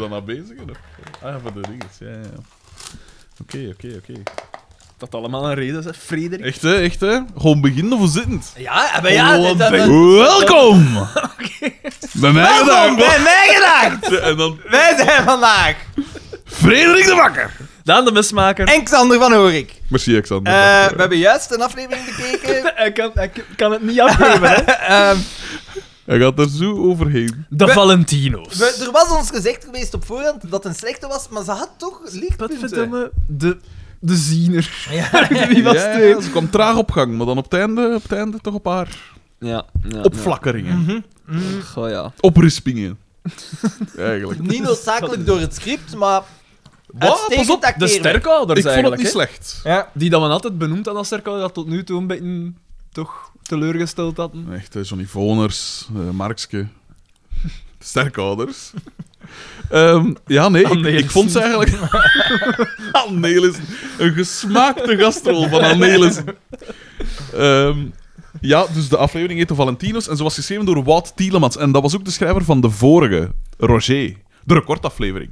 dan aan bezig? Of? Ah, voor de dinges. Ja, ja. ja. Oké, oké, oké. Dat allemaal een reden, zeg. Frederik. Echt, hè? Echt, hè? Gewoon beginnen voor zittend. Ja, maar ja, Gewoon dit- dat- dat- beginnen. Welkom! Bij mij Welkom gedaan. bij mij gedacht! En dan Wij zijn vandaag Frederik de Bakker. Daan de mismaker. en Xander van Horik. Merci, Alexander. Eh, we hebben juist een aflevering bekeken. Hij kan, hij kan het niet afgeven, hè? Ehm, Hij gaat er zo overheen. De We- Valentino's. we- er was ons gezegd geweest op voorhand dat het een slechte was, maar ze had toch lichtpunten. Godverdomme, de, de ziener. Ja. Wie was Ja, het? ja, ze kwam traag op gang, maar dan op het einde, op het einde toch een paar Ja, ja. opflakkeringen. Mhm. ja. Goh, ja. Oprispingen. Eigenlijk. Niet noodzakelijk door het script, maar... Wat? Pas op, de sterkouder Ik vond het eigenlijk, niet hè? slecht. Ja. Die dat men altijd benoemd had als sterkouder, dat tot nu toe een beetje toch teleurgesteld hadden. Echt, hè, Johnny Voners, eh, Markske. Sterkouders. Ehm, ja, nee, ik, Annelies. ik vond ze eigenlijk... Annelies. Een gesmaakte gastrol van Annelies. Ehm, ja, dus de aflevering heette Valentino's en ze was geschreven door Wout Tielemans. En dat was ook de schrijver van de vorige, Roger. De recordaflevering.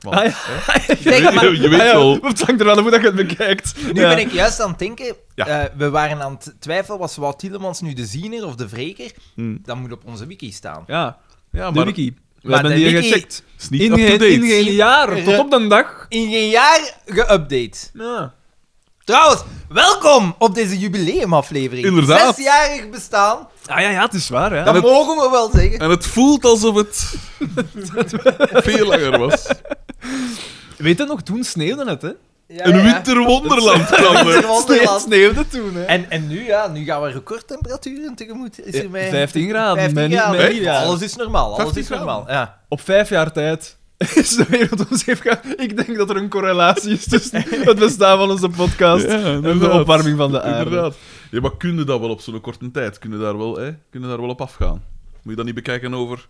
Want, Ah, ja. hè, Zeg, maar- je, je weet Ah, ja, wel... Het hangt er wel aan hoe dat je het bekijkt. Nu Ja. ben ik juist aan het denken, Ja. eh, we waren aan het twijfelen, was Wout Tielemans nu de ziener of de wreker? Hm. Dat moet op onze wiki staan. Ja, Ja, de Ah, maar het wiki. We Maar hebben de die wiki- gecheckt. is niet In geen, up-to-date. in geen jaar, tot op de dag. In geen jaar geüpdate. Ja. Trouwens, welkom op deze jubileumaflevering. Inderdaad. Zesjarig bestaan, Ah ja, ja, het is waar, hè. dat mogen we wel zeggen. En het voelt alsof het veel langer was. Weet je nog, toen sneeuwde het, hè? Ja, Een ja. winterwonderland kwam er. Een wonderland. sneeuwde toen, hè. En, en nu, ja, nu gaan we recordtemperaturen tegemoet. Is Ja, er mij... 15 graden, 15 mijn- graden. mijn nieuwjaar. Alles is normaal, alles 15 is normaal. Ja. op vijf jaar tijd is de wereld ons heeft gehaald. Ik denk dat er een correlatie is tussen het bestaan van onze podcast en de inderdaad. opwarming van de aarde. Inderdaad. Ja, maar kun je dat wel op zo'n korte tijd? Kun je daar wel, hè? Kun je daar wel op afgaan? Moet je dat niet bekijken over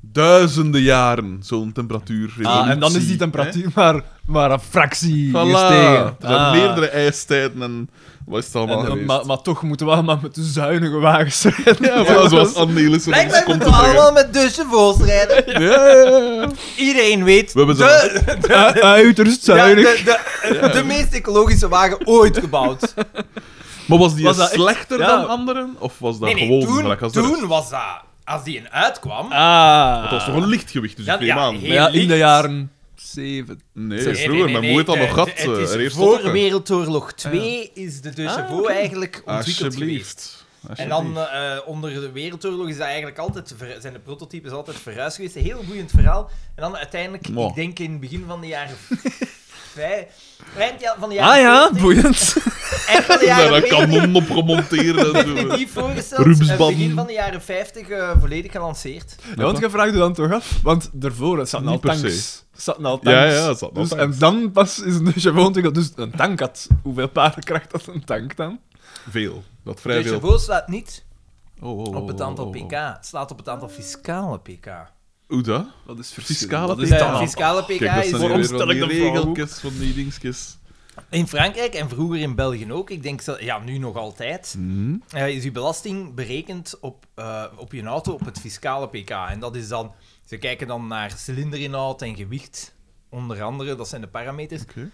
duizenden jaren, zo'n temperatuur? Ah, en dan is die temperatuur maar, maar een fractie gestegen. Voilà. Er zijn Ah. meerdere ijstijden en wat is het En- allemaal en- geweest? maar, maar toch moeten we allemaal met de zuinige wagens rijden. Ja, voilà, zoals Annelies er ons Blijkbaar komt moeten te we brengen. allemaal met dusje vols rijden. dus Ja, ja, ja. Iedereen weet, We hebben zo- de, U- Uiterst ja, de, zuinig. de- de meest ecologische wagen ooit gebouwd. Maar was die Was dat echt- slechter Ja. dan anderen? Of was dat Nee, nee, gewoon toen, gelijk als de rest? toen was dat... Als die een uitkwam... Ah. Het was toch een lichtgewicht, dus Ja, ik neem ja, aan. heel- Maar ja, in licht. de jaren 70. Nee, Nee, nee, vroeger. nee, Mijn nee, moeder had de- dat nog gehad. de- het is eh, er heeft voor ook een. Wereldoorlog 2 is de Deusje Ah, Vaux oké. eigenlijk ontwikkeld geweest. Alsjeblieft. En dan eh, onder de Wereldoorlog is dat eigenlijk altijd ver- zijn de prototypes altijd verhuisd geweest. Een heel boeiend verhaal. En dan uiteindelijk, Wow. ik denk in het begin van de jaren... vij- Eind ja- van de jaren Ah ja, 40, boeiend. eind van de Daar jaren een 40, kanon op gemonteerd en zo. definitief voorgesteld. Rubensband. en begin van de jaren 50 eh, volledig gelanceerd. Ja, want je vraagt je dan toch af, want daarvoor het zaten Niet al per tanks. Het zaten al tanks. Ja, ja, het zaten al dus, tanks. En dan pas is een Deja Vu ontwikkeld. Dus een tank had, hoeveel paardenkracht had een tank dan? Veel. Dat vrij Deusje veel. Vaux slaat niet Oh, oh, oh, op het aantal oh, oh. pk. Het slaat op het aantal fiscale pk. Hoe dat? Dat is verschil. Fiscale Dat nou- is tank. De dan al- fiscale pk Kijk, dat is zijn Waarom weer stel van ik die dat voor? regeltjes, van die dingetjes. In Frankrijk en vroeger in België ook, ik denk dat, ja, nu nog altijd, Hm? eh, is uw belasting berekend op, eh, op je auto op het fiscale pk. En dat is dan, ze kijken dan naar cilinderinhoud en gewicht, onder andere, dat zijn de parameters. Oké.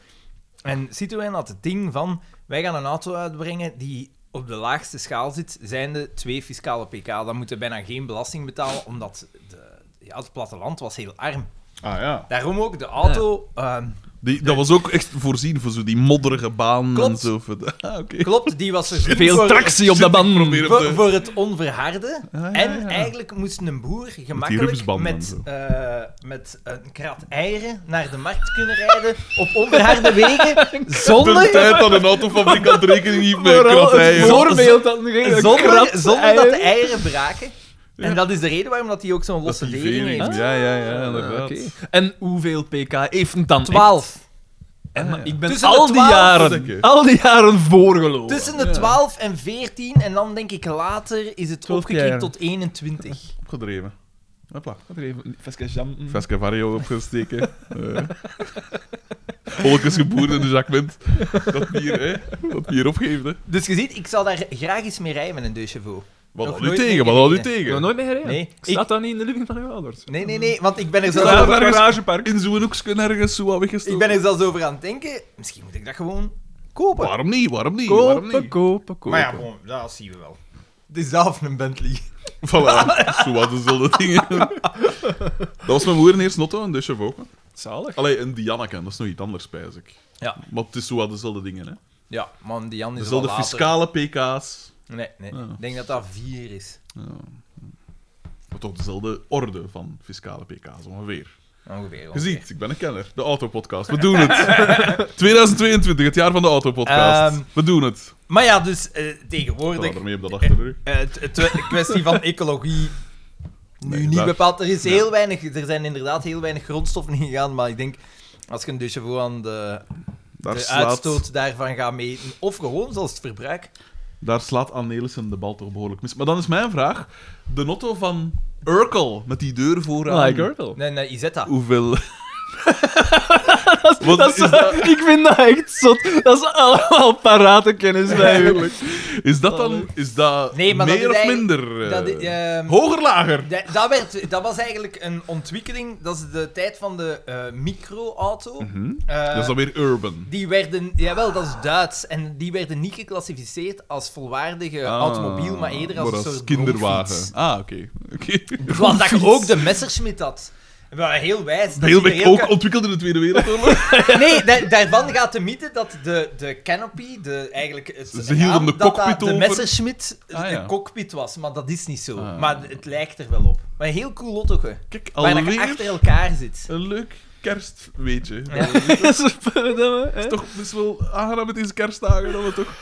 En Citroën had het ding van, wij gaan een auto uitbrengen die op de laagste schaal zit, zijn de twee fiscale pk. Dan moeten we bijna geen belasting betalen, omdat de, ja, het platteland was heel arm. Ah ja. Daarom ook de auto... ehm, Die, dat was ook echt voorzien voor zo die modderige baan en Klopt. zo. Ah, oké. Klopt, die was er Veel voor- tractie op de band. Probeer op Voor, de... Ah, voor het onverharde. ja, En ja. eigenlijk moest een boer rupsbanden gemakkelijk en met, zo. eh, met een krat eieren naar de markt kunnen rijden op onverharde wegen De zonder, tijd dat een autofabrikant rekening hield met Vooral het kratijen. voorbeeld dat nu geen zonder, krap zonder dat de eieren- eieren braken. Ja. En dat is de reden waarom dat hij ook zo'n Dat is losse die lering vering. heeft. Ja, ja, ja, Ah, inderdaad. oké. En hoeveel pk heeft een dan? echt? 12. En, maar ik ben Tussen de al die 12, denk ik. jaren, al die jaren voorgelopen. Tussen de 12 en 14 en dan denk ik later is het 12 opgekrikt jaar. tot 21. Opgedreven. Hopla. Wat er even- Veske Jam- Vescavario opgesteken. Eh. Holkens geboerd in de Jacquement. Dat bier, hè? Dat bier opgeeft, hè? Dus je ziet, ik zal daar graag eens mee rijden met een Deux Chevaux. Wat Nog had u nooit tegen? Wat meegereden. had u Ik heb tegen? nooit meer gereden. Nee, ik ik- zat dan niet in de living van uw ouders. Nee, nee, nee, want ik ben er Ik zelfs zat op over, een garagepark. In zo'n hoekje ergens zo wat weggestoken. ik ben er zelfs over aan het denken. Misschien moet ik dat gewoon kopen. Waarom niet? Waarom niet? Waarom Kopen, niet? kopen, Maar ja, kopen. bon, dat zien we wel. Het is zelf een Bentley. Voilà, zo wat dezelfde dingen. dat was mijn moeder eerst notto, een Dusje ook. Zalig. Allee, een Dianneken, dat is nog iets anders, spijs ik. Ja, Maar het is zo wat dezelfde dingen, hè. ja man, die Jan is Dezelfde al later. fiscale pk's. Nee, nee. Ja. Ik denk dat dat vier is. Maar toch dezelfde orde van fiscale pk's, ongeveer. Ongeveer. Je ongeveer. ziet, ik ben een kenner. De Autopodcast, we doen het. 2022, het jaar van de Autopodcast. Ehm, we doen het. Maar ja, dus eh, Ik tegenwoordig... ermee op dat achter de rug. eh, het- het we- kwestie van ecologie... Nu Nee, niet daar- bepaald. Er, is ja. heel weinig, er zijn inderdaad heel weinig grondstoffen ingegaan, maar ik denk... Als je een dusje voor aan de, Daar, de slaat, uitstoot daarvan gaat meten, of gewoon zelfs het verbruik... daar slaat Annelissen de bal toch behoorlijk mis. Maar dan is mijn vraag, de notto van Urkel, met die deur vooraan. Like Urkel. Nee, nee, Isetta. Hoeveel... Dat is- Wat dat is- is dat? Ik vind dat echt zot. Dat is allemaal parate kennis eigenlijk. Is dat Oh. dan is dat Nee, maar dat meer is of eigenlijk- minder? eh, dat i- ehm, hoger, lager? Da- Dat, werd, dat was eigenlijk een ontwikkeling. Dat is de tijd van de eh, micro-auto. Mhm. Eh, dat is dan weer urban. Die werden, jawel, dat is Duits. En die werden niet geclassificeerd als volwaardige Ah, eh, automobiel, maar eerder als maar een soort kinderwagen. Ah, oké. oké. Want dat je ook de Messerschmitt had. Wel, Heel wijs. dat Heel die weg er ook ontwikkeld in de Tweede Wereldoorlog. Nee, da- daarvan gaat de mythe dat de, de canopy, de, eigenlijk het Ze hielden raam, de dat cockpit dat over. de Messerschmitt Ah, ja. de cockpit was. Maar dat is niet zo. Ah. Maar het lijkt er wel op. Maar een heel cool autootje. Kijk, Waar dat je alweer achter elkaar zit. een leuk kerstweetje. Ja. Het is toch best wel aangenaam met deze kerstdagen dat we toch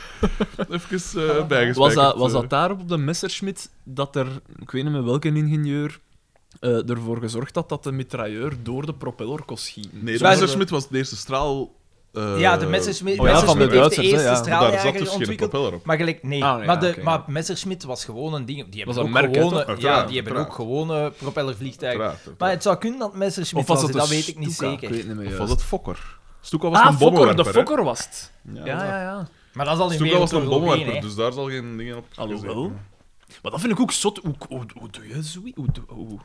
even eh bijgesprekend, Was dat, was eh. dat daarop op de Messerschmitt dat er, ik weet niet meer welke ingenieur, eh, ervoor gezorgd had dat de mitrailleur door de propeller kon schieten? Nee, de Zwaar- Messerschmitt was de eerste straal... eh, Ja, de Messerschmitt, oh ja, van de Messerschmitt heeft de Duitsers, hè, eerste ja. Daar zat straaljager dus geen ontwikkeld. propeller op. Maar gelijk, nee. Ah, nee, maar, de, oké, ja. maar Messerschmitt was gewoon een ding. Die hebben Was een ook merk, hè, gewone, toch? ja, Uiteraard, die hebben ook uiteraard. gewone propellervliegtuigen. Uiteraard, uiteraard. Maar het zou kunnen dat Messerschmitt Of was was, het dat de weet ik niet Stuka? zeker. Ik weet niet meer Of juist. was dat Fokker? Stoeka was Ah, een Fokker, de bommenwerper, hè? Fokker was het. Ja, ja, ja. Maar dat is al in Stoeka was wereld een oorlog één, bommenwerper, hè. dus daar zal geen dingen op Alhoewel. gezeten. Maar dat vind ik ook zot. Hoe, hoe, hoe doe je zoiets? Hoe, doe- hoe-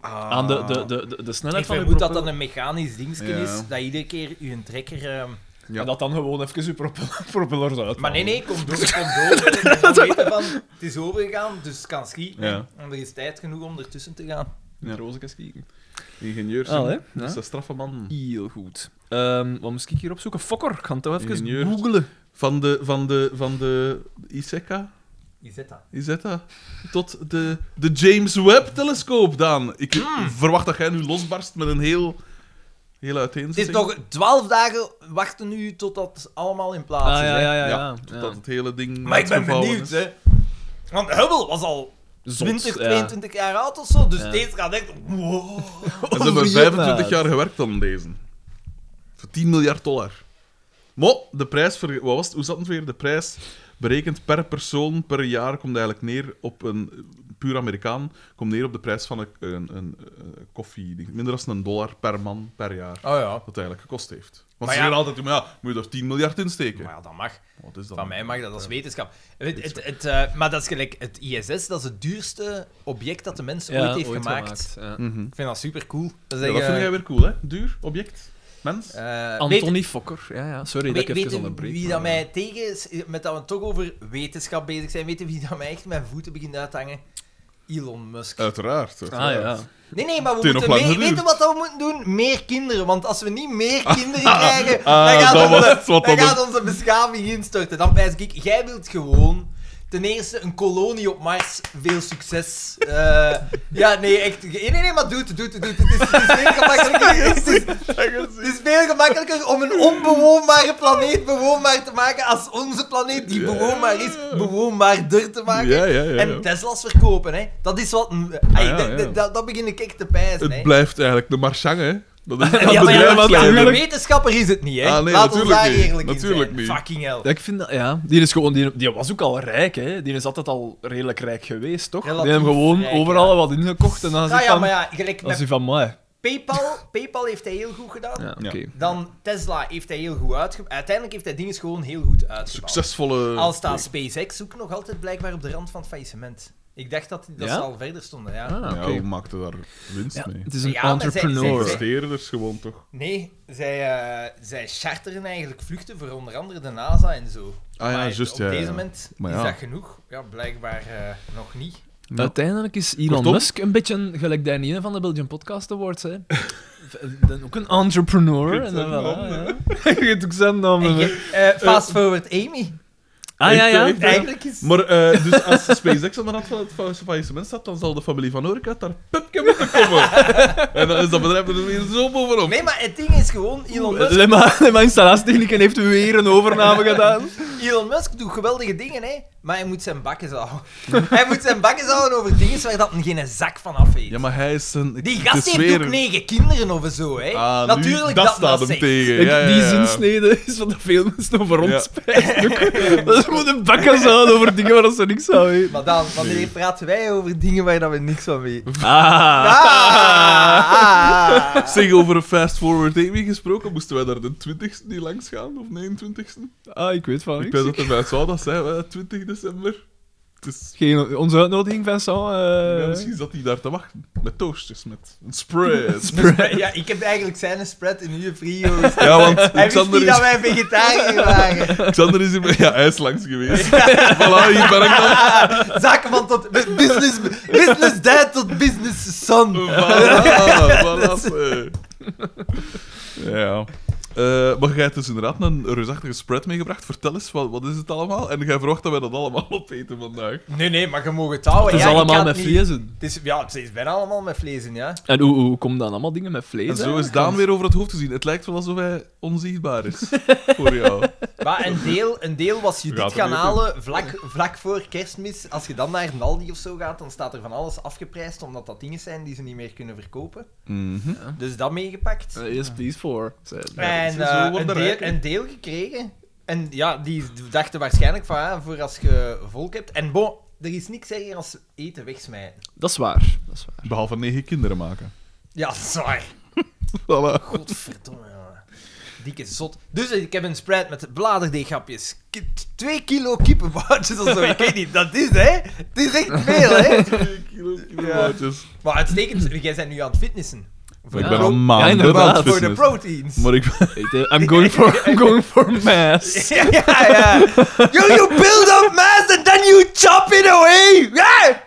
Aan de, de, de, de, de snelheid van Ah. Ik je vermoed propeller. dat dat een mechanisch dingetje Ja. is, dat iedere keer u een trekker... ehm, Ja. En dat dan gewoon even je propeller, propeller eruit Maar nee, halen. nee, kom door, kom door. En dan weten van, het is overgegaan, dus het kan schieten. Ja. En er is tijd genoeg om ertussen te gaan. Ja. Met roze kaskieken. Ingenieurs. Al, hè? hè? Dat is een straffe man. Heel goed. Ehm, wat moest ik hier opzoeken? Fokker, ik ga het toch even Ingenieur. googlen. Van de, van de, van de Iseka, Je zet dat. Isetta, tot de, de James Webb-telescoop, Daan. Ik verwacht dat jij nu losbarst met een heel, heel Het is uiteenzetting. nog twaalf dagen wachten nu totdat het allemaal in plaats Ah, is. ja, hè. ja, ja. Ja, ja. totdat het hele ding Maar ik ben uitgevouwen benieuwd, is. hè. Want Hubble was al Zot, 20, ja. 22 jaar oud of zo, dus Ja. deze gaat echt... Wow. En ze hebben Wie 25 dat? jaar gewerkt aan deze. Voor 10 miljard dollar. Maar de prijs, voor, wat was het, hoe zat het weer? De prijs berekend per persoon per jaar komt eigenlijk neer op een puur Amerikaan, komt neer op de prijs van een, een, een, eh, koffie. Minder dan een dollar per man per jaar. Oh ja. Wat het eigenlijk gekost heeft. Want Maar ze ja. zeggen altijd: maar ja, moet je er 10 miljard in steken? Maar ja, dat mag. Wat is dat? Van mij mag dat als wetenschap. Het, het, het, eh, maar dat is gelijk, het ISS, dat is het duurste object dat de mens Ja, ooit heeft ooit gemaakt. ja. Mhm. Ik vind dat super cool. Dat, is Ja, dat echt, vind eh, jij weer cool, hè? Duur, object, mens. eh, weet- Anthony Fokker, ja, ja. Sorry Weet, dat ik weet even u onderbreek. wie maar- dat mij tegen is, eh, met dat we toch over wetenschap bezig zijn, weet u wie dat mij echt mijn voeten begint uit te hangen? Elon Musk. Uiteraard. Ah, uiteraard. ja. Nee, nee, maar Het we heeft nog moeten lang meer, geduurd. weten wat we moeten doen? Meer kinderen, want als we niet meer kinderen krijgen, dan, ah, gaat, dat onze, was wat dan dat gaat onze beschaving instorten. Dan pijs ik, jij wilt gewoon ten eerste een kolonie op Mars, veel succes. Eh, ja, nee, echt. Nee, nee, nee, maar doe het, doe het, doe het. Het is, het is veel gemakkelijker. Het is, het is veel gemakkelijker om een onbewoonbare planeet bewoonbaar te maken als onze planeet, die Ja. bewoonbaar is, bewoonbaarder te maken. Ja, ja, ja, ja. Ah, En Tesla's verkopen, hè. Dat is wat... een- ai, ja, d- ja. d- dat- dat begin ik echt te pijzen, Het hè. blijft eigenlijk de marchang, hè? Dat is Ja, dat maar ja, bedrijfsleider. ja, een wetenschapper is het niet, hè. Ah, nee, Laat ons natuurlijk daar niet. eerlijk Natuurlijk in zijn. niet. Fucking hell. Ja, ik vind dat, ja. Die, is gewoon, die, die was ook al rijk, hè. Die is altijd al redelijk rijk geweest, toch? Relatief die hebben gewoon rijk, overal ja. wat ingekocht en dan is Ah hij ja, van, maar ja, gelijk dat is met, hij van mij. PayPal, PayPal heeft hij heel goed gedaan. Ja, oké. Dan Tesla heeft hij heel goed uitgebouwd. Uiteindelijk heeft hij dingen gewoon heel goed uitgebouwd. Succesvolle... Al staat SpaceX ook nog altijd blijkbaar op de rand van het faillissement. Ik dacht dat, dat Ja? ze al verder stonden, ja. Ah, Ja, Oh, oké. hoe maakte daar winst mee? Het is een Ja, maar zij- entrepreneur. zij- zij- Investeerders gewoon, toch? Nee, zij, eh, zij charteren eigenlijk vluchten voor onder andere de NASA en zo. Ah ja, Maar juist, Op ja, deze ja. moment Maar is ja. dat genoeg. Ja, blijkbaar eh, nog niet. Ja. Uiteindelijk is Elon Kortom. Musk een beetje gelijk daar niet van de Belgian Podcast Awards. Hè. Dan ook een entrepreneur. En dan wel, hè, ja. Je weet ook zijn naam. En je- eh, fast forward Amy. Ah ja, ja. Echt, hè? Eigenlijk is... Maar eh, dus als SpaceX aan de rand van het fa- faillissement staat, dan zal de familie van Urk uit daar pupje moeten komen. en dan is dat bedrijf er weer zo bovenop. Nee, maar het ding is gewoon, Elon Musk, Lemma, Lemma installatietechnicus heeft weer een overname gedaan. Elon Musk doet geweldige dingen, hè. Maar hij moet zijn bakken houden. hij moet zijn bakken houden over dingen waar dat hem geen zak van af heeft. Ja, maar hij is een... Die het gast is heeft weer- ook negen kinderen of zo, hè. Ah, nu, Natuurlijk, dat, dat staat hem zegt. tegen. Ja, ja, ja. Die zinsnede is wat de veel mensen over Ja. ons spijt. Dat ze moeten bakken zouden over dingen waar ze niks aan weten. Maar dan, wanneer praten wij over dingen waar dat we niks van weten? Ah. Ah! Zeg, over een Fast Forward Amy gesproken, moesten wij daar de 20ste niet langs gaan? Of 29ste? ah, ik weet van Ik niks. weet dat er bij zou dat zijn, hè, 20 december. Het is... Geen, onze uitnodiging, Vincent. eh Ja, misschien zat hij daar te wachten. Met toastjes, met een spread. Ja, ik heb eigenlijk zijn spread in uw frio. Hij Ja, want wist Xander niet is, dat wij vegetariër waren. Xander is hier... Ja, hij is langs geweest. Voilà, hier ben ik dan. Zaken van tot business, business dad tot business son. Voilà, voilà. eh. Ja. Eh, maar jij hebt dus inderdaad een reusachtige spread meegebracht. Vertel eens, wat, wat is het allemaal? En jij verwacht dat wij dat allemaal opeten vandaag. Nee, nee, maar je mag het houden. Het is Ja, ik ga allemaal met het niet- vlezen. Het is, ja, het is bijna allemaal met vlees in, ja. En hoe, hoe komen dan allemaal dingen met vlees? En zo is eigenlijk? Daan weer over het hoofd gezien. Het lijkt wel alsof hij onzichtbaar is voor jou. Maar een deel, een deel was je Gaat dit er gaan niet halen vlak, vlak voor kerstmis. Als je dan naar een Aldi of zo gaat, dan staat er van alles afgeprijsd, omdat dat dingen zijn die ze niet meer kunnen verkopen. Mhm. Dus dat meegepakt. Eh, yes, please, for. zei hij. En zo eh, worden een, rijk, deel, hè. een deel gekregen. En ja, die dachten waarschijnlijk van, ah, voor als je volk hebt. En bon, er is niks erger als eten wegsmijten. Dat is waar. Dat is waar. Behalve negen kinderen maken. Ja, zwaar. Voilà. Godverdomme, jongen. Dikke zot. Dus ik heb een spread met bladerdeeghapjes. K- Twee kilo kippenboutjes of zo. Ik weet niet, dat is, hè? Het is echt veel, hè? Twee kilo kilowattjes. Maar uitstekend, jij bent nu aan het fitnessen. Voor Maar ik de ben Ja. al maanden Ja, inderdaad. aan het Voor de vissen. proteins. Maar ik ben... Ik denk, I'm going for, I'm going for mass. Ja, ja, ja. Yo, you build up mass and then you chop it away. Ja!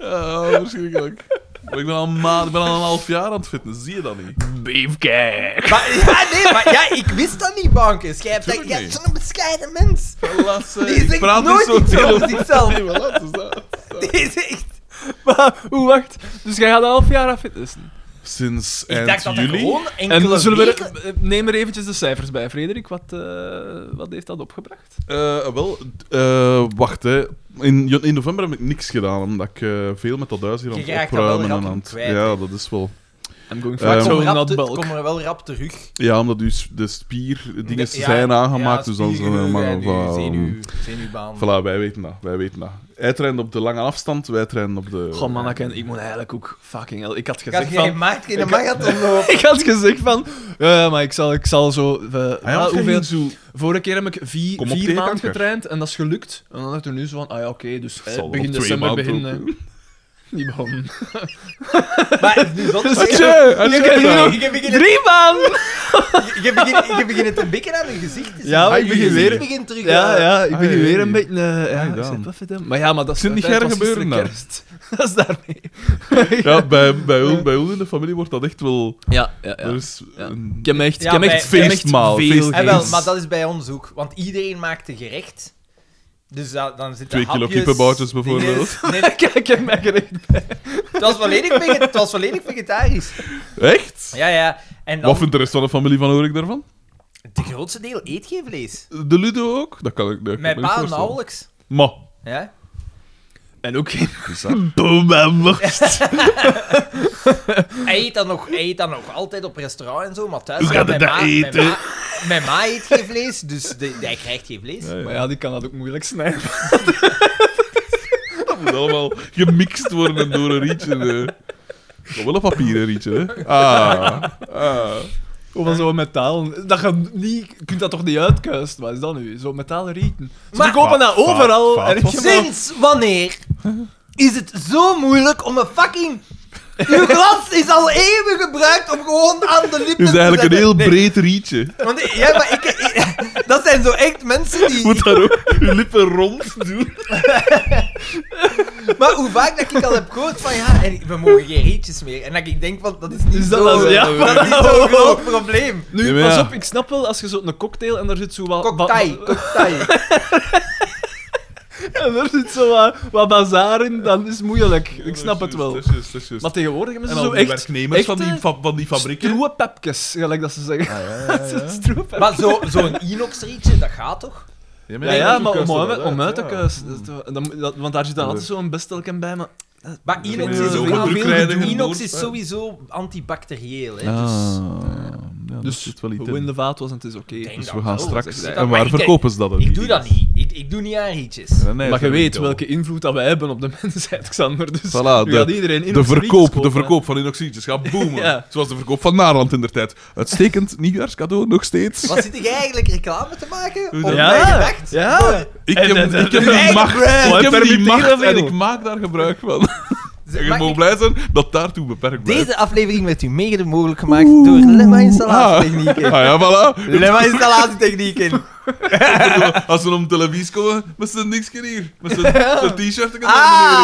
Ah, verschrikkelijk. Maar ik ben al, ma- ik ben al een half jaar aan het fitness. Zie je dat niet? Beefcake. Maar, ja, nee, maar ja, ik wist dat niet, Bankers. Jij hebt, Tuurlijk jij niet. hebt zo'n bescheiden mens. Helaas, eh, Die zegt ik praat nooit niet iets zo over zichzelf. Nee, maar laat eens dat. Die is echt... Maar, hoe wacht? Dus jij gaat een half jaar aan fitnessen. Sinds Ik eind dacht dat er juli. gewoon En enkele zullen we, weken- eh, neem er eventjes de cijfers bij, Frederik. Wat, eh, wat heeft dat opgebracht? Eh, wel, eh, wacht hè. In, in november heb ik niks gedaan, omdat ik eh, veel met dat huis hier aan Je het raakt dat wel opruimen rap en aan het... kwijt, Ja, dat is wel... I'm going Eh, for Kom, so er rap not te- bulk. kom er wel rap terug. Ja, omdat u s- de spierdingen Ja, zijn aangemaakt, ja, dus dan zijn we... spiergeheugen Maar, en uw voilà. zenuw- Zenuwbaan. Voilà, wij weten dat, wij weten dat. Hij traint op de lange afstand, wij trainen op de... Goh, man, ik, ik moet eigenlijk ook fucking hell. Ik had Gaat gezegd jij van... maakt geen marathon lopen? Ik had gezegd van... eh, maar ik zal, ik zal zo... eh, Ah ja, ah, want jij hoeveel, ging zo... Vorige keer heb ik vier, Kom op vier tegen maanden kanker. getraind en dat is gelukt. En dan dacht ik nu zo van, ah ja, oké, dus eh, Zal wel begin op twee december maanden begin... ook, eh, Niet begonnen. Maar het is nu zot, maar ik- je ik heb kan begin- hier ik heb begin- Drie maanden! ik heb begin- ik begin het een beetje aan mijn gezicht. te Ja, zien. maar ik Je begin gezicht weer- begint terug. Ja, eh, ja, ik Ah, ben ja, weer een ja. beetje... eh, ja, Ah, ik dan. zit wel fit, hè. Maar ja, maar dat is... Zit niet het was erg gebeuren gisteren dan? kerst. Dat is daarmee. Ja, bij, bij, ons- bij ons in de familie wordt dat echt wel... Ja, ja, ja. Er is Ja. een- Ik heb echt, Ja, ik heb bij- echt, ik heb echt feestmaal, veel feest- gegeten. En Ah, wel, maar dat is bij ons ook. Want iedereen maakt een gerecht. Dus da- dan zitten Twee kilo hapjes, kippenboutjes bijvoorbeeld. dinges. Nee, nee, Kijk, ik heb mij gerecht. het, was volledig vege- het was volledig vegetarisch. Echt? Ja, ja. En dan, Wat vindt de rest van de familie van Ulrich daarvan? de grootste deel eet geen vlees. De Ludo ook? Dat kan ik, dat kan Mijn ik me niet pa voorstellen. nauwelijks. Maar, Ja? En ook geen bizar. boom en worst. Hij eet dat nog, hij eet dat nog altijd op restaurant en zo, maar thuis... Hoe ja, gaat mijn het ma- dat eten? Mijn ma, mijn ma eet geen vlees, dus de- hij krijgt geen vlees. Ja, ja. Maar ja, die kan dat ook moeilijk snijden. Dat moet allemaal gemixt worden en door een rietje. eh. Nog wel een papieren rietje, hè? Ah. ah. Of van zo'n metaal. Dat je, niet, je kunt dat toch niet uitkuisen? Wat is dat nu? Zo'n metalen rieten. Ze Maar- verkopen dat Vaat, overal. vaat, en vaat. je mag- Sinds wanneer is het zo moeilijk om een fucking... Uw glas is al eeuwen gebruikt om gewoon aan de lippen Het is eigenlijk te een heel zetten. Nee, breed rietje. want, ja, maar ik, ik- dat zijn zo echt mensen die... Je moet daar ook je lippen rond doen. Maar hoe vaak dat ik al heb gehoord van ja, en we mogen geen rietjes meer. En dat ik denk van dat is niet Is dat zo, dan- ja, dat is niet zo'n groot probleem. Nu, Ja, maar pas ja. op, ik snap wel, als je zo'n cocktail en daar zit zo wat... Cocktail, ba- cocktail. en daar zit zo wat, wat bazaar in, dan is het moeilijk. Ik snap het wel. Dat is juist, dat is juist. Maar tegenwoordig hebben En ze al zo die echt... eh, werknemers van, die, echte fa- van die fabrieken. Ah, Stroepepkes, gelijk dat ze zeggen. Stroepepkes. Maar zo- zo'n inox-rietje, dat gaat toch? Ja, ja, maar om, om, uit- om uit te ja. kuisen. dat is toch- dan moet- dat- want daar zit dan altijd zo'n bestelken bij, maar... Maar inox Ja, is zo ook goed aan veel krijgen, gedoe. goed Inox is doorspelen. sowieso antibacteriëel. Hè, dus Ah, ja, dus Dus zit wel iets gewoon in in. de vaat was en het is oké. Ik denk Dus dat we gaan wel, straks. zeg. En Maar waar ik denk- verkopen ze dat dan? ik doe dat niet. Ik, ik doe niet aan rietjes. Nee, maar je dat weet wel. welke invloed dat wij hebben op de mensheid, Xander. Dus Voilà, nu de- gaat iedereen in De ons verkoop, de frietjes kopen. verkoop van inoxidjes gaat boomen. Ja. Zoals de verkoop van Naarland in der tijd. Uitstekend nieuwjaarscadeau nog steeds. Wat zit jij eigenlijk reclame te maken? Hoe Op dan? ja. mijn Ja. gedacht? Ja. Ik En- heb, en- ik heb en- die en- macht, en- ik heb die permitteren macht en veel. ik maak daar gebruik van. Zeg, En je mag mag ik- blij zijn dat daartoe beperkt blijft. Deze aflevering werd u mede mogelijk gemaakt door Lemma Ah, installatietechnieken. ja, voilà. Lemma installatietechnieken. Als ze om televisie komen, met z'n niks hier. Met z'n t-shirt.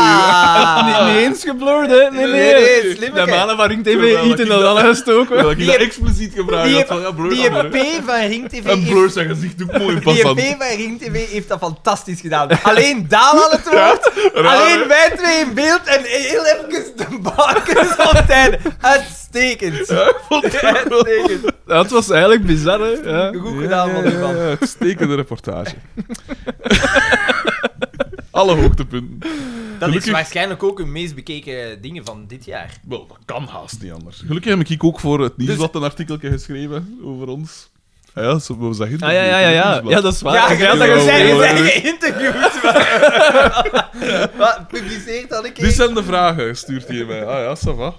Ah! Niet, niet eens geblurred, hè? Nee, Nee, nee. nee, slimmeke. de mannen van Ring TV Terwijl eten ik dat dat- alles ook, hoor. Dat ik dat expliciet gebruik Die, had van, ja, blur die andere. P van Ring TV En heeft- blur zijn gezicht ook mooi in pas die van. P van Ring TV heeft dat fantastisch gedaan. Alleen Daan had het woord, raar, hè? alleen wij twee in beeld en heel even de bakens op het einde. Uitstekend. Uitstekend. Dat was eigenlijk bizar, hè? Ja. Goed gedaan, man. Ja, Ivan. Uitstekende reportage. Alle hoogtepunten. Dat is Gelukkig- waarschijnlijk ook hun meest bekeken dingen van dit jaar. Wel, dat kan haast niet anders. Gelukkig heb ik ook voor het Dus- nieuwsblad een artikeltje geschreven over ons. Ah ja, zo- we zeggen het Ah, ja, ja, ja, ja. Ja, dat is waar. Ja, Ik je had hebt dat ja, gezegd. ja, ja. zijn geïnterviewd. Wat publiceert dat ik? Dit zijn de vragen, stuurt hij mij. Ah ja, ça va.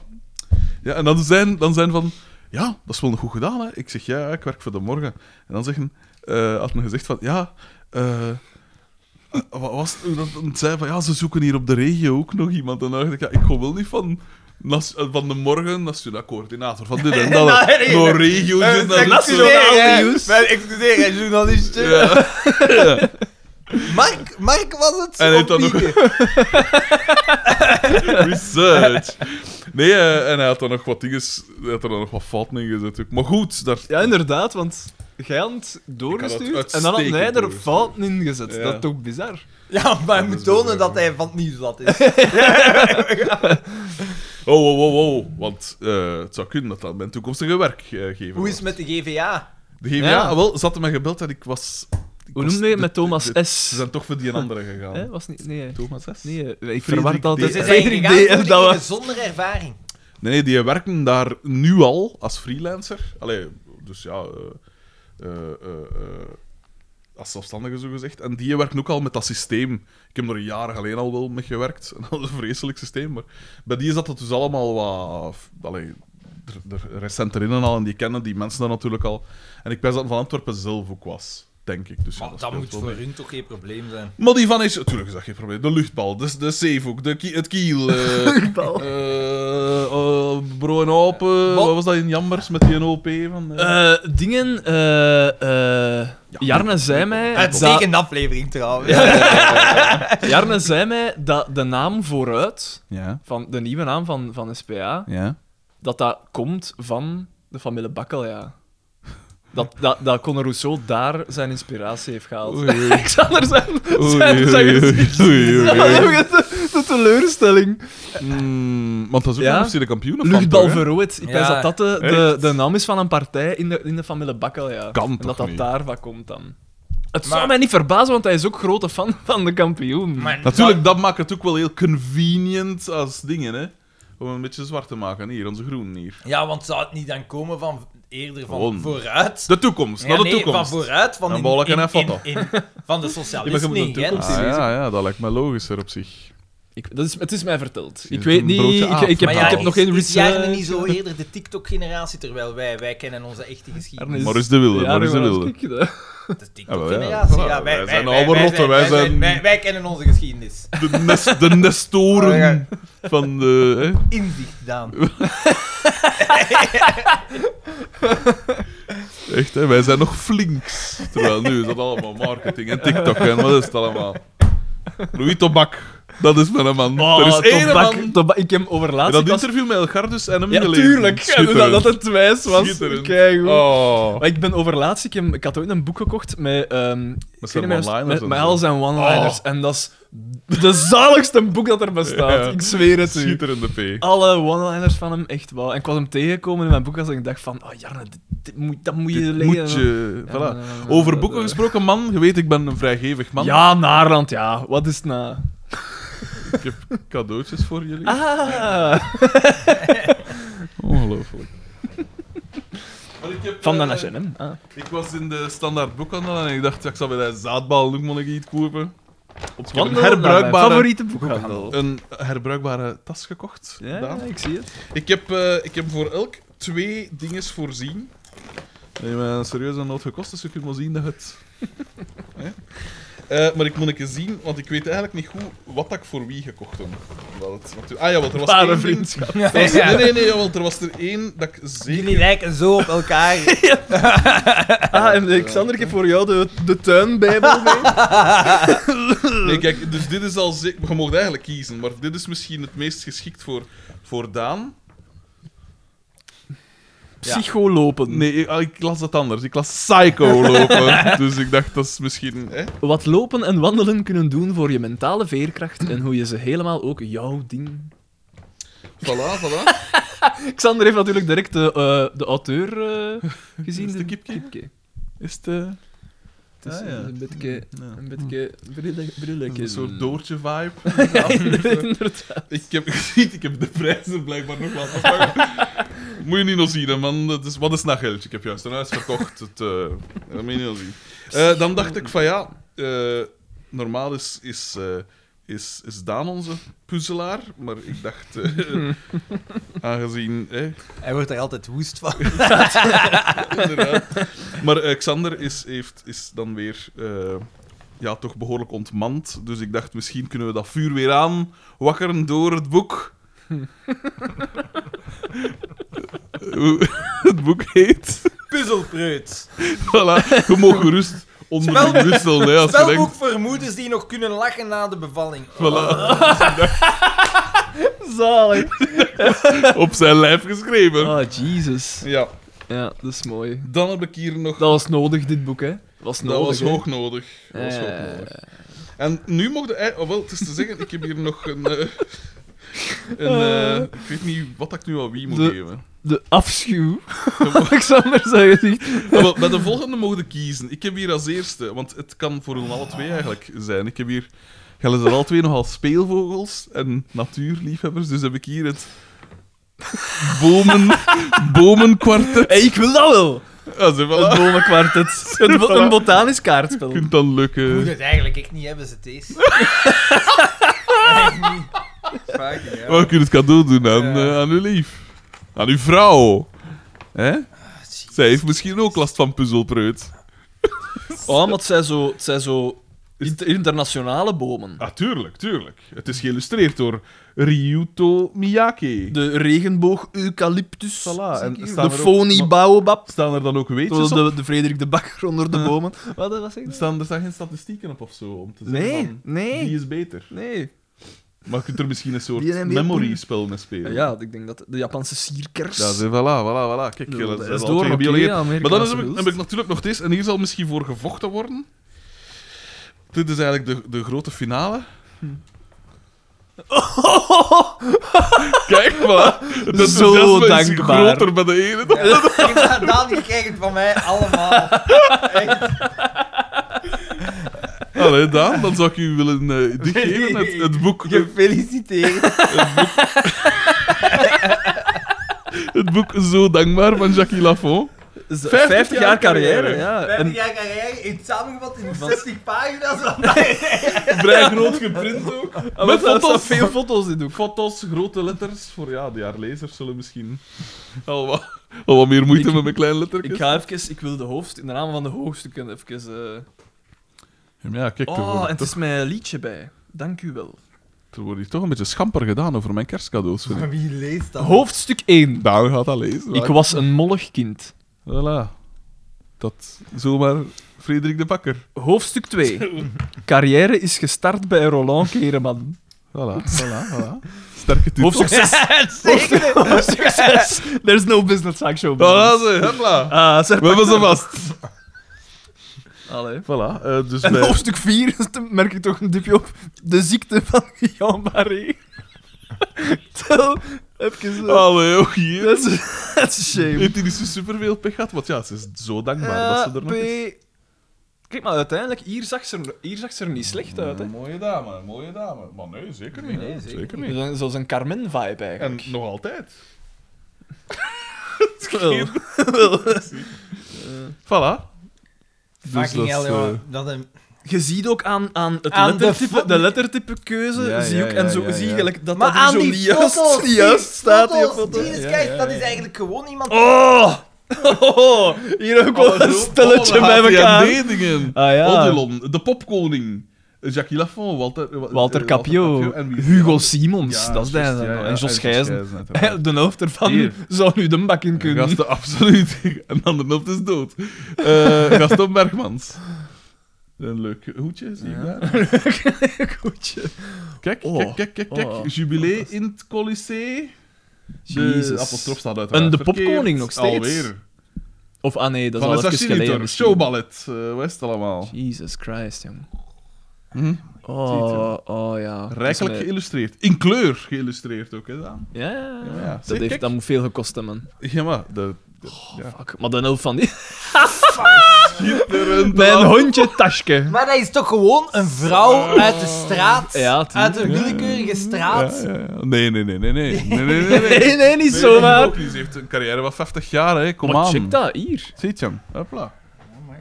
Ja, en dan zijn, dan zijn van... Ja, dat is wel goed gedaan, hè. Ik zeg, ja, ik werk voor de morgen. En dan zeggen... eh, had men gezegd van, ja... eh, eh, wat was het? Hoe dat het zei van, ja, ze zoeken hier op de regio ook nog iemand. En dan dacht ik, ja, ik ga wel niet van... nas- eh, Van de morgen, nationaal coördinator van dit en dat. Nou, nee. Door regio. Eh, dit nou en dat. nationaal nieuws. Excuseer, hè, journalist. Ja. Mark, Mark was het. En of heeft dat nog- Mieke? Research. Nee, eh, en hij had er nog wat dingen... Hij had er dan nog wat fouten in gezet. ook. Maar goed, daar... Ja, inderdaad, want jij had het Ik had doorgestuurd het en dan had hij er uitstekend fouten in gezet. Ja. Dat is toch bizar? Ja, maar hij Dat moet is wel tonen waar. dat hij van het nieuwsblad is. Oh, oh, oh, oh. Want eh, het zou kunnen dat dat mijn toekomstige werkgever Hoe is het met de GVA? De GVA, Ja. ah, wel, ze hadden mij gebeld en ik was... ik Hoe was- noemde je het de- met Thomas de- Ze S? zijn toch voor die andere gegaan. Hè, Was niet, nee, hè. Thomas S? Nee. nee, hè. ik Frederik verward altijd. D. Ze Ja. zijn Frederik gegaan D. voor en dat degene was- zonder ervaring. nee, die werken daar nu al als freelancer. Allee, dus ja... eh, eh, eh, eh, als zelfstandige, zogezegd. En die werken ook al met dat systeem. Ik heb er jaren geleden al wel mee gewerkt. En dat is een vreselijk systeem. Maar bij die zat dat dus allemaal wat... Allee, er- er recenter in en al. En die kennen die mensen dan natuurlijk al. En ik wist dat het van Antwerpen zelf ook was. Denk ik. Dus ja, Maar dat speelt moet wel voor mee. hun toch geen probleem zijn. Maar die van is... Natuurlijk is dat geen probleem. De luchtbal, de, de zeevoek, de kie- het kiel... eh Luchtbal. eh, eh, bro en Hoop, eh, wat was dat in Jammers met die NOP van... eh? Eh, dingen, eh, eh, Jarne zei mij. Eh, dat- Uitstekende aflevering trouwens. Jarne zei mij dat de naam vooruit, Ja, van de nieuwe naam van, van SPA, ja. dat dat komt van de familie Bakkel, ja. Dat, dat, dat Conor Rousseau daar zijn inspiratie heeft gehaald. Oei, oei. Alexander zijn, Oei, zijn, oei, zijn oei, gezicht. oei, oei, oei. de, de teleurstelling. Mm, want dat is ook Ja? een officiële kampioen. of Luchtbal wat, hè? Verrooid. Ik denk dat Ja. dat de, de, Echt? de naam is van een partij in de, in de familie Bakkel, ja. Kan en toch dat dat niet? daarvan komt dan. Het Maar- zou mij niet verbazen, want hij is ook grote fan van de kampioen. Maar Natuurlijk, dat maakt het ook wel heel convenient als dingen, hè. Om een beetje zwart te maken. Hier, onze groen hier. dat- Ja, want zou het niet dan komen van eerder van Gewoon. vooruit? De toekomst, Ja, naar de nee, toekomst. Van vooruit, van Dan in- bolken in- en foto. in- in- Van de Ja, maar je socialisten moet in de toekomst Gent. Ah, ja, ja, dat lijkt me logischer op zich. Ik, dat is, het is mij verteld. is Ik weet een niet. broodje Ik, ik, aap. heb, Maar ik heb ja, nog geen is jaren research. niet zo eerder de TikTok-generatie, terwijl wij, wij kennen onze echte geschiedenis. Maar is de wilde, maar is de Jaren wilde. was ik dat. De Ah, TikTok-generatie. wel, ja. Ja, wij, Wij wij zijn wij- allemaal wij rotten, wij zijn- wij- wij kennen onze geschiedenis. De, nes- de nestoren van de... Hè? Inzicht, Daan. Echt, hè? wij zijn nog flinks. Terwijl nu is dat allemaal marketing en TikTok en wat is het allemaal? Louis Tobak, dat is mijn man. er Dus is één Ah, Oh, tobak, man. tobak- Ik heb overlaatst. Dat interview met Elgar dus en hem Ja, gelezen. tuurlijk. Dat, Schitterend. dat het wijs was. Schitterend. Kijk, Oh. Maar ik ben overlaatst, ik, heb- ik had ooit een boek gekocht met... ehm, ik zijn weet niet meer, one-liners met, en met zo. Oh. al zijn one-liners. En dat is de zaligste boek dat er bestaat. Ja. Ik zweer het u. Schitterende P. Alle one-liners van hem, echt wel. En ik was hem tegengekomen in mijn boek als ik dacht van... Oh Jarne, dit, dit moet, dat moet je Dit lezen. moet je... Ja, Voilà. eh, Over eh, boeken eh, gesproken, man. Je weet, ik ben een vrijgevig man. Ja, Naarland, ja. Wat is het nou? Ik heb cadeautjes voor jullie. Ah, Ongelooflijk. Maar ik heb, van de eh, H&M. Ah. Ik was in de standaard boekhandel en ik dacht, ja, ik zal bij de zaadbal nog maar iets kopen. Op ik heb een herbruikbare, favoriete boekhandel. een herbruikbare tas gekocht. Ja, Daan. ik zie het. Ik, heb, eh, ik heb voor elk twee dingen voorzien. Nee, maar een serieuze nood gekost, dus je kunt maar zien dat het... Hè? Eh, maar ik moet even zien, want ik weet eigenlijk niet goed wat ik voor wie gekocht heb. Wel, het- want- Ah ja, want er was één ding- Parenvriendschap. er was- Nee, nee, nee, want er was er één dat ik zeker... Jullie lijken zo op elkaar. Ah, en Alexander, ik heb voor jou de, de tuinbijbel mee. Nee, kijk, dus dit is al zeker... Je mag eigenlijk kiezen, maar dit is misschien het meest geschikt voor, voor Daan. Psycholopen. Nee, ik, ah, ik las dat anders. Ik las Psycho lopen. dus ik dacht, dat is misschien... Hè? Wat lopen en wandelen kunnen doen voor je mentale veerkracht en hoe je ze helemaal ook jouw ding... Voilà, voilà. Xander heeft natuurlijk direct de, eh, de auteur eh, gezien. Is het de de kipke? kipke. Is het... eh, Het is Ah, ja. een beetje... Ja. Een beetje... brille- brilletje. Een soort doortje-vibe. Inderdaad. ik heb gezien, ik heb de prijzen blijkbaar nog laten vangen. Moet je niet nog zien, hè, man. Dat is, wat is dat geldje? Ik heb juist een huis verkocht. Het, eh, dat moet je niet nog zien. Eh, dan dacht ik van ja, eh, normaal is, is, eh, is, is Daan onze puzzelaar. Maar ik dacht, eh, aangezien... eh, Hij wordt er altijd woest van. Inderdaad. Maar eh, Xander is, heeft, is dan weer eh, ja, toch behoorlijk ontmand. Dus ik dacht, misschien kunnen we dat vuur weer aan wakkeren door het boek. Hoe- het boek heet. Puzzelpreut. Voilà. Je mag gerust onder de Spel- brustel, hè, als je Spelboek denkt. voor moeders die nog kunnen lachen na de bevalling. Voilà, Zalig. op zijn lijf geschreven. Ah, Jesus. Ja, Ja, dat is mooi. dan heb ik hier nog. Dat was nodig, dit boek, hè. Was nodig, Dat was hè. hoog nodig. Dat was hoog Eh. nodig. En nu mocht hij... Oh, wel, het is te zeggen, ik heb hier nog een... eh, een eh, ik weet niet wat ik nu aan wie moet De- geven. De afschuw. Alexander zijn gezicht. Ah, wel, bij de volgende mogen kiezen. Ik heb hier als eerste, want het kan voor hun alle twee eigenlijk zijn. Ik heb hier... Gaan ze er alle twee nogal speelvogels en natuurliefhebbers, dus heb ik hier het... Bomen, bomenkwartet. Hé, ik wil dat wel. Ah, ze, Het voilà. bomenkwartet. Het bo- een botanisch kaartspel. kunt dan Moet lukken. het eigenlijk echt niet hebben, ze deze. Echt niet. Fucking hell. Maar je kunt het cadeau doen aan, Ja. eh, aan uw lief. Aan uw vrouw. Hè? Zij heeft misschien ook last van puzzelpreut. Oh, maar het zijn zo, het zijn zo inter- internationale bomen. Ah, tuurlijk, tuurlijk. Het is geïllustreerd door Ryuto Miyake. De regenboog eucalyptus. Voilà, en en staan de er ook- fonie maar- baobab. Staan er dan ook Zoals weetjes op? de, de Frederik de Bakker onder de bomen. Wat was ik? Staan er staan geen statistieken op of zo? Om te zeggen Nee, van, die nee, is beter. nee. Maar je kunt er misschien een Die soort zijn meer memory-spel mee spelen. Ja, ik denk dat de Japanse sierkers... Ja, ze, voilà, voilà, voilà. Kijk, bedoel, dat dat zijn is al door, twee oké, biologen. Amerikaanse Maar dan is- heb ik, wilst. heb ik natuurlijk nog deze, en hier zal misschien voor gevochten worden. Dit is eigenlijk de, de grote finale. Kijk maar, het enthousiasme is dankbaar. groter bij de ene dan Ja, ik heb Daan, je krijgt het van mij allemaal. Echt. Allee, Daan, dan zou ik u willen eh, dit geven, het, het boek, Gefeliciteerd. het boek Zo Dankbaar van Jacques Lafont. is 50 50, jaar jaar carrière. carrière. Ja. En jij carrière in samengevat in 60 pagina's. Vrij groot geprint ook. Ah, Met want daar foto's. staan veel foto's in ook. Foto's, grote letters. Voor ja, die haar lezers zullen misschien Oh, al wat, al wat meer moeite Ik- met mijn kleine lettertjes. Ik ga even, ik wil de hoofd, in de naam van de hoofdstukken even. eh, Ja, kijk, er Oh, wordt en het toch- is mijn liedje bij. Dank u wel. er wordt hier toch een beetje schamper gedaan over mijn kerstcadeaus. Vind ik. Wie leest dat? Hoofdstuk 1. Daan gaat dat lezen. Ik maar- was een mollig kind. Voilà. Dat zomaar Frederik de Bakker. Hoofdstuk 2. Carrière is gestart bij Roland Kereman. Voilà, voilà, voilà. Sterke titel. Hoofdstuk 6. Zeker. Hoofdstuk 6. There's no business action. Voilà, ze, hopla. Ah, zeg We hebben ze vast. Allee. Voilà, eh, dus En wij- hoofdstuk 4 merk ik toch een dipje op. De ziekte van Jean Barré. Tel, even. eh, Allee, oh jee. dat, is, dat is een shame. Heeft hij niet zo superveel pech gehad? Want ja, ze is zo dankbaar dat ze er nog is. Eh, P. Kijk maar, uiteindelijk, hier zag ze er, hier zag ze er niet slecht uit. Hè. Mooie dame, mooie dame. Maar nee, zeker niet. Nee, zeker zeker niet. Zo'n- Zoals een Carmen-vibe En eigenlijk. nog altijd. Wel. Voilà. Dus Fucking hell, is, eh, jongen. Dat een... Je ziet ook aan, aan het Aan de lettertype, de, fo- lettertypekeuze, Ja, zie ja, je ook, en ja, zo ja, zie ja. je gelijk dat Maar dat er aan zo die niet juist, foto's, niet juist staat, die foto's, foto. die is, Ja, kijk, ja, dat ja. is eigenlijk gewoon iemand... Oh! eh, Hier ook wel een stelletje bij elkaar. dingen. Ah Odilon, de popkoning. Eh, Jacques Lafont, Walter, eh, wa- eh, Walter Capio, en wie is die Hugo andere? Simons, Ja, dat is juist, hij dan. ja, ja, en Jos Gijzen. uiteraard. De hoofd ervan Hier. zou nu de bak in kunnen. Gasten, absoluut. En dan de helft is dood. Eh Gaston Bergmans. Een leuk hoedje, zie ik daar. Goedje. Kijk, Oh. kijk, kijk, kijk, kijk. Oh. Jubilee in het Colisée. De Jezus. apostrof staat uiteraard En de verkeerd. popkoning nog steeds. Alweer. Of ah nee, dat is Van al de even geleden. Sassinitor, misschien. showballet, eh West allemaal. Jesus Christ, jong. Hm? Oh, oh ja. Dat is Rijkelijk met- geïllustreerd. In kleur geïllustreerd ook, hè, Daan? Ja, ja, Ja, ja. ja. Zie, Dat, heeft, kijk. dat moet veel gekost hebben, man. Ja, maar... De, de, ja. Fuck. Maar dan helft van die... Schitterend. Mijn Daan. hondje Taschke. Maar dat is toch gewoon een vrouw uit de straat? Oh. Ja, tuurlijk. uit een willekeurige straat? Ja, ja, ja. Nee, nee, nee, nee, nee. Nee, nee, nee, nee. Nee, nee, niet Nee, zomaar. ook niet. Ze heeft een carrière van 50 jaar, hè. Oh, Kom maar aan. check dat, hier. Ziet je hem? Hopla.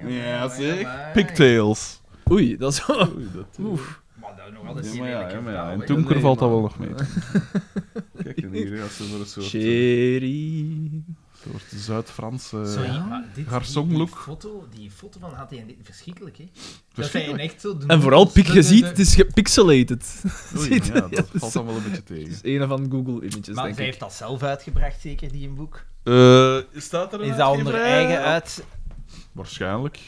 Ja, zeg. maar. Pigtails. Oei, dat is... Oei, dat... Oef. Maar dat is nog altijd Ja, een maar ja, ja, maar ja. verhaal, In hè. Tunker Nee, valt dat maar- wel nog mee. Kijk, en hier hè, als ze voor een soort, eh, Sherry. soort Zuid-Franse... Sorry, Ja. maar dit, Garçon die, die look. foto, die foto van HTN, verschrikkelijk, hè? Verschrikkelijk. Dat zijn echt zo de En vooral, noedels, Piek, de- je de- ziet, de- het is gepixelated. Oei, Ziet- ja, dat dat is- valt dan wel een beetje tegen. Het is een van Google Images, Maar denk zij ik. heeft dat zelf uitgebracht, zeker, die een boek. Eh, staat er een Is dat onder uitgeverij? eigen uit... Waarschijnlijk.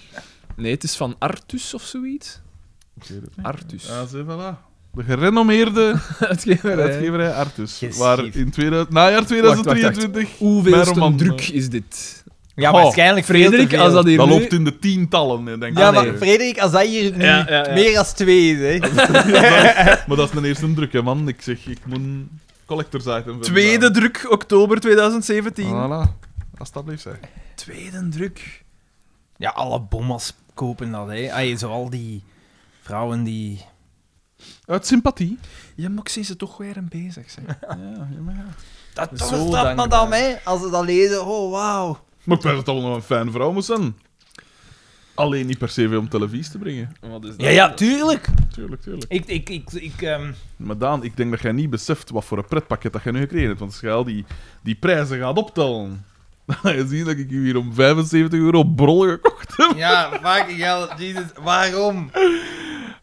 Nee, het is van Artus of zoiets. Ik weet het niet. Artus. Ah, zie, voilà. De gerenommeerde Uitgeverij. uitgeverij Artus. Geschift. Waar in 2000, najaar 2023... Mijn Hoeveel roman, druk eh. is dit? Ja, Goh, waarschijnlijk veel te Frederik, veel. als dat hier Dat nu- loopt in de tientallen, hè, denk ik. Ja, Ah, maar nee. Frederik, als dat hier nu Ja, ja, ja. meer dan twee is, hè? Maar dat is mijn eerste druk, hè, man. Ik zeg, ik moet een collector's item vinden. Tweede druk, oktober 2017. Voilà. Alsjeblieft, zeg. Tweede druk. Ja, alle bommas kopen dat, hè. Ay, zoal die vrouwen die... Uit sympathie. Ja, maar ik zie ze toch weer aan bezig zijn. Ja, ja, maar ja. Dat toch Zo een straf, dankbaar. madame, hè. Als ze dat lezen, oh, wauw. Maar ik ben het allemaal een fijn vrouw moest zijn. Alleen niet per se veel om televisie te brengen. Wat is dat? Ja, ja, tuurlijk. Tuurlijk, tuurlijk. Ik, ik, ik, ik... ehm, Maar Daan, ik denk dat jij niet beseft wat voor een pretpakket dat jij nu gekregen hebt. Want als jij al die, die prijzen gaat optellen... Dan ga je zien dat ik je hier om 75 euro brol gekocht heb. Ja, fucking hell, Jesus, waarom?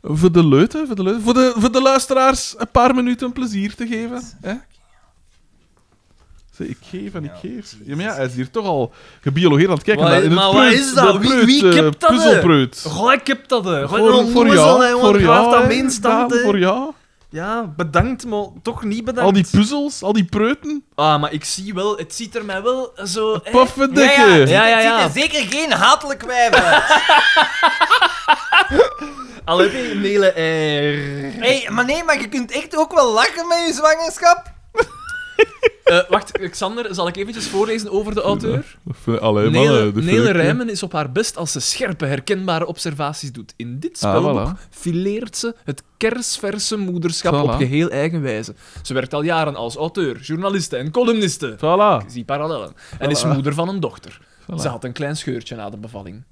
Voor de leuten, voor de, leuten. Voor de, voor de luisteraars een paar minuten plezier te geven. Hè? Zeg, ik geef en ik Ja, geef. precies. Ja, maar ja, hij is hier toch al gebiologeerd aan het kijken. Wat- naar- in het maar wat is dat? de Wie- wie eh, kipt dat, hè? Puzzelpreut. Goh, ik heb dat. hè. Goh, Voor, noem voor eens jou, al, hè, want voor ik jou, laat dat hè, mijn stand, Daan, hè. voor jou. Ja, bedankt, maar toch niet bedankt. Al die puzzels, al die preuten. Ah, maar ik zie wel, het ziet er mij wel zo... hè. Pufferdikke. Ja, Eh, Ja, ja, ja. Het ziet er zeker geen hatelijk wijf uit. Al heb je een hele air. hey, maar nee, maar je kunt echt ook wel lachen met je zwangerschap. Eh, wacht, Xander, zal ik eventjes voorlezen over de auteur? Allee, man. Nele, eh, de Nele Frederik- Rijmen is op haar best als ze scherpe, herkenbare observaties doet. In dit Ah, spelboek voilà. fileert ze het kersverse moederschap Voilà. op geheel eigen wijze. Ze werkt al jaren als auteur, journaliste en columniste. Voilà. Ik zie parallellen. En is Voilà. moeder van een dochter. Voilà. Ze had een klein scheurtje na de bevalling.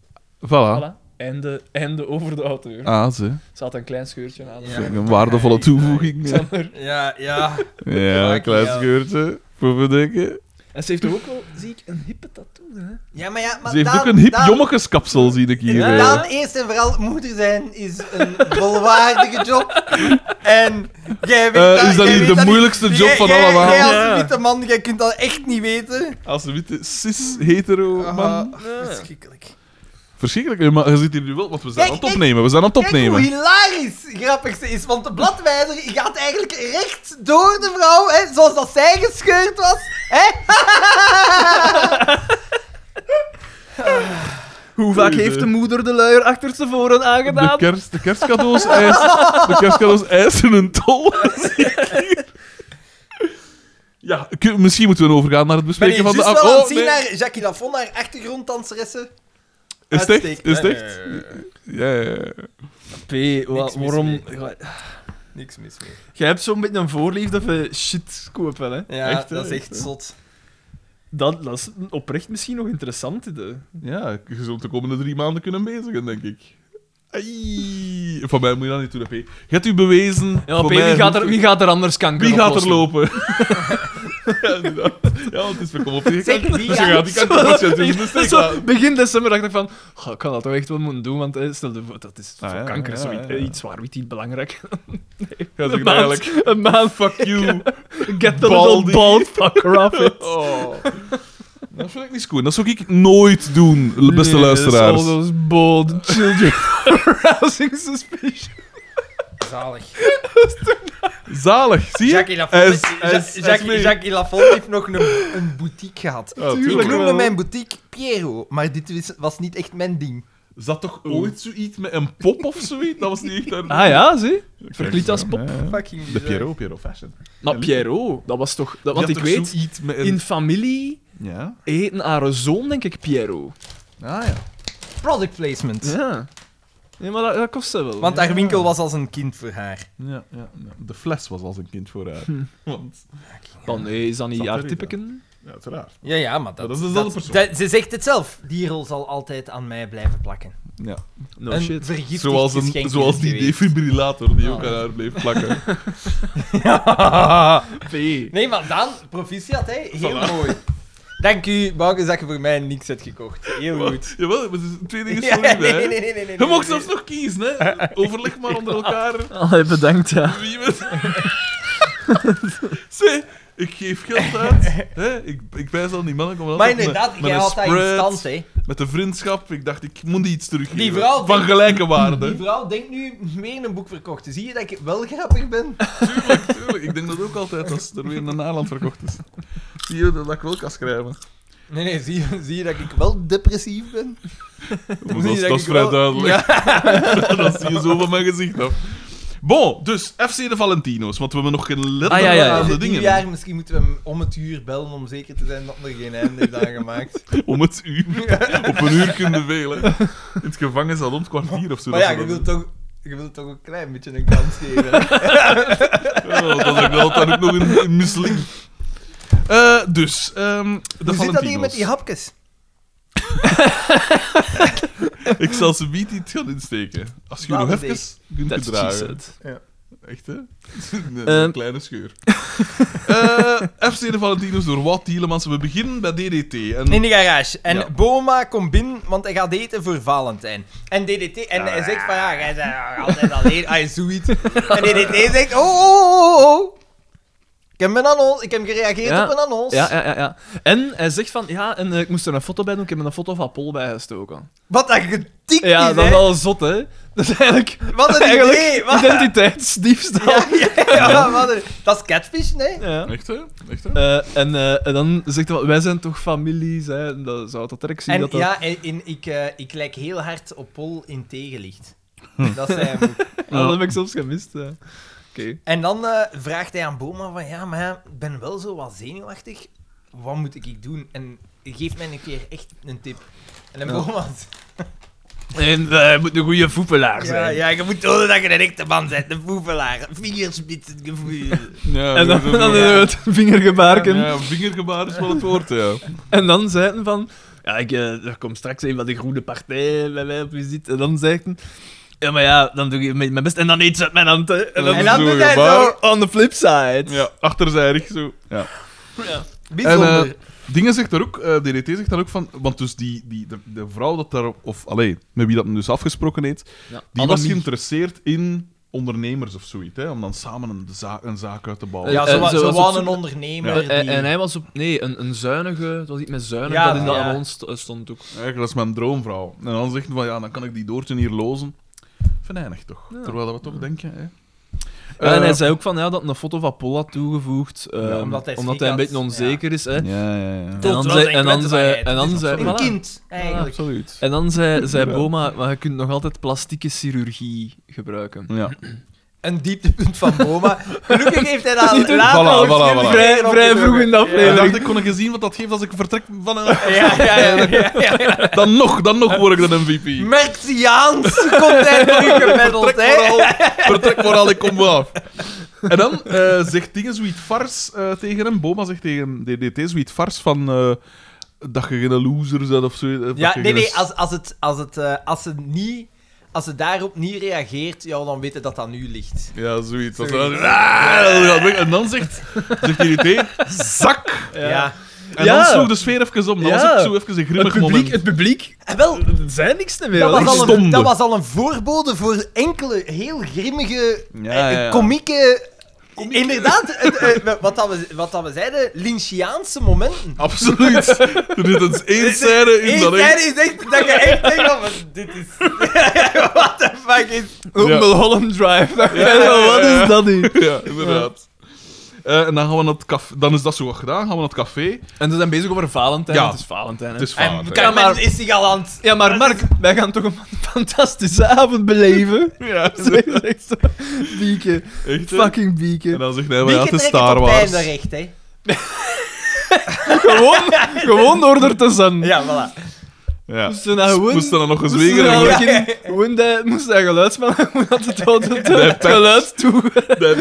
Voilà. Voilà. En de, en de over de auteur. Ah, ze. Ze had een klein scheurtje na de Ja. Vind ik Een waardevolle toevoeging. Ja, Xander. Ja, ja. ja klein Ja. scheurtje. Voor verdikken. En ze heeft toch ook wel, zie ik, een hippe tattoo, hè? Ja, maar ja, maar Ze heeft Daan- ook een hip Daan- jommekeskapsel, zie ik hier. Ja. eh. Daan, eerst en vooral, moeder zijn is een volwaardige job. En jij weet Eh, is dat jij hier weet de moeilijkste niet. job Jij- van jij- allemaal? Jij Ja. als witte man, jij kunt dat echt niet weten. Als een witte cis-hetero man. Ah, Ja. verschrikkelijk. Verschrikkelijk, hè, maar je zit hier nu wel, want we zijn Kijk, aan het ik- opnemen. We zijn aan het Kijk hoe opnemen. hilarisch grappig ze is, want de bladwijzer gaat eigenlijk recht door de vrouw, hè, zoals dat zij gescheurd was. Hè? Hoe vaak heeft de moeder de luier achterstevoren De, kerst, de kerstcadeaus eisen, de kerstcadeaus eisen een tol. zie ik hier. Ja, kun- misschien moeten we overgaan naar het Ben je bespreken van juist de... Oh, wel aan het zien nee. naar Jackie Lafon, haar achtergronddanseressen? Is het echt? Uitstekend. Is het Nee, echt? nee, nee, nee, nee. Ja, ja, ja. P, wa- Niks mis waarom... mee. Ja, Niks mis mee. Jij hebt zo'n beetje een voorliefde voor shit kopen, hè? Ja, Echt, hè? dat is echt zot. Dat, dat is oprecht misschien nog interessant, hè? Ja, je zult de komende drie maanden kunnen bezigen, denk ik. Ai. Van mij moet je dat niet doen, hè, P. Je hebt u bewezen... Ja, van P, mij wie gaat, hoeft er, u- wie gaat er anders kanker Wie gaat er oplossen? lopen? ja, inderdaad. Ja, want het is verkomen op die Zeg, kant. wie Dus je gaat- gaat die kant op, je in de steek Zo, laten. begin december dacht ik van, "Goh, ik kan dat toch echt wel moeten doen, want eh, stel je voor, dat is Ah, voor ja, kanker ja, zoiets, eh, ja, ja. iets waar wit niet belangrijk. Ja, zeg Een maar maand, eigenlijk. een maand, Fuck you. get the Baldi. little bald fucker off it. Oh. Dat vind ik niet goed. Dat zou ik nooit doen, beste Nee, luisteraars. All those bold children arousing suspicion. Zalig. Zalig, zie je? Jackie Lafon, Hij is- Ja- hij is- hij is Jackie, mee. Jackie Lafon heeft nog een, een boutique gehad. Ja, tuurlijk. Ik tuurlijk. noemde wel. mijn boutique Piero, maar dit was- was niet echt mijn ding. Zat toch ooit zoiets met een pop of zoiets? Dat was niet echt een... Ah ja, zie. Kijk, verkleed als ja, pop. ja. Fucking De bizar. Pierrot, Pierrot Fashion. Maar Pierrot, dat was toch... Dat, want Die ik had toch weet, zoiets met een... in familie Ja. eten haar zoon, denk ik, Pierrot. Ah ja. Product placement. Ja. Nee, maar dat, dat kost ze wel. Want ja. haar winkel was als een kind voor haar. Ja, ja, ja. De fles was als een kind voor haar. Hm. Want, Dan, nee, is dat niet Zat haar erin, typeken? ja, uiteraard. Ja, ja, maar Maar dat, dat is dezelfde persoon. dat- ze zegt het zelf. Die rol zal altijd aan mij blijven plakken. Ja. No een shit. vergiftigd Oh, Zoals, geschenk een, is zoals het die geweest. defibrillator die ook Ah. aan haar bleef plakken. P. nee, maar Daan, proficiat, hè. Heel Voilà. mooi. Dank u, Bouke, dat je voor mij niks hebt gekocht. Heel goed. Jawel, maar er zijn twee dingen Ja, sorry bij. nee, hè. nee, nee, nee, nee, Je nee, mocht nee. zelfs nog kiezen, hè? Overleg maar onder elkaar Allee, bedankt, ja. wie we Zee, ik geef geld uit. Hè? Ik, ik wijs al die mannen. Kom Maar altijd inderdaad, met, met jij een had dat in spread, stand, hè. Met de vriendschap. Ik dacht, ik moet iets teruggeven. Die vrouw Van denkt- gelijke waarde. Die vrouw denkt nu meer een boek verkocht. Zie je dat ik wel grappig ben? Tuurlijk, tuurlijk. Ik denk dat ook altijd als er weer een Nederland verkocht is. Zie je dat ik wel kan schrijven? Nee, nee, zie je, zie je dat ik wel depressief ben? Dat, Zie je is- dat ik is vrij wel- duidelijk. dat zie je zo van mijn gezicht af. Bon, dus FC de Valentino's, want we hebben nog geen letter Ah, ja, ja, ja. aan In de het dingen. nieuwjaar dus misschien moeten we hem om het uur bellen om zeker te zijn dat er geen einde is aangemaakt. Om het uur. Op een uur kunnen velen. In het gevangenis al om het kwartier of zo. maar dat ja, ze dat je wilt, toch, je wilt toch een klein beetje een kans geven. doen. Ja, want dat is ook wel- dan ook nog een, een misseling. Eh, dus, ehm de Hoe zit dat hier Valentino's. met die hapjes? Ik zal ze niet iets gaan insteken. Als je nog Laat het even kunt That's what she gedragen. said. Echt, hè? een Ehm. kleine scheur. Eh, FC de Valentino's door Wout Tielemans. We beginnen bij DDT. En... In de garage. En Ja. Boma komt binnen, want hij gaat eten voor Valentijn. En DDT... En hij zegt van, ja, jij bent altijd alleen. Ah, zoiets. En DDT zegt, oh, oh, oh, oh. Ik heb, een annons, ik heb gereageerd Ja. op een annons. Ja, ja, ja, ja. En hij zegt van, ja, en eh, ik moest er een foto bij doen, ik heb er een foto van Paul bijgestoken. Wat een getikt Ja, is, dat is hè. wel zot, hè. Dat is eigenlijk, Wat een eigenlijk idee. Wat... identiteitsdiefstal. Ja, ja, ja, wat een- Dat is catfish, nee? Ja. Echt, hè? Echt, hè? Eh, en, eh, en dan zegt hij, van, wij zijn toch families, hè. En dan zou dat direct zien En dat dat... ja, en, en ik, eh, ik lijk heel hard op Pol in tegenlicht. Hm. Dat eh, zei hij. Ah, dat heb ik soms gemist, hè. Oké. En dan eh, vraagt hij aan Boma van, ja, maar ja, ik ben wel zo wat zenuwachtig. Wat moet ik doen? En geef mij een keer echt een tip. En dan Ja. Boma... En eh, hij moet een goede voetballaar Ja, ja, je moet tonen dat je een echte man bent. Een voevelaar. Vingerspitsen gevoel. Ja, En dan, dat- dan dat- eh, doen we het vingergebaarken. Ja, vingergebaar is wel het woord, ja. En dan zeiden van... ja, ik, eh, er komt straks een van de groene partij bij mij op visite. En dan zegt hij... Ja, maar ja, dan doe ik mijn mijn best en dan eet ze uit mijn hand. hè. En dan, En en dan dan doet hij doet zo. on the flip side. Ja, achterzijdig zo. Ja. En, Bijzonder. eh, Dingen zegt daar ook, eh, DDT zegt daar ook van, want dus die, die, de, de vrouw dat daar, of allee, met wie dat dus afgesproken heeft, Ja, die was Annemie. geïnteresseerd in ondernemers of zoiets, hè, om dan samen een, za- een zaak uit te bouwen. ja, eh, ze, eh, wa- ze ze was op waren zoek- een ondernemer. Ja. die- En, en hij was op... Nee, een, een zuinige... Het was iets met zuinig Ja, dat in de ja. Avon st- eh, stond ook. Eigenlijk, dat is mijn droomvrouw. En dan zegt hij van, ja, dan kan ik die doortje hier lozen. Venijnig toch? Ja. Terwijl dat we toch denken, hè. Ja, en Eh, hij zei ook van ja, dat een foto van Paul had toegevoegd, eh, Ja, omdat omdat hij hij, schrik een had. beetje onzeker is. Hè. ja, ja, ja. Tot En dan wel zei- zijn en dan zei- kwetsbaarheid. en dan Het is zei- nog voilà. Een kind, eigenlijk. Absoluut. En dan zei, zei Ja. Boma, maar je kunt nog altijd plastieke chirurgie gebruiken. Ja. Een dieptepunt van Boma. Gelukkig heeft hij dat Niet doen. later Voilà, ook voilà, geen voilà. reden Vrij- om vrij te vroeg doen. in de aflevering. Ik dacht, ik kon nog eens zien wat dat geeft als ik vertrek van een... Ja, ja, ja. ja, ja, ja. Dan nog, dan nog word ik de MVP. Merciaans komt hij teruggemiddeld, hè? Vertrekmoraal, vertrekmoraal, ik kom wel af. En dan eh, zegt dingen zoiets vars eh, tegen hem. Boma zegt tegen DDT zoiets vars van... eh, dat je geen loser bent of zo. eh, dat Ja, je nee, geen- nee, als, als, het, als, het, eh, als, ze niet, als ze daarop niet reageert, ja, dan weten dat dat nu ligt. Ja, zoiets. Dat- Zoiets. Ah, dat gaat weg. en dan zegt, zegt DDT... Zak! Ja. En Ja. dan sloeg de sfeer even om. Dat Ja. was ook zo even een grimmig moment. publiek, En Eh, wel, er zijn niks meer. dat ik was, al stomde. een, dat was al een voorbode voor enkele heel grimmige, Ja, eh, ja, ja. komieke... Inderdaad, het, eh, wat, dat we, wat dat we zeiden, Lynchiaanse momenten. Absoluut. Er zit eens één scène in dat Eén echt... scène is echt dat je echt denkt van, wat- dit is... What the fuck is... Ja. Humble Holland Drive. dacht Ja, ja, ik, ja, Wat ja. is dat nu? Ja, inderdaad. Eh, en dan gaan we naar het café. Dan is dat zo wat gedaan. Gaan we naar het café. En ze zijn bezig over Valentijn. Ja. Dus- want Het is Valentijn. Hè. Het is En fout. hè. Carmen maar- is zich al aan het... Ja, maar Mark, wij gaan toch een fantastische avond beleven. Ja, Ze is echt zo. Bieke. echt. hè. Fucking En Bieke. dan zegt hij, maar Wie ja, het is trekt het Star op Wars. einde recht, hè? Gewoon, gewoon door er te zijn. Ja, voilà. Ja. Moesten nou gewoon... Moesten dan nog eens moesten wegen. nou en ja. gewoon- Gewoon dat- moest dat geluidsman had het wel het- het pech. geluid toe. dan-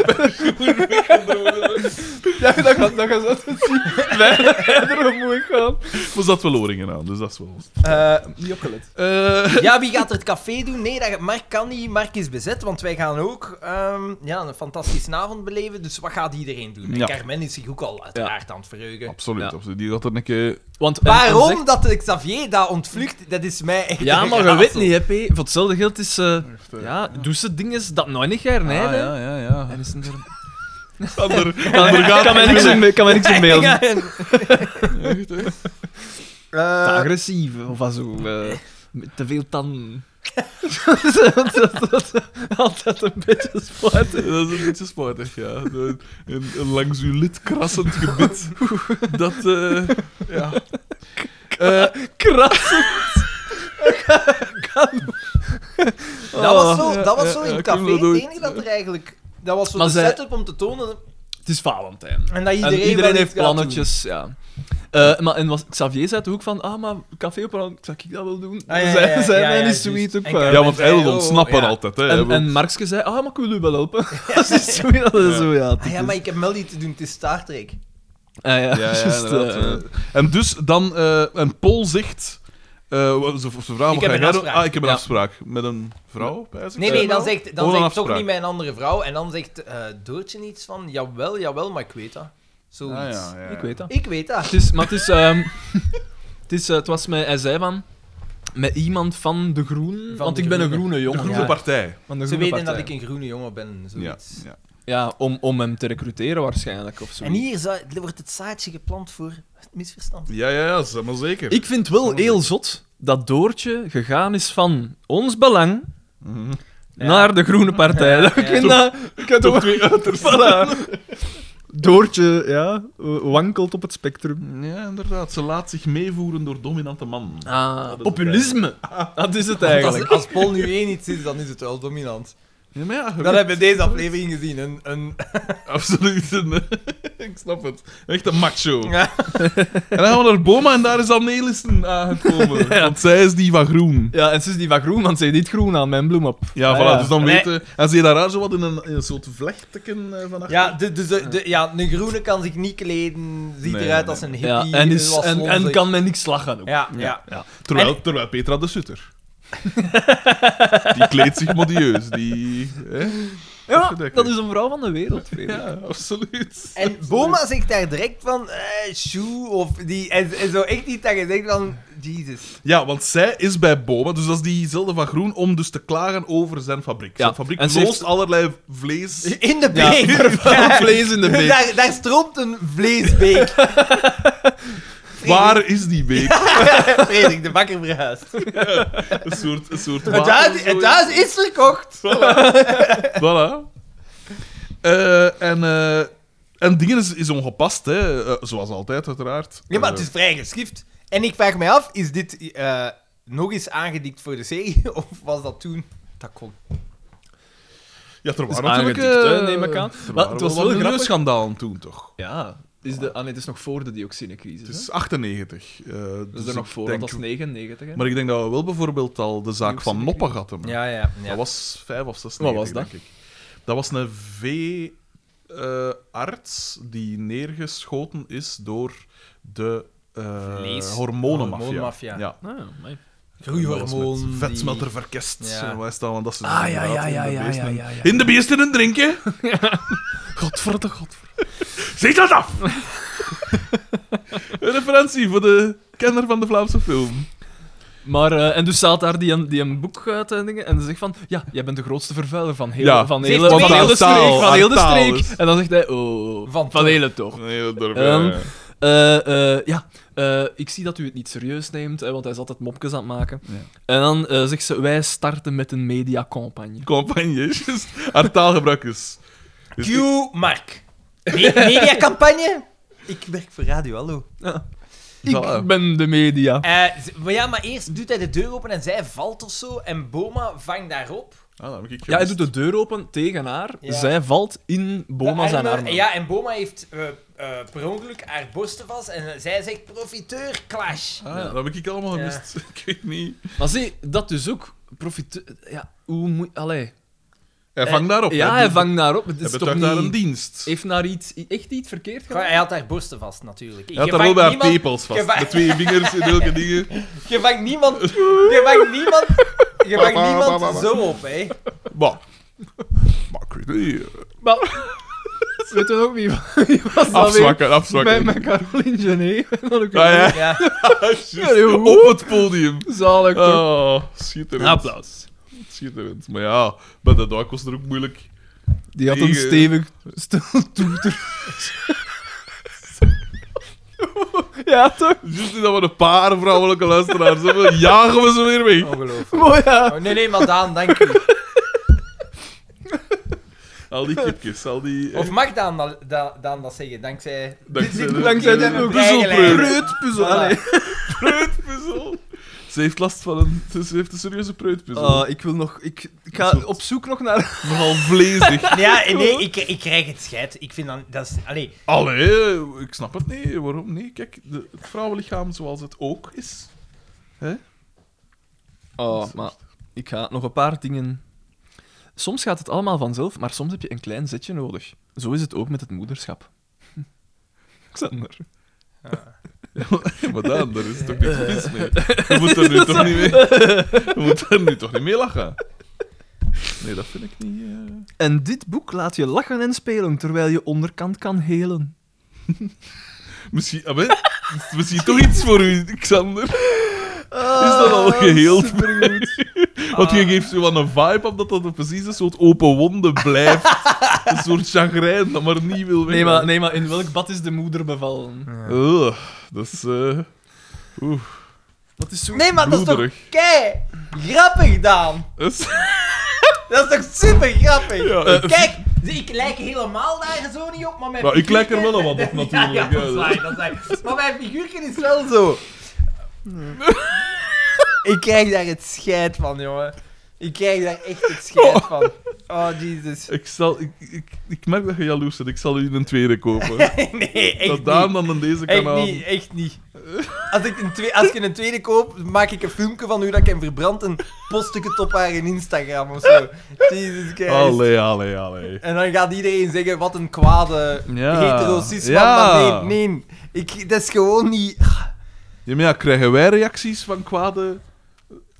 Ja, dat gaat, dat gaat zo te zien. Wij verder omhoog gaan. Was dat wel oringen aan, dus dat is wel... Eh, Niet opgelet. Eh, Ja, wie gaat er het café doen? Nee, dat, Mark kan niet. Mark is bezet, want wij gaan ook ehm, ja, een fantastische avond beleven. Dus wat gaat iedereen doen? En Ja. Carmen is zich ook al uiteraard aan het verheugen. absoluut. Ja. absoluut. Die gaat er een keer... Want, eh, Waarom dat de Xavier dat ontvlucht, dat is mij echt Ja, een maar je raadsel. weet niet, hè, P. Voor hetzelfde geld is... eh, eh, ja, doe ze dingen dat nooit niet Ah, hernijden. ja, ja, ja. En is het er... Ander, ander gaat... Kan mij niks in, kan mij niks in mailen. Ja, en- Echt, hè. Te Eh, agressief, of wat zo. eh, met te veel tanden. Altijd een beetje sport. Dat is een beetje sportig, ja. Een, een- een langs uw lid krassend gebit. Dat, eh ja. Eh, Krassend. dat was zo, Oh, ja, dat was ja, zo ja, in het ik wil café. dat Het ooit. enige dat er eigenlijk... Dat was zo Maar de zij- setup om te tonen Het is Valentijn. en dat En iedereen, iedereen, wel iets heeft gaat doen. plannetjes, ja. Eh, maar, en was, Xavier zei toch ook van, ah, maar café op een zou ik dat wel doen? Ah, ja, ja, Zij, ja, zij ja, mij ja, juist. niet zoiets ook eh. En van. Carmen ja, want hij zei, wil oh, ontsnappen ja. altijd, hè. En, Hij en wil- Markske zei, ah, maar ik wil u wel helpen. dat is zoiets, dat is zo, ja. Ah ja, maar ik heb wel iets te doen, het is Star Trek. Ah, ja, Ja, ja, juist, inderdaad, eh, eh. En dus dan, eh en Paul zegt. eh, ze, ze vragen wat heb ga een jij doen? afspraak. Ah, ik heb een Ja. afspraak. Met een vrouw? pijs ik? Nee, Eh, nee, dan nou? zegt, dan Gewoon zegt een toch afspraak. niet mijn andere vrouw. En dan zegt eh Doortje iets van, jawel, jawel, maar ik weet dat. Zoiets. Ah, ja, ja, ja. ik weet dat. Ik weet dat. Het is, maar het is, ehm, het, is eh, het was mij, hij zei van, met iemand van de groen, Van want de ik ben een Groene. groene De jongen. groene ja. partij. Van de Ze groene weten partij. dat ik een groene jongen ben, Ja. zoiets. ja. Ja, om, om hem te recruteren waarschijnlijk, of zo. En hier zou- wordt het zaadje geplant voor het misverstand. Ja, ja, ja, zeg maar zeker. Ik vind wel heel zot dat Doortje gegaan is van ons belang Mhm. Ja. naar de Groene Partij. Ja, ja. Ik vind dat... Ik heb toch twee Doortje, ja, wankelt op het spectrum. Ja, inderdaad. Ze laat zich meevoeren door dominante man. Ah, populisme. Dat is het eigenlijk. Als, als Paul nu één iets is, dan is het wel dominant. Ja, maar ja, je Dat weet- hebben we deze aflevering gezien. Een, een... Absoluut. een- ik snap het. Echt een macho. Ja. En dan gaan we naar Boma en daar is dan Nelissen aangekomen. Want zij is die van groen. Ja, en ze is die van groen, want ze heeft niet groen aan mijn bloem op. Ja, Ah, voilà. ja. Dus dan Nee. weten... En ze heeft daar haar zo wat in een, in een soort vlechteken eh, van achter. Ja, de, dus de, de, ja, een groene kan zich niet kleden, ziet Nee, eruit nee, als een Ja, hippie. en, is, was en, en slonzig. kan men niks lachen ook. Ja, ja. Terwijl, En- terwijl Petra de Sutter. die kleedt zich modieus. Die... Hè? Ja, Afgedekt, dat hè. is een vrouw van de wereld. Frederik. Ja, absoluut. En Boma zegt daar direct van, eh, shoe, of die... En, en zo echt niet dat je denkt van, Jesus. Ja, want zij is bij Boma, dus dat is diezelfde van Groen, om dus te klagen over zijn fabriek. Ja, Zijn fabriek en loost ze heeft- allerlei vlees... In de Ja, beek. vlees in de beek. Daar, daar stroomt een vleesbeek. Waar is die beek? Frederik, de bakker verhuist. Een soort, een soort Het water huis, of het zoiets. huis is verkocht. Voilà. Eh, en, eh, en dingen is, is ongepast, hè. Eh, zoals altijd, uiteraard. Ja, maar het Eh, is vrij geschift. En ik vraag mij af, is dit eh, nog eens aangedikt voor de serie? Of was dat toen... Dat kon. ja, er is waren natuurlijk... aangedikt, eh, hè, neem ik aan. er Maar waren het was wel wel grappig. milieuschandalen toen, toch? Ja, is de, ah, nee, het is nog voor de dioxinecrisis. Het hè? is 98. eh, Dat dus is er nog ik voor, denk- want dat was 99. Hè? Maar ik denk dat we wel bijvoorbeeld al de zaak van Dioxine. Noppa gehad hebben. Ja, ja. ja. Dat was vijf of zes Wat was denk ik. Dat was een veearts die neergeschoten is door de eh, Vlees- hormonenmafia. hormoonmafia. Ja. Ah, amai. Dat was met Groeihormoon. Vetsmelter verkest. Ja. Ja. Is dat, want dat ze Ah, ja, inderdaad ja, in ja, de ja, beesten- ja, ja, ja. In de beesten en drinken. godverde, godverde. Zeg dat af! Een referentie voor de kenner van de Vlaamse film. Maar, eh, en dus staat daar die een, die een boek uit en dingen, en ze zegt van, ja, jij bent de grootste vervuiler van heel, Ja. van Ze heeft hele, van twee heel de taal, streek. Van heel de taal streek. is- En dan zegt hij, oh, Van van, toch. hele toch. Nee, dat durf Ehm, Eh, eh, ja, eh, ik zie dat u het niet serieus neemt, hè, want hij is altijd mopjes aan het maken. Ja. En dan eh, zegt ze, wij starten met een mediacampagne. Campagne, juist. Haar taalgebruik is... is- Q Mark. Me- Mediacampagne? Ik werk voor radio, hallo. Voilà. Ik ben de media. Eh, z- maar ja, maar eerst doet hij de deur open en zij valt of zo. En Boma vangt daarop. Ah, dat heb ik Ja, hij gemist. doet de deur open tegen haar. eh, Ja. Zij valt in Boma De zijn armen- armen. Ja, en Boma heeft eh, eh, per ongeluk haar borsten vast. En eh, zij zegt profiteur clash. Ah, ja, dat heb ik allemaal gemist. ik weet niet. Maar zie, dat dus ook. Profite ja, hoe moet... Allee. Hij vangt daarop. Eh, Ja, hij vangt daarop. Het Hij is betuigt toch daar een niet... dienst. Heeft naar iets... Echt iets verkeerd Goh, gedaan? Hij had haar borsten vast, natuurlijk. Hij had Je daar wel vangt bij haar niemand- tepels vast. gevangen- Met twee vingers en elke dingen. Je vangt niemand... Je vangt niemand... Je vangt niemand zo op, hè. Maar... Maar ik weet niet. eh, Maar... Ze weten ook wie wie was dat weer? Afzwakken, Bij afzwakken. met Caroline Genet. En dan ook Ah, ja. Ja. Juist, Ja, hoe? Op het podium. Zalig, toch? Oh, schitterend. Applaus. Schitterend. Maar ja, bij de dag was het er ook moeilijk. Die had een Tegen- stevig stil toeter. ja, toch? Juist dat we een paar vrouwelijke luisteraars hebben, jagen we ze weer weg. Ongelooflijk. Mooi, ja. Oh, nee, nee, maar Daan, dank u. Al die kipjes, al die... eh, Of mag Daan dat, dat, Daan dat zeggen, dankzij... Dankzij dit- de- dankzij de dit- puzzelpreur. Preut. Preutpuzzel. Voilà. Allee. Preutpuzzel. Ze heeft last van een... Ze heeft een serieuze preutpuzzel. Ah, ik wil nog... Ik, ik ga op zoek nog naar... Nogal vlezig. Ja, nee, ik, ik krijg het scheid. Ik vind dan... Dat is, allee, Allee, ik snap het niet. Waarom niet? Kijk, de, het vrouwenlichaam zoals het ook is. Oh, maar ik ga nog een paar dingen... Soms gaat het allemaal vanzelf, maar soms heb je een klein zetje nodig. Zo is het ook met het moederschap. Xander. maar dan, daar is toch niks mis mee. Je moet er nu toch niet mee... Je moet er nu toch niet mee lachen. Nee, dat vind ik niet... eh. En dit boek laat je lachen en spelen, terwijl je onderkant kan helen. Misschien... ah, wel, is misschien toch iets voor u, Xander. Is dat al Ah, geheeld? Want je geeft zo wel een vibe op dat dat precies een soort open wonde blijft. een soort chagrijn dat maar niet wil weg. Nee maar, nee, maar in welk bad is de moeder bevallen? Ugh, dat is... eh, Oeh, Dat is zo... Nee, maar dat is toch bloederig. kei grappig, Daan. Dat is... Dat is toch super grappig? Ja, eh, Kijk, ik lijk helemaal daar zo niet op, maar mijn Maar ik lijk er figuurtje- wel wat op, natuurlijk, Ja, ja, dat ja, is dat- waar, dat is waar. Maar mijn figuurtje is wel zo. Ik krijg daar het scheid van, jongen. Ik krijg daar echt het schijt van. Oh, Jesus. Ik, zal, ik, ik, ik merk dat je jaloers bent. Ik zal u een tweede kopen. Nee, echt dat niet. daarom dan in deze Echt kanaal. niet, echt niet. Als ik, een twee, als ik een tweede koop, maak ik een filmpje van hoe dat ik hem verbrand en post ik het op haar in Instagram of zo. Jesus Christ. Allee, allee, allee. En dan gaat iedereen zeggen, wat een kwade Ja. hetero cis Ja. Maar nee, nee. Ik, dat is gewoon niet... Ah, Ja, maar ja, krijgen wij reacties van kwade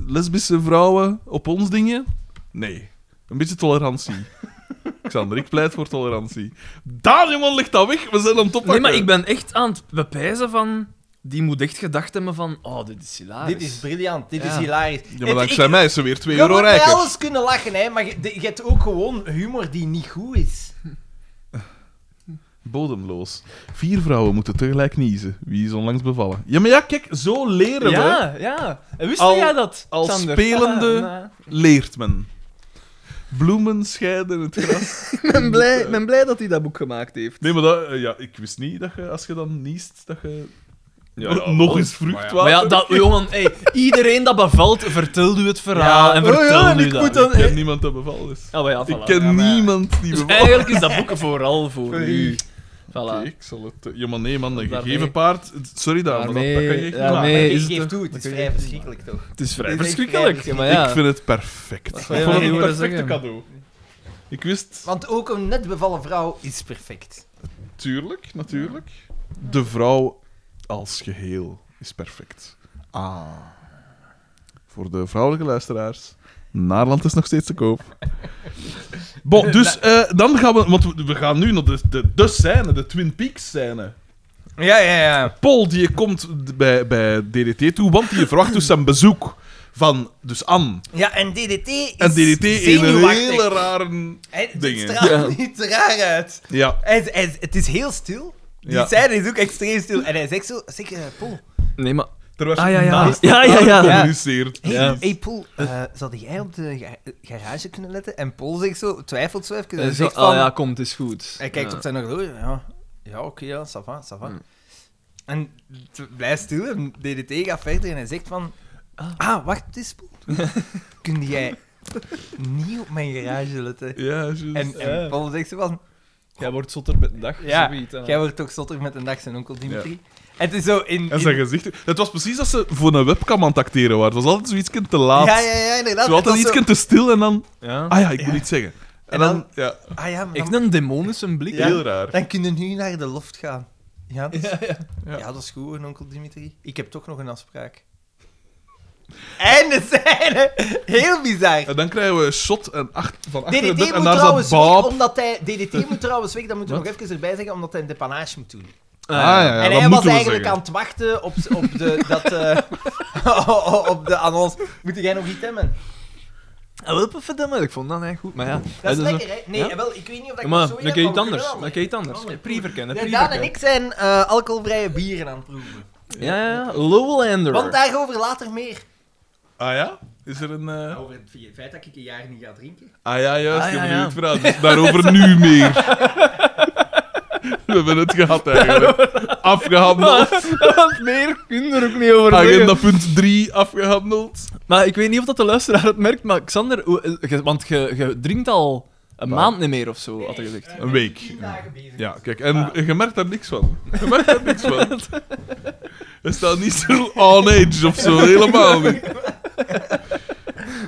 lesbische vrouwen op ons dingen? Nee. Een beetje tolerantie. Xander, ik pleit voor tolerantie. Daar, jongen, ligt dat weg. We zijn aan het oppakken. Nee, maar ik ben echt aan het bepijzen van... Die moet echt gedacht hebben van... Oh, dit is hilarisch. Dit is briljant, dit is Ja. hilarisch. Ja, maar Het- dankzij ik- mij is ze weer 2 Je euro moet bij rijker. alles kunnen lachen, hè, maar je, de- je hebt ook gewoon humor die niet goed is. Bodemloos. Vier vrouwen moeten tegelijk niezen. Wie is onlangs bevallen? Ja, maar ja, kijk, zo leren we. Ja, ja. En wist Al- jij dat, al Xander? spelende- Ah, nou. Leert men. Bloemen scheiden het gras. Ik ben blij, ik ben blij dat hij dat boek gemaakt heeft. Nee, maar dat, eh, ja, ik wist niet dat je, als je dan niest, dat je Ja, ja, nog wel. eens vruchtwater... Maar ja, dat, jongen, hey, iedereen dat bevalt, vertel u het verhaal Ja, en oh ja, vertel en nu ik dat. moet dan- Ah, Ik ken niemand dat bevallen is. Ah, maar ja, Ik voilà. ken ja, maar- niemand die Dus bevallen eigenlijk is dat boek vooral voor, Voor u. u. Voilà. Oké, ik zal het... eh, Ja, maar nee, man, een Daarmee- gegeven paard... Sorry, daar, maar dat, dat kan je echt niet daarmee- maken. Nee, ik is geef het- toe, het is oké. vrij verschrikkelijk toch? Het is vrij Het is echt verschrikkelijk. vrij maar ja. Ik vind het perfect. Ik wil je vond het niet een horen perfecte zeggen? cadeau. Ik wist... Want ook een net bevallen vrouw is perfect. Tuurlijk, natuurlijk. De vrouw als geheel is perfect. Ah. Voor de vrouwelijke luisteraars. Naarland is nog steeds te koop. Bon, dus eh, dan gaan we... Want we- we gaan nu naar de, de, de scène, de Twin Peaks scène. Ja, ja, ja. Paul die komt bij, bij DDT toe, want die verwacht dus zijn bezoek van dus Anne. Ja, en DDT is En DDT in een zenuwachtig. hele rare... Hij het dingen. straalt niet raar uit. Ja. Hij, is- hij is- het is heel stil. Die Ja. scène is ook extreem stil. En hij zegt zo, zeg, eh, Paul, Nee, maar... Terwijl ze Ah, ja, ja. naast Ja, ja, elkaar ja. communiceert. hey, Ja. hey Paul, eh, zou jij op de ga- garage kunnen letten? En Paul zegt zo, twijfelt zo even. eh, Hij zo- zegt ah, van, ja, kom, het is goed. Hij kijkt Ja. op zijn horloge. Ja, ja oké, ja, ça va, ça va. Hmm. En het blijft stil en DDT gaat verder en hij zegt van... Ah. Ah, wacht, het is Paul. Kun jij niet op mijn garage letten? Ja, juist. En, en Ja. Paul zegt zo van... Jij wordt zotter met de dag. Ja, zoiets, hè. jij wordt toch zotter met een dag zijn onkel Dimitri? En het is zo in... En in- zijn gezicht. Het was precies dat ze voor een webcam aan het acteren waren. Het was altijd zoiets te laat. ja, ja, ja, inderdaad. Ze was altijd Het iets was zo- te stil en dan. Ja. Ah ja, ik moet iets zeggen. En, En dan. dan- ja, Ah ja, maar Echt dan, een demonische blik. heel raar. dan kunnen we nu naar de loft gaan. Ja, dat is, ja, ja. dat is goed, onkel Dimitri. Ik heb toch nog een afspraak. En de scène! Heel bizar. En dan krijgen we een shot en acht, van achter de DDT deur. En moet daar zat trouwens weg, Bob. omdat hij... DDT moet trouwens weg, dat moeten we Wat? nog even erbij zeggen, omdat hij een depanage moet doen. Ah ja, ja, en dat hij was moeten we eigenlijk zeggen. aan het wachten op, z- op de... dat, eh, op de annons. Moet jij nog iets hebben? Ah, wel, verdomme, ik vond dat eigenlijk goed. Maar ja. Dat is eh, dus- lekker, hè? Nee, ja? wel, ik weet niet of dat Ja, ik maar nog zo dan kun je iets maar we anders. kunnen Dan wel. kun je iets anders. Andere. Prieverken, Ja, Daan en ik zijn eh, alcoholvrije bieren aan het proeven. Ja, ja, ja. Lowlander. Want daarover later meer. Ah ja? Is er een. eh, Over het feit dat ik een jaar niet ga drinken. Ah ja, juist. Ah, je ja, hebt ja. nu het verhaal. Dus daarover nu meer. we hebben het gehad eigenlijk. Afgehandeld. Want meer kun Ah, je er ook niet over Agenda zeggen. punt 3 afgehandeld. Maar ik weet niet of dat de luisteraar het merkt, maar Xander, hoe- eh, ge- want je je drinkt al een Waar? maand niet meer of zo, had hij gezegd. Een week. Eh, Tien dagen bezig. Ja, kijk, en Ah. je merkt daar niks van. Je merkt daar niks van. Het staat niet zo on age of zo, helemaal niet.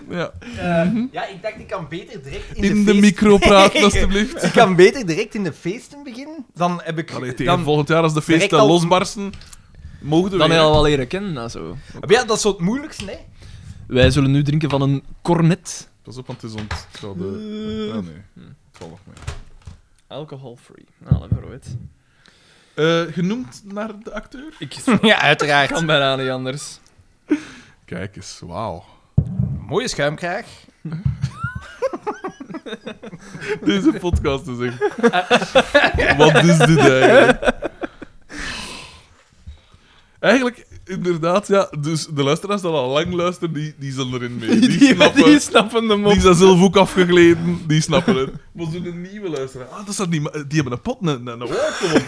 Ja. Mhm. Eh, ja, ik dacht, ik kan beter direct in, In de feest- micro praten, alstublieft. Ik kan beter direct in de feesten beginnen. Dan heb ik. Allee, tegen dan, volgend jaar, als de Direct feesten al- losbarsten, mogen we Dan heb je weer. al wel leren kennen, nou, zo. ja, dat is zo het moeilijkste, hè? Wij zullen nu drinken van een cornet. Pas op, want het is ont... het gaat, eh, Ah, nee. Hm. Het valt nog mee. Alcohol-free. Nou, dat verrooid. Eh, genoemd naar de acteur? Ik Ja, uiteraard. kan bijna niet anders. Kijk eens, wauw. Mooie schuimkraag. Deze podcast is echt... Wat is dit eigenlijk? Eigenlijk, inderdaad, ja. Dus de luisteraars die al lang luisteren, die, die zijn erin mee. Die, snappen... Die, snappen de zijn zelf ook afgegleden, die snappen het. Maar zo'n nieuwe luisteraar... Ah, dat is dat niet... ma- Die hebben een pot, een, een walk gewoon.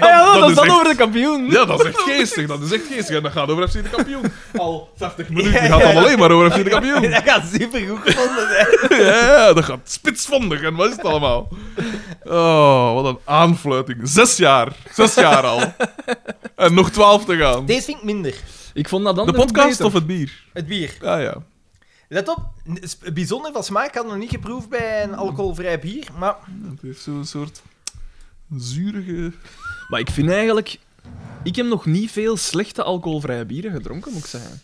ja, dat, is is dan echt- over de kampioen. Ja, dat is echt geestig. Dat is echt geestig. En dat gaat over FC de kampioen. Al 50 minuten Ja, ja, gaat dat ja. alleen maar over FC de kampioen. Ja, Dat gaat supergoed gevonden zijn. ja, dat gaat spitsvondig. En wat is het allemaal? Oh, wat een aanfluiting. Zes jaar. Zes jaar al. En nog twaalf te gaan. Deze vind ik minder. Ik vond dat dan De podcast of het bier? Het bier. Ja, ja. Let op, n- is bijzonder van smaak. Ik had nog niet geproefd bij een alcoholvrij bier, maar Het heeft zo'n soort zurige... Maar ik vind eigenlijk... Ik heb nog niet veel slechte alcoholvrije bieren gedronken, moet ik zeggen.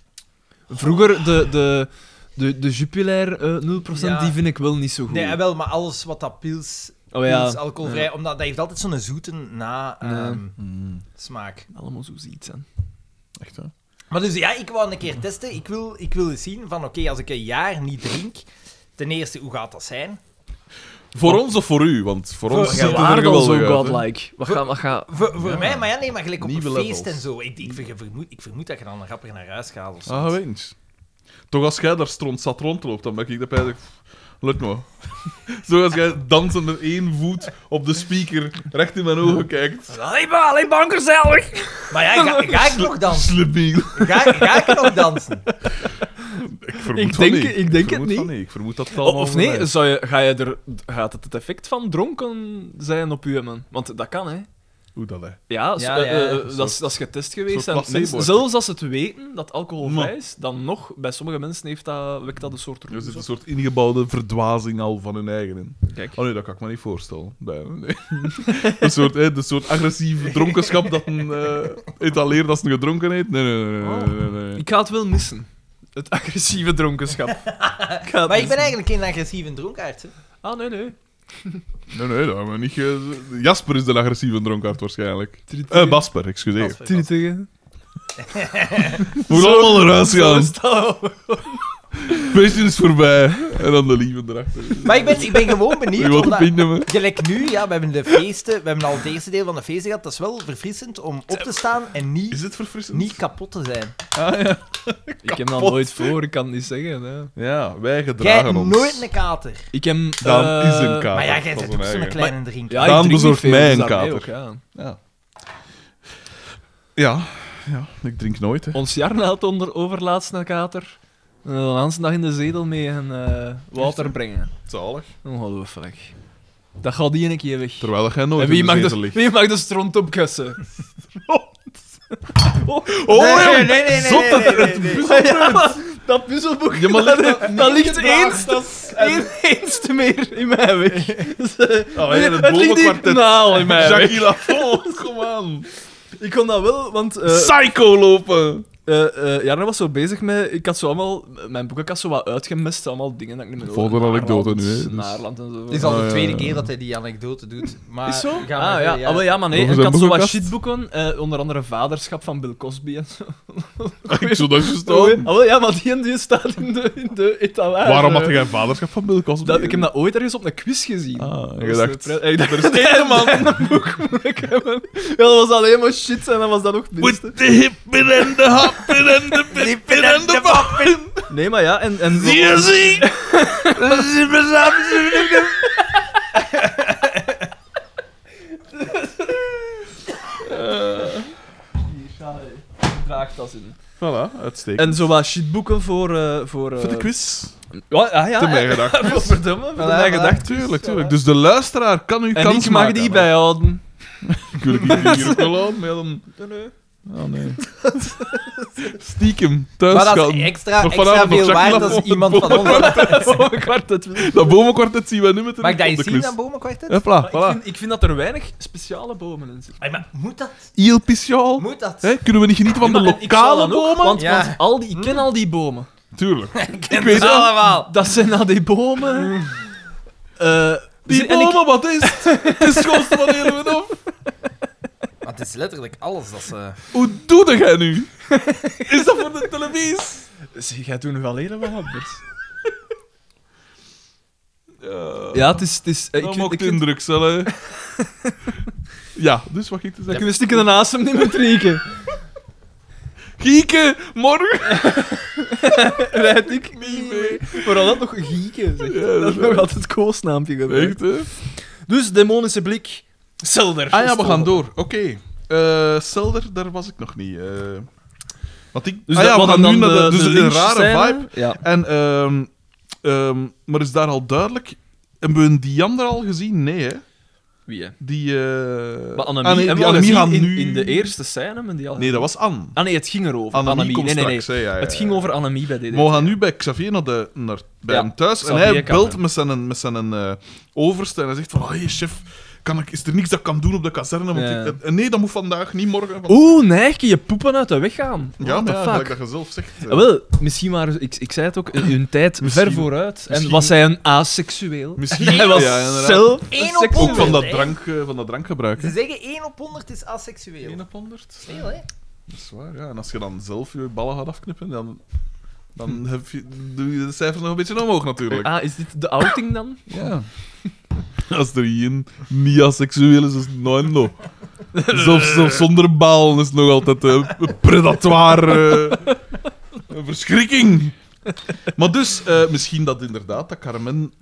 Vroeger de, de, de, de Jupiler eh, 0%, Ja. die vind ik wel niet zo goed. Nee, ah, wel, maar alles wat dat pils, oh ja, pils alcoholvrij, omdat dat heeft altijd zo'n zoete na Ja. ehm, smaak. allemaal zo ziet zijn. Mm, Echt, hè? Maar dus ja, ik wou een keer testen. Ik wil, ik wil eens zien van oké, als ik een jaar niet drink, ten eerste, hoe gaat dat zijn? Voor ons of voor u? Want voor, Voor- ons Ja, ziet het er Waar dan geweldig zo uit, hè. godlike? Wat gaat... Wat gaat... Voor, voor mij, maar ja, nee, maar gelijk op Nieuwe een levels. feest en zo. Ik, ik, ver- vermoed, ik vermoed dat je dan rapper naar huis gaat of zo. Ah, weet eens. Toch als jij daar stront zat rondloopt, dan ben ik dat eigenlijk... Lukt me. nou." Zo als jij dansend met één voet op de speaker recht in mijn ogen kijkt. Allee, ba- allee, bang gezellig! Maar ja, ga, ga ik nog dansen? Slibiel. Ga, ga ik nog dansen? Ik vermoed Ik van denk- nee. ik denk vermoed het van niet. nee. Ik vermoed dat het Of, allemaal of voorbij nee, is. zou je, ga je er, gaat het het effect van dronken zijn op u hebben? Want dat kan, hè. Hoe dat, hè? Ja, zo- ja, eh, eh, ja. eh, dat, is, dat is getest geweest. soort En placebo, mensen- hè. zelfs als ze het weten dat alcoholvrij Ja. is, dan nog, bij sommige mensen heeft dat, wekt dat een soort Er zit roes Dus een op. soort ingebouwde verdwazing al van hun eigen in. Kijk. Oh nee, dat kan ik me niet voorstellen. Nee, nee. een, soort, hè, een soort agressieve dronkenschap dat een eh etaleert als een gedronkenheid. Nee, nee, nee. nee, nee, nee, nee. Ik ga het wel missen. Het agressieve dronkenschap. Ik ga het Maar ik missen. ben eigenlijk geen agressieve dronkaard. hè. Ah, nee, nee. Oh. Nee, nee, dat hebben we niet. ge- Jasper is de agressieve dronkaard waarschijnlijk. Tritigen. Eh, Basper, excuseer. Basper. Tritigen. Moet allemaal eruit Zo gaan. is het al. Feestje is voorbij. En dan de lieve erachter. Maar ik ben, ik ben gewoon Je benieuwd. wilt een Omdat, pin nemen? gelijk nu, ja, we hebben de feesten, we hebben al het eerste deel van de feesten gehad. Dat is wel verfrissend om op te staan en Is niet, het verfrissend? niet kapot te zijn. Ik heb dat nooit voor, ik kan het niet zeggen. Hè. Ja, wij Jij gedragen hebt ons. nooit een kater. Ik heb... Daan eh, is een kater. Maar ja, jij Dat is bent een ook zo'n eigen. kleine drinker. Ja, Daan ik drink niet bezorgt veel, mij dus een daarmee kater. ook, ja. Ja. ja, ik drink nooit. Hè. Ons Jarne had onder overlaatst een kater. En dan een hele dag in de zedel mee en eh water brengen. Zalig. Ongelooflijk. Dat gaat die een keer weg. Terwijl dat jij nooit En wie in mag, de de, zetel ligt. wie mag de stront opkussen? Oh, Nee, ja, nee, nee, nee, zot nee, dat nee, er- nee, nee. Ja, dat puzzelboek. Ja, maar ligt dat- dat ligt gedragen, eens, één- eens te meer in mijn weg. Dus, eh, Oh, ja, het het ligt niet bomenkwartet. kanaal in mijn weg. Jackie Lafont, kom aan. Ik kon dat wel, want eh Psycho lopen. eh, eh, Jarno was zo bezig met... Ik had zo allemaal... Mijn boekenkast zo wat uitgemist. Allemaal dingen dat ik niet meer Volgende hoorde. anekdote Naarland, nu, hè, dus. Naarland en zo. Het is al Oh, de ja, tweede ja. keer dat hij die anekdote doet. Maar Is zo? Ah, ga ja. maar verder, Ah, wel, ja, maar nee. Over Ik zijn had zo wat boekenkast? shitboeken. eh, onder andere Vaderschap van Bill Cosby en zo. Ik zou dat gestaan. Oh, ah, wel, ja, maar die, en die staat in de, in de etalage. Waarom had jij vaderschap van Bill Cosby? Dat, ik heb dat ooit ergens op een quiz gezien. Ah, en Dat je was dacht, de pre- ik dacht, er is één man. Een boek moet ik hebben. Ja, dat was alleen maar shit en dan was dat nog het minste. the hip en de hap en de pip en de bappen. Nee, maar ja, en... en zie. Draagt dat in. Voilà, uitstekend. En zo wat shitboeken voor... eh voor, eh, Voor de quiz. Ja, ah, ja. Te mijn gedacht. Godverdomme, voor de Voilà, mijn voilà. gedacht. Tuurlijk, tuurlijk. Dus de luisteraar kan u En kans ik mag maken, die hè. bijhouden. Ik wil die hier ook wel aan, maar ja, dan... Oh, nee. Stiekem, thuis Maar e- dat gaan. is extra, Nog extra vanavond nog veel Jacques waard als Lafont, iemand van ons. Oh, ik word het. Dat bomenkwartet zien we nu meteen Mag ik dat op eens de zien, quiz. dat bomenkwartet? Hopla, Maar Ik, voilà. vind, ik vind dat er weinig speciale bomen in zitten. Hey, maar moet dat? Heel Pichaal. Moet dat? Hè, Kunnen we niet genieten van de Ja, maar ik zal lokale dan ook, bomen? Want, Ja. want al die, ik ken al die bomen. Tuurlijk. Ik ken weet het het. allemaal. Hmm. Dat zijn nou die bomen. Eh, Die ze- en ik- bomen, wat is het? Het is het schoonste van heel Wenof. Want het is letterlijk alles dat ze... Hoe doe jij nu? Is dat voor de televisie? Zeg, jij doet nog wel helemaal anders. ja, Ja, het is... Het is eh, dat ik, maakt vind- ik, vind- indruk, zal, hè. Ja, dus wat ging ik te ik zeggen? wist niet naast hem niet meer drinken. Gieken, morgen! Rijd ik niet mee. Vooral dat nog gieken, zeg. dat is nog altijd het koosnaampje geweest. Echt, hè? Dus, demonische blik. Zelder. Ah ja, we Ah gaan door. Oké. Eh, Selder, daar was ik nog niet. eh. want ik... Dus ah ja, dat- we gaan dan nu naar de, dus een lynch rare scène- vibe. Ja. En, ehm, ehm, maar is daar al duidelijk... Hebben we die ander al gezien? Nee, hè? Wie, hè? Die... eh Maar Annemie, ah, nee, die hebben we al Annemie gezien gaan in, nu... in de eerste scène? maar Die al... Nee, dat was Anne. Ah nee, het ging erover. Annemie, Annemie. komt Nee, nee, nee. straks, eh. hè, ja, ja, Het ja. ging over Annemie bij DDT. Maar we gaan nu bij Xavier naar de, naar, bij Ja, hem thuis. En Xavier hij kan belt hem. met zijn, met zijn eh, overste en hij zegt van... Hé, hey, chef, kan ik, is er niks dat ik kan doen op de kazerne? Want Ja. ik- eh, nee, dat moet vandaag, niet morgen. Want- Oeh, nee, kun je poepen uit de weg gaan. ja, What maar the ja, fuck? gelijk dat je zelf zegt. eh, Ah, wel, misschien maar, ik, ik zei het ook, hun tijd ver Misschien- vooruit. En misschien- was hij een aseksueel? Misschien- hij was ja, inderdaad. zelf Eén een op seksueel. ook van dat, hè? drank, eh, van dat drankgebruik. Ze zeggen 1 op 100 is asexueel. 1 op 100. Veel, hè? Dat is waar, ja. En als je dan zelf je ballen gaat afknippen, dan, dan heb je, doe je de cijfers nog een beetje omhoog natuurlijk. Ah, is dit de outing dan? Ja. Als er hier niet asexueel is, is het nooit no. Zelfs, zelfs zonder balen is het nog altijd eh, een predatoire. eh, een verschrikking. Maar dus, eh, misschien dat inderdaad dat Carmen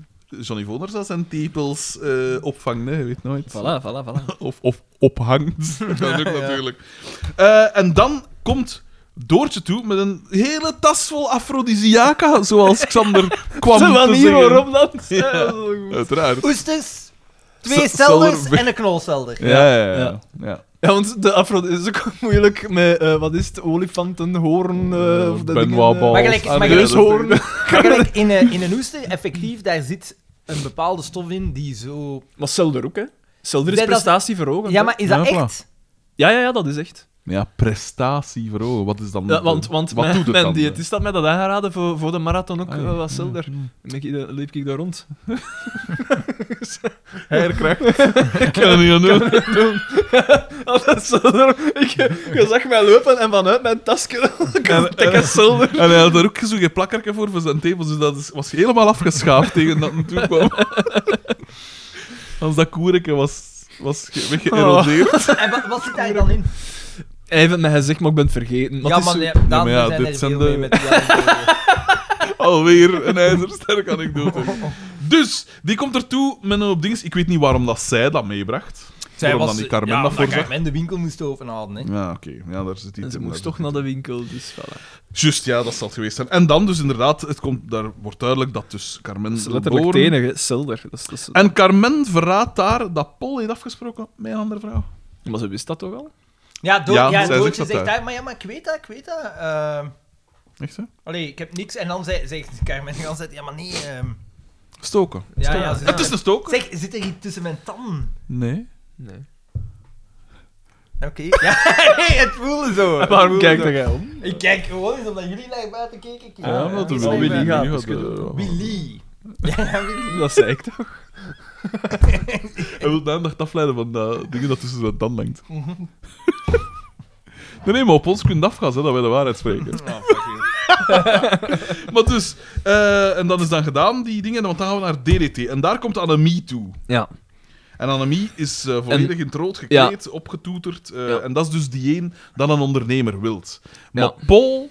Johnny Voners als zijn tepels eh, opvangt, hè, je weet nooit. Voilà, voilà, voilà. Of, of ophangt. Dat ook natuurlijk. Eh, en dan komt Doortje toe met een hele tas vol afrodisiaca, zoals Xander kwam De te manier zeggen. waarop dat... Ja. Ja, dat is wel goed. Uiteraard. Oesters, twee Z- celders zelder- en een knolcelder. Ja, ja, ja. ja. ja. Ja, want de afro is ook moeilijk met, eh, wat is het, olifanten, hoorn... eh, of dat Benoit dingen, eh, Bal. Maar gelijk- maar gelijk- Neushoorn. Maar gelijk in, een, in een oester, effectief, daar zit een bepaalde stof in die zo... Maar Selder ook, hè. Selder is Nee, dat- prestatieverhogend. Ja, maar is dat Ja, voilà. echt? Ja, ja, ja, dat is echt. Ja, prestatie verhogen. Wat is dan... Ja, want want wat mijn, doet het mijn dan? eh? diëtist had mij dat aangeraden voor, voor de marathon ook, Ah, ja. Mm. eh, was Selder. En ik- eh, liep ik daar rond. Herkracht. Ik kan het niet aan doen. Ah, dat is Selder. Ik, eh, je zag mij lopen en vanuit mijn tasje kan ik Selder. En hij had daar ook zo'n plakkerke voor voor zijn tepels, dus dat is, was helemaal afgeschaafd tegen dat hij toe kwam. Als dat koerke was, was ge- Oh. weggeërodeerd. En wa- wat zit daar dan in? Hij heeft het mij gezegd, maar ik ben het vergeten. Maar ja, het is maar zo- nee, Ja, maar ja, daarom zijn dit er zijn veel de- mee met die anekdote. Alweer een ijzersterk anekdote. Dus, die komt ertoe met een op dings. Ik weet niet waarom dat zij dat meebracht. waarom dan die Carmen ja, dat omdat voorzag. Carmen de winkel moest openhalen, hè. Ja, oké. Ja, daar zit En iets ze in. Dus moest daar toch zit naar de winkel, dus voilà. Juist, ja, dat zal het geweest zijn. En dan dus inderdaad, het komt, daar wordt duidelijk dat dus Carmen... Dat is letterlijk het Boren- enige, Selder. Dat is, dat is- En Carmen verraadt daar dat Paul heeft afgesproken met een andere vrouw. Maar ze wist dat toch al? Ja, door, Ja, ja, zij zegt Doortje dat zegt daar. daar, maar ja, maar ik weet dat, ik weet dat. ehm, Echt, hè? allee, ik heb niks. En dan zei- zegt Carmen de hele tijd, ja, maar nee... ehm, Stoken. ja, ja, ze- Het is een stoken? Zeg, zit er iets tussen mijn tanden? Nee. Nee. Oké. Ja, nee, het voelde zo. Het Waarom voelde kijkt zo. jij om? Ik kijk gewoon eens omdat jullie naar buiten keken. Ja, ja, omdat er Jullie dat is wel naar Willy Willy buiten. gaat, gaat. eh, dus kunnen we- Willy. Ja, Willy. Dat zei ik toch? Hij wil de aandacht afleiden van dat dingen dat tussen zijn tanden hangt. Mhm. Nee, nee, maar op ons kunt afgaan, hè, dat wij de waarheid spreken. Oh, Nou, fuck you. maar dus, eh, en dat is dan gedaan, die dingen, want dan gaan we naar DDT. En daar komt Annemie toe. Ja. En Annemie is eh, volledig in het rood gekleed, opgetoeterd. eh, Ja. En dat is dus die een dat een ondernemer wilt. Maar Ja. Paul,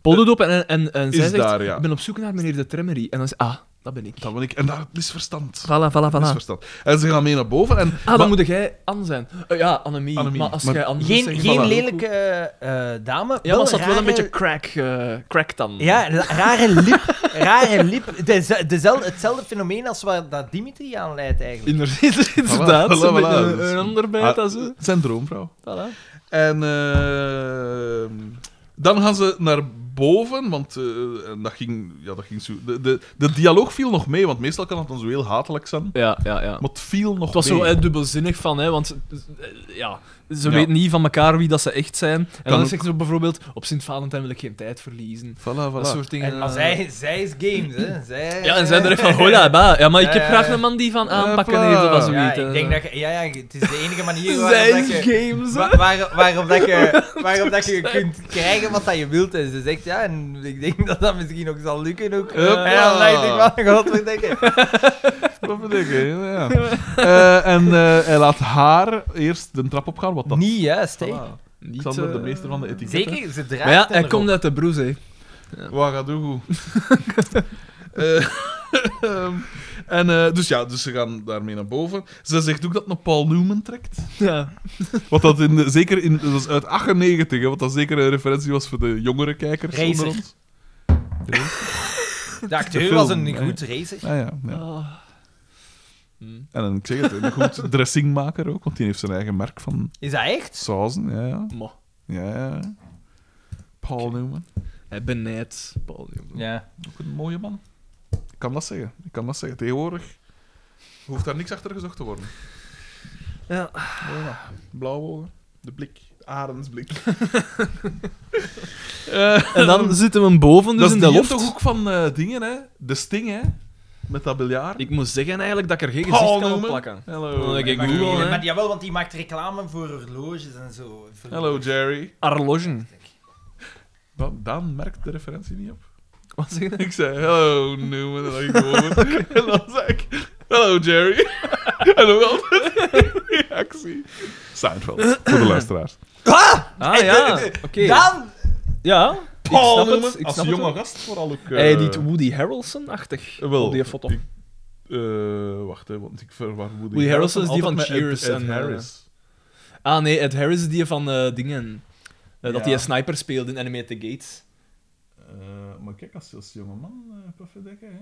Paul doet op en, en, en zij Is zegt, daar, ja. ik ben op zoek naar meneer de Tremmery. En dan zegt ah, dat ben ik. dat ben ik. En daar misverstand. Voilà, voilà, voilà. Misverstand. En ze gaan mee naar boven. En, Ah, maar- dan moet jij Anne zijn. Eh, ja, Annemie. Annemie, Maar als maar- jij Anne Geen, zegt, geen Dus, voilà. lelijke eh, eh, dame. Ja, maar ze had wel rare- een beetje crack, eh, crack dan. Ja, la- rare lip. rare lip. Deze- dezelfde, hetzelfde fenomeen als waar dat Dimitri aan leidt, eigenlijk. Inder- Inderdaad, Voilà, zo'n voilà, beetje dus- een ander bijt Ah, als ze. Zijn droomvrouw. Voilà. En eh, dan gaan ze naar boven, want eh, en dat ging, ja, dat ging zo. De, de, de dialoog viel nog mee, want meestal kan dat dan zo heel hatelijk zijn. Ja, ja, ja. Maar het viel nog Het was mee. zo eh, dubbelzinnig van, hè, want eh, ja, ze Ja. weten niet van elkaar wie dat ze echt zijn. En ook. dan zegt ze bijvoorbeeld, op Sint-Valentijn wil ik geen tijd verliezen. Voilà, Dat voilà. soort dingen. En, maar eh. zij, zij is games, hè. Zij, Ja, en zij er echt van, hola, ba. Ja, maar ik heb Ja, graag ja. een man die van aanpakken Hopla. heeft of wat zo Ja, weet, ik eh. denk dat je- ja, ja, het is de enige manier waarop Zij dat is je... games, hè. Wa- waar- waarop dat je, waarop dat je kunt krijgen wat dat je wilt. En ze zegt ja, en ik denk dat dat misschien ook zal lukken. Ook. Hopla. En dan denk ik van, godverdikke. Wat bedoel ik, hè? Ja. Eh, en eh, hij laat haar eerst de trap opgaan, wat dat... Niet juist, hè. Voilà. Niet, Xander, de eh, meester van de etiket. Zeker, ze draagt Maar ja, hem hij erop. komt uit de broes, hè. Waar gaat doen goed. Eh, ehm, en, eh, dus ja, dus ze gaan daarmee naar boven. Ze zegt ook dat het naar Paul Newman trekt. Ja. Wat dat in, de- zeker in, dat is uit 98, hè, wat dat zeker een referentie was voor de jongere kijkers onder Racer. ons. De acteur film, was een ja. goed racer. Ah, ja, ja. Ah. Hm. En dan, ik zeg het, een goed dressingmaker ook, want die heeft zijn eigen merk van Is dat echt? sauzen. Ja, ja. Mo. ja, ja. Paul Newman, Hij benijdt Paul Newman. Ja. ook een mooie man. Ik kan dat zeggen, ik kan dat zeggen. Tegenwoordig hoeft daar niks achter gezocht te worden. Ja. Blauwe ogen, de blik, de arendsblik. En dan zitten we hem boven, dus dat in is de de loft. toch ook van eh, dingen, hè? De sting, hè? Met dat biljaar. Ik moet zeggen eigenlijk dat ik er geen gezicht Paul kan op Newman. plakken. Hello. Ik Maar- Google, maar- hè. maar jawel, want die maakt reclame voor horloges en zo. Voor- Hello, Jerry. Arlogen. Wat? Daan merkt de referentie niet op. Wat zeg je? Ik zei, Eh, hello, Newman. En dan ging ik over. En dan zei ik, Oh, hello, Jerry. en dan wel reactie. Seinfeld, voor de luisteraars. Ah ja, oké. Dan! eh, Ja, Paul ik snap Newman, het. Ik als snap jonge het. gast vooral ook... eh, Hij die Woody Harrelson-achtig wel, op die foto. ik- eh, wacht, hè, want ik verwaar Woody, Woody Harrelson is die van altijd met Ed- Cheers Ed en, eh, Harris. Ah nee, Ed Harris is die van eh, dingen. Eh, Ja. Dat hij een sniper speelde in Animated Gates. Eh, maar kijk, als, als jongeman, eh Puffendekker, hè?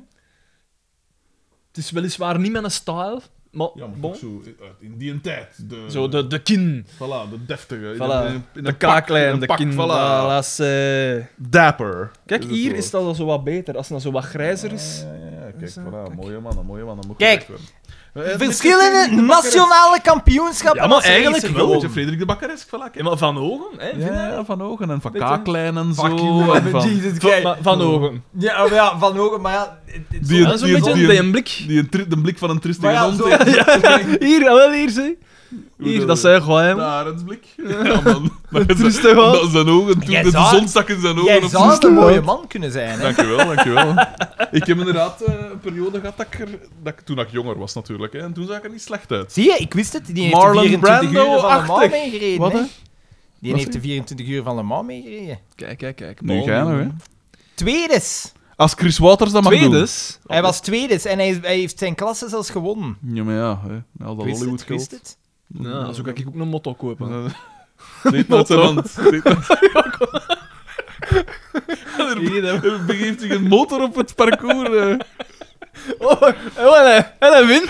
Het is weliswaar niet met een style, maar, Ja, maar bon. ook zo, zo eh, in die tijd. De, de, de kin. Voilà, de deftige. in Voilà. een- in een de pak, in kaaklijn, een de pak, kin. voilà. voilà, ze- Dapper. Kijk, het hier woord. is dat al zo wat beter. Als het dan zo wat grijzer is. Ja, ja, ja, kijk, Dus, eh, voilà, kijk. mooie mannen, mooie mannen. Moet Kijk, gezegd worden. Eh, Frederik de Verschillende Bakker is- nationale kampioenschappen. Ja, maar als racer. eigenlijk Wel, een beetje Gewoon. Frederik de Bakkeresk, voilà. Ja, kijk. maar van ogen, hè? vind Ja, je dat? ja, van ogen en van Beetje- kaaklijn en zo. Fuck you, en van- Jesus, Van, kijk. maar van ogen. Ja, maar ja, van ogen, maar ja... het- het- Die- Dat is een beetje een die- DM-blik. Die een tri- de blik van een maar tristige ja, hond. zo... Hier, ah, wel hier, zie. Hier, dat zijn gewoon hem. Arendsblik. Ja, man. Dat is- Rustig aan. Dat is zijn ogen. Toen Jij de zou- zon stak in zijn ogen. Jij op zou zijn- een mooie man kunnen zijn, hè. Dankjewel, dankjewel. ik heb inderdaad eh, een periode gehad dat ik, er, dat ik toen ik jonger was natuurlijk. Hè, en toen zag ik er niet slecht uit. Zie je, ik wist het. Die heeft Marlon de 24 uur van Le Mans Brando-achtig. meegereden. Wat, hè. hè? Die Wat heeft de zeg 24 uur van Le Mans meegereden. Kijk, kijk, kijk. Nu Paul ga je nog, hè? Newman. Tweedes. Als Chris Waters dat mag dus. doen. Tweedes. Hij was tweedes en hij, hij heeft zijn klasse zelfs gewonnen. Ja, maar ja, hè. al dat Ik wist Hollywood het, ik wist geld. het. Ja, zo kan ik ook een motto kopen. Deed met zijn hand. Deed met- Hier, hè. Er Begeeft zich een motor op het parcours eh, Oh, en hij, en hij wint.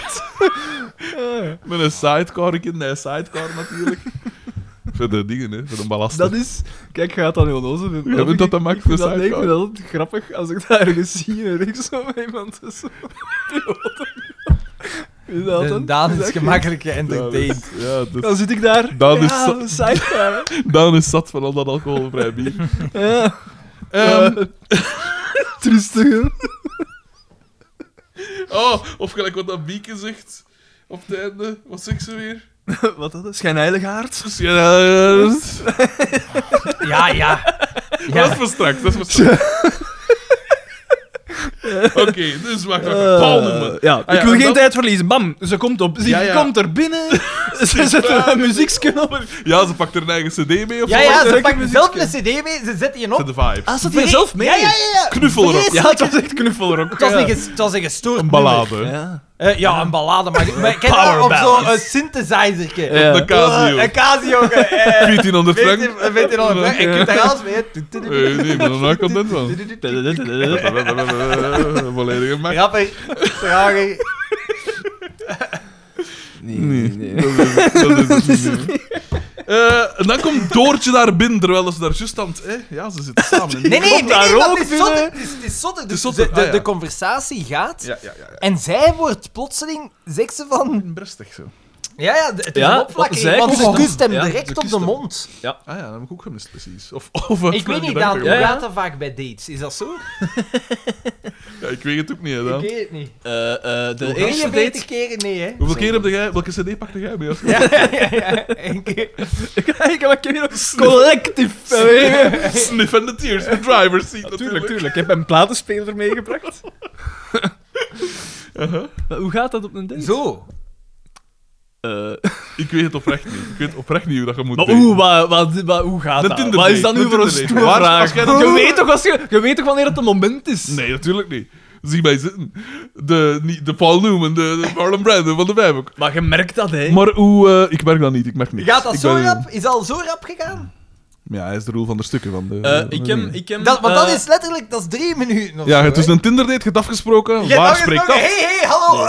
Ja. met een sidecar. Ik in een sidecar natuurlijk. Voor de dingen, hè, voor de ballast. Dat is... Kijk, gaat dat heel loze vinden. Ja, vindt dat dat maakt ik vind voor dat, nee, ik sidecar? vind dat altijd grappig als ik daar ergens zie en er is zo iemand tussen. Is dat De dan? Daan is dat- gemakkelijk Ja, geëntertained. dus- ja, dus- Dan zit ik daar. Dat ja, is zo- een sidecar, hè. Daan is zat van al dat alcoholvrij bier. Ja. Ehm, Trustig, hè. Oh, of gelijk wat dat Bieke zegt op het einde. Wat zegt ze weer? Wat dat is? Schijnheilig aard. Dus ja, eh, dat is- Ja, ja. dat is ja. voor straks, dat is voor straks. Oké, dus wacht, wacht. Eh, Paul Newman. ja, Ah, ik ja, wil en geen dat- tijd verliezen. Bam, ze komt op. Ze Ja, ja. komt er binnen. ze zet er een muziekje op. Ja, ze pakt haar eigen cd mee of Ja, zo. ja, ze Lekker pakt zelf een muziekje. cd mee, ze zet die Zet op. de vibes. Ah, ze Die- had zelf mee. Ja, ja, ja. ja. Knuffelrock. Vreselijk. Ja, het was echt knuffelrock. Het was, ja. een ges- het was een gestoord Een nummer. ballade. Ja. Eh, ja, een ballade. Maar, maar ken je Power dat? Of ballads. zo'n synthesizer. Ja. De Casio. een Casio. eh, 1400 Weet frank. je, weet je nog, hè? ik heb daar alles mee. Eh, nee, ik ben er nooit content van. Volledige macht. Grappig, tragisch. Nee, Nee, dat is het, dat is het niet. Eh, en dan komt Doortje daar binnen, terwijl ze daar juist aan het... eh, ja, ze zitten samen. in- Nee, nee, nee, Komt daar nee, dat ook is in, zotte. hè? Het is- het is zotte. Dus zotte, de, de, ah, ja. de conversatie gaat Ja, ja, ja. ja. en zij wordt plotseling, zegt ze van... Brestig zo. Ja, ja, de- het is Ja, een opflakking, zij want ze komt- kust hem ja, direct ze op kust de hem. mond. Ah ja, dat heb ik ook gemist, precies. Of, of uit Ik mijn weet niet, Daan, gedachten hoe gewoon. Ja, ja. gaat dat vaak bij dates? Is dat zo? Ja, ik weet het ook niet, hè, Ik Daan. weet het niet. Eh, eh, de eerste 43 date... keren nee, hè? Hoeveel keer heb jij... Welke cd pakte jij mee? Ja, ja, ja. Eén keer. Ik heb een collectief. Tuurlijk, Sniff and the Tears, de driver's seat natuurlijk. tuurlijk. Ik heb een platenspeler meegebracht. Maar Hoe gaat dat op een date? Zo. Eh, Ik weet het oprecht niet. Ik weet oprecht niet hoe dat je moet maar doen. oeh, wat, wat, wat- hoe gaat Een dat? Tinder Wat is date, dat nu een voor een Tinder date. stoere Waar- vraag? waarschijnlijk- Je weet, toch als je, je weet toch wanneer het een moment is? Nee, natuurlijk niet. Zie mij zitten. De, niet, de Paul Newman, de, de Marlon Brando van de Bijbok. Maar je merkt dat, hè? Maar hoe... eh, ik merk dat niet, ik merk niks. Gaat dat Ik zo ben- rap? Is dat al zo rap gegaan? Ja, hij is de rol van de stukken van de... Eh, van de ik dingen. hem, ik hem, Dat, want dat eh, is letterlijk, dat is drie minuten of Ja, zo, het is hè? een Tinder-date, je hebt afgesproken. Je hebt Waar nou spreekt gesproken, dat? Hé, hé, hallo!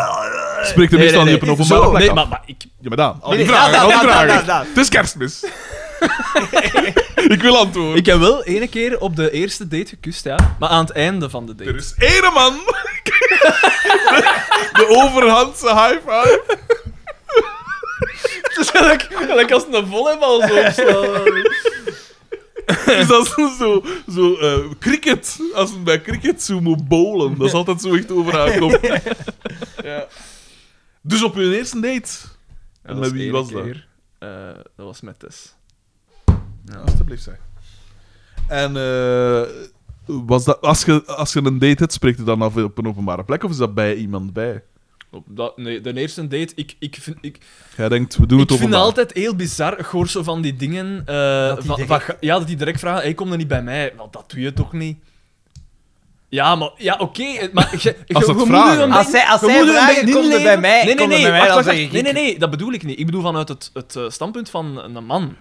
Spreekt er Nee, meestal nee, niet op een nee, openbare zo. plek Nee, af. maar, maar ik... Ja, maar Daan, al die Oh, Eh, Nee, nee, vragen, Daan, al die Daan, vragen. Daan, Daan, Daan. Het is kerstmis. ik wil antwoord. Ik heb wel ene keer op de eerste date gekust, ja. Maar aan het einde van de date. Er is één man. de, de overhandse high five. Het is gelijk, gelijk als een volleybal zo opslaan. Dus dat is zo, zo eh, cricket. Als men bij cricket zo moet bowlen, dat is altijd zo echt over haar kop. ja. Dus op hun eerste date. Ja, met wie ene was dat? keer. Eh, dat was met Tess. Alsjeblieft, zeg. En eh, was dat, als, je, als je een date hebt, spreekt het dan af op een openbare plek of is dat bij iemand bij? Op dat, nee, de eerste date, ik, ik vind, ik, Jij denkt, we doen het ik vind openbaar. dat altijd heel bizar, goor zo van die dingen. eh, die van- direct- van ga- ja, dat die direct vragen, hey, kom er niet bij mij. Want dat doe je toch niet? Ja, maar, ja, oké. eh, maar je- je- Als je dat moet vragen. je een Als zij- als je zij moet je een vragen, beetje kom er inleven. bij mij, nee, nee, kom er nee, bij mij, wacht, dan wacht, zeg ik Nee, nee, ik. nee, dat bedoel ik niet. Ik bedoel vanuit het, het eh, standpunt van een man.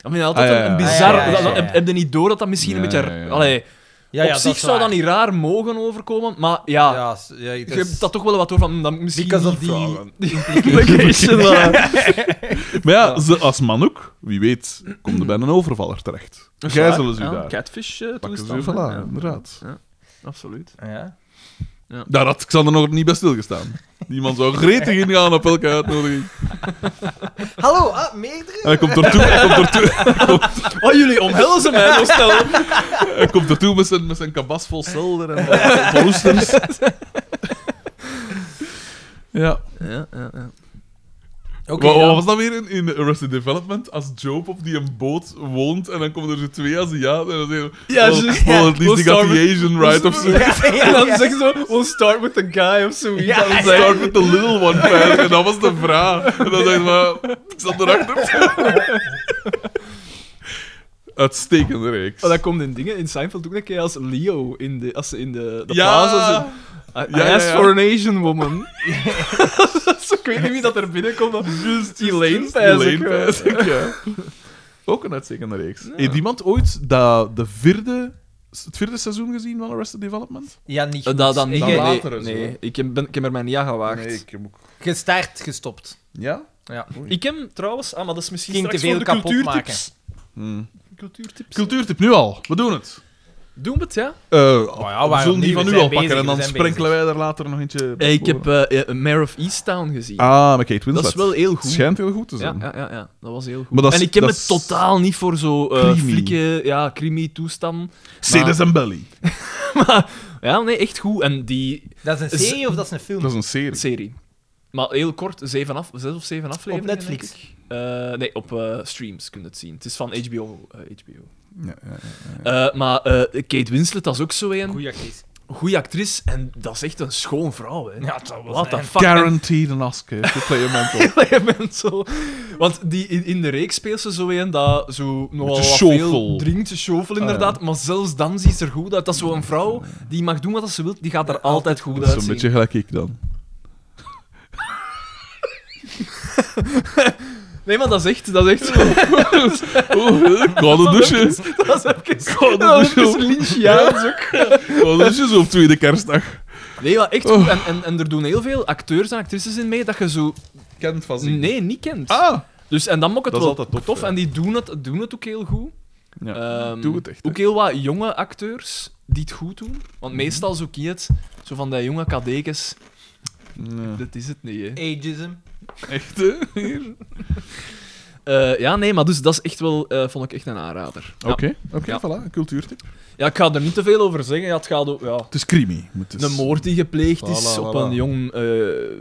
Dat vind je altijd Ah, ja, een- een ja, ja, bizar... ja, ja, dat- dat- ja. Heb, heb je niet door dat dat misschien een Ja, beetje... ja, ja. Allee, Ja, op zich zou dat niet raar mogen overkomen, maar ja... Ja, s- ja, het Je is- hebt dat toch wel wat door van... hm, Dan misschien Because of niet the- vragen. Implication, maar- eh. Maar ja, ze- als man ook, wie weet, komt er bij een overvaller terecht. Gijzelen ze u Ja, daar. Catfish eh, Pakken ze u, toestanden, voilà, ja. inderdaad. Absoluut. Ja. Daar had Xander nog niet bij stilgestaan. Die man zou gretig ingaan op elke uitnodiging. Hallo, ah, meerdere? En hij komt ertoe, hij komt ertoe, Oh, jullie omhelzen mij, nog stel. hij komt ertoe met, zijn, met zijn kabas vol zilver en eh, vol oesters. Ja. Ja, ja, ja. Oké, Wat- wat dan. was dat weer in, in Arrested Development? Als Job op die een boot woont en dan komen er zo twee Aziaten en dan zeggen ze... Ja, well, juist. well, at least they got the Asian right of Ja, ja, ja, En dan ja. zeg zo, we'll start with the guy of zoiets. Ja, Dan zeg- Start with the little one first. En dat was de vraag. En dan dacht ik, maar, ik zat erachter. Uitstekende reeks. Oh, dat komt in dingen in Seinfeld ook een keer als Leo in de, als ze in de, de Ja. plaza zit. I, I Ja, ja, asked ja. for an Asian woman. Zo, ik weet niet wie dat er binnenkomt. maar Just Elaine Elaine Pijs. ook wel. Pijsink, ja. Ook een uitstekende reeks. Ja. Heeft iemand ooit dat de vierde, het vierde seizoen gezien van Arrested Development? Ja, niet Eh, goed. Dat dan Ik- niet. Dan Nee, later en zo. nee, ik heb, ben, ik heb er mij niet aan gewaagd. heb ook... Gestart, gestopt. Ja? Ja. Ik heb trouwens, ah, maar dat is misschien Ging te straks veel voor de kapot cultuurtips. Hmm. Cultuurtips. Cultuurtip nu al. We doen het. Doen we het, Oh ja? Eh waarom we zullen die niet? van We nu zijn al pakken bezig, en we dan zijn sprenkelen wij daar later nog eentje bij ik heb voor. eh, eh, Mayor of Easttown gezien. Ah, met Kate Winslet. dat is wel heel goed. Schijnt heel goed te ja, zijn. ja, ja, ja, dat was heel goed. Maar dat is- en ik heb dat het is- totaal niet voor zo eh Creamy. flieke, ja, creamy toestand. Sidus en Belly. Ja, nee, echt goed. En die Dat is een Z- serie of dat is een film? Dat is een serie. serie. Maar heel kort, zeven af, zes of zeven afleveringen. Netflix? denk ik. Eh, nee, op eh, streams kun je het zien. Het is van HBO. eh, HBO. Ja, ja, ja. Eh, maar eh, Kate Winslet, dat is ook zo een. Goeie actrice. Goeie actrice. En dat is echt een schoon vrouw, hè. Ja, dat was What the een- fuck. En- Guaranteed an Oscar voor Player Mentor. Elemental. Want die, in, in de reeks speelt ze zo een dat zo nogal wat shuffle. veel drinkt, te shuffle Ah, ja. inderdaad, maar zelfs dan ziet ze er goed uit. Dat is zo'n vrouw die mag doen wat ze wil, die gaat er altijd goed Dat is een uitzien. beetje gelijk ik dan. Nee, maar dat is echt, dat is echt zo. Oh, ik ga de douchen. Dat is even, God, dat is dat is even lynchiaans ook. Ik ga de douchen zo op tweede kerstdag. Nee, maar echt Oh. goed. En, en, en er doen heel veel acteurs en actrices in mee dat je zo... Kent van Nee, niet kent. Ah! Dus, en dan mok het Dat is wel altijd tof, ja. En die doen het, doen het ook heel goed. Ehm, Doe het echt, hè. Ook heel wat jonge acteurs die het goed doen. Mhm. Want meestal zo ken je het, zo van die jonge kadekes. Nee. Dat is het niet, hè. Ageism. Echt, hè? Hier. Eh, ja, nee, maar dus dat is echt wel, eh, vond ik echt een aanrader. Ja. Oké, oké, Ja. voilà. Een cultuurtip. Ja, ik ga er niet te veel over zeggen. Ja, het gaat over ja, Het is creamy. dus- Het is... een moord die gepleegd is Voilà, op voilà. een jong, eh,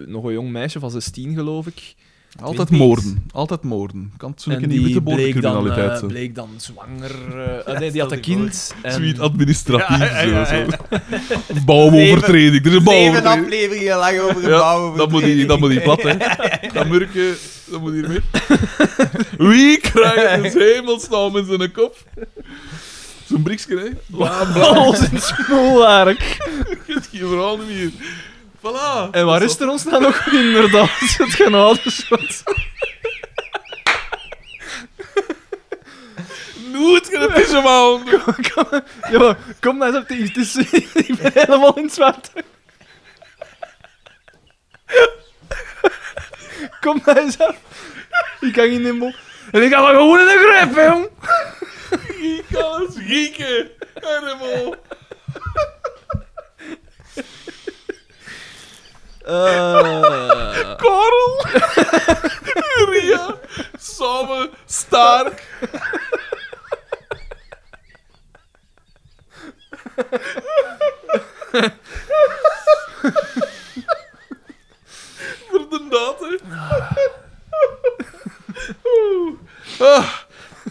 nog een jong meisje van 16, geloof ik. Altijd Twinties. moorden. Altijd moorden. Kan het zo'n keer en die die witte bleek dan, boordencriminaliteit eh, zijn. bleek dan zwanger. eh, ah, nee, die stel had een die kind. En... Sweet administratief. Ja, ja, ja, zo, ja. zo. Bouwovertreding. Er is een Zeven bouwovertreding. afleveringen lang over een Ja, bouwen. dat moet hij, dat moet hij plat, hè. Dat murkje, dat moet hier mee. Wie krijgt het hemelsnaam in zijn kop? Zo'n briekje, hè. Alles in smoelwerk. geen verhaal niet meer. Voilà. En waar is er ons dan nog inderdaad het genadeschot? Nooit kunnen pissen, man. Ja, maar kom nou eens op de het is- Ik ben helemaal in het water. Kom nou eens af. Ik hang in de mol. En ik ga maar gewoon in de greep, hè, jong. Giekers, gieken. Helemaal. Eh, Karel. Ria. Samen. Stark. Voor de datum. Oeh. Ah,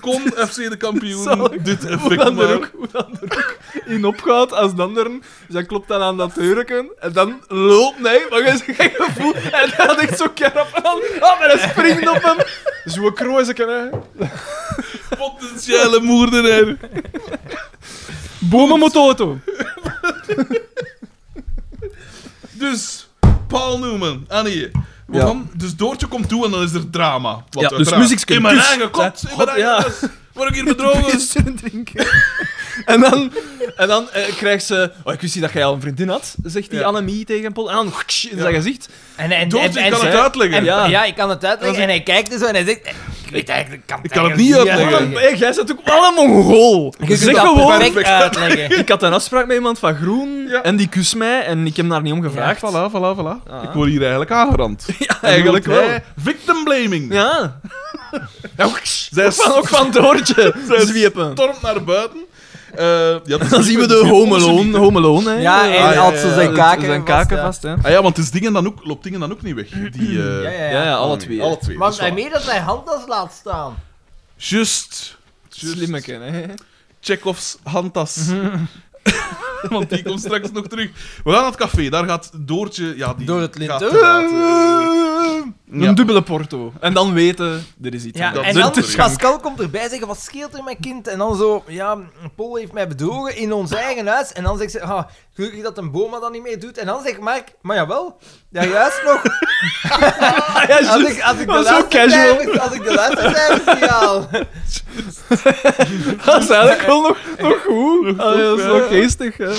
kon FC de Zal kampioen ik- dit hoe effect dan er maken? ook, hoe dan er ook in opgaat als de anderen. Dus dan klopt dan aan dat hurken en dan loopt hij, maar je hebt geen gevoel. En dan had ik zo'n kerap aan, ah, maar hij springt op hem. Zo'n kroezeken, hè. Potentiële moordenaar. Bomen moet auto. Dus, Paul Newman, Annie. We Ja. gaan, dus Doortje komt toe en dan is er drama. Wat dus uiteraard- muziekske In mijn kus. eigen kot, Ja, in mijn god, eigen ja. huis. Word ik hier bedrogen? Bier drinken. en dan, en dan eh, krijgt ze... Oh, ik wist niet dat jij al een vriendin had, zegt die Ja. Annemie tegen Paul. En dan in zijn gezicht. En, en, en, Doortje, ik en- kan het zij- uitleggen. en- ja. ja. ik kan het uitleggen. En hij kijkt er zo en hij zegt... eh, Ik weet eigenlijk... Ik kan het, Ik kan het eigenlijk niet Ja, uitleggen. maar, hey, jij zit ook wel een Mongool. Je kunt Zeg dat gewoon... perfect uitleggen. Ik had een afspraak met iemand van Groen Ja. en die kust mij en ik heb hem daar niet om gevraagd. Voilà, voilà, voilà. Ah. Ik word hier eigenlijk aangerand. Ja, eigenlijk En dan wel. wordt hij Victim blaming. Ja. ja ook, Zij ook van, ook van Doortje. Zwiepen. Stormt naar buiten. Eh, ja, dat is- Dan zien we de Home Alone. Home Alone, hè. Ja, en Eh, ja, had ja, zo zijn eh, kaken zijn vast, kaken ja. vast, hè. Ah ja, want het is dingen dan ook, loopt dingen dan ook niet weg. Die, eh, Ja, ja, ja. Ja, ja, Oh, alle twee. Alle twee. Maar dat is waar. hij meer dat zijn handtas laat staan. Just. Just. Slimmeke, hè. Chekhovs handtas. Want die komt straks nog terug. We gaan naar het café. Daar gaat Doortje... Ja, die Door het lint. gaat inderdaad, eh, Een Ja. dubbele porto. En dan weten, er is iets Ja, aan de dat en is dan natuurlijk. Pascal komt erbij zeggen, wat scheelt er mijn kind? En dan zo, ja, Paul heeft mij bedrogen in ons eigen huis. En dan zegt ze, ah, gelukkig dat een boma dat niet meer doet. En dan zegt Mark, maar jawel, daarjuist nog. hand. Ja, Als juist. ik, als ik de Dat is zo laatste casual. cijfers, als ik de laatste cijfers niet haal. Dat is eigenlijk wel nog, nog goed. Allee, dat is ja. nog geestig. Hè. ja,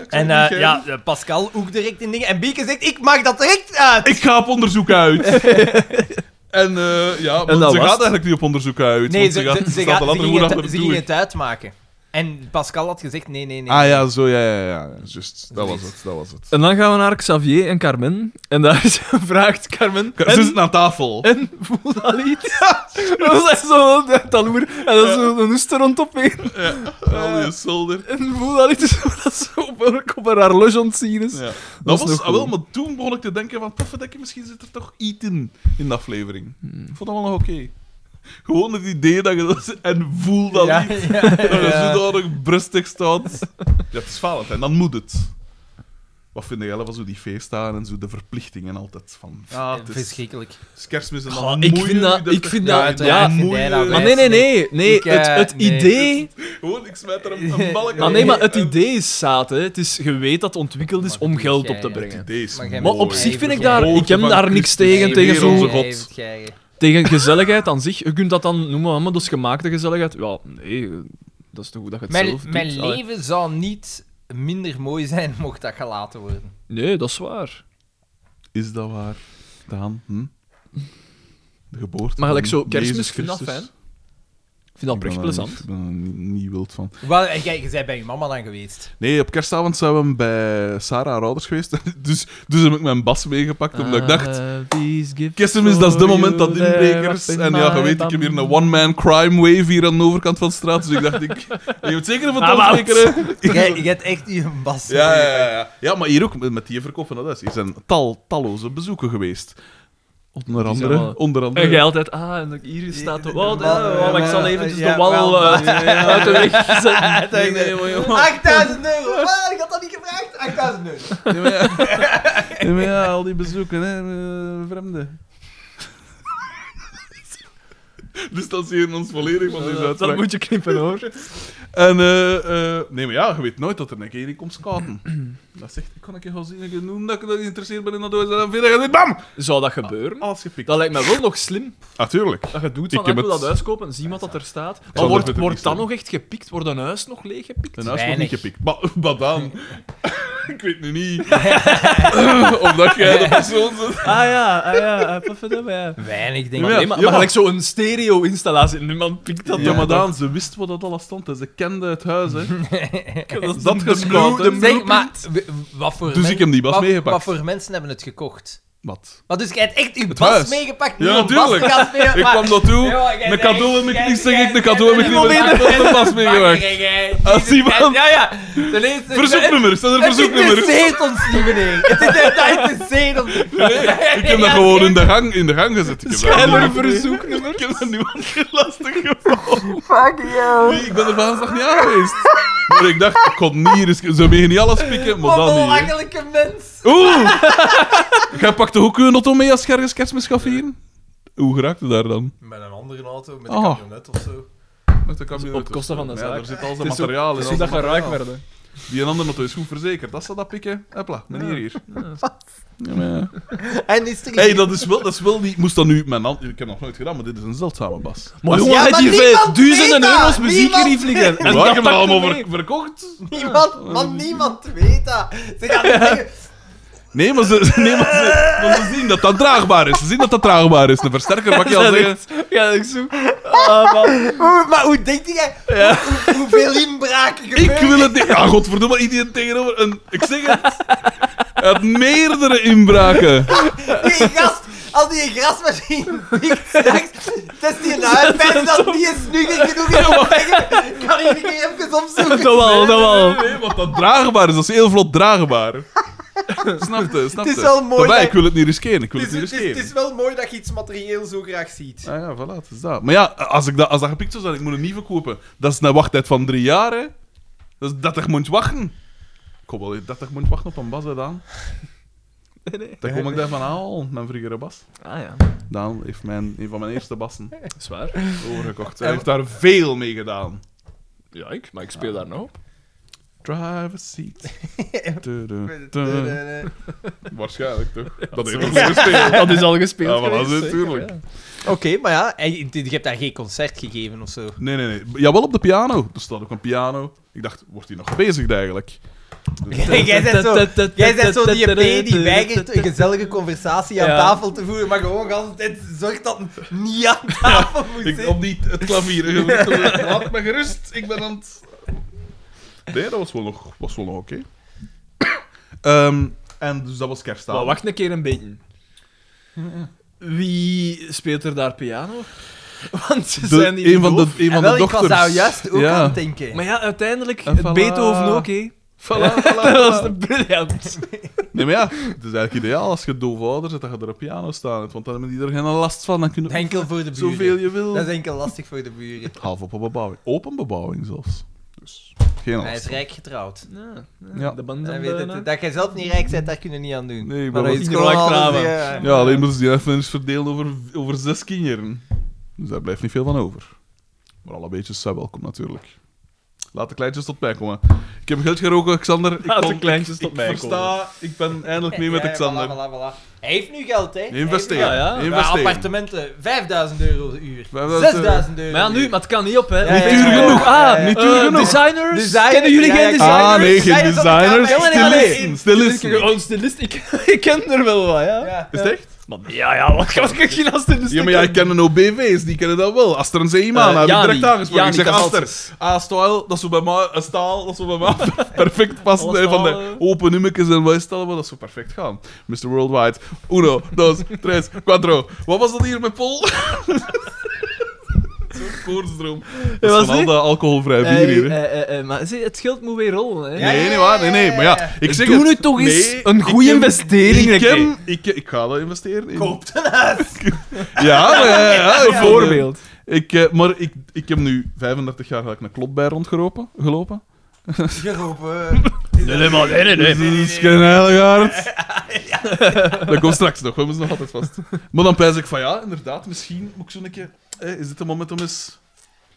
ik zal het En niet eh, geven. ja, eh, Pascal ook direct in dingen. En Bieke zegt, ik maak dat direct uit. Ik ga op onderzoek uit. en eh, ja, want En dat ze was gaat het. eigenlijk niet op onderzoek uit. nee, want ze, ze, gaat, ze, ze, staat gaat- al ze andere gingen goed het, achter ze de gingen toer. het uitmaken. En Pascal had gezegd, nee, nee, nee. Ah ja, zo, ja, ja, ja. ja. Just, dat was het, dat was het. En dan gaan we naar Xavier en Carmen. En daar vraagt Carmen... Ka- Ze en, zitten aan tafel. en voelt al iets? Dat is zo taloer. En dan zo een oester rondop heen. Al die zolder. En voelt al iets dat ze op, haar- op haar horloge ontzien is. Ja. Dat, Dat is was, nog ah, wel, goed. maar toen begon ik te denken van, toffe misschien zit er toch iets in, in de aflevering. Ik vond dat wel nog oké. Gewoon het idee dat je dat... En voel dat ja, niet. ja, Dat je ja. zodanig brustig staat. Ja, het is Valentijn, dan moet het. Wat vind jij van zo die feestdagen en zo de verplichtingen altijd? Van, ja, het is, Ah, Verschrikkelijk. het is kerstmis en Goh, dan ik moeien vind dat- jullie ik vind terug. dat- ja, en vind moeien- jij dat Maar wij- nee, nee, nee. nee. Ik, eh, het het nee. idee... Gewoon, ik smijt er een, een balk Maar aan. nee, maar het En- idee is zaad. Hè. Het is, je weet dat het ontwikkeld is eh, Maar om dat geld doet op te jij, ja. brengen. idee is Maar jij mooi. Maar op Mooi. zich vind ik Jij daar... hoort Ik heb van daar niks Christus, tegen, de tegen Heer onze zo'n God. tegen gezelligheid aan zich. Je kunt dat dan noemen, maar dat is gemaakte gezelligheid. Ja, nee, eh, dat is toch goed dat je het Mijn, zelf doet. mijn Allee, leven zou niet minder mooi zijn mocht dat gelaten worden. Nee, dat is waar. Is dat waar, Daan? Hm? De geboorte Maar gelijk van zo, kerstmis, Jezus ik vind dat fijn. Christus. Ik vind Ik dat ben oprecht daar plezant. niet- Ik ben er niet- niet wild van. Wel, eh, kijk, je bent bij je mama dan geweest. Nee, op kerstavond zijn we bij Sarah haar ouders geweest. Dus, dus heb ik mijn bas meegepakt, omdat ik Ah. dacht... Eh, Kerstmis, dat is de moment Oh, dat inbrekers... En ja, je weet, ik heb hier een one-man crime wave hier aan de overkant van de straat. Dus ik dacht, ik... Je moet zeker even I'm out. afrekenen. Jij, je hebt echt je bas. Ja, ja, ja, ja. Ja, maar hier ook, met- met die verkoop van dat huis. Hier zijn tal, talloze bezoeken geweest. Onder zijn andere... wel- Onder andere... En jij altijd, ah, en hier staat de wal, Ja, maar ik zal ja, eventjes ja, de wal wel, eh, uit de weg zetten. Nee, nee, jongen, jongen. 8000 euro! Ah, ik had dat niet gevraagd! 8000 euro! Ja, maar ja, Ja, maar ja, al die bezoeken, hè, eh, vreemden. distancieren ons volledig van deze uitspraak. Eh, dat moet je knippen, hoor. En, eh, eh, nee, maar ja, je weet nooit dat er een keer in komt skaten. dat zegt, ik kan een keer gaan zien, ik noem dat ik dat geïnteresseerd ben in dat doos, en dan vind je dit, bam! Zou dat gebeuren? Alles gepikt. Dat lijkt me wel nog slim. Natuurlijk. Dat je doet Ik van, ik, heb wil het- dat huis kopen, zie wat dat er staat. zal Dan er wordt, verder wordt niet dat staan. nog echt gepikt? Wordt een huis nog leeggepikt? Een huis wordt niet Weinig. gepikt. Maar wat dan? ik weet nu niet. Omdat jij de persoon bent. Ah ja, ah ja, ah, ja. Weinig, denk Ja, ik. Maar, nee, maar, ja. maar gelijk zo'n stereo-installatie, niemand pikt dat Ja, maar dan. dan, ze wist wat dat alles stond en ze kende het huis. Hè. Dat dat is dat gespaard, hè. gespaard. Zeg, maar w- wat voor Dus men- ik heb die bas wat- meegepakt. Wat voor mensen hebben het gekocht? Wat? Maar dus jij hebt echt uw Het bas huis. meegepakt? Ja, niet uw bas te tuurlijk. gaan spelen, Ik maar- kwam naartoe, Ja, jij een bent- cadeau heb ik jij- niet, zeg jij- ik, een cadeau heb ik jij- niet, maar ik heb jij- een Ah, pas meegemaakt. Jij- jij- Als iemand- Ja, ja. De lees- Verzoeknummer, staan er Het verzoeknummers? interesseert ons niet, meneer. Het is- Dat interesseert ons niet. Ik heb dat gewoon in de gang, in de gang gezet. Ik heb dat Schijnbaar niet- verzoeknummer. Ik heb dat niemand geen lastig gevallen. Nee, ik ben er vandaag nog niet aan geweest. Maar ik dacht, ik kon niet risken. Ze mogen niet alles pikken, maar Wat dan een niet. hè. belachelijke mens. Oeh! Jij pakte ook een auto mee als je ergens kerstmis gaat vieren? Hoe geraakte daar dan? Met een andere auto, met een Oh. camionet of zo. Met de camionet. Op kosten van de Ja, zaak. daar zit al zijn Het is zo- materiaal in. Dus al dat zijn je ruik materiaal. werden. Die een andere auto is goed verzekerd. Als ze dat pikken, hopla, meneer hier. Ja, maar ja. En is er Hé, dat is wel, dat is wel niet... Moest dat nu... Mijn hand, ik heb nog nooit gedaan, maar dit is een zeldzame bas. Maar jongen, Ja, jongen, maar ja, die niemand vijf duizenden weet dat. euro's muziek Niemand hier vliegen. En ik heb dat allemaal ver- verkocht. niemand, man, niemand weet dat. Ze gaan niet zeggen, Nee, maar ze, nee, maar ze, maar ze zien dat dat draagbaar is. Ze zien dat dat draagbaar is. Een versterker, wat ik je al zeggen. Ja, ik zoek. Ah, man. "Hoe- maar hoe denkt jij? Hoe- hoe- hoeveel inbraken Ik gebeuren? wil het niet... Ja, godverdomme, iedereen tegenover een... Ik zeg het. Uit meerdere inbraken. Die gast, als die grasmachine pikt straks, dat is die een huidpijn dat die is nu genoeg is om te zeggen, kan ik niet even Dat opzoeken? wel, dat Oh. wel. Nee, want dat draagbaar is, dat is heel vlot draagbaar. Snap je, snap je? Het is wel mooi Daarbij, dat- ik wil het niet riskeren, ik wil Het het is, niet het, is, riskeren. het is wel mooi dat je iets materieel zo graag ziet. Ah ja, voilà, het is dat. Maar ja, als, ik dat, als dat gepikt zou zijn, ik moet het niet verkopen. Dat is een wachttijd van drie jaar, hè. Dat is 30 mond wachten. Ik kom wel 30 mond wachten op een bas, hè, Daan. Dan kom ik daarvan aan, mijn vroegere bas. Ah ja, Daan heeft mijn, een van mijn eerste bassen dat is waar. overgekocht. Hij heeft daar veel mee gedaan. Ja, ik, maar ik speel daar nou op. Driver seat. Tudu, tudu. Eh, Waarschijnlijk, toch? Dat heeft hij gespeeld. Dat is al gespeeld. Ja, maar dat is geweest, zeker, natuurlijk. ja. Oké, maar ja, en je, je hebt daar geen concert gegeven of zo. Nee, nee, nee. Jawel, op de piano. Er staat ook een piano. Ik dacht, wordt hij nog gebezigd eigenlijk? Dus- Jij bent zo, jij bent zo die EP die weigert een gezellige conversatie aan Ja. tafel te voeren, maar gewoon de hele tijd zorgt dat het niet aan tafel moet ik, zitten. op die, het klavier. Laat me gerust, ik ben aan het... Nee, dat was wel nog, was wel nog oké. Ehm, en dus dat was kerstavond. Maar wacht een keer een beetje. Wie speelt er daar piano? Want ze De- zijn die een van de, een En van wel, de ik dochters. was daar juist ook ja. aan het denken. Maar ja, uiteindelijk, En voilà. Beethoven ook, hé. Voilà, voilà, Dat was voilà. de briljant. Nee, maar ja, het is eigenlijk ideaal als je doof ouder zit, dat je er een piano staan hebt, want dan hebben die er geen last van. Dan kunnen Enkel voor de buren. zoveel je wil. Dat is enkel lastig voor de buren. Half op een bebouwing. Open bebouwing zelfs. Dus geen Hij is last. rijk getrouwd. Ja, Ja. De band eh, Hij weet het, dat jij zelf niet rijk bent, daar kunnen we niet aan doen. Nee, ik ben maar dat wel is iedereen gewoon eh, rijk alles, trouwen. ja. Ja, alleen moeten ze die even eens verdelen over, over zes kinderen. Dus daar blijft niet veel van over. Maar alle beetjes zijn welkom natuurlijk. Laat de kleintjes tot mij komen. Ik heb geld geroken, Xander. Ik Laat de kon- kleintjes ik- tot ik mij versta, Ik ben eindelijk mee met Ja, ja, Xander. voilà, voilà, voilà. Hij heeft nu geld, hè? Hij heeft nu Investeren. Ja, ja. Ja, Investeren. appartementen, 5000 euro de uur. 5000 6000 euro. Maar ja, nu, de maar het kan niet op, hè. Ja, ja, Niet duur ja, ja. genoeg. Ah, Niet duur eh, genoeg. Designers? Design- Kennen jullie Ja, ja, geen ik- designers? Ah, nee, geen Designers op de designers. kamer. Ja, nee, nee, Stilisten, nee. stilisten. Oh, stilist, ik, ik ken er wel wat, ja. Ja. Is het echt? Maar ja, ja, wat kan ik nou- geen als dus stilist? Ja, maar jij kent een OBV's, die kennen dat wel. Aster en Zeeman, Eh, heb ik Jani. direct aangesproken. Ik Jani zeg Casalsas. Aster, ah, staal, dat is zo bij mij, eh, staal, dat is zo bij mij perfect passen. Alles hè, van staal, de eh. open nummertjes en wat is het allemaal, dat zou perfect gaan. Mr. Worldwide, uno, dos, tres, cuatro. Wat was dat hier met Pol? Zo'n koortsdroom. Dat is was van al die? dat alcoholvrij bier Eh, hier, hè. eh, eh, eh, maar zie, het geld moet weer rollen, hè. Ja, Nee, nee, waar, nee, nee, maar ja, ik zeg Doe het. nu toch eens Nee, een ik goede heb- investering, Ik, Ricky. heb- ik, ik ga dat investeren. in- Koopt een huis. Ja, maar ja, ja, ja, Een voorbeeld. Ik, eh, maar ik, ik heb nu 35 jaar gelijk een klop bij rondgelopen. Gelopen. Geroepen. Nee, nee, maar nee, nee, nou? Dus dat is geen heilig hart. Dat komt straks nog, we moeten nog altijd vast. Maar dan pijs ik van ja, inderdaad, misschien moet ik zo'n keer. eh, is dit een moment om eens.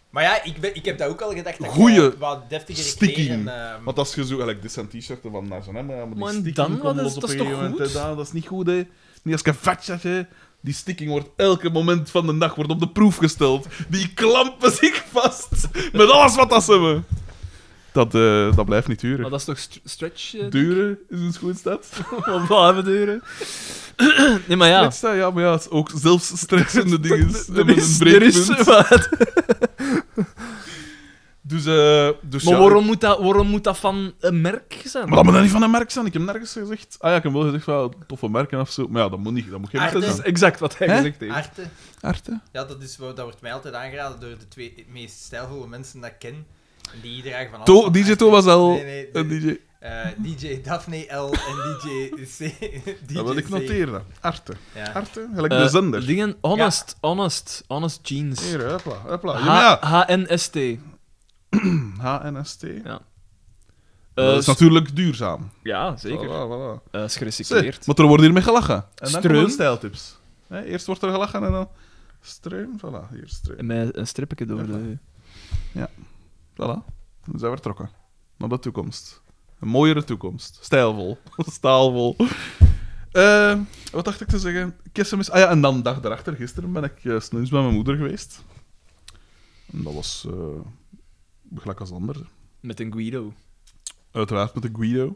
Maar ja, ik, ben, ik heb dat ook al gedacht. Dat Goeie je wat deftiger sticking. kleren, ehm, Want als je zo, gelijk, dit zijn t-shirten van naar zo'n hem, maar die Maar en sticking dan, komt wat is- los op dat is een toch gegeven moment, goed? hè, Daan, dat is niet goed, hè. Niet als je vet zet, hè. Die sticking wordt elke moment van de dag wordt op de proef gesteld. Die klampen zich vast met alles wat dat ze hebben. Dat, eh, dat blijft niet duren. Maar dat is toch st- stretch? eh, Duren is een schoenstad. Wat blijven duren? nee, maar ja. Ja. ja, maar ja, het is ook zelfs stressende dingen Er hebben een is, er is, breekpunt. wat. Dus, eh dus Maar ja, waarom moet, dat, waarom moet dat van een merk zijn? Maar dat moet dan niet van een merk zijn. Ik heb nergens gezegd. Ah ja, ik heb wel gezegd van toffe merken of zo. Maar ja, dat moet niet. Dat moet geen merk Arte. Dat is zijn. exact wat hij Hè? gezegd heeft. Arte. Arte. Ja, dat, is, wat- dat wordt mij altijd aangeraden door de twee meest stijlvolle mensen dat ik ken. En Die dragen van alles. To, van DJ Arte. Thomas L. Nee, nee, en de- DJ... eh, DJ Daphne L. en DJ C. DJ Dat wil ik C. noteren. Ah, dan. Arte. Ja. Arte, gelijk Eh, de zender. Dingen, honest, honest, honest jeans. Hier, hopla, hopla. Ja, maar H- ja. HNST. HNST. Eh, dat is s- natuurlijk duurzaam. Ja, zeker. Voilà, voilà. Eh, is Zeg, gerecycleerd. maar er wordt hiermee gelachen. En dan Streum. komen de stijltips. Hè, eerst wordt er gelachen en dan... Streum, voilà. Hier, streum. En mij een stripje door de... eh, Voilà. Dan zijn we vertrokken. Naar de toekomst. Een mooiere toekomst. Stijlvol. Staalvol. Eh, wat dacht ik te zeggen? Kissen is... Ah ja, en dan dag daarachter, gisteren, ben ik eh snoes bij mijn moeder geweest. En dat was... eh gelijk als anders. Met een Guido. Uiteraard met de Guido.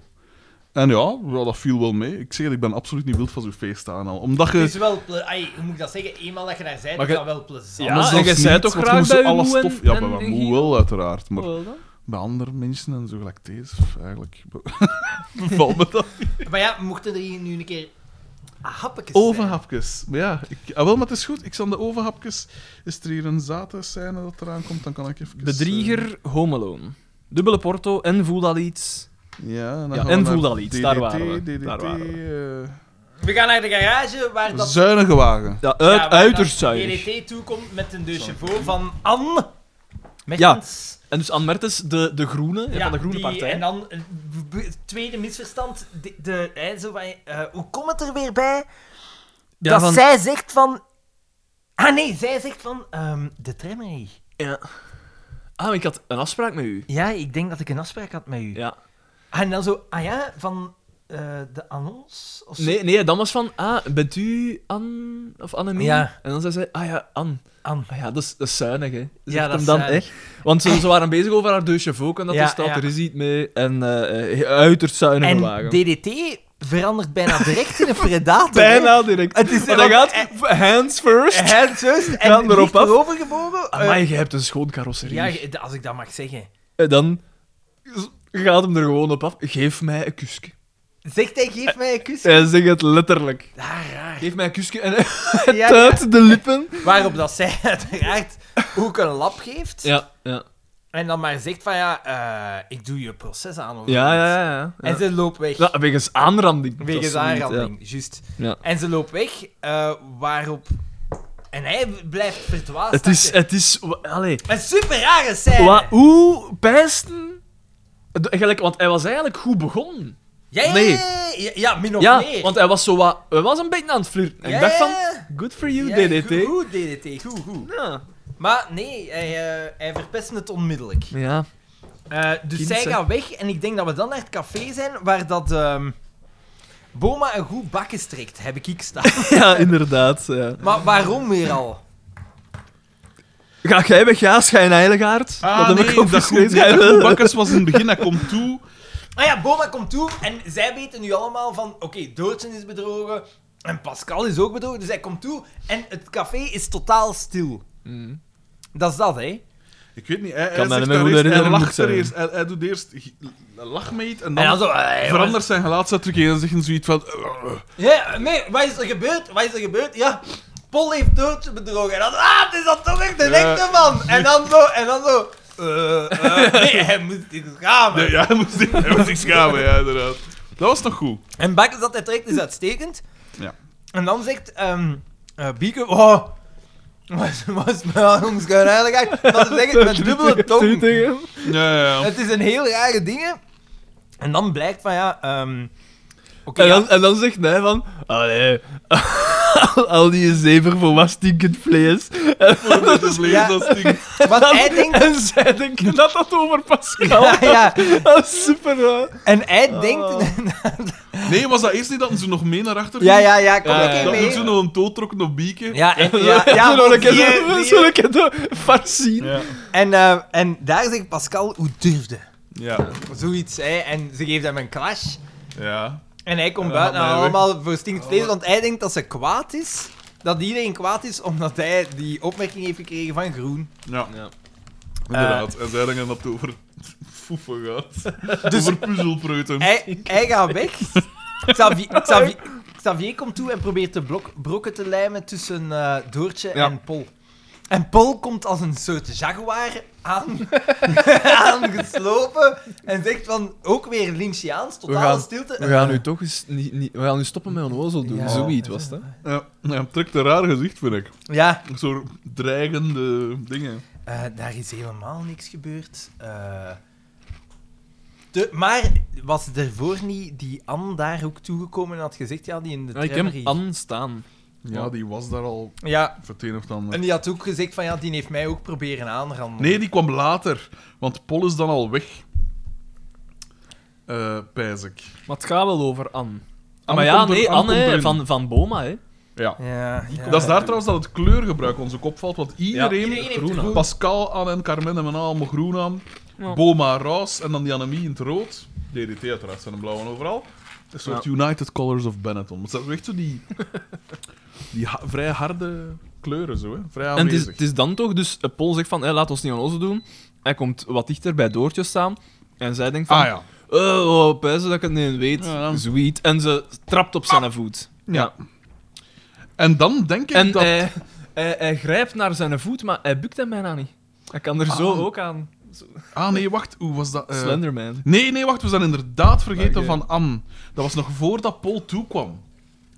En ja, ja, dat viel wel mee. Ik zeg het, ik ben absoluut niet wild van zo'n feest aan al. Omdat Het je... is wel... ple- ai, hoe moet ik dat zeggen? Eenmaal dat je daar bent, Maar is je- dat wel plezant. Ja, Anders en dan jij niet, zei toch want je graag moest bij zo alles Moe en- tof- Ja, en- bij mijn en moe Guido? wel, uiteraard. Maar Hoe dan? bij andere mensen en zo gelijk deze, eigenlijk... Valt me dat Maar ja, mochten er hier nu een keer Ah, happetjes Ovenhapjes. Maar ja, ik, ah, wel, maar het is goed. Ik zal de ovenhapjes... Is er hier een zaten scène dat eraan komt, dan kan ik even... eh, Bedrieger, Home Alone. Dubbele porto en voel dat iets. eh, ja, en, dan Ja, gaan en we naar voel dat iets, daar waren we. DDT, Daar waren zijn. We gaan naar de garage waar eh, dat... zuinige wagen. Ja, uit, ja, waar uiterst dat zuinig. DDT toekomt E met een de chauffeur van Anne. Ja. Mertens. En dus Anne Mertens, de, de groene, ja, van de groene die- partij. En dan eh, b- b- tweede misverstand. De, de, hij zo van, eh, hoe komt het er weer bij ja, dat van- zij zegt van... Ah nee, zij zegt van ehm, de trammerij. ja. Ah, maar ik had een afspraak met u. Ja, ik denk dat ik een afspraak had met u. Ja. En dan zo, ah ja, van eh, de annons? Of zo. Nee, nee, dan was van, ah, bent u Anne of Annemie? Ja. En dan zei zij, ah ja, Anne. Anne. Ah ja, dat is, dat is zuinig, hè. Zegt Ja, dat hem is dan, zuinig. hè. Want ze, ze waren bezig over haar deusje ook en dat Ja, er staat ja. er is iets mee. En eh, eh, uiterst zuinige En wagen. DDT verandert bijna direct in een predator. Bijna direct. Het is- Maar dat want- gaat hands first. Hij is juist Gaan en erop ligt af. erover gebogen. Eh, Maar je hebt een schoon carrosserie. ja, ge- als ik dat mag zeggen. Eh, En dan gaat hem er gewoon op af. Geef mij een kusje. Zegt hij, geef mij een kus. Hij zegt het letterlijk. Ah, raar. Geef mij een kusje en Ja, ja. uit de lippen. Waarop dat zij uiteraard ook een lap geeft. Ja, ja. En dan maar zegt van ja, eh, ik doe je proces aan. Of Ja, zoiets. ja, ja. ja. En ze loopt weg. Ja, wegens aanranding. Dat Wegens is niet, aanranding, juist. Ja. En ze loopt weg, eh, waarop... En hij blijft ja. verdwaasd. Het is... achter. Het is wa- allee. Een super rare scène. Wa- hoe pijsten... De- Gelijk, want hij was eigenlijk goed begonnen. Ja, ja, Nee. ja, ja, ja, min of ja, meer. want hij was zo wat... Hij was een beetje aan het flirten. En Ja, ik dacht ja, van... ja. Good for you, Ja, DDT. Goed, goed, DDT, goed, goed. Ja. Maar nee, hij, eh, hij verpest het onmiddellijk. ja. Eh, dus Kind, zij hè. gaan weg en ik denk dat we dan naar het café zijn waar dat... ehm, Boma een goed bakken strikt, heb ik ik staan. Ja, inderdaad. Ja. Maar waarom weer al? Ga jij weg, ja, schijn Heiligaard. Ah, nee, dat goed, geschreven. nee, Jij dat wel. goed bakkers was in het begin, dat komt toe. Ah ja, Boma komt toe en zij weten nu allemaal van... Oké, Doortje is bedrogen en Pascal is ook bedrogen. Dus hij komt toe en het café is totaal stil. Dat is dat, hè? Ik weet niet, hij, hij, Kan mij zegt niet daar eerst- meer goed hij herinneren, lacht moet er zijn. eerst, hij, hij doet eerst lachmeet en En dan dan zo... eh, verandert zijn gelaatsuitdruk en dan zegt hij zoiets van... "Eh, Ja, nee, wat is er gebeurd? Wat is er gebeurd? Ja, Paul heeft Doortje bedrogen. En dan, ah, het is dan toch echt de Ja. echte man. En dan zo, en dan zo... eh, eh, nee, hij moet zich schamen. Nee, ja, hij moest, zich- hij moest zich schamen, ja, inderdaad. Dat was nog goed. En Bakker dat hij trekt is uitstekend. Ja. En dan zegt ehm eh, Bieke, oh, was, was mijn onschijnheiligheid. Dat ze zeggen, met dubbele tong. Ja, ja, ja. Het is een heel rare ding. hè. En dan blijkt van ja, ehm, oké, Oké, en, dan, ja. en dan zegt hij van... Allee, al die zeven voor wat stinkend vlees. Dat is vlees, dus Ja. dat stinkt. Want hij denkt... En zij denken dat dat over Pascal Ja, ja. Dat is super raar. En hij denkt... Oh. Nee, was dat eerst niet dat ze nog mee naar achter Ja, ja, ja, kom Ja, een ja. keer Eh, Dat doen mee. ze nog een toetrokken op bieken. Ja, en, ja, ja, Zo'n want keer die- zo- die- Zo'n keer zo vars zien. Ja. en, eh, en daar zegt Pascal, hoe durfde? Ja. Zoiets, hè. En ze geeft hem een clash. ja. En hij komt En dan buiten gaat en hij weg. allemaal voor stinkend vlees, want hij denkt dat ze kwaad is. Dat iedereen kwaad is, omdat hij die opmerking heeft gekregen van Groen. Ja. Ja. Inderdaad. en zij denken dat het over foefen gaat. over puzzelpreuten. Hij, hij gaat weg. Xavier, Xavier, Xavier komt toe en probeert de blok, brokken te lijmen tussen eh, Doortje Ja. en Pol. En Pol komt als een soort jaguar aan, aangeslopen en zegt van, ook weer Lynchiaans, totale gaan- stilte. We gaan nu toch eens niet, niet, we gaan nu stoppen met onnozel doen. Ja. Zoiets was het. hè. Ja. ja, het trekt een raar gezicht, vind ik. Ja, Zo'n dreigende dingen. eh, daar is helemaal niks gebeurd. Eh, de, maar was ervoor niet die Anne daar ook toegekomen en had gezegd, ja, die in de Ja, ik tram heb reed? Anne staan. Ja, die was daar al Ja, voor het een of het ander. En die had ook gezegd van ja, die heeft mij ook proberen aanranden. Nee, die kwam later. Want Pol is dan al weg. Eh pijs ik. Maar het gaat wel over Anne. Anne Ah, maar ja, komt er- nee, Anne Anne, komt erin. van, van Boma, hè. Ja. Ja, ja. Dat is daar trouwens dat het kleurgebruik ons ook opvalt. Want iedereen, Iedereen heeft groen het aan. goed. Pascal, Anne en Carmen hebben allemaal groen aan. Ja. Boma, Raas en dan die anemie in het rood. DDT uiteraard, zijn de blauwen overal. Een soort United Colors of Benetton. Maar dat zijn echt zo die, die ha- vrij harde kleuren zo, hè. vrij En het is, aanwezig. het is dan toch, dus eh, Paul zegt van, hey, laat ons niet aan ons doen. Hij komt wat dichter bij Doortje staan. En zij denkt van, Ah ja. eh, oh, pijzen dat ik het niet weet. Ja, dan- Ah, Sweet. En ze trapt op zijn voet. ja. En dan denk ik En eh, dat... hij, hij, hij grijpt naar zijn voet, maar hij bukt hem bijna niet. Hij kan er zo Ah. ook aan. Ah nee, wacht. Hoe was dat? eh, Slenderman. Nee, nee, wacht. We zijn inderdaad vergeten Oké. van Anne. Dat was nog voordat Paul toekwam.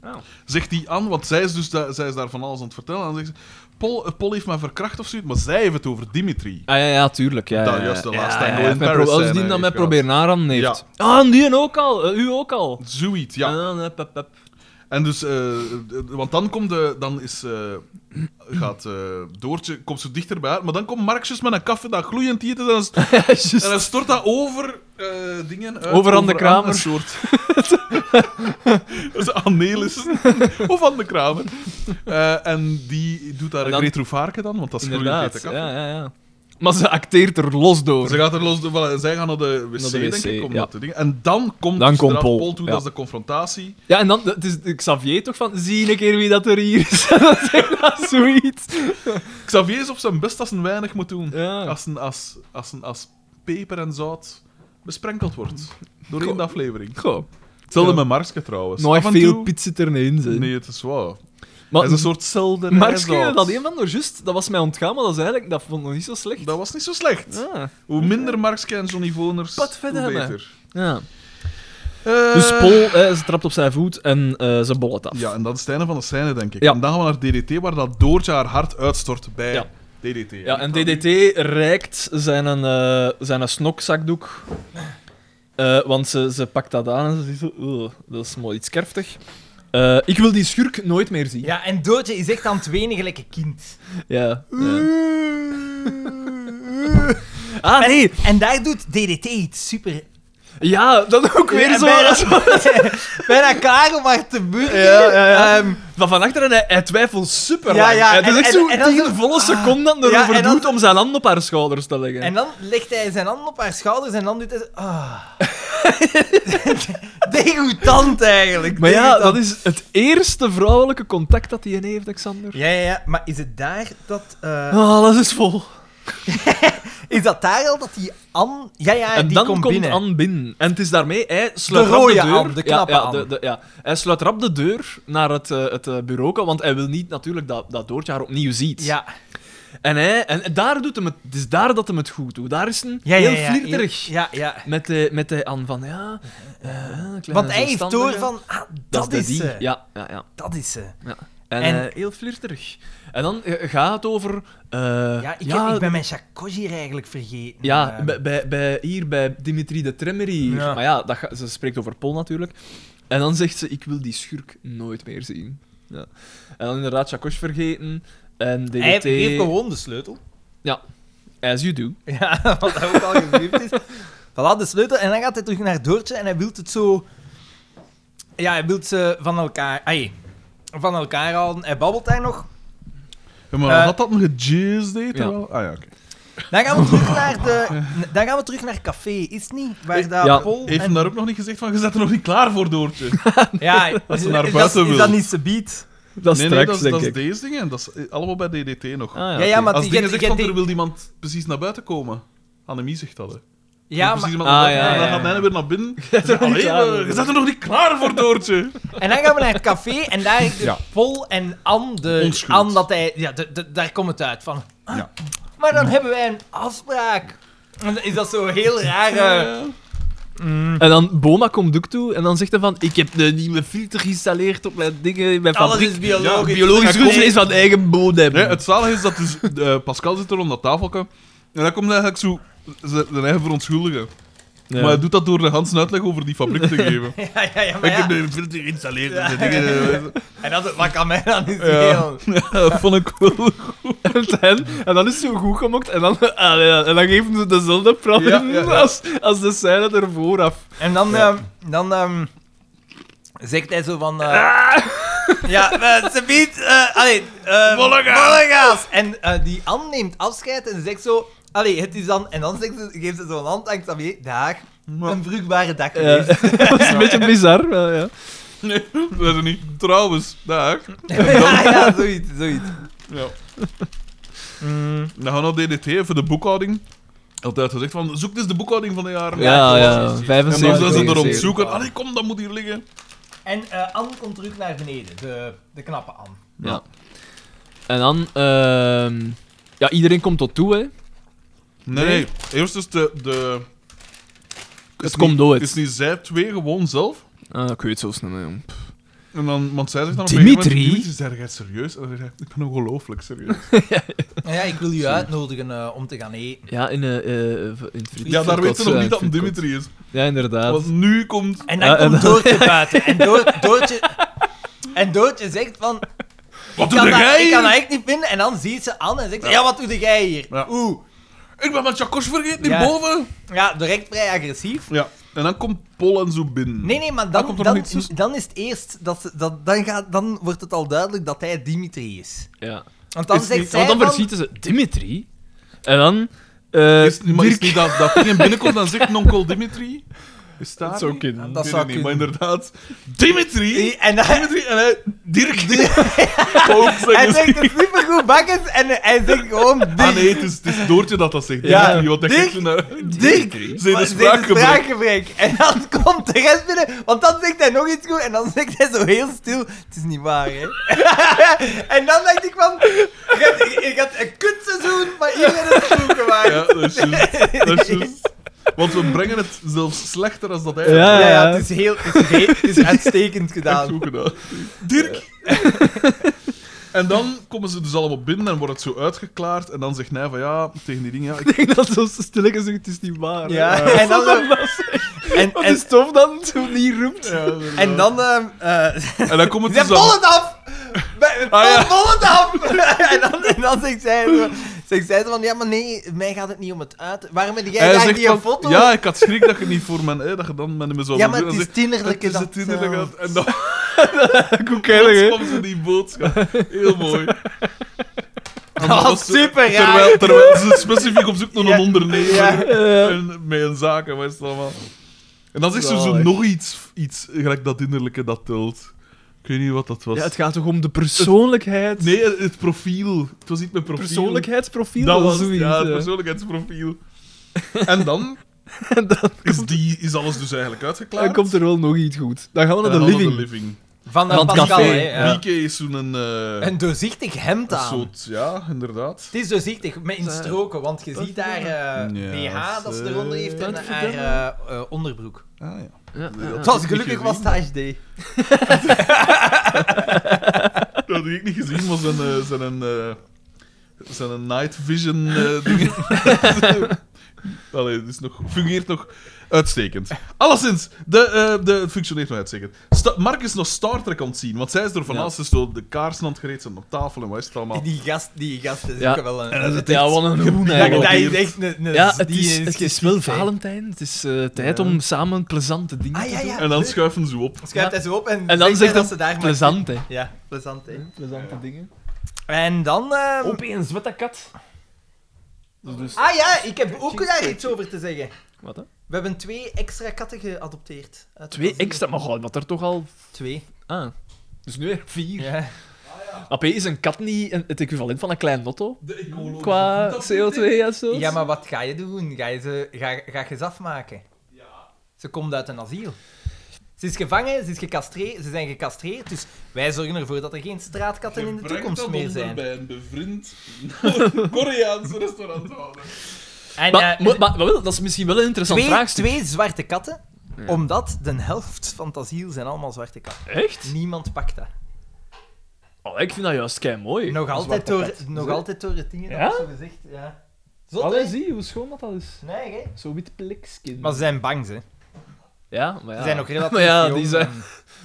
Ah. Zegt die Anne, want zij is, dus da- zij is daar van alles aan het vertellen. En dan zegt ze, Paul, eh, Paul heeft mij verkracht of zoiets, maar zij heeft het over Dimitri. Ah ja, ja, tuurlijk. Ja, Dat ja, ja. juist de Ja, laatste ja, Anglo ja. in Met pro- Paris eh, Als scène die heeft dan mij gehad. proberen aan heeft. Ah, die ook al. eh, u ook al. Zoiets, ja. En dan, eh, pep, pep. En dus, eh, eh, want dan komt de, dan is, eh, gaat eh, Doortje, komt ze dichter bij haar, maar dan komt Marxus met een kaffe dat gloeiend heet is en dan, st- Ja, juist. en dan stort dat over eh, dingen uit. Over aan de Anne, Kramer. Een soort. dat is Annelies. of aan de Kramer. Eh, en die doet daar En een dan- retro vaarke dan, want dat is gloeiend hete Inderdaad. kaffe. Ja, ja, ja. Maar ze acteert er los door. Ze gaat er los, wel, zij gaan naar de wc, Naar de denk wc, ik, om ja. dat te dingen. En dan komt Dan dus komt inderdaad Paul, Paul toe, ja. dat is de confrontatie. Ja, en dan het is Xavier toch van, zie een keer wie dat er hier is. dat is echt zoiets. Xavier is op zijn best als hij weinig moet doen. Ja. Als, een, als, als, een, als peper en zout besprenkeld wordt. Door één Goh. aflevering. Goh, Hetzelfde Ja. met Marske trouwens. nooit Af en toe- veel pit zit er niet in, zeg. Nee, het is waar. Maar Hij is een soort zelden. Markske, dat een van de just, dat was mij ontgaan, maar dat, is eigenlijk, dat vond ik nog niet zo slecht. Ah. Dat was niet zo slecht. Ja. Hoe minder Marske en Johnny Voners, Pat verder hoe hebben. beter. Ja. Eh, Dus Paul, eh, ze trapt op zijn voet en eh, ze bollet af. Ja, en dat is het einde van de scène, denk ik. Ja. En dan gaan we naar DDT, waar dat Doortje haar hart uitstort bij Ja. DDT. Ja, en Dan- DDT reikt zijn, een, eh, zijn een snokzakdoek. Eh, want ze, ze pakt dat aan en ze ziet zo... "Ugh, dat is mooi iets kerftig. Eh, ik wil die schurk nooit meer zien. Ja, en Doodje is echt aan het wenen gelijk een kind. Ja, ja. Ah, nee. En daar doet DDT iets super... Ja, dat ook weer Ja, zo. Bijna, bijna klaar om haar te burgen. Ja, ja, ja. Ehm, Van van achteren, hij, hij twijfelt super Ja, lang. ja, het is en- echt en- zo'n en dan tien zo- volle ah. seconden Ja, erover en dan- doet om zijn hand op haar schouders te leggen. en dan legt hij zijn hand op haar schouders en dan doet hij... Ah. Degoutant eigenlijk. maar ja, degoutant. dat is het eerste vrouwelijke contact dat hij in heeft, Alexander. Ja, ja, ja, maar is het daar dat... eh, Ah, alles is vol. Is dat daar al dat die An... Ja, ja, en die dan komt komt binnen. Anne binnen. En het is daarmee, hij sluit De rap rode de deur. Anne, de knappe ja, ja, Anne. de- de- ja. Hij sluit rap de deur naar het, eh, het eh, bureau, want hij wil niet natuurlijk dat, dat Doortje haar opnieuw ziet. Ja, En, hij, en daar doet hem het, het is daar dat hem het goed doet. Daar is hij ja, ja, heel ja, flirterig. Ja, ja. Met de, met de Anne van, ja... eh, kleine Want hij heeft door zelfstandige. van... Ah, dat, Dat, is is de die. ze. Ja, ja, ja. Dat is eh. ze. ja. En, En- eh, heel flirterig. En dan eh, gaat het over... eh, Ja, ik, ja, Heb, ik ben mijn chakos hier eigenlijk vergeten. ja, Ehm, bij, bij, bij- hier bij Dimitri de Tremmery. Ja. Maar ja, dat, ga- ze spreekt over Pol natuurlijk. Eh, En dan zegt ze, ik wil die schurk nooit meer zien. Ja. En dan inderdaad Chakos vergeten. En DDT... Hij heeft gewoon de sleutel. As you do. Ja, wat hij ook al gezegd is. Voilà, de sleutel. En dan gaat hij terug naar Doortje en hij wil het zo... Ja, hij wil ze van elkaar... Ai, van elkaar halen. Hij babbelt daar nog. Ja, maar Eh, had dat een gejizz deed? ja. wel? Ah ja, oké. Dan gaan we terug naar de... Dan gaan we terug naar café, is het niet? Waar dat Ja, Paul Heeft Oh, en... hem daar ook nog niet gezegd van, je zet er nog niet klaar voor, Doortje. Ja, is, ze naar is buiten dat, is wil. dat niet Sabiet? Dat is nee, nee, straks, dat, is- denk dat is ik. deze dingen. Dat is eh, allemaal bij DDT nog. Ah, Ja, ja, oké. maar Als die- dingen die- zegt van, die- er wil iemand precies naar buiten komen. Annemie zegt dat, hè. Ja, precies maar... iemand Ah, naar buiten. ja, en dan ja, gaat ja. Nijnen weer naar binnen. er nog niet Allee, klaar eh, voor. je zet er nog niet klaar voor, Doortje. En dan gaan we naar het café en daar Ja. Pol en Anne, de, Onschuld. Anne dat hij, ja, de- de- daar komt het uit van. Ah, Ja. Maar dan hebben wij een afspraak. En dan is dat zo heel raar? eh, En dan Boma komt ook toe en dan zegt hij van ik heb de nieuwe filter geïnstalleerd op mijn dingen, mijn alles fabriek. is biologisch. Biologisch Hij komt- groente is van eigen bodem. Nee, het zalige is dat dus, eh, Pascal zit er om dat tafeltje. En hij komt eigenlijk zo zijn zijn eigen verontschuldigen. Ja. Maar hij doet dat door de Hans een uitleg over die fabriek te geven. Ja, ja, ja, maar Ik heb ja. de filter geïnstalleerd. Ja. en de dingen- En dat, wat kan mij dan niet Ja. schelen? Ja, vond ik wel. En, dan- en dan is het zo goed gemokt en dan, ah, ja, en dan geven ze dezelfde praten Ja, ja, ja. Als, als de scène er vooraf. En dan, ehm, dan ehm, zegt hij zo van... eh, Ah. Ja, eh, ze biedt... eh, allee, eh, Mollegaas. En eh, die Anne neemt afscheid en zegt zo... Allee, het is dan... En dan zegt ze, geeft ze zo'n hand aan Xavier. Dag. Een vruchtbare dag Ja. geweest. dat is een beetje bizar. maar ja. Nee, dat is niet. Trouwens, dag. Ja, ja, zoiets, zoiets. Ja. Dan gaan we naar DDT voor de boekhouding. Altijd gezegd van, zoek dus de boekhouding van de jaren. Ja, ja, En dan zijn ze er om 75. te zoeken. Allee, kom, dat moet hier liggen. En eh Anne komt terug naar beneden. De, de knappe Anne. Ja. En dan, ehm, ja, iedereen komt tot toe, hè. Nee, nee. Eerst is de... de... Het komt door. nooit. Het is niet zij twee, gewoon zelf. Ah, ik weet het zo snel, hè, jong. Pff. En dan, want zij zegt dan op een Dimitri? gegeven moment... Dimitri? jij serieus? En dan zegt hij, ik ben ongelooflijk serieus. Ja, ik wil u uitnodigen eh, om te gaan eten. Ja, in, eh, eh, in het friet- ja, daar weten ze nog eh, niet dat het frietkots. Dimitri is. Ja, inderdaad. Want nu komt... En dan Ja, en komt dan- Doortje buiten. En, Door- Doortje, en Doortje zegt van... Wat Ik doe kan, dat, jij ik kan dat hier? echt niet vinden. En dan ziet ze Anne en zegt ze, ja, wat doe jij hier? Ja. Oeh. Ik ben mijn chakos vergeten, Ja. hierboven. Ja, direct vrij agressief. Ja. En dan komt Pol en zo binnen. Nee, nee, maar Dan dan, komt er dan, nog iets tussen. dan is het eerst... Dat, ze- dat, dan, gaat, dan wordt het al duidelijk dat hij Dimitri is. Ja. Want dan Is zegt niet- zij Want dan van- verschieten ze Dimitri. En dan... eh Is, maar is Dirk- niet dat, dat ding binnenkomt en zegt nonkel Dimitri? Is dat Dat zou kunnen. Dat Dat zou zou niet, maar inderdaad... Dimitri! En hij, Dimitri en hij... Dirk! Ook hij zeggen ze. zegt het supergoed bakkes en hij zegt gewoon... Di- Ah nee, het is, het is Doortje dat dat zegt. Ja. Dimitri, want dat eh, Dirk! kijkt naar... Dirk! Ze de Maar spraakgebrek. spraakgebrek. En dan komt de rest binnen, want dan zegt hij nog iets goed en dan zegt hij zo heel stil: Het is niet waar, hè? en dan dacht ik van: Je gaat, je gaat een kutseizoen, maar iedereen is het goed gemaakt. Ja, dat is juist. Dat is juist. Want we brengen het zelfs slechter als dat eigenlijk Ja, Ja, ja, ja. het is heel, het is, heel- het is uitstekend echt gedaan. goed gedaan. Dirk! En dan komen ze dus allemaal binnen en wordt het zo uitgeklaard. En dan zegt hij van ja, tegen die dingen, ja, ik Ik denk dat ze stilletjes zegt, het is niet waar. Ja, hè. en dan, Dat zo- is- en, Wat en, is tof dat het zo niet roept. Ja, en dan, ehm, eh, En dan komt het Ze dus aan- vol het af! Bij- Ah, ja. Vol het af! en, dan, en dan zegt zij, zo, zegt zij zo van, ja, maar nee, mij gaat het niet om het uit. Waarom heb jij Hij graag zegt die van, foto? Ja, ik had schrik dat je niet voor mijn... Hè, dat je dan met me zou Ja, maar doen. het En is zegt, tienerlijke Het is dat... het tienerlijke eh, dat- En dan Ook heilig, hè. kwam ze die boodschap. Heel mooi. En was was ze- super raar. Terwijl, terwijl ze specifiek op zoek naar Ja. een ondernemer. Ja. Eh, En met een zaken, wat is het allemaal. En dan zegt ze zo Zalig. nog iets, iets gelijk dat innerlijke dat telt. Ik weet niet wat dat was. ja, het gaat toch om de persoonlijkheid? Nee, het- het profiel. Het was niet mijn profiel. Persoonlijkheidsprofiel? Dat was zoiets. ja, het hè. persoonlijkheidsprofiel. En dan En dan is, die, is alles dus eigenlijk uitgeklaard. dan komt er wel nog iets goed. Dan gaan we En naar de dan hadden we living. Van, eh, Van het Pascal, café. hè, ja. Mieke is zo'n... eh, Een doorzichtig hemd een aan. soort... Ja, inderdaad. Het is doorzichtig, met in stroken, want je ziet daar eh Ja, BH dat ze eronder heeft en eh, haar eh, eh, onderbroek. Ah, ja. Het Dat was heb ik gelukkig niet was stage day. Dat had ik niet gezien, maar zijn... eh, zijn, eh, zijn een night vision eh, dingen. Allee, het is nog, fungeert nog uitstekend. Alleszins, de, eh, de, het functioneert nog uitstekend. Sta- Mark is nog Star Trek aan het zien, want zij is door van Ja. alles dus door de kaarsen aan het gereed, zijn op tafel en wat is het allemaal. Die gast, die gast is Ja. ook wel een... het ja, wat een hoen dat, dat eigenlijk. is echt een... een- Ja, het die is, het is wel geschikt, hè. Valentijn. Het is eh, tijd om samen plezante dingen Ah, ja, te doen. ja. En dan schuiven ze op. Schuift hij zo op en, En dan zegt hij zegt dat ze daar hij plezant, hè. maar... Ja, plezant, hè. Plezante dingen. En dan... ehm, Opeens, wat dat kat. Dus, Ah ja, ik heb ook daar iets over te zeggen. wat, hè? We hebben twee extra katten geadopteerd. uit het Twee asiel. extra, maar god, wat er toch al... Twee. Ah. Dus nu weer vier. Ja. AP is een kat niet een- het equivalent van een klein lotto? De Qua CO2 en zo? ja, maar wat ga je doen? Ga je ze, ga, ga je ze afmaken? Ja. Ze komt uit een asiel. Ze is gevangen, ze, is gecastreerd, ze zijn gecastreerd, dus wij zorgen ervoor dat er geen straatkatten in de toekomst meer zijn. bij een bevriend Koreaanse restaurant houden. En Maar, eh, maar, maar wel, dat is misschien wel een interessant twee, vraagstuk. twee zwarte katten, omdat de helft van het asiel zijn allemaal zwarte katten. Echt? Niemand pakt dat. Oh, ik vind dat juist kei mooi. Nog altijd, door, nog altijd door het ding, Ja? dat zo gezegd. Ja. Zot, Allee, hè? zie hoe schoon dat, dat is. Nee, hè? Zo wit plekskin. Maar ze zijn bang, hè. Ja, maar ja. Ze zijn ook relatief Maar ja, jong die zijn, en-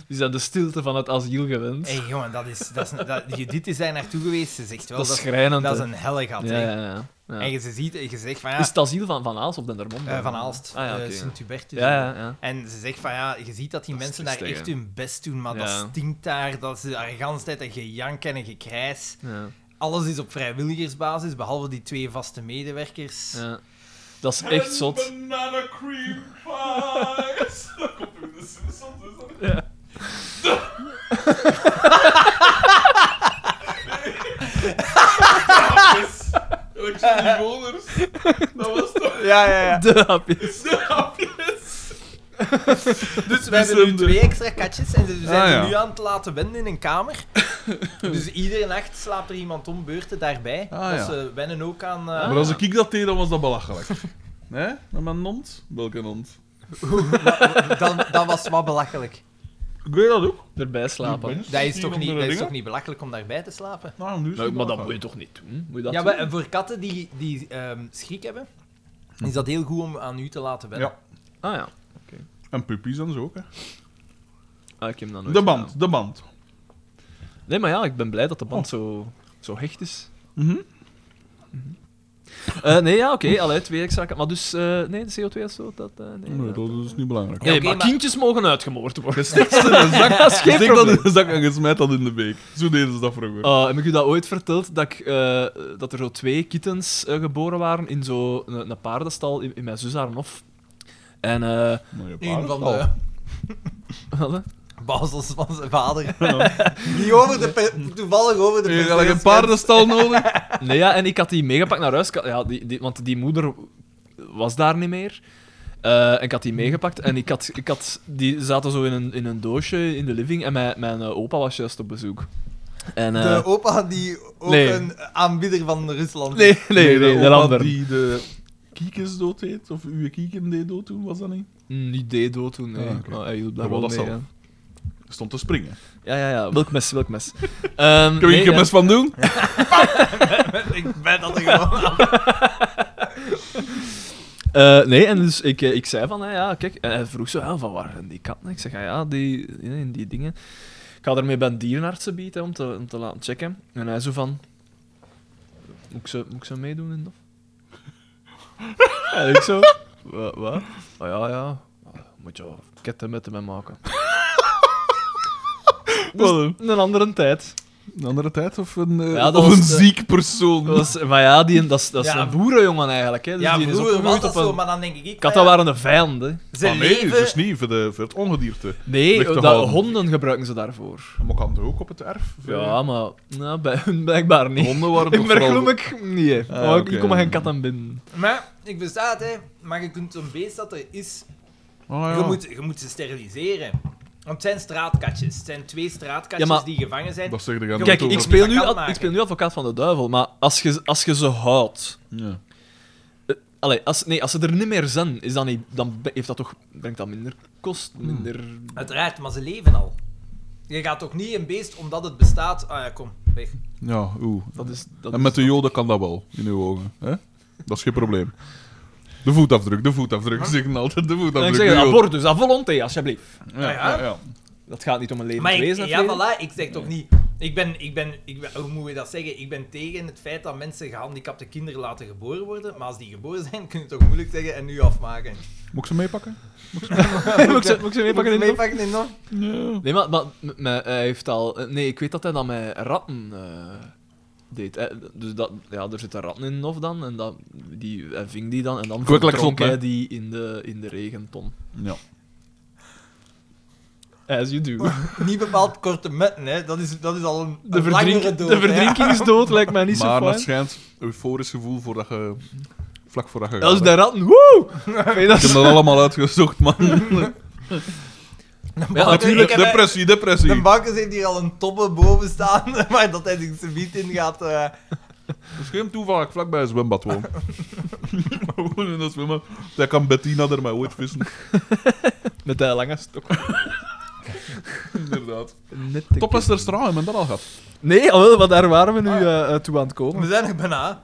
die zijn de stilte van het asiel gewend. Hé, jongen, dat is, dat is, dat, Judith is daar naartoe geweest. Ze zegt wel, dat is dat, schrijnend. dat is hè. een helle gat, Ja, hè. ja, ja. ja. En je ze ziet, je zegt van ja, Is het asiel van Van Aalst of Dendermonde? eh, Van Aalst, Ah, ja, eh, oké, ja. Sint-Hubertus. Ja, ja, ja. En ze zegt van ja, je ziet dat die Dat is mensen daar triestig, echt hè. hun best doen, maar dat Ja. stinkt daar, dat ze daar de hele tijd een gejank en een gekrijs. ja, Alles is op vrijwilligersbasis, behalve die twee vaste medewerkers. ja. Dat is echt zot. Banana cream pies. Dat komt ook in de Simpsons, dus is dat? Ja. Alexander Dat was toch... Ja, ja, ja. De hapjes. Dus we Dus hebben nu een- twee extra katjes en ze zijn Ah, ze ja. nu aan het laten wennen in een kamer. dus iedere nacht slaapt er iemand om beurten daarbij. Ah, dat ja. ze wennen ook aan... eh, Maar als ik dat deed, dan was dat belachelijk. Hè? Met mijn hond? Welke hond? dan, dat was wat belachelijk. Ik weet dat ook. Erbij slapen. Dat is, toch niet, dat is toch niet belachelijk om daarbij te slapen? Nou, nu is Nou, het maar dat belachelijk. moet je toch niet doen? Moet je dat ja, doen? maar eh, voor katten die, die ehm, schrik hebben, is dat heel goed om aan u te laten wennen. Hm. Ja. Ah ja. En puppies en zo ook, hè. Ah, ik heb dat nooit De gedaan. band, de band. Nee, maar ja, ik ben blij dat de band Oh. zo, zo hecht is. Mhm. Mhm. Eh, nee, ja, oké. allee, twee extra... ka- Maar dus, eh, nee, de CO2 of zo, dat... eh, nee, Nee, dat is niet belangrijk. Nee, Ja, oké, maar, maar- kindjes mogen uitgemoord worden. Steekt ze in een zak, Dat is geen steekt dat in probleem. een zak en je smijt dat in de beek. Zo deden ze dat vroeger. Eh, heb ik u dat ooit verteld? Dat, ik, eh, dat er zo twee kittens eh, geboren waren in zo'n een, een paardenstal in, in mijn zus haar hof. En, eh... Nou, je Een van paardenstal. de wat, hè? bazels van zijn vader. Die over de pe- toevallig over de Je hebt perceelsgrens- eigenlijk een paardenstal nodig. Nee, ja, en ik had die meegepakt naar huis. Ik had- Ja, die, die, want die moeder was daar niet meer. Eh, en ik had die meegepakt en ik had, ik had, die zaten zo in een, in een doosje in de living en mijn, mijn eh, opa was juist op bezoek. En, eh, De opa die ook Nee. een aanbieder van Rusland is. nee, nee, nee, de de opa ander. die de kiekens dood deed, of uw kieken deed dood toen, was dat niet? Mm, Niet deed dood toen, nee. Ah, oké. Maar hij hielp daar Maar wel wat mee. dat hè. zal. Stond te springen. Ja, ja, ja. Welk mes, welk mes. Ehm, Kun je nee, er best van doen? Ik ben dat er gewoon aan. eh, eh, nee, en dus ik, eh, ik zei van, hè, ja, kijk. En hij vroeg zo, ja, van waar zijn die katten? Ik zeg, "Ah, ja, ja, die, in die dingen. Ik ga ermee bij een dierenarts bieden om te, om te laten checken. En hij zo van... Moet ik ze, moet ik ze meedoen in dat? en ik zo... Wat? wat? Oh, ja, ja. Moet je wel ketten met hem maken. Dus Wel, een andere tijd. Een andere tijd of een, eh, Ja, dat of was een de- ziek persoon. Dat was- maar ja, die, dat is, dat is Ja. een boerenjongen eigenlijk. Hè. Dus Ja, die is vroeger was opgegroeid dat op zo, een- maar dan denk ik... Katten van ja, waren de vijanden. Ze Ah, nee, leven... dus niet voor, de, voor het ongedierte. Weg Nee, te dat, houden. honden gebruiken ze daarvoor. Maar kan er ook op het erf? Ja, maar nou, bij hun blijkbaar De niet. honden waren In toch vooral... Bergloemek? Nee. Ah, maar oké. Ik kom maar geen katten binnen. Maar, ik besta het, hè. Maar je kunt een beest dat er is... Ah, Je, ja. moet, je moet ze steriliseren. Want het zijn straatkatjes. Het zijn twee straatkatjes Ja, maar- die gevangen zijn. Dat zeg je dan Kijk, ook ik over. speel, dat nu, kan ad- maken. ik speel nu advocaat van de duivel, maar als je, als je ze houdt... Ja. eh, allee, als, nee, als ze er niet meer zijn, is dat niet, dan be- heeft dat toch, brengt dat minder kost, Hmm. minder... Uiteraard, maar ze leven al. Je gaat toch niet een beest omdat het bestaat... Ah ja, kom, weg. Ja, oeh. Dat is, dat en is- met de joden kan dat wel, in uw ogen. Hè? Dat is geen probleem. De voetafdruk, de voetafdruk. Ze zeggen altijd de En ik voetafdruk. zeg, Ja, abortus, à volonté, alsjeblieft. ja, ja, ja. Dat gaat niet om een levend Maar ik, wezen. ja, natuurlijk. voilà, ik zeg toch niet... Ik ben, ik ben, ik ben- hoe moet je dat zeggen? Ik ben tegen het feit dat mensen gehandicapte kinderen laten geboren worden. Maar als die geboren zijn, kun je toch moeilijk zeggen en nu afmaken. Moet ik ze meepakken? moet ik ze, moet ik ze meepakken in de dof? in nog? Ja. Nee, maar, maar m- m- hij heeft al... Nee, ik weet dat hij dat met ratten eh, deed. Eh, dus dat, ja, er zitten ratten in een hof dan. En dat, die, hij ving die dan. En dan Kwekkelijk verdronk vlot, hè? hij die in de, in de regenton. ja. As you do. Niet bepaald korte metten, hè. Dat is, dat is al een, De, een langere verdrink, dood. de hè. verdrinkingsdood lijkt mij niet maar zo dat fijn. schijnt euforisch gevoel voordat je... Vlak voordat je... Dat is gaat, de hè. ratten. Woe! Vind je dat Ik heb dat allemaal uitgezocht, man. De Ja, banken- Natuurlijk, ik heb- depressie, De depressie. bakkers heeft hier al een toppe boven staan, maar dat hij zich niet in gaat... eh, Het is geen toeval dat ik vlakbij een zwembad woon. Gewoon in dat zwembad. Daar kan Bettina er mij ooit vissen. Met de lange stok. Inderdaad. Net Top is er straal, hebben dat al gehad. Nee, alweer, want daar waren we nu eh, eh, toe aan het komen. we zijn er bijna.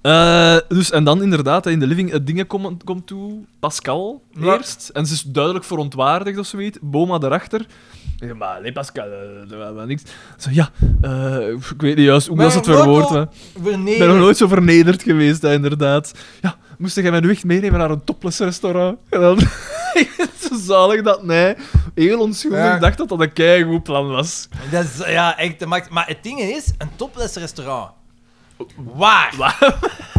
Eh, dus, en dan inderdaad, hè, in de living, het dingen komen komt toe. Pascal Ja. eerst. En ze is duidelijk verontwaardigd of zoiets. Boma daarachter. Ik zeg, maar nee, Pascal, eh, dat was wel niks. Zo, ja, eh, ik weet niet juist hoe Maar was het een verwoord. wortel- hè. Ik ben nog Vernederd. nooit zo vernederd geweest, hè, inderdaad. Ja, moest jij mijn weg meenemen naar een topless restaurant? En dan... Ik vind het zo zalig dat nee, heel onschuldig Ja. dacht dat dat een keigoed plan was. Dat is ja, echt de max. Maar het ding is, een topless restaurant. Waar?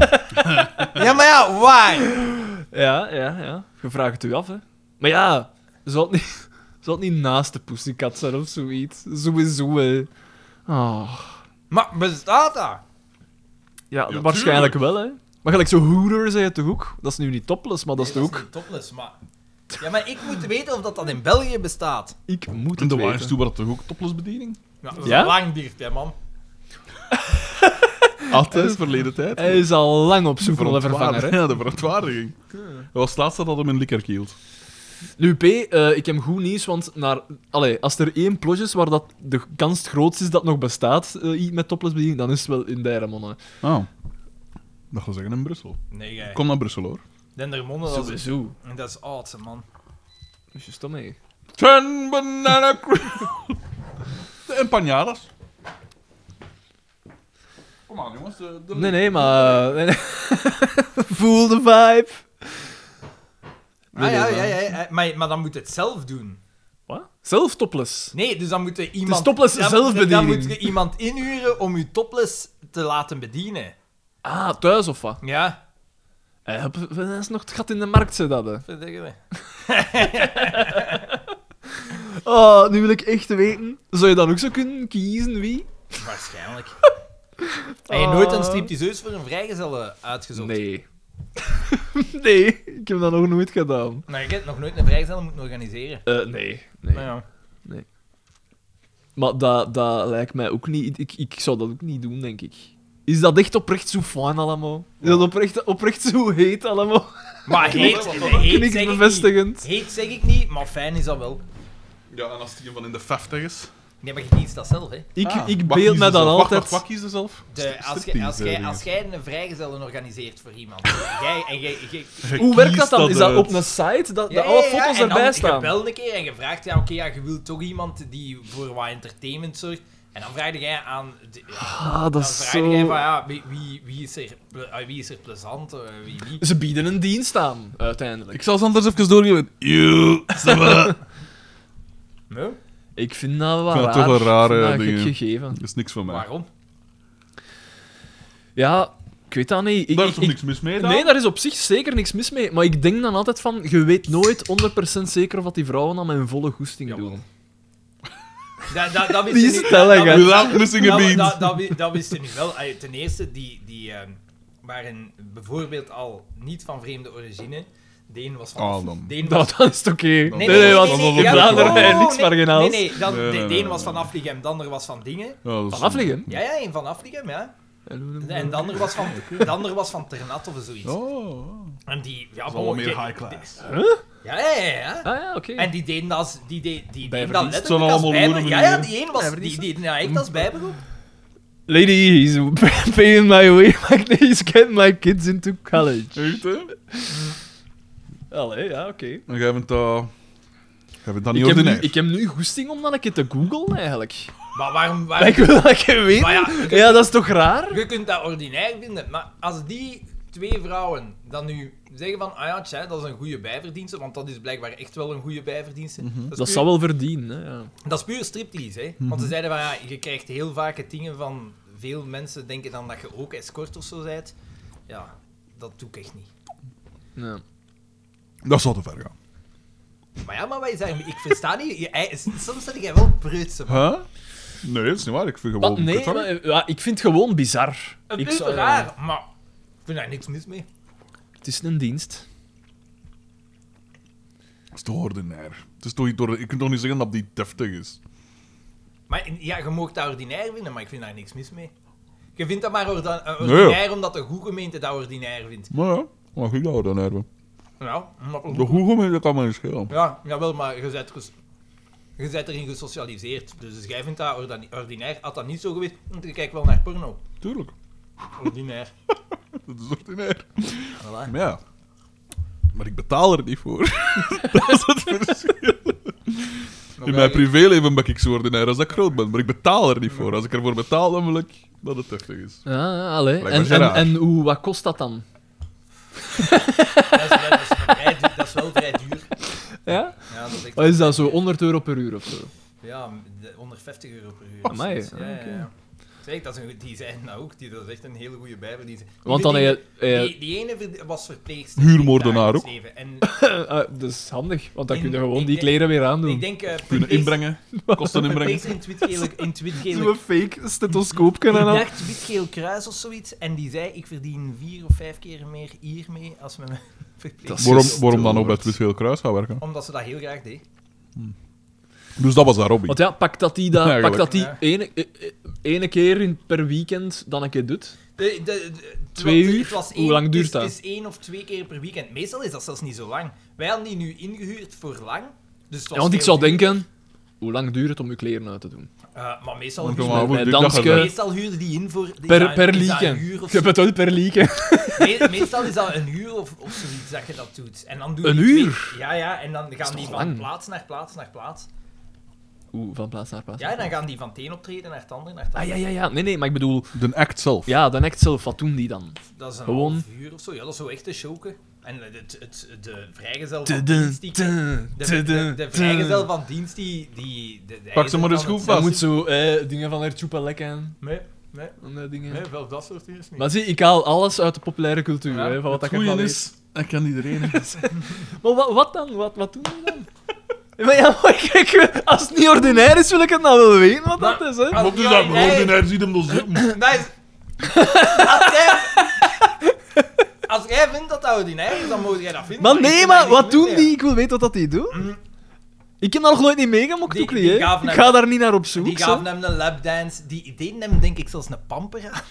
ja, maar ja, waar? Ja, ja, ja. Je vraagt het u af, hè. Maar ja, zou het niet, zou het niet naast de pussycat zijn of zoiets? Sowieso, hè. Ah. Maar bestaat dat? Ja, Ja, waarschijnlijk wel, hè. Maar gelijk zo hoeder, zei je toch ook? Dat is nu niet topless, maar dat is Nee, toch ook... niet topless, maar... Ja, maar ik moet weten of dat dan in België bestaat. Ik moet In het de weten. Wines toe was dat toch ook toplessbediening? Ja, dat Ja? is lang dicht, hè, man. Altijd, verleden tijd. Hij is al lang op zoek naar een vervanger, hè. Ja, de verontwaardiging. Dat was het laatste dat hem in likker hield. Nu, P, eh, ik heb goed nieuws, want naar, allee, als er één plot is waar dat de kans het grootst is dat nog bestaat eh, iets met toplessbediening, dan is het wel in Dijremonde. Ah. Dat wil zeggen in Brussel. Nee, gij. Kom naar Brussel, hoor. Dendermonde, dat is... Sowieso. Dat is oudste, man. Is je stom mee? Ten banana cream. De empanadas. Kom aan, jongens. De, de- Nee, nee, maar... eh, nee, nee. Voel de vibe. Ah, ja, ja, ja, ja. Maar, maar dan moet het zelf doen. Wat? Zelf topless. Nee, dus dan moet je iemand... is topless dan- Dan zelfbediening. moet je iemand inhuren om je topless te laten bedienen. Ah, thuis of wat? Ja, Eh, heb- dat is nog het gat in de markt, zei dat. hè. verdikken Oh, nu wil ik echt weten. Zou je dan ook zo kunnen kiezen wie? Waarschijnlijk. Heb je nooit een stripteaseus voor een vrijgezelle uitgezocht? Ah. Nee. nee, ik heb dat nog nooit gedaan. Nou, ik heb nog nooit een vrijgezelle moeten organiseren. Eh, nee. nee. Nou ja. Maar dat, dat lijkt mij ook niet. Ik, ik zou dat ook niet doen, denk ik. Is dat echt oprecht zo fijn allemaal? Is dat oprecht, oprecht zo heet allemaal? Maar heet, Knik heet, zeg ik niet. bevestigend. heet zeg ik niet, maar fijn is dat wel. Ja, en als die van in de 50 is. Nee, maar je kiest dat zelf, hè. Ik, Ah, ik wat beeld kiezen me ze dan zelf? altijd. Wacht, wat, wat kiezen ze zelf? De, als jij als jij- als jij een vrijgezellen organiseert voor iemand, jij, en jij, jij- Hoe werkt dat dan? Is dat op een een site dat, Ja, dat alle ja, ja, foto's en dan erbij staan? Je belt een keer en je vraagt, ja, oké, ja, je wilt toch iemand die voor wat entertainment zorgt. En dan vraag jij aan... De, Ah, dat dan is vraag jij zo. van, ja, wie, wie, wie, is, er, ple- ah, wie is er plezant, eh, wie niet. Ze bieden een dienst aan, uiteindelijk. Ik zal ze anders even doorgeven. Eeuw, ze wel. Nee? Ik vind dat wel Ik vind dat raar. toch wel rare Ik vind dat dingen. gek gegeven. Dat is niks voor mij. Waarom? Ja, ik weet dat niet. Ik, Daar ik- is toch ik- niks mis mee dan? Nee, daar is op zich zeker niks mis mee. Maar ik denk dan altijd van, je weet nooit 100% zeker of dat die vrouwen aan mijn volle goesting Jawel. doen. Dat, dat, dat wist Die je niet- stelling, dat- dat- hè. Without missing a dat- beat. dat- dat wi- Dat wist je nu wel. Allee, Ten eerste, die, die eh, waren bijvoorbeeld al niet van vreemde origine. De een was van... Ah, dan. de een was Dat, dat is het oké. Nee, nee, nee, nee, want nee, nee, in ja, Vlaanderen oh, eh, niks nee, marginaals. Nee, nee, dan, Nee, nee, de, de nee, een was nee. van Afligem, de ander was van Dingen. Ja, dat is- Van afliggen? Ja, ja, een van Afligem, ja. En de ander was van, de ander was van Ternat of zoiets. Oh. En die, ja, Dat is wel bon, meer die- high class. Ja, ja, ja. ja. Ah ja, oké. En die deden dat, als- die, die, die, Bij deden dat verdienst. letterlijk Het zijn als allemaal bijbe- loeren Ja, ja, meneer. die een was, die, die, nou, echt als bijberoep. Lady, he's paying my way. Like, he's getting my kids into college. Echt, hè? Allee, ja, oké. En jij vindt dat... Jij vindt dat niet Ik, heb nu- ordinair. ik heb nu goesting om dat een keer te googlen, eigenlijk. Maar waarom... Maar Ah, waarom... ik wil dat ik weet. Maar ja, ja, dat is toch raar? Je kunt dat ordinair vinden, maar als die twee vrouwen dan nu zeggen van ah ja, tja, dat is een goede bijverdienste, want dat is blijkbaar echt wel een goede bijverdienste. Dus Dat, is puur, zou wel verdienen, hè, ja. dat is puur striptease, hè. Want ze zeiden van ja, je krijgt heel vaak het dingen van veel mensen denken dan dat je ook escort of zo bent. Ja, dat doe ik echt niet. ja. Dat zou te ver gaan. Maar ja, maar wij zijn, ik versta niet, je, ei- soms zet jij wel preutsen. man. Huh? Nee, dat is niet waar. Ik vind gewoon... Wat? Nee, kutwerk. maar, ja, ik vind het gewoon bizar. Een ik puur zou- raar, maar ik vind daar niks mis mee. Het is een dienst. Het is toch ordinair. Het is toch niet door... Je kunt toch niet zeggen dat die deftig is? Maar in- ja, je mag dat ordinair vinden, maar ik vind daar niks mis mee. Je vindt dat maar orda- eh, Nee. ordinair omdat de goede gemeente dat ordinair vindt. Maar ja, mag ik dat ordinair hebben? Ja, omdat er- De goede gemeente kan mij niet schelen. ja jawel, maar je bent, ges- je bent erin gesocialiseerd. Dus jij vindt dat ordani- ordinair. Had dat niet zo geweest, want je kijkt wel naar porno. Tuurlijk. Ordinair. Dat is ordinair. Voilà. Maar ja. Maar ik betaal er niet voor. dat is het verschil. In mijn privéleven ben ik zo ordinair als dat ik groot ben, maar ik betaal er niet voor. Als ik ervoor betaal, dan wil ik dat het deftig is. Ja, ja, allee. Blijkbaar En, is het en, raar. en hoe, wat kost dat dan? Dat is, wel- dat is vrij duur- dat is wel vrij duur. Ja? Ja, dat is echt- Wat is dat, zo 100 euro per uur of zo? Ja, de- 150 euro per uur. Amai, Zoiets. ja, oké. ja, ja. Zeg, dat is een, die zijn dat ook, die, dat is echt een hele goede bijverdienste. Die Want dan heb verdienen- je... eh, Die, die ene verd- was verpleegster. Huurmoordenaar in ook. het leven. En Ah, dat is handig, want dan In- kun je gewoon ik die denk- kleren weer aandoen. ik denk... eh, Kunnen verpleegster- inbrengen, kosten inbrengen. verpleegster in twitgele... Zo'n In twitgele fake stethoscoopje en al. dacht witgeel kruis of zoiets. En die zei, ik verdien vier of vijf keer meer hiermee als met mijn verpleegster. Dat is- Waarom, waarom dan ook bij het Witgeel Kruis gaan werken? Omdat ze dat heel graag deed. Dus dat was haar hobby. Want eh, ja, pak dat die, dat, Eigenlijk. pak dat die Ja. ene, eh, eh, ene keer in, per weekend dan een keer doet. De, de, de- Twee het- uur? het was Hoe één- lang duurt het is- dat? Het is één of twee keer per weekend. Meestal is dat zelfs niet zo lang. Wij hadden die nu ingehuurd voor lang. Dus het was Ja, want ik veel zou duurder. denken, hoe lang duurt het om je kleren uit te doen? Eh, maar meestal, Want huurde- normaal moet bij ik dat gaan Danske- werken. meestal huurde die in voor... is eh, Per, dat- per is dat een lieken. uur of Je betaalt per lieken. Me- meestal is dat een uur of, of zoiets dat je dat doet. En dan doe je Een twee- uur? Ja, ja, en dan gaan toch die van lang? plaats naar plaats naar plaats. Oeh, van plaats naar plaats. Ja, en dan gaan die van het een optreden naar het ander naar het Ah ander. ja, ja, ja. Nee, nee, maar ik bedoel, De act zelf. ja, dan act zelf, wat doen die dan? Dat is een Gewoon. half uur of zo. Ja, dat is zo echt een showke. En het, het, het- de vrijgezel van Tudun, dienst die... De, tudun, de, de, tudun, de tudun. vrijgezel van dienst die... die de, de Pak ze maar eens van het- goed Dan vast. moet zo eh, dingen van haar tjoepa lekken. Nee, nee, en dat dingen. nee, wel dat soort dingen niet. Maar zie, ik haal alles uit de populaire cultuur, Ja, hè, van wat het ik ervan goeie weet. is, dat kan iedereen. Maar wat, wat dan? Wat, wat doen die dan? maar ja, maar ik- ik- als het niet ordinair is, wil ik het nou wel weten wat Maar- Ah, dat is, hè. Als Wat is die dat? ordinair- Ordinair ziet hem dan zitten. Dat is... Als jij... Als jij vindt dat dat ordinair is, dan moet jij dat vinden. Maar ik nee, vind maar daar niks wat mis doen mee. die? Ik wil weten wat dat die doen. Mm. Ik heb daar nog nooit niet meegemokt, Die- ook die niet, hè. gaven Ik hem- ga daar niet naar op zoek, Die zo. gaven hem een lapdance. Die deden hem denk ik zelfs een pamper aan.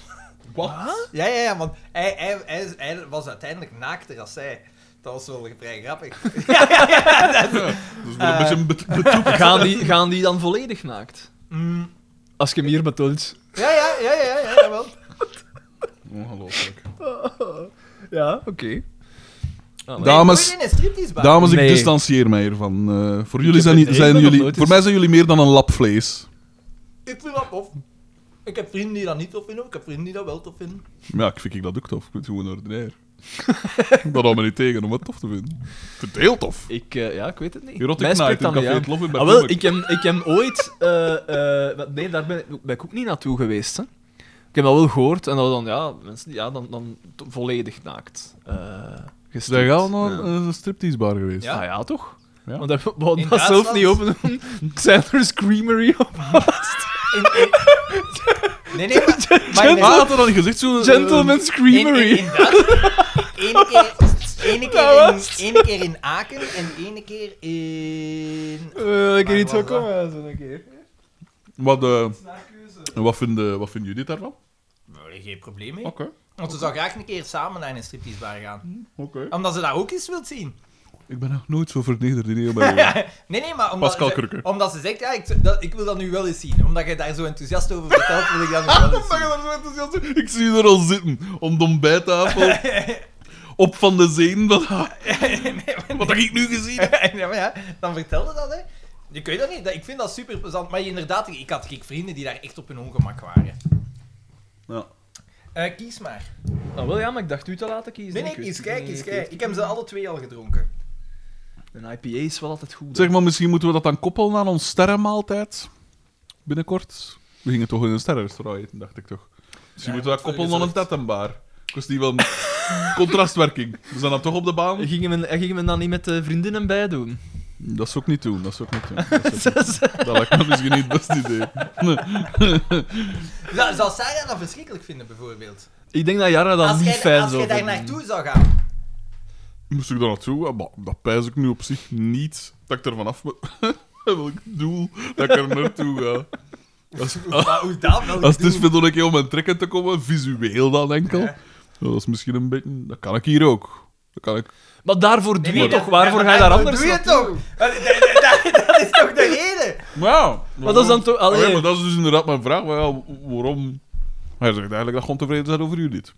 Wat? Ja, ja, ja, want hij, hij, hij, hij was uiteindelijk naakter als zij. Dat was wel vrij grappig. Dat is wel een beetje een bet- betoep. Gaan die, gaan die dan volledig naakt? Mm. Als je meer betoelt. Ja, ja, ja, ja, ja, jawel. Ongelooflijk. Ja, oké. Dames, Moet je in een striptease bar? Dames, ik Nee. distancieer mij hiervan. Eh, voor jullie heb zijn, het- niet- ik zijn ben nog jullie... nooit Voor eens- mij zijn jullie meer dan een lap vlees. Ik vind dat tof. Ik heb vrienden die dat niet tof vinden, ik heb vrienden die dat wel tof vinden. Ja, ik vind ik dat ook tof. Ik vind het gewoon ordinair. dat houdt me niet tegen om het tof te vinden. Ik vind het heel tof. Ik, eh, ja, ik weet het niet. Je rotte Mij knaait spreekt in dat Café niet aan. Het Lof in Ah, wel, Berkeley. ik heb, ik heb ooit... eh, eh, wat- nee, daar ben, ik- ben ik ook niet naartoe geweest. Hè. Ik heb dat wel gehoord. En dat dan, ja, mensen, die- ja, dan, dan to- volledig naakt. eh Zijn gestript. jij al naar Ja. een striptease bar geweest? Ja. Ah ja, toch? Ja. Want we wouden In dat zelf niet Duitsland? open doen. Xander's Creamery op. In- in- Nee, nee, maar... maar in- Ah, had er dan gezegd zo... eh, Gentleman's in- in- Creamery. in Duits- Ene keer, ene, keer Dat in, was- ene keer in Aken en ene keer in... Eh, Waar Ik heb niet was zo dat? komen, zo een keer. wat, eh, en wat, vinden, wat vinden jullie daarvan? Geen probleem mee. Oké. Want ze zou graag een keer samen naar een striptease bar gaan. Oké. Omdat ze daar ook eens wilt zien. Ik ben nog nooit zo vernederd in heel mijn leven. Nee, nee, maar omdat, Pascal ze, Krukke. omdat ze zegt, ja, ik, dat, ik wil dat nu wel eens zien. Omdat je daar zo enthousiast over vertelt, wil ik dat nu wel eens Omdat je zien. daar zo enthousiast bent. Ik zie je er al zitten, om de ontbijttafel. Op van de zenuwen van... "Ha, Nee, maar- Wat heb ik nu gezien? ja, maar ja, dan vertelde dat, hè. Ik weet dat niet, dat- ik vind dat super plezant. Maar inderdaad, ik had ik vrienden die daar echt op hun ongemak waren. Ja. Eh, kies maar. Ah, wel ja, maar ik dacht u te laten kiezen. Nee, nee, Ik weet kies, het kijk, niet. kies, Ik weet kijk. het Ik heb niet. ze alle twee al gedronken. Een IPA is wel altijd goed. Zeg maar, misschien moeten we dat dan koppelen aan ons sterrenmaaltijd. Binnenkort. We gingen toch in een sterrenrestaurant eten, dacht ik toch. Misschien moeten we dat wat koppelen voor aan een gezorgd. tettenbaar. Ik was die wel... Contrastwerking. We zijn dan toch op de baan? hè. Gingen we, gingen we dan niet met de vriendinnen bij doen? Dat zou ik niet doen, dat zou ik niet doen. Dat, zou ik niet- dat lijkt me misschien niet het beste idee. Zou, zou Sarah dat verschrikkelijk vinden, bijvoorbeeld? Ik denk dat Jara dat als niet jij, fijn als zou jij daar vinden. naartoe zou gaan. Moest ik daar naartoe? Ja, maar dat pijs ik nu op zich niet. Dat ik er vanaf moet. Welk doel dat ik er naartoe ga. Als, Maar hoe dat wel Oh. als het doen? is vindt om een keer om mijn trekken te komen, visueel dan enkel. Dat is misschien een beetje... Dat kan ik hier ook. Dat kan ik... Maar daarvoor Nee, doe je nee, toch? dat- Waarvoor ja, ga je daar maar anders doe je naartoe? toch? Dat, dat- dat- dat is toch de reden? Maar ja... Maar dat is dan toch... Allee, Allee, maar dat is dus inderdaad mijn vraag. Maar ja, waarom... Hij zegt eigenlijk dat gewoon tevreden zijn over jullie dit.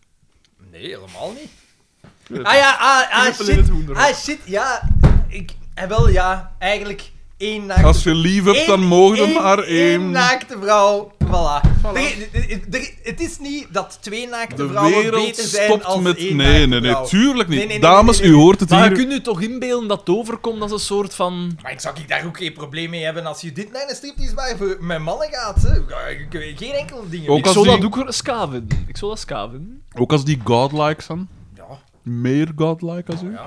Nee, helemaal niet. Ah ja, ah, ah, shit. Ah shit, ja. Ik, eh, wel ja, eigenlijk één naakte Als je lief hebt, dan Eén- mogen er één- maar één... één naakte vrouw, voilà. Er- er- er- het is niet dat twee naakte De vrouwen wereld beter zijn stopt als met... één Nee, nee, naakte nee, vrouw. tuurlijk niet. Nee, nee, nee, Dames, nee, nee, u hoort het maar hier. je kunt je toch inbeelden dat het overkomt als een soort van... Maar ik zou ik daar ook geen probleem mee hebben als je dit naar een striptease waar voor mijn mannen gaat. Hè. Ik- ik- Geen enkel ding. Ook ik als zou die- dat ook ska vinden. Ik zou dat ska vinden. Ook als die godlike zijn. Ja, Meer godlike als u. ja.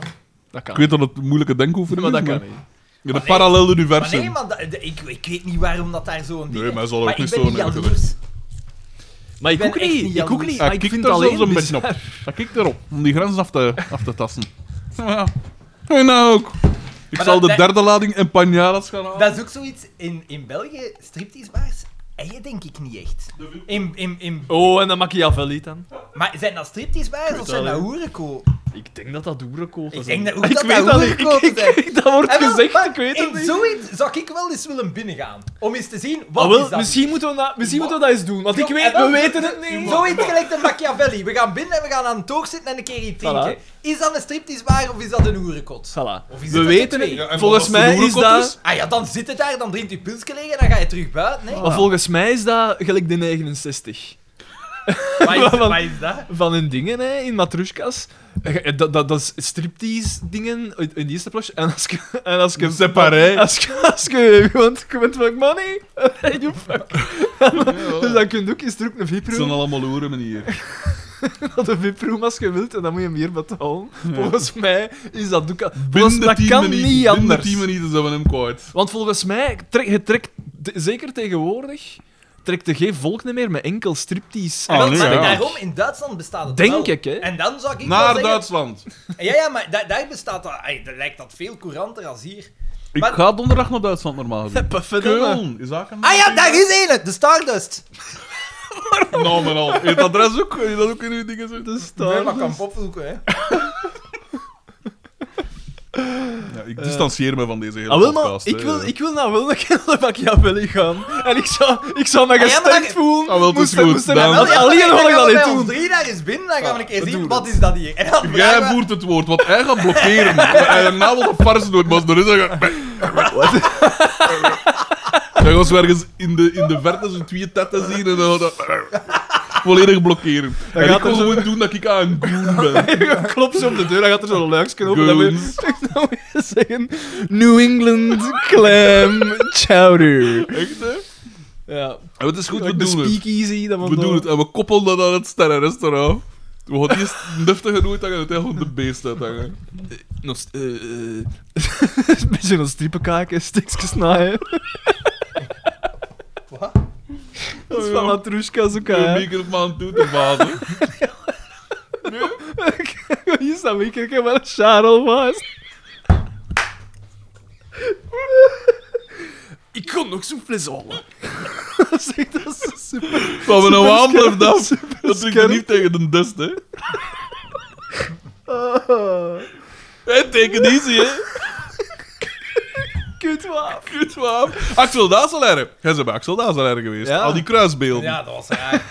Dat kan. Ik weet dat het moeilijke denkoefening maar is, dat kan niet. In Maar een nee. parallel Maar universum. nee, man, dat- de- ik, ik weet niet waarom dat daar zo'n Nee, ding maar hij zal is. er ook Maar niet ik ben zo niet naar jaloers. Maar ik ben ook echt niet. niet Ik ook jaloers. niet. Hij Maar ik kikt vind er het alleen zelfs een beetje op. Hij kikt erop, om die grens af te, af te tasten. Ja. En nou ook. Ik Maar zal dat- de dat- derde lading en panadas gaan halen. Dat is ook zoiets in, in België, stripteasebaars, en je denk ik niet echt. In, in, in, Oh, en dan Machiavelli dan. maar zijn dat stripteasebaars of zijn wel, dat hè. hoerenkool? Ik denk dat dat Oerekoot Ik is. denk dat ook ik dat weet dat niet. Oerekoot Ik- ik- Dat wordt Ah, wel, gezegd, maar ik weet het in niet. zoiets zou ik wel eens willen binnengaan. Om eens te zien, wat Ah, wel, is dat? misschien moeten we dat, misschien moeten we dat eens doen, want ik Zo, weet, en dan- we weten het niet. Zoiets gelijk de Machiavelli. We gaan binnen en we gaan aan het toog zitten en een keer iets drinken. Is dat een stripteasebaar of is dat een hoerenkot? Voilà. Of is We het weten het het. twee? en volgens als het mij een is hoerenkot dat... is? Ah ja, dan zit het daar, dan drinkt je pilsje leeg en dan ga je terug buiten. hè. Maar volgens mij is dat gelijk de 69. Wat is, Wat- wat is dat? Van hun dingen, hè, in matroeskas. Eh, Dat, dat, dat is striptease-dingen in- in die eerste plasje. En als je... En als je Separé. Als je... Als je gewoon... Je bent van money. You fuck. Dus dan kun je ook eens terug een Het zijn VIP-room. allemaal hoeren, meneer. Een VIP-room als je wilt. En dan moet je meer betalen. Volgens mij is dat ook... al- Volgens, Binnen dat tien kan minuten- niet Binnen anders. 10 minuten zijn we hem kwijt. Want volgens mij, trek, je trekt, de- zeker tegenwoordig, trekt er geen volk meer met enkel striptease. Ah, Wel, nee, maar ja. daarom, in Duitsland bestaat het Oh, Denk wel. ik, hè. En dan zou ik wel Naar zeggen... Duitsland. Ja, ja, maar da- daar bestaat dat... Ay, daar lijkt dat veel couranter als hier. Ik Maar- ga donderdag naar Duitsland normaal gezien. Perfect. Keulen, is dat een... Ah ja, daar is ene! De Stardust! Nominal. Heeft dat adres ook? Heeft dat ook in uw dingen zo? Nee, maar kan popzoeken, hè. Ja, ik distancieer me van deze hele Ah, wel, maar podcast. ik hè. wil, ik wil nou wel een keer naar Machiavelli gaan. En ik zou, ik zou me Ah, ja, maar gesterkt dat- voelen. Ah, wel, het is moest er- goed, moest er- dan- als- ja, Alleen dan wil ik gaan dat we niet bij ons doen. drie daar eens binnen, dan gaan we een keer doen zien, we wat is dat hier? En dan vragen Jij we- voert het woord, want hij gaat blokkeren. En na wil de farsen doen, maar er is een... Dan gaan ze ergens in de, in de verte zo'n twee tetten zien en dan... dan- Volledig blokkeren. Dan en gaat ik wil er zo- gewoon doen dat ik aan een goon ben. Klopt ze op de deur, dan gaat er zo'n luiksje open. Dan moet Goons. je, dan moet je zeggen: New England clam chowder. Echt, hè? Ja, En het is goed, we Like de doen het. speakeasy. dat We doen het. En we koppelen dat aan het sterrenrestaurant. We gaan eerst een deftige nooit hangen en uiteindelijk gewoon de beest uithangen. Nog, st- eh, eh, een beetje een strippenkaken, Oh, stikjes naaien. Wat? Dat is van Matrushka's ook, Een hè. week op maand toe te vaten. Hier staat mijn kerkje wel een Charles was. Ik kon nog zo'n fles halen. Dat is echt dat is super. Dat we nou Super aanblijven, scherp, dat, super dat doe ik scherp. niet tegen de Oh. dest, hè. Hij tekent easy, hè. Kutwaaf. Kutwaaf. Axel Dazelaren. Jij bent bij Axel Dazelaren geweest. Ja. Al die kruisbeelden. Ja, dat was raar.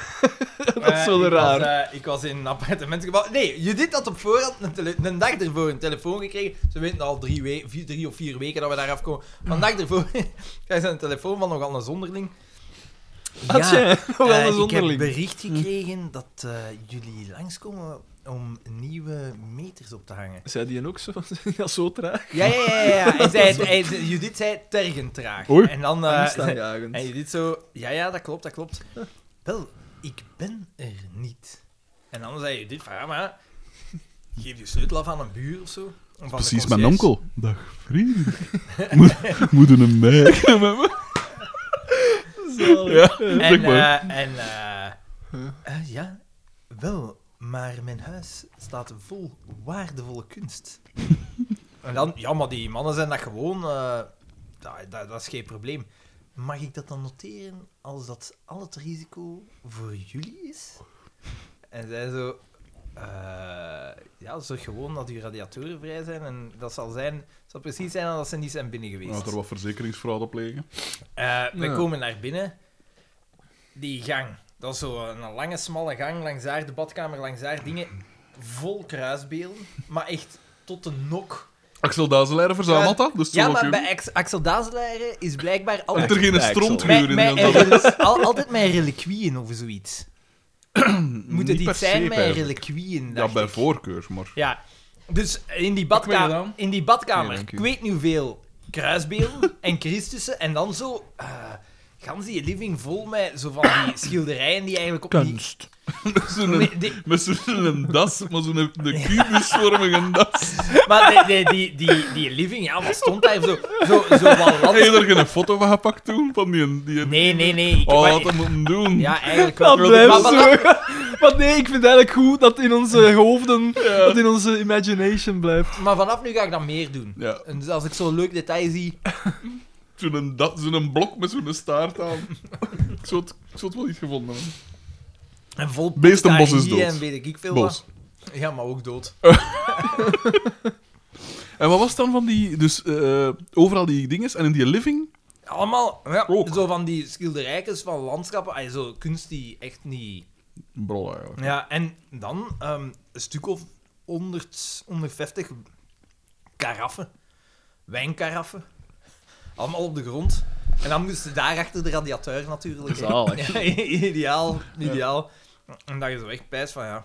Dat is wel ik raar. Was, eh, ik was in een appartement gebouwd. Nee, Judith had op voorhand, een, tele- een dag ervoor, een telefoon gekregen. Ze weten al drie, we- vier- drie of vier weken dat we daar afkomen. Maar een dag ervoor krijg ze een telefoon van nogal een zonderling. Had jij nogal eh, een ik heb zonderling? bericht gekregen dat eh, jullie langskomen om nieuwe meters op te hangen. Zei die ook zo? Zei die al zo traag? Ja, ja, ja. ja. Hij zei, het- hij, Judith zei tergend traag. Oei. En dan... eh, Angstaanjagend. en Judith zo... Ja, ja, dat klopt, dat klopt. Wel, ik ben er niet. En dan zei Judith van... Ja, maar... Geef je sleutel af aan een buur of zo. Of aan de Precies, conciërge. mijn onkel. Dag, vriend. Moet, moeten hem merken met me. Ja, zeg En, maar. eh, en eh, eh, ja, wel, maar mijn huis staat vol waardevolle kunst. en dan, ja, maar die mannen zijn dat gewoon, eh, dat, dat, dat is geen probleem. Mag ik dat dan noteren als dat al het risico voor jullie is? En zij zo, eh, ja, zorg gewoon dat uw radiatoren vrij zijn en dat zal zijn, zal precies zijn als ze niet zijn binnen geweest. Laat er wat verzekeringsfraude plegen. Eh, we Ja. komen naar binnen. Die gang. Dat is zo een lange, smalle gang. Langs daar de badkamer, langs daar dingen. Vol kruisbeelden. Maar echt tot de nok. Axel Dazelaren verzamelt dat, dus Ja, zo maar ook bij Ax- Axel Dazelaren is blijkbaar je- altijd... Heeft er geen bij Axel. strontgeur in mijn- de mijn hand. rel- al- altijd mijn reliquieën of zoiets. Moet Niet het per iets se, zijn met eigenlijk. reliquieën? Ja, dacht bij ik. voorkeur, maar... Ja. Dus in die Pak mee badkamer, gedaan. in die badkamer Ja, dank u. ik weet niet hoeveel kruisbeelden en Christussen. En dan zo, eh gans die living vol met zo van die schilderijen die eigenlijk op Zo'n- die, Met zo'n das, maar zo'n de kubusvormige das. maar die, die, die, die, die living, ja, wat stond daar zo, zo, zo wat Heb je land... er geen foto van gepakt toen? Van die, die... Nee, nee, nee. Ik, Oh, maar- dat moeten doen. ja, eigenlijk wel. Dat blijft Maar- maar- zo. Want nee, ik vind het eigenlijk goed dat in onze hoofden, dat in onze imagination blijft. Maar vanaf nu ga ik dat meer doen. Ja, En dus als ik zo'n leuk detail zie... zo'n da- zo'n blok met zo'n staart aan. ik, zou het, ik zou het wel niet gevonden hebben. En vol Beestenbos is picarieën dood. En weet ik veel Bos. wat. Ja, maar ook dood. En wat was het dan van die... Dus eh, overal die dingen en in die living... Allemaal ja, Ook. zo van die schilderijkens van landschappen. Ay, zo kunst die echt niet... Brol, eigenlijk. Ja, en dan ehm, een stuk of 100, 150 karaffen. Wijnkaraffen. Allemaal op de grond. En dan moesten daar achter de radiateur natuurlijk. Zalig. Ja, ideaal, ideaal. En dat je zo echt pijs van, ja...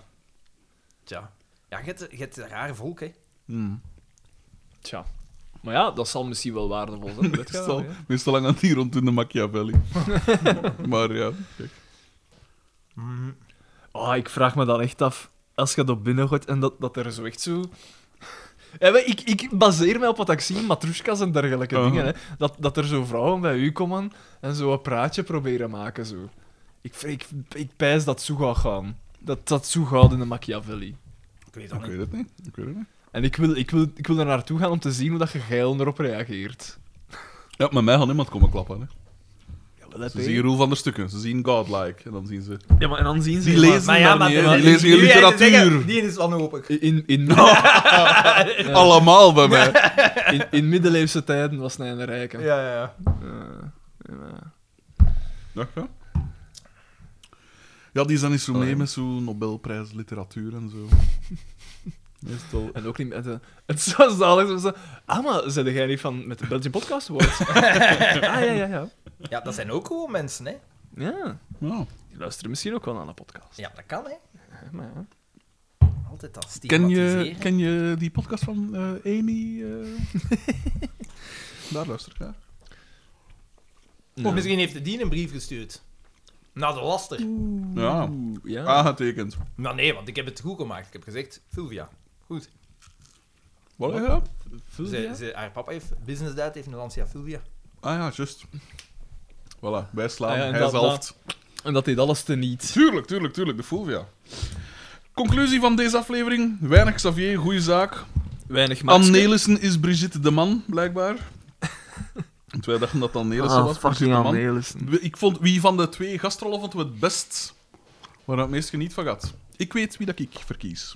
Tja. Ja, je hebt, je hebt een raar volk, hè. Hmm. Tja. Maar ja, dat zal misschien wel waardevol zijn. weet je wel, Meestal, hè. meestal lang aan die rond in de Machiavelli. maar ja, kijk. Oh, ik vraag me dan echt af, als je dat binnen gooit en dat, dat er zo echt zo... Ja, maar ik, ik baseer mij op wat ik zie in matrushkas en dergelijke Aha. dingen. Hè. Dat, dat er zo vrouwen bij u komen en zo een praatje proberen maken. Zo. Ik, vre- ik, ik pijs dat zo gaat gaan. Dat dat zo gaat in de Machiavelli. Ik weet dat Ik niet. weet het niet. Ik weet het niet. En ik wil, ik, wil, ik wil er naartoe gaan om te zien hoe dat je geil erop reageert. Ja, met mij gaat niemand komen klappen. Hè. Jawel, hè, Ze P. zien Roel van der Stukken, ze zien Godlike. En dan zien ze... Ja, maar en dan zien ze... Die lezen Maar ja, daar maar... niet, hè. maar- Die lezen geen nu ga je te zeggen, literatuur. Die is wanhopig. In, in, Allemaal bij mij. in, in middeleeuwse tijden was hij een rijke. Ja, ja, ja. Eh, ja. Ja, ja. Ja, die zijn niet zo mee met zo'n Nobelprijs literatuur en zo. Meestal. En ook niet met de... Het is zo zalig. zo- zo- Ah, maar zei jij niet van met de Belgian Podcast Awards? ah, ja, ja, ja. Ja, dat zijn ook gewoon mensen, hè. Ja, Ja. die luisteren misschien ook wel aan de podcast. Ja, dat kan, hè. Ja, maar ja. Altijd dat Ken, je, stigmatiseren. ken je die podcast van eh, Amy? eh? Daar luister ik naar. Of misschien heeft die een brief gestuurd. Naar de laster. Ja, Oeh, ja. aangetekend. Maar nee, want ik heb het goed gemaakt. Ik heb gezegd, Fulvia. Goed. Wat heb je dat? Vul Ze- die, hè? ze- haar papa heeft business date, heeft een Lancia Fulvia. Ah ja, juist. Voilà, wij slaan. Ah ja, en Hij dat- is halft. En dat deed alles teniet. Tuurlijk, tuurlijk, tuurlijk, de Fulvia. Conclusie van deze aflevering: weinig Xavier, goede zaak. Weinig Anne maatschap. Nelissen is Brigitte de Man, blijkbaar. Want wij dachten dat Anne Nelissen Ah, was. Brigitte de Man. We- Ik vond, wie van de twee gastrollen vonden we het best? Waar het meest geniet van gaat. Ik weet wie dat ik verkies.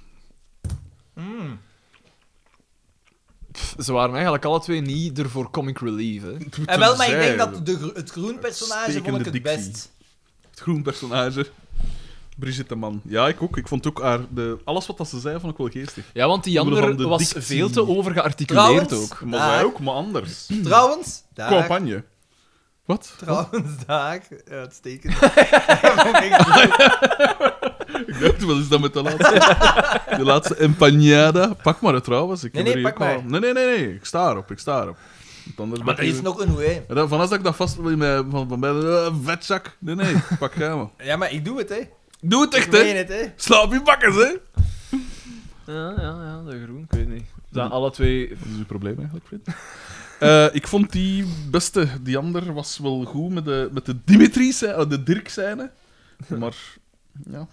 Mm. Pff, ze waren eigenlijk alle twee niet er voor comic relief. Hè. En wel, maar ik Zij, denk dat de, gro- het groen personage vond ik Uitstekende het dictie. best. Het groen personage. Brigitte Man. Ja, ik ook. Ik vond ook haar... De... Alles wat dat ze zei, vond ik wel geestig. Ja, want die Omwille andere van de was dictie. veel te overgearticuleerd Trouwens- ook. Maar Ah. zij ook, maar anders. Trouwens, daar. Campagne. Wat? Trouwens, daar. Uitstekend. Vond ik- Ik dacht, wat is dat met de laatste? De laatste empanada. Pak maar het trouwens. Ik Nee, heb nee, er hier pak Ah, ook al- Nee, nee, nee, nee. Ik sta erop. Ik sta erop. Want anders maar ben er ik is hier- nog een way. Ja, dan- Van als dat ik dat vast wil van, van, van eh, vetzak. Nee, nee. Pak jij maar. Ja, maar ik doe het, hè. Ik Doe het Ik echt, meen hè. het, hè. Slaap je bakkers, hè. Ja, ja, ja, de groen, Hm. ik weet niet. Dan alle twee... Wat is uw probleem eigenlijk, Fred? Eh, ik vond die beste, die ander was wel goed met de, met de Dimitri, de Dirk scène. Maar ja,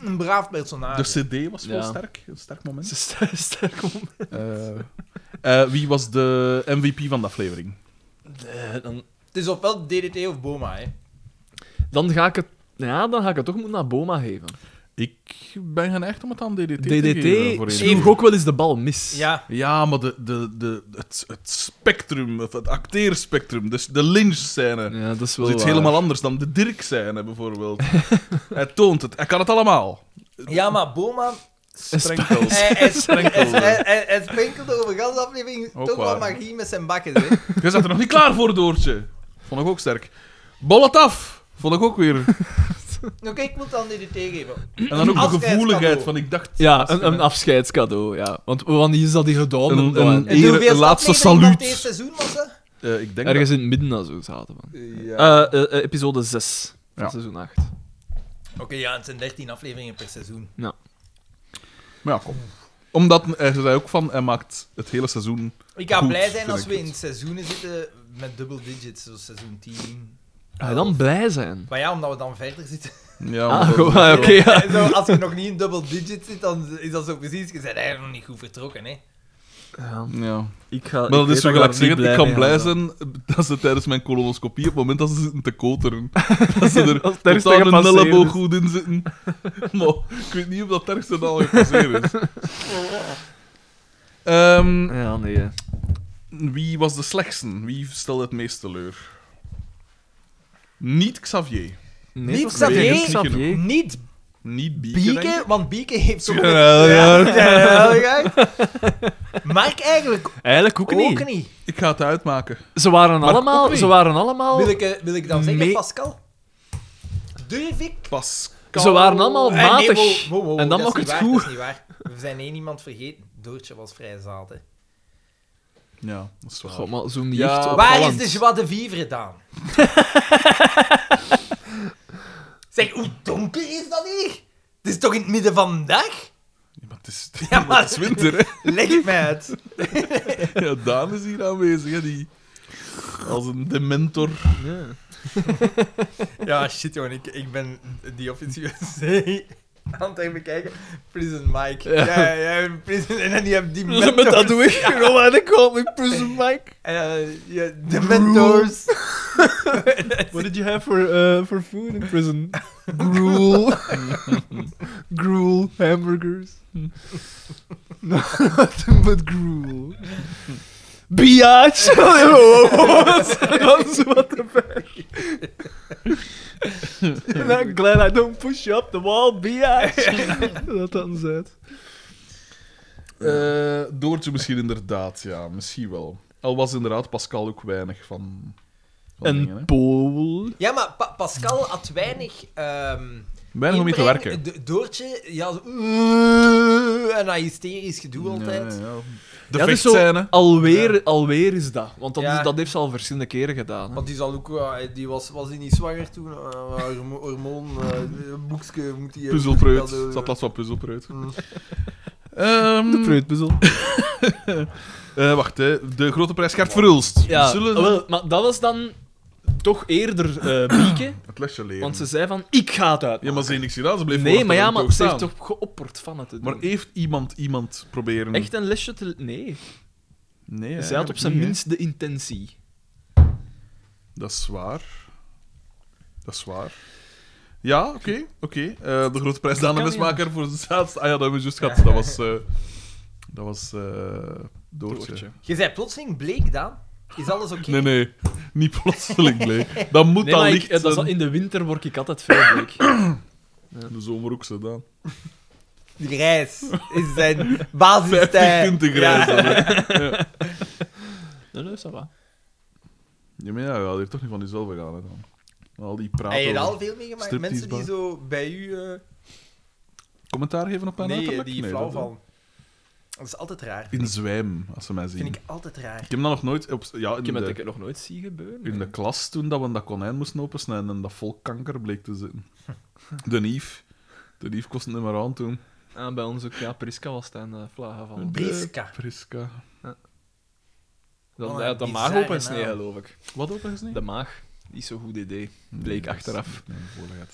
Een braaf de personage. CD was wel Ja. sterk. Een sterk moment. Ze sta- sterk om. Eh, eh, wie was de MVP van de aflevering? Nee, dan, Het is ofwel DDT of Boma, hè. dan, ga ik het, ja, dan ga ik het toch moeten naar Boma geven. Ik ben geneigd om het aan DDT, te geven. voor DDT een- schreef ook wel eens de bal mis. Ja. Ja, maar de, de, de, het, het spectrum, of het acteerspectrum, dus de Lynch-scène. Ja, dat is Dat wel is iets waar. helemaal anders dan de Dirk-scène, bijvoorbeeld. hij toont het, hij kan het allemaal. Ja, maar Boma... Sprenkels. Hij, hij, Sprenkelde. hij, hij- hij sprenkelde over gans aflevering Ook toch wel waar. magie met zijn bakken, hè. Je zat er nog niet klaar voor, Doortje. Vond ik ook sterk. Bol het af. Vond ik ook weer. Oké, ik moet dan DDT geven. En dan ook de Afscheidscadeau. gevoeligheid van ik dacht... Ja, een, een afscheidscadeau, ja. Want wanneer is dat die gedaan? Een- Dan- een- En Eer- hoeveel laatste aflevering van saluut. het eerste seizoen was ze? Eh, ik denk Ergens in het midden dat zo zaten van. dat... Ja. Eh, eh, eh, episode 6 van Ja. seizoen 8. Oké, ja, het zijn 13 afleveringen per seizoen. Maar ja, kom. Omdat, hij zei ook van, hij maakt het hele seizoen... Ik ga Goed, blij zijn vind als ik we het. in seizoenen zitten met double digits, zoals seizoen 10. Ah, Ga je dan blij zijn? Maar ja, omdat we dan verder zitten. Ja, Ah, maar dat- goed, ah, oké. ja. Zo, als je nog niet in double digits zit, dan is dat zo precies. Je bent eigenlijk nog niet goed vertrokken, hè? Ja. Ja. Ik ga, Maar dat is zo gelijk ik kan blij zijn dat ze tijdens mijn colonoscopie, op het moment dat ze zitten te koteren, dat ze er Als het ergste totaal een gepasseerd elleboog is. goed in zitten. Maar ik weet niet of dat het ergste al gepasseerd is. Ehm, Ja, nee. hè. Wie was de slechtste? Wie stelde het meest teleur? Niet Xavier. Nee, Niet toch? Xavier. Nee, Niet Xavier. Niet Niet Bieke. denk ik. Bieke, want Bieke heeft zo. Ja, ja. ja, ja. Mark eigenlijk Eigenlijk ook, ook niet. niet. Ik ga het uitmaken. Ze waren Maar ook allemaal... niet. Ze waren allemaal... Wil ik, eh, wil ik dan zeggen, Mee- Pascal? Durf ik? Pascal. Ze waren allemaal Eh, nee, wow, matig. wow, wow, en dan dat nog is het niet waar, goed. Dat is niet waar. We zijn één iemand vergeten. Doortje was vrij zaad, hè. Ja, dat is waar. God, maar zo'n niet Ja, echt waar Waar opvallend. is de joie de vivre dan? zeg, hoe donker is dat hier? Het is toch in het midden van de dag? Ja, maar het, is, Ja, maar- het is winter, hè. Leg het mij uit. Ja, Daan is hier aanwezig, hè. Die... Als een dementor. Ja. Ja, shit, jongen. Ik, ik ben die officier zee aan het bekijken. Prison Mike. Ja, ja, Prison... En dan die hebben die Met mentors. dat doe ik gewoon aan de comic prison, Mike. Eh, ja, de mentors. What did you have for, uh, for food in prison? Gruel. gruel, hamburgers. Nothing but gruel. Biatch! Oh, That's what the And I'm glad I don't push you up the wall, biatch! Dat dan zet. Eh, Doortje misschien inderdaad, ja. Misschien wel. Al was inderdaad Pascal ook weinig van... van dingen, hè. Een pool. Ja, maar Pa- Pascal had weinig... ehm, Weinig om mee te inbreng. werken. Do- Doortje, ja, zo, eh, en dat hysterisch gedoe altijd. Ja, ja, ja. Ja, De dat is zo- vechtscène. Alweer, alweer is dat. Want dat, Ja. is, dat heeft ze al verschillende keren gedaan. hè. Want die zal ook, eh, die was, was die niet zwanger toen? Eh, hormo- hormoon, eh boekske moet die. Puzzelpreut. Dat, eh, Zat last van puzzelpreut. Mm. Ehm, De preutpuzzel. eh, wacht, hè. de grote prijs Gert Verhulst. Ja, Zullen we wel, maar dat was dan toch eerder eh Bieke. het lesje leren? Want ze zei van, ik ga het uit. Ja, maar ze heeft niks gedaan. Ze bleef nee, maar voortaan ja, maar ook ze heeft staan. toch geopperd van het te doen. Maar heeft iemand iemand proberen... Hmm. Echt een lesje te... Nee. Nee, Zij had eigenlijk op zijn niet, hè. minst de intentie. Dat is waar. Dat is waar. Ja, oké. oké. Eh, de grote prijs Daan de kan, Mesmaker voor de zaadste... Ah ja, dat hebben we juist gehad. Dat was... eh, Dat was eh Doortje. Doortje. Je zei plotseling bleek, Daan. Is alles oké? Nee, nee. Niet plotseling bleek. Dat moet Nee, dan maar licht eh, ik, dat is al- zijn. in de winter word ik altijd veel bleek. De zomer ook gedaan. Grijs is zijn basistijd. Eh, 50 punten grijs. Ja. dan, hè. Nee, nee, ça va. Ja, maar ja, je gaat hier toch niet van jezelf gaan. Hè, dan. Al die praat Heb je er over- al veel meegemaakt? Mensen die Striptease zo bij u... eh, Commentaar geven op mijn nee, uiterlijk? die Nee, flauw dat- vallen. Dat is altijd raar. In zwijm, als ze mij zien. vind Ik... ik altijd raar. heb dat nog nooit... Op... Ja, in Ik heb de... dat ik nog nooit zie gebeuren. In de klas toen dat we dat konijn moesten opensnijden en dat vol kanker bleek te zitten. De Nief. De Nief kost het niet meer aan toen. Ah, bij ons ook, ja, Priska was het en uh, Vlaag gevallen. Priska. Priska. Dan, Wat ja, een de maag bizarre opensnee, naam. geloof ik. Wat opgesneden? De maag. Niet zo'n goed idee. Bleek achteraf. Hé,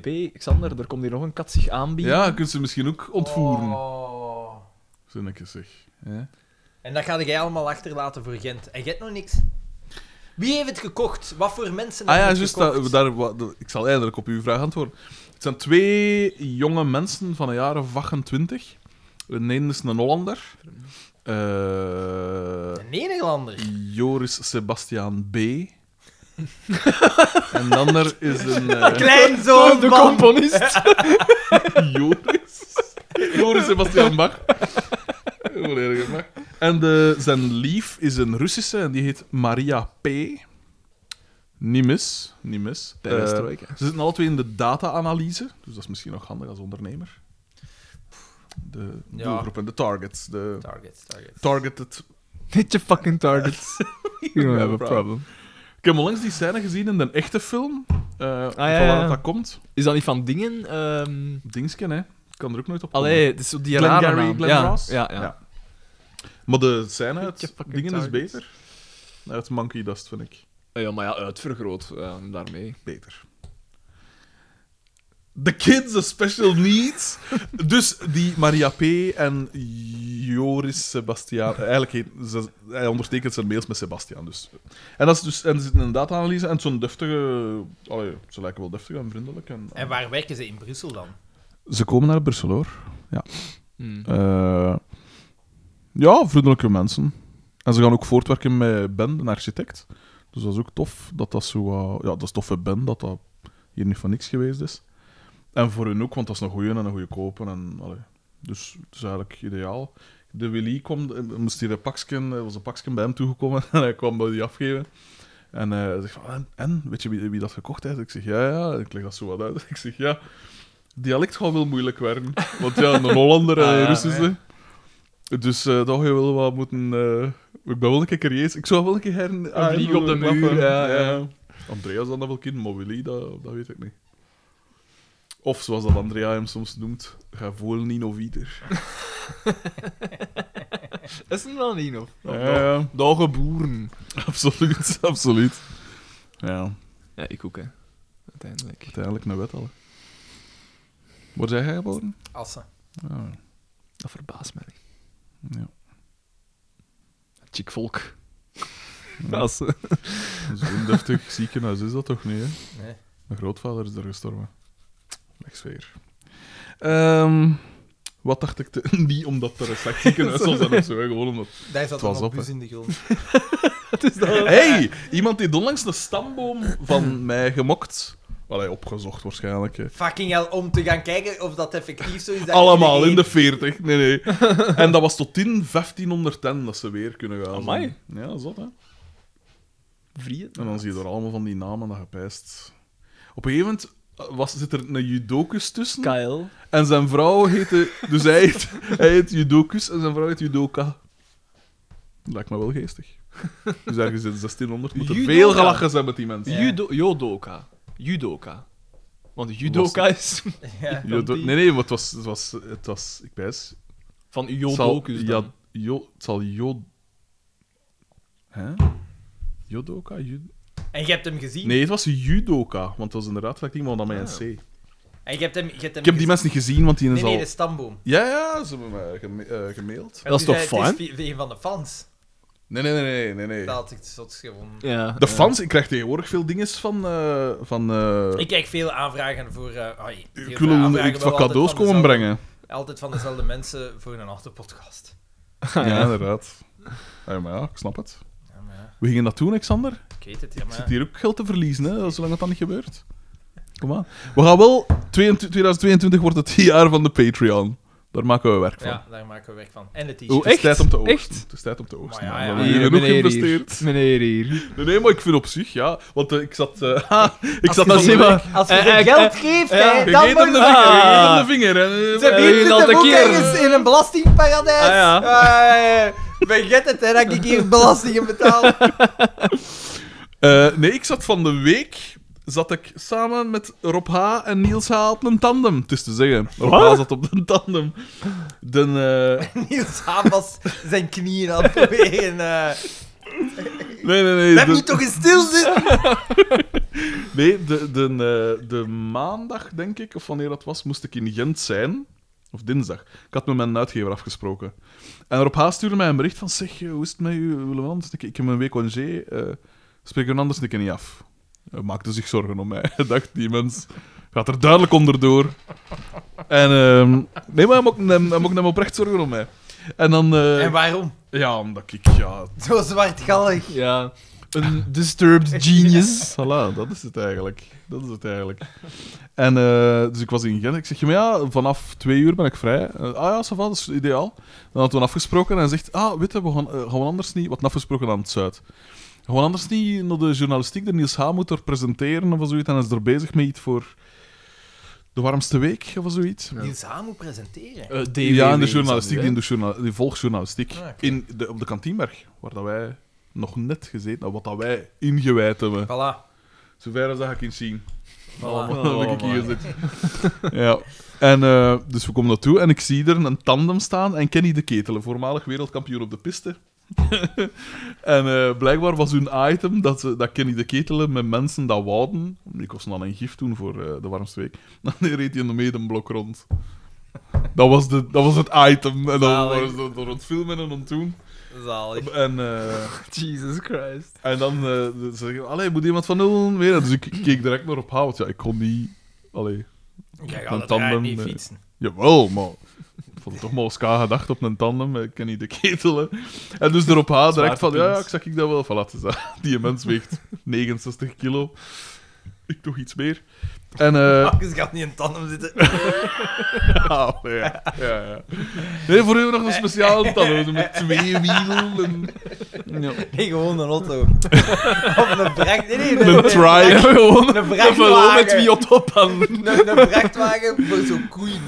hey, P, Xander, er komt hier nog een kat zich aanbieden. Ja, je kunt ze misschien ook ontvoeren. Oh. Zinnetjes zeg. hè? En dat ga jij allemaal achterlaten voor Gent. En Gent nog niks. Wie heeft het gekocht? Wat voor mensen Ah hebben ja, het juist. gekocht? dat- daar, wa- dat- ik zal eindelijk op uw vraag antwoorden. Het zijn twee jonge mensen van de jaren 28. De ene is een Hollander. Eh, Een Nederlander. Joris Sebastiaan B. en de ander is een... eh, Kleinzoon Oh, De van... componist. Joris. Joris Sebastian Bach. Volledige Bach. En de, zijn lief is een Russische en die heet Maria P. Nimes. Nimes. Perestroika. Eh, ze zitten alle twee in de data-analyse, dus dat is misschien nog handig als ondernemer. De Ja. doelgroep en de targets. De Target, target. targeted. Hit je fucking targets. You have a problem. Ik heb onlangs die scène gezien in de echte film. eh van Ah, ja, ja. waaruit dat komt. Is dat niet van dingen? ehm Dingsken, hè. Ik kan er ook nooit op komen. Allee, het is zo die Glenn rare Gary, naam. Glenn ja, Ross? Ja, ja. Ja. Maar de scène Beetje uit fucking dingen is targets. beter. Uit Monkey Dust vind ik Eh, ja, maar ja, uitvergroot ja, daarmee. beter. The kids of special needs. dus die Maria P. en Joris Sebastiaan. Eigenlijk heet, ze- hij ondertekent zijn mails met Sebastiaan. Dus. En dat is dus en ze zitten in een data-analyse en zo'n deftige. Allee, ze lijken wel deftig en vriendelijk. En, En waar werken ze in Brussel dan? Ze komen naar Brussel hoor. Hmm. Eh, ja, vriendelijke mensen. En ze gaan ook voortwerken met Ben, een architect. Dus dat is ook tof. Dat dat zo, eh, ja, dat is tof voor Ben, dat dat hier niet van niks geweest is. En voor hun ook, want dat is een goeie en een goede kopen. En, allee. dus het is eigenlijk ideaal. De Willy kwam, eh, moest hier een paksken, er was een paksken bij hem toegekomen en hij kwam bij die afgeven. En eh, hij zegt van, en, en, weet je wie, wie dat verkocht heeft? Ik zeg, ja, ja. Ik leg dat zo wat uit. Ik zeg, ja, dialect gaat wel moeilijk werden. Want ja, een Hollander en Ah, een ja, Russische. Dus eh dat ga je wel wat moeten... eh, ik ben wel een keer curieus. Ik zou wel een keer her... aan vlieg op de willen muur, klappen. ja, ja. Andreas dan dat wel kind, maar Willy, dat, dat weet ik niet. Of zoals dat Andrea hem soms noemt, ga vol niet of ieder. Is het wel niet, of? Ja, ja, Dage boeren. absoluut, absoluut. Ja, Ja, ik ook, hè. Uiteindelijk. uiteindelijk naar wet al. Waar zijn jij geboren? Assen. Ja, Dat verbaast mij niet. ja. Chick volk. Ja. Dat is, eh, Zo'n deftig ziekenhuis is dat toch niet, hè? Nee. Mijn grootvader is er gestorven. Wegsfeer. Ehm wat dacht ik te... Niet omdat er een slecht ziekenhuis zal zijn of zo, hè, gewoon omdat... Daar zat Het was een op, bus hè. in de grond. Hey, iemand die onlangs de stamboom van mij gemokt. Allee, opgezocht waarschijnlijk. hè. Fucking hell, om te gaan kijken of dat effectief zo is. dat Allemaal in iedereen- de 40. Nee, nee. En dat was tot in 1510 dat ze weer kunnen gaan. Amai. Ja, zot hè. Vriend. En dan zie je er allemaal van die namen dat gepijst. Op een gegeven moment eh, was, zit er een judokus tussen. Kyle. En zijn vrouw heette... Dus hij heet, hij heet Judokus en zijn vrouw heet Judoka. Lijkt me wel geestig. Dus ergens in 1600 moet er Judoka. veel gelachen zijn met die mensen. Judo Jodoka. Judoka. Want judoka is Ja. Judo- die- Nee, nee, maar het was... Het was, het was ik wijs... van Het zal- Jodokus dan. Ja, jo, het zal Jod... Hè? Jodoka? Jud- En je hebt hem gezien? Nee, het was Judoka, want het was inderdaad gelijk iemand dan met een Ah. C. En je hebt hem, je hebt hem Ik heb die mensen niet gezien, want die is Nee, nee, al... de stamboom. Ja, ja, ze hebben mij geme- eh, gemaild. Dat Dus is toch hij- fijn? Het is vi- een van de fans. Nee, nee, nee, nee, nee. Dat had ik zot gewonnen. Ja, De ja. fans, ik krijg tegenwoordig veel dingen van. eh, van eh, Ik krijg veel aanvragen voor... eh, oei, veel ik wil een- aanvragen ik wel wat altijd cadeaus van komen dezelfde- brengen. altijd van dezelfde mensen voor een achterpodcast. Ja, inderdaad. Ah, Ja, maar ja, ik snap het. Ja, maar ja, We gingen dat doen, Alexander. ik weet het, ja, Ik maar zit hier ook geld te verliezen, hè, eh, zolang dat dan niet gebeurt. Kom aan. We gaan wel... 22 2022 wordt het jaar van de Patreon. Daar maken we werk van. Oh, ja, daar maken we werk van. En het Het t-shirt. Oeh, is echt? tijd om te oogsten. Echt? Het is tijd om te oogsten. Maar ja, ja, ja. We hebben hier genoeg geïnvesteerd. hier. Meneer hier. Nee, nee, maar ik vind op zich, ja. Want eh, ik zat... eh, ha, ik Als zat je dan zo- maar... Als je Eh, ze eh, geld eh, geeft, ja. hè, Je dan geeft hem wordt de vinger, je geeft hem het... Ah. de vinger. hè. Ze Eh, weten dat het ook keer. ergens in een belastingparadijs. Ah, ja. Eh, vergeet het, hè, dat ik hier belastingen betaal. Eh, nee, ik zat van de week zat ik samen met Rob H. en Niels H. op een tandem. Het is te zeggen, Rob Wat? H. zat op een tandem. De, eh, Niels Haan was zijn knieën aan het bewegen. eh. nee, nee, nee. Blijf de- niet toch eens stilzitten? Nee, de, de, eh, de maandag, denk ik, of wanneer dat was, moest ik in Gent zijn. Of dinsdag. Ik had met mijn uitgever afgesproken. En Rob H. stuurde mij een bericht van... Zeg, eh, hoe is het met u, Willem Anders? Ik, ik heb een week congé. eh spreek een anders een keer niet af. Hij maakte zich zorgen om mij. Hij dacht, die mens gaat er duidelijk onderdoor. En... ehm, nee, maar hij mocht, hem- hij mocht hem oprecht zorgen om mij. En dan... eh, En waarom? ja, omdat ik... Ja, Zo zwartgallig. Ja. Een disturbed genius. Voilà, dat is het eigenlijk. Dat is het eigenlijk. En eh, dus ik was in Gent. Ik zeg, maar ja, vanaf twee uur ben ik vrij. Eh, ah ja, ça va, dat is ideaal. Dan hadden we afgesproken en hij zegt, ah, weet je, we gaan, eh, gaan we anders niet... Wat afgesproken aan het Zuid. Gaan we anders niet naar de journalistiek, de Niels H. moet er presenteren of zoiets. En hij is er bezig met iets voor de warmste week of zoiets. Niels Haan moet presenteren. Eh, Ja, in de journalistiek, die, in de journa- die volksjournalistiek. Ah, oké. in de, op de kantienberg, waar dat wij nog net gezeten hebben, wat dat wij ingewijd hebben. Voilà. Zover als dat ik in zien. voilà. Dan heb ik hier gezet. Ja. En eh, dus we komen naartoe en ik zie er een tandem staan en Kenny de Ketel, een voormalig wereldkampioen op de piste. en eh, blijkbaar was hun item dat, ze, dat Kenny de Ketelen met mensen dat wouden. Ik was dan een gif toen voor eh, de warmste week. Dan reed hij een medenblok rond. Dat was, de, dat was het item. En dan Zalig. waren ze door het filmen en aan het doen. Zalig. En eh, Jesus Christ. en dan eh, ze zeggen, allee, moet iemand van nul weer? Dus ik keek direct naar op Hout. Ja, ik kon niet... Allee, Jij Een gaat dat tandem, raar niet eh, fietsen. jawel, maar... Ik vond het toch maar als K gedacht op een tandem. Ik ken niet de ketelen. En dus erop H direct van, ja, ja, ik zag ik dat wel. Voilà, het is dat. Die mens weegt 69 kilo. Ik toch iets meer. En... Ah. eh Marcus gaat niet in een tandem zitten. ja, ja, ja. Nee, voor u nog een speciale tandem. Met twee wielen en... Ja. Nee, gewoon een auto. of een bracht... Nee, nee, Een trike. Gewoon Een gewoon met vrachtwagen. wie op aan. Een, een vrachtwagen voor zo'n koeien.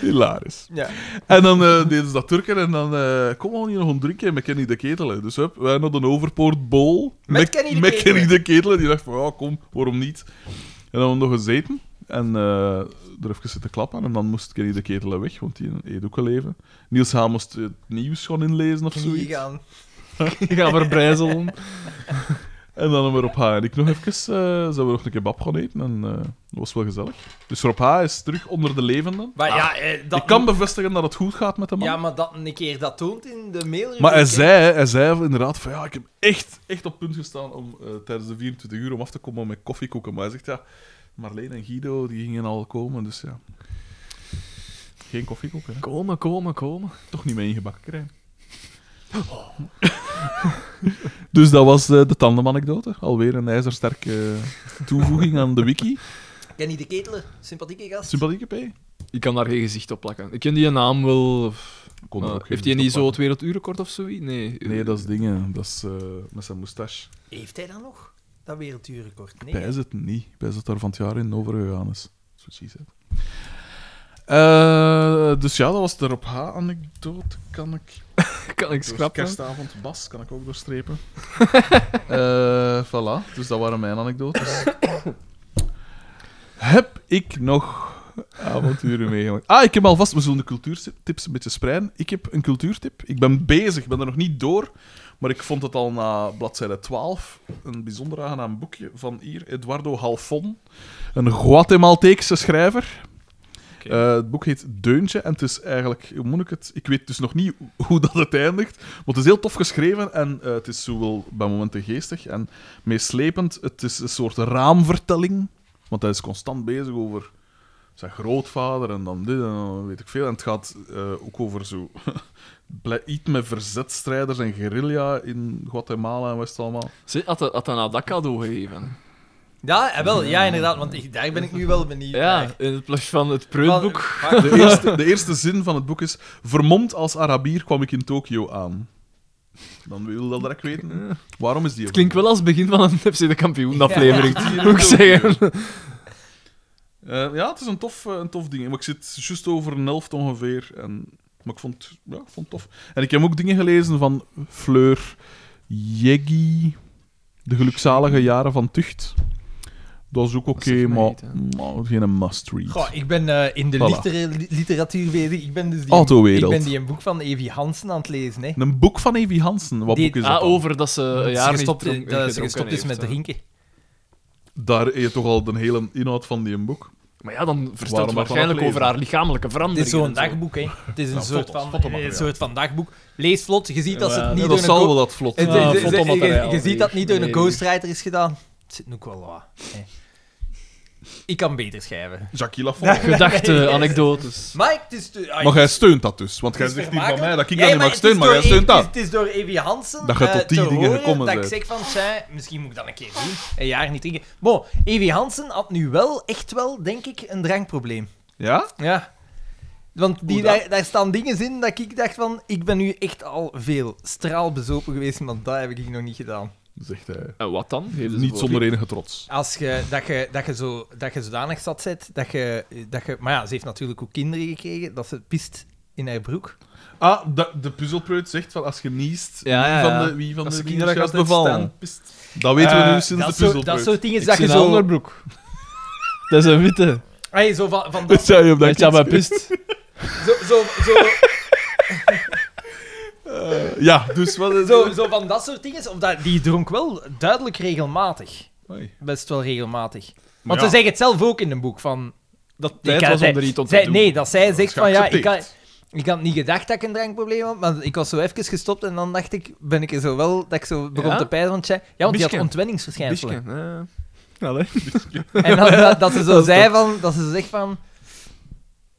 Hilarisch. Ja. En dan eh, deden ze dat Turken en dan eh kom al hier nog een drinken met Kenny de Ketelen. Dus hup, wij hadden een overpoortbol Met Kenny de met Ketelen. Kenny de Ketelen. Die dacht van, ja, kom, waarom niet? En dan hebben we nog gezeten en eh er even zitten klappen. En dan moest Kenny de Ketelen weg, want die eet ook een leven. Niels Haan moest het nieuws gaan inlezen of Knieën zoiets. gaan. Ik ga verbrijzelen. En dan hebben we Rob H. en ik nog even, eh, zijn we nog een kebab gaan eten. En eh, dat was wel gezellig. Dus Rob H. is terug onder de levenden. Maar ja, eh, dat... Ik Ah, kan bevestigen dat het goed gaat met de man. Ja, maar dat een keer dat toont in de mail. Maar hij zei, hè, hij zei inderdaad van ja, ik heb echt, echt op punt gestaan om eh, tijdens de 24 uur om af te komen met koffiekoeken. Maar hij zegt ja, Marleen en Guido die gingen al komen, dus ja. Geen koffiekoeken, hè. Komen, komen, komen. toch niet mee ingebakken krijgen. Oh. dus dat was eh, de tandemanekdote. Alweer een ijzersterke toevoeging aan de wiki. Kenny de Ketelen, sympathieke gast. Sympathieke P. Ik kan daar geen gezicht op plakken. Ik ken die naam wel. of- Kon er eh, ook geen heeft hij gezicht niet op zo het werelduurrecord of zoiets? Nee. Nee, dat is dingen. Dat is eh, met zijn moustache. Heeft hij dat nog? Dat werelduurrecord? Nee. Bij is het niet. Bij is het daar van het jaar in overgegaan is. Zo zie je het. Eh, dus ja, dat was de Rob H-anekdote. Kan ik... kan ik schrappen. Kerstavond, Bas, kan ik ook doorstrepen. Eh voilà, dus dat waren mijn anekdotes. heb ik nog avonturen meegemaakt? Ah, ik heb alvast... We zullen de cultuurtips een beetje spreiden. Ik heb een cultuurtip. Ik ben bezig, ik ben er nog niet door. Maar ik vond het al na bladzijde 12 een bijzonder aangenaam boekje van hier, Eduardo Halfon. Een Guatemalteekse schrijver. Oké. Eh, het boek heet Deuntje en het is eigenlijk, hoe moet ik het? Ik weet dus nog niet hoe dat het eindigt, maar het is heel tof geschreven en eh, het is zowel bij momenten geestig en meeslepend. Het is een soort raamvertelling Want hij is constant bezig over zijn grootvader en dan dit en dan weet ik veel. En het gaat eh, ook over zo... ble- Iets met verzetstrijders en guerrilla in Guatemala en West allemaal. Ze had, hij- had hij nou dat cadeau gegeven. Ja, eh, wel, ja, inderdaad, want ik- daar ben ik nu wel benieuwd Ja, naar. in het plasje van het Want- preutboek. maar- De eerste, de eerste zin van het boek is... Vermomd als Arabier kwam ik in Tokio aan. Dan wil je dat direct weten. Waarom is die... Het klinkt wel als het begin van een FC de Kampioen aflevering. Ja. Moet ik zeggen. Eh, ja, het is een tof, eh, een tof ding. Maar ik zit juist over een helft ongeveer. En, maar ik vond, ja, ik vond het tof. En ik heb ook dingen gelezen van Fleur Jeggi, De gelukzalige jaren van Tucht. Dat is ook oké, zegt mij maar, niet, hè. maar geen must-read. Goh, ik ben eh, in de Voilà. litera- li- literatuur bezig. Ik ben dus die, ik Autowereld. ben die een boek van Evi Hansen aan het lezen. Hè. Een boek van Evi Hansen. Wat Die- boek is dat? Ah, dan? over dat ze een Dat ze jaar niet gestopt, dronken- dat ze gedronken gestopt is heeft, met eh, hè. drinken. Daar heb je toch al de hele inhoud van die boek. Maar ja, dan vertelt Waarom dat ze waarschijnlijk dan over haar lichamelijke Het verandering. is zo'n dagboek, hè. Het is een, Nou, soort, foto's, van, fotomateriaal. een soort van dagboek. Lees vlot, je ziet dat ze Ja, het dat Ja, niet door dat een Eh, zal go- wel dat vlot. Het- Ah, het- het- fotomateriaal je- je ziet dat niet door een hier. ghostwriter is gedaan. Het zit ook wel wat. hè. Ik kan beter schrijven. Jackie Lafont. Gedachten, anekdotes. Maar het is... te- ah, Maar het jij is steunt dat dus. Want jij zegt niet vermakelijk. van mij dat ik Ja, dat niet mag het is steunen, maar jij door steunt Evi- dat. Het is door Evi Hansen Dat je eh, tot die te dingen horen gekomen dat ik bent. zeg van, zij, misschien moet ik dat een keer doen. Een jaar niet drinken. Bon, Evi Hansen had nu wel, echt wel, denk ik, een drankprobleem. Ja? Ja. Want die, Hoe dat? daar, daar staan dingen in dat ik dacht van, ik ben nu echt al veel straalbezopen geweest, want dat heb ik nog niet gedaan. Zegt hij. En wat dan? Geef eens een Niet voorbeeld. zonder enige trots. Als je, dat, je, dat, je zo, dat je zodanig zat zit, dat je, dat je... Maar ja, ze heeft natuurlijk ook kinderen gekregen, dat ze pist in haar broek. Ah, de, de puzzelpreut zegt van als je niest, Ja, ja, wie ja. van de, wie van Als de de kinderen kinderen gaat gaat bevallen. uitstaan, Dat weten we Eh, nu sinds dat de zo- Dat puzzelpreut. soort dingen Ik dat zie je een zo... onderbroek. Dat is een witte. Ay, zo van, van dat, Dat zei je op Dat dat je kind. bij pist. zo, zo, zo, Ja, dus wat is zo, zo van dat soort dingen. Of dat, die dronk wel duidelijk regelmatig. Oei. Best wel regelmatig. Maar Want ja, ze zeggen het zelf ook in een boek. Van, Dat Ik tijd had- was om er iets op te zij- doen. Nee, dat zij zegt is van ja, ik had, geaccepteerd. ik had niet gedacht dat ik een drankprobleem had, maar ik was zo even gestopt en dan dacht ik, ben ik er zo wel, dat ik zo begon Ja? te pijzen, want jij, ja, want die had Biske. ontwenningsverschijnselen. Biske, eh. Allee. En dan, dat, dat ze zo Dat is zei van, dat ze zo zegt van,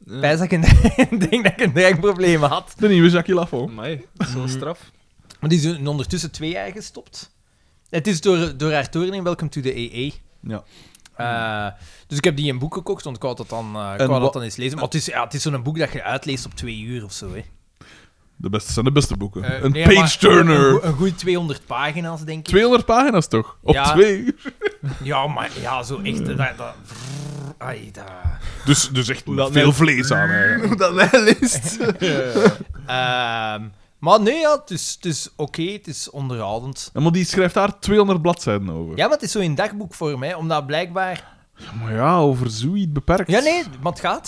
Ja. pijs dat ik een, ik denk dat ik een drankprobleem had. de nieuwe Jackie Lafo. Amai, dat is Mhm. wel straf. Maar die is nu ondertussen twee jaar gestopt. Het is door, door haar toren in Welcome to the EE. Ja. Eh, dus ik heb die een boek gekocht, want ik wou dat dan, eh, ik En wou dat wat- dan eens lezen. Maar het is, ja, het is zo'n boek dat je uitleest op twee uur of zo. Hè. De beste zijn de beste boeken. Eh, een nee, maar page-turner. Een, goe- een goede 200 pagina's, denk ik. 200 pagina's toch? Op Ja. twee uur. Ja, maar ja, zo echt. eh, Dat, dat, ai, dat. Dus, dus echt dat veel net- vlees aan. eigenlijk. Hoe dat mij leest. Ehm, maar nee, ja, het is, het is oké, het is onderhoudend. En maar die schrijft daar 200 bladzijden over. Ja, maar het is zo in dagboekvorm, hè, omdat blijkbaar... Maar ja, over zoiets beperkt. Ja, nee, maar het gaat.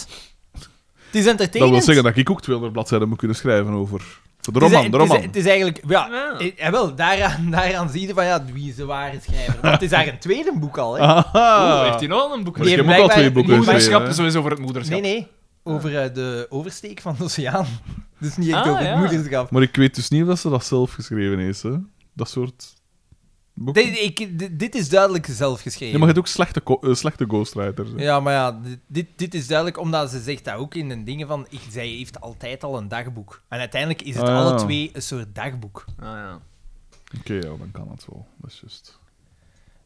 Het is Dat entertainend. wil zeggen dat ik ook 200 bladzijden moet kunnen schrijven over. Voor de Het is- roman, de het is, roman. het is eigenlijk... Ja, Ja. eh, eh, wel, daaraan, daaraan zie je van, ja, wie is de ware schrijver. Want het is haar een tweede boek al, hè. Aha. Oeh, heeft hij nou een boek? Maar ik Nee, heb ook al blijkbaar- twee boeken Moederschap geschreven, hè. sowieso over het moederschap. Nee, nee. Over eh, de oversteek van de oceaan. Dus niet echt Ah, over het ja. moederschap. Maar ik weet dus niet of dat ze dat zelf geschreven heeft, hè? Dat soort. Boeken. Dit, ik, dit, dit is duidelijk zelf geschreven. Ja, maar je hebt ook slechte, ko- eh, slechte ghostwriters. hè. Ja, maar ja, di- dit, dit is duidelijk omdat ze zegt dat ook in een dingen van, ik, zij heeft altijd al een dagboek. En uiteindelijk is het Ah, ja. alle twee een soort dagboek. Ah, ja. Oké, ja, dan kan het wel. Dat is juist.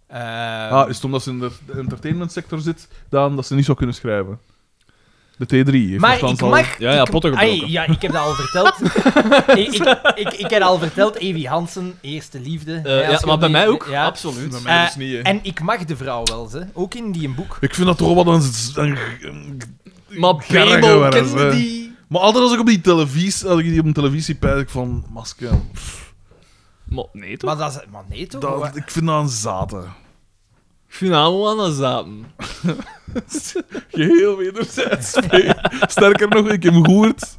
Eh, ah, is het omdat ze in de de entertainment sector zit, dan dat ze niet zou kunnen schrijven? De T3 heeft maar nogthans ik al- mag... Ja, ja, ik- potten gebroken. Ai, ja, ik heb dat al verteld. ik, ik, ik, ik heb al verteld, Evi Hansen, eerste liefde. Eh, Ja, ja, als je maar bij die- mij ook. ja. Absoluut. Bij mij dus Eh, niet, hè. En ik mag de vrouw wel, ze. ook in die een boek. Ik vind dat toch wat een... een- een- Maar Kergen Babel waren ze. kende die... Maar altijd als ik op die televisie, als ik die op de televisie pijs, ik van... Maske, pff, Maar nee, toch? Maar, dat is, maar nee toch? Wa- dat, ik vind dat een zaten. Ik vind haar wel aan de zaten. Geheel wederzijds. speel. Sterker nog, ik heb hem gehoord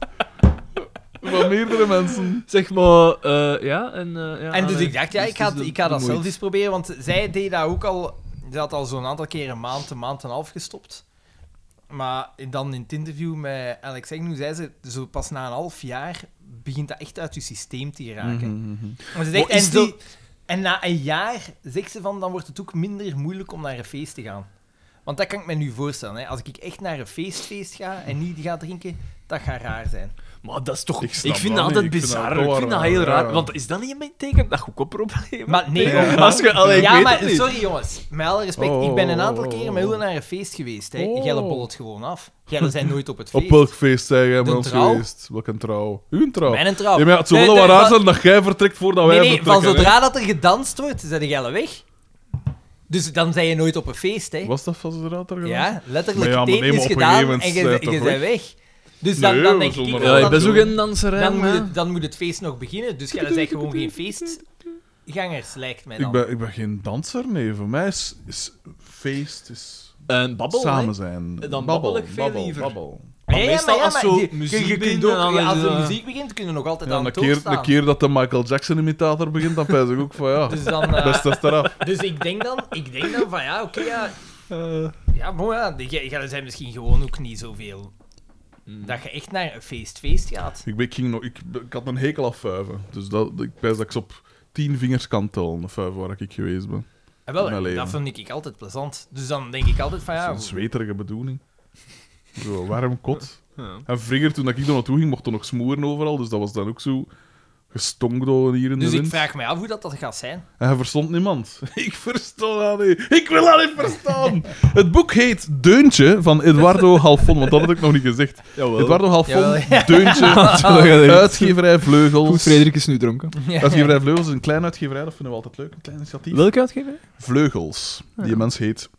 van meerdere mensen. Zeg maar, eh, ja, en... eh, ja, En dus allee. ik dacht, ja, Dus- ik ga, dus de- ik ga de dat zelf moeite. eens proberen, want zij deed dat ook al... Ze had al zo'n aantal keer een maand, een maand en een half gestopt. Maar dan in het interview met Alex Agnew zei ze, zo pas na een half jaar begint dat echt uit je systeem te Mhm. Mhm, raken. Maar ze zegt, Maar is en, zo- die- en na een jaar, zegt ze van, dan wordt het ook minder moeilijk om naar een feest te gaan. Want dat kan ik me nu voorstellen. Hè. Als ik echt naar een feestfeest ga en niet ga drinken, dat gaat raar zijn. Maar dat is toch... Ik Ik, snap vind dat dat niet. altijd Ik vind dat bizar. ook wel Ik vind dat heel raar, raar. ja. Want is dat niet een teken dat je kopproblemen Maar nee, hebt? ook- Als je... Allee, ik ja, weet maar het niet. sorry jongens, met alle respect, Oh, ik ben een oh, aantal oh, oh, keren met Ulle naar een feest geweest. Hè. Oh. Jelle bollet gewoon af. Jelle zijn nooit op het feest. Op welk feest zijn jij met De ons trouw? geweest? Welke trouw? Uw trouw? Mijn trouw. Ja, maar ja, het zou Nee, wel wat nee, raar van- zijn dat jij vertrekt voordat wij Nee, nee, van vertrekken. hè. zodra dat er gedanst wordt, zijn Jelle weg. Dus dan zijn je nooit op een feest, hè. Was dat van zodra dat er gedaan is? Ja, letterlijk Maar ja, maar teken nee, maar is op een gedaan gegeven en je, moment je, zijn bent toch weg. Dus dan, Nee, dan we denk ik... zullen wel maar- Ja, ik dat- ben zo geen danser, hè, dan, eh, jongen. moet, dan moet het feest nog beginnen, dus jij bent gewoon geen feestgangers, lijkt mij dan. Ik ben, ik ben geen danser, nee. Voor mij is, is feest is En babbel, samen hè. zijn. Dan babbel ik veel liever. babbel. Maar Ja, ja, meestal maar ja, als maar zo die- je- muziek je kunt begint, ook- dan ja, is als het, er eh, muziek begint, kun je nog altijd Ja, aan een, het keer, doorstaan. een keer dat de Michael Jackson-imitator begint, dan pijs ik ook van ja, Dus, dan, eh, best is eraf. dus ik, denk dan, ik denk dan van ja, oké, ja... Eh. Ja, mooi, ja, die- jij- jij zijn misschien gewoon ook niet zoveel. Mm. Dat je echt naar een feest-feest gaat. Ik, ben- ik, ging nog, ik, ik had een hekel aan vuiven. Dus dat, ik pijs dat ik ze op tien vingers kan tellen, de vuiven waar ik geweest ben. In En mijn Ah, wel, leven. dat vind ik altijd plezant. Dus dan denk ik altijd van ja... Dat is een zweterige bedoeling. Zo, warm kot. Ja. En vroeger, toen ik er naartoe ging, mocht er nog smoren overal. Dus dat was dan ook zo gestonkt door hier in Dus de ik wind. vraag me af hoe dat, dat gaat zijn. En hij verstond niemand. Ik verstond dat niet. Ik wil dat niet verstaan. Het boek heet Deuntje van Eduardo Halfon, want dat had ik nog niet gezegd. Jawel. Eh, Eduardo Halfon, Jawel, ja. Deuntje, uitgeverij Vleugels. Goed, Frederik is nu dronken. Uitgeverij Vleugels is een klein uitgeverij, dat vinden we altijd leuk. Een klein initiatief. Welke uitgever? Vleugels. Die mens heet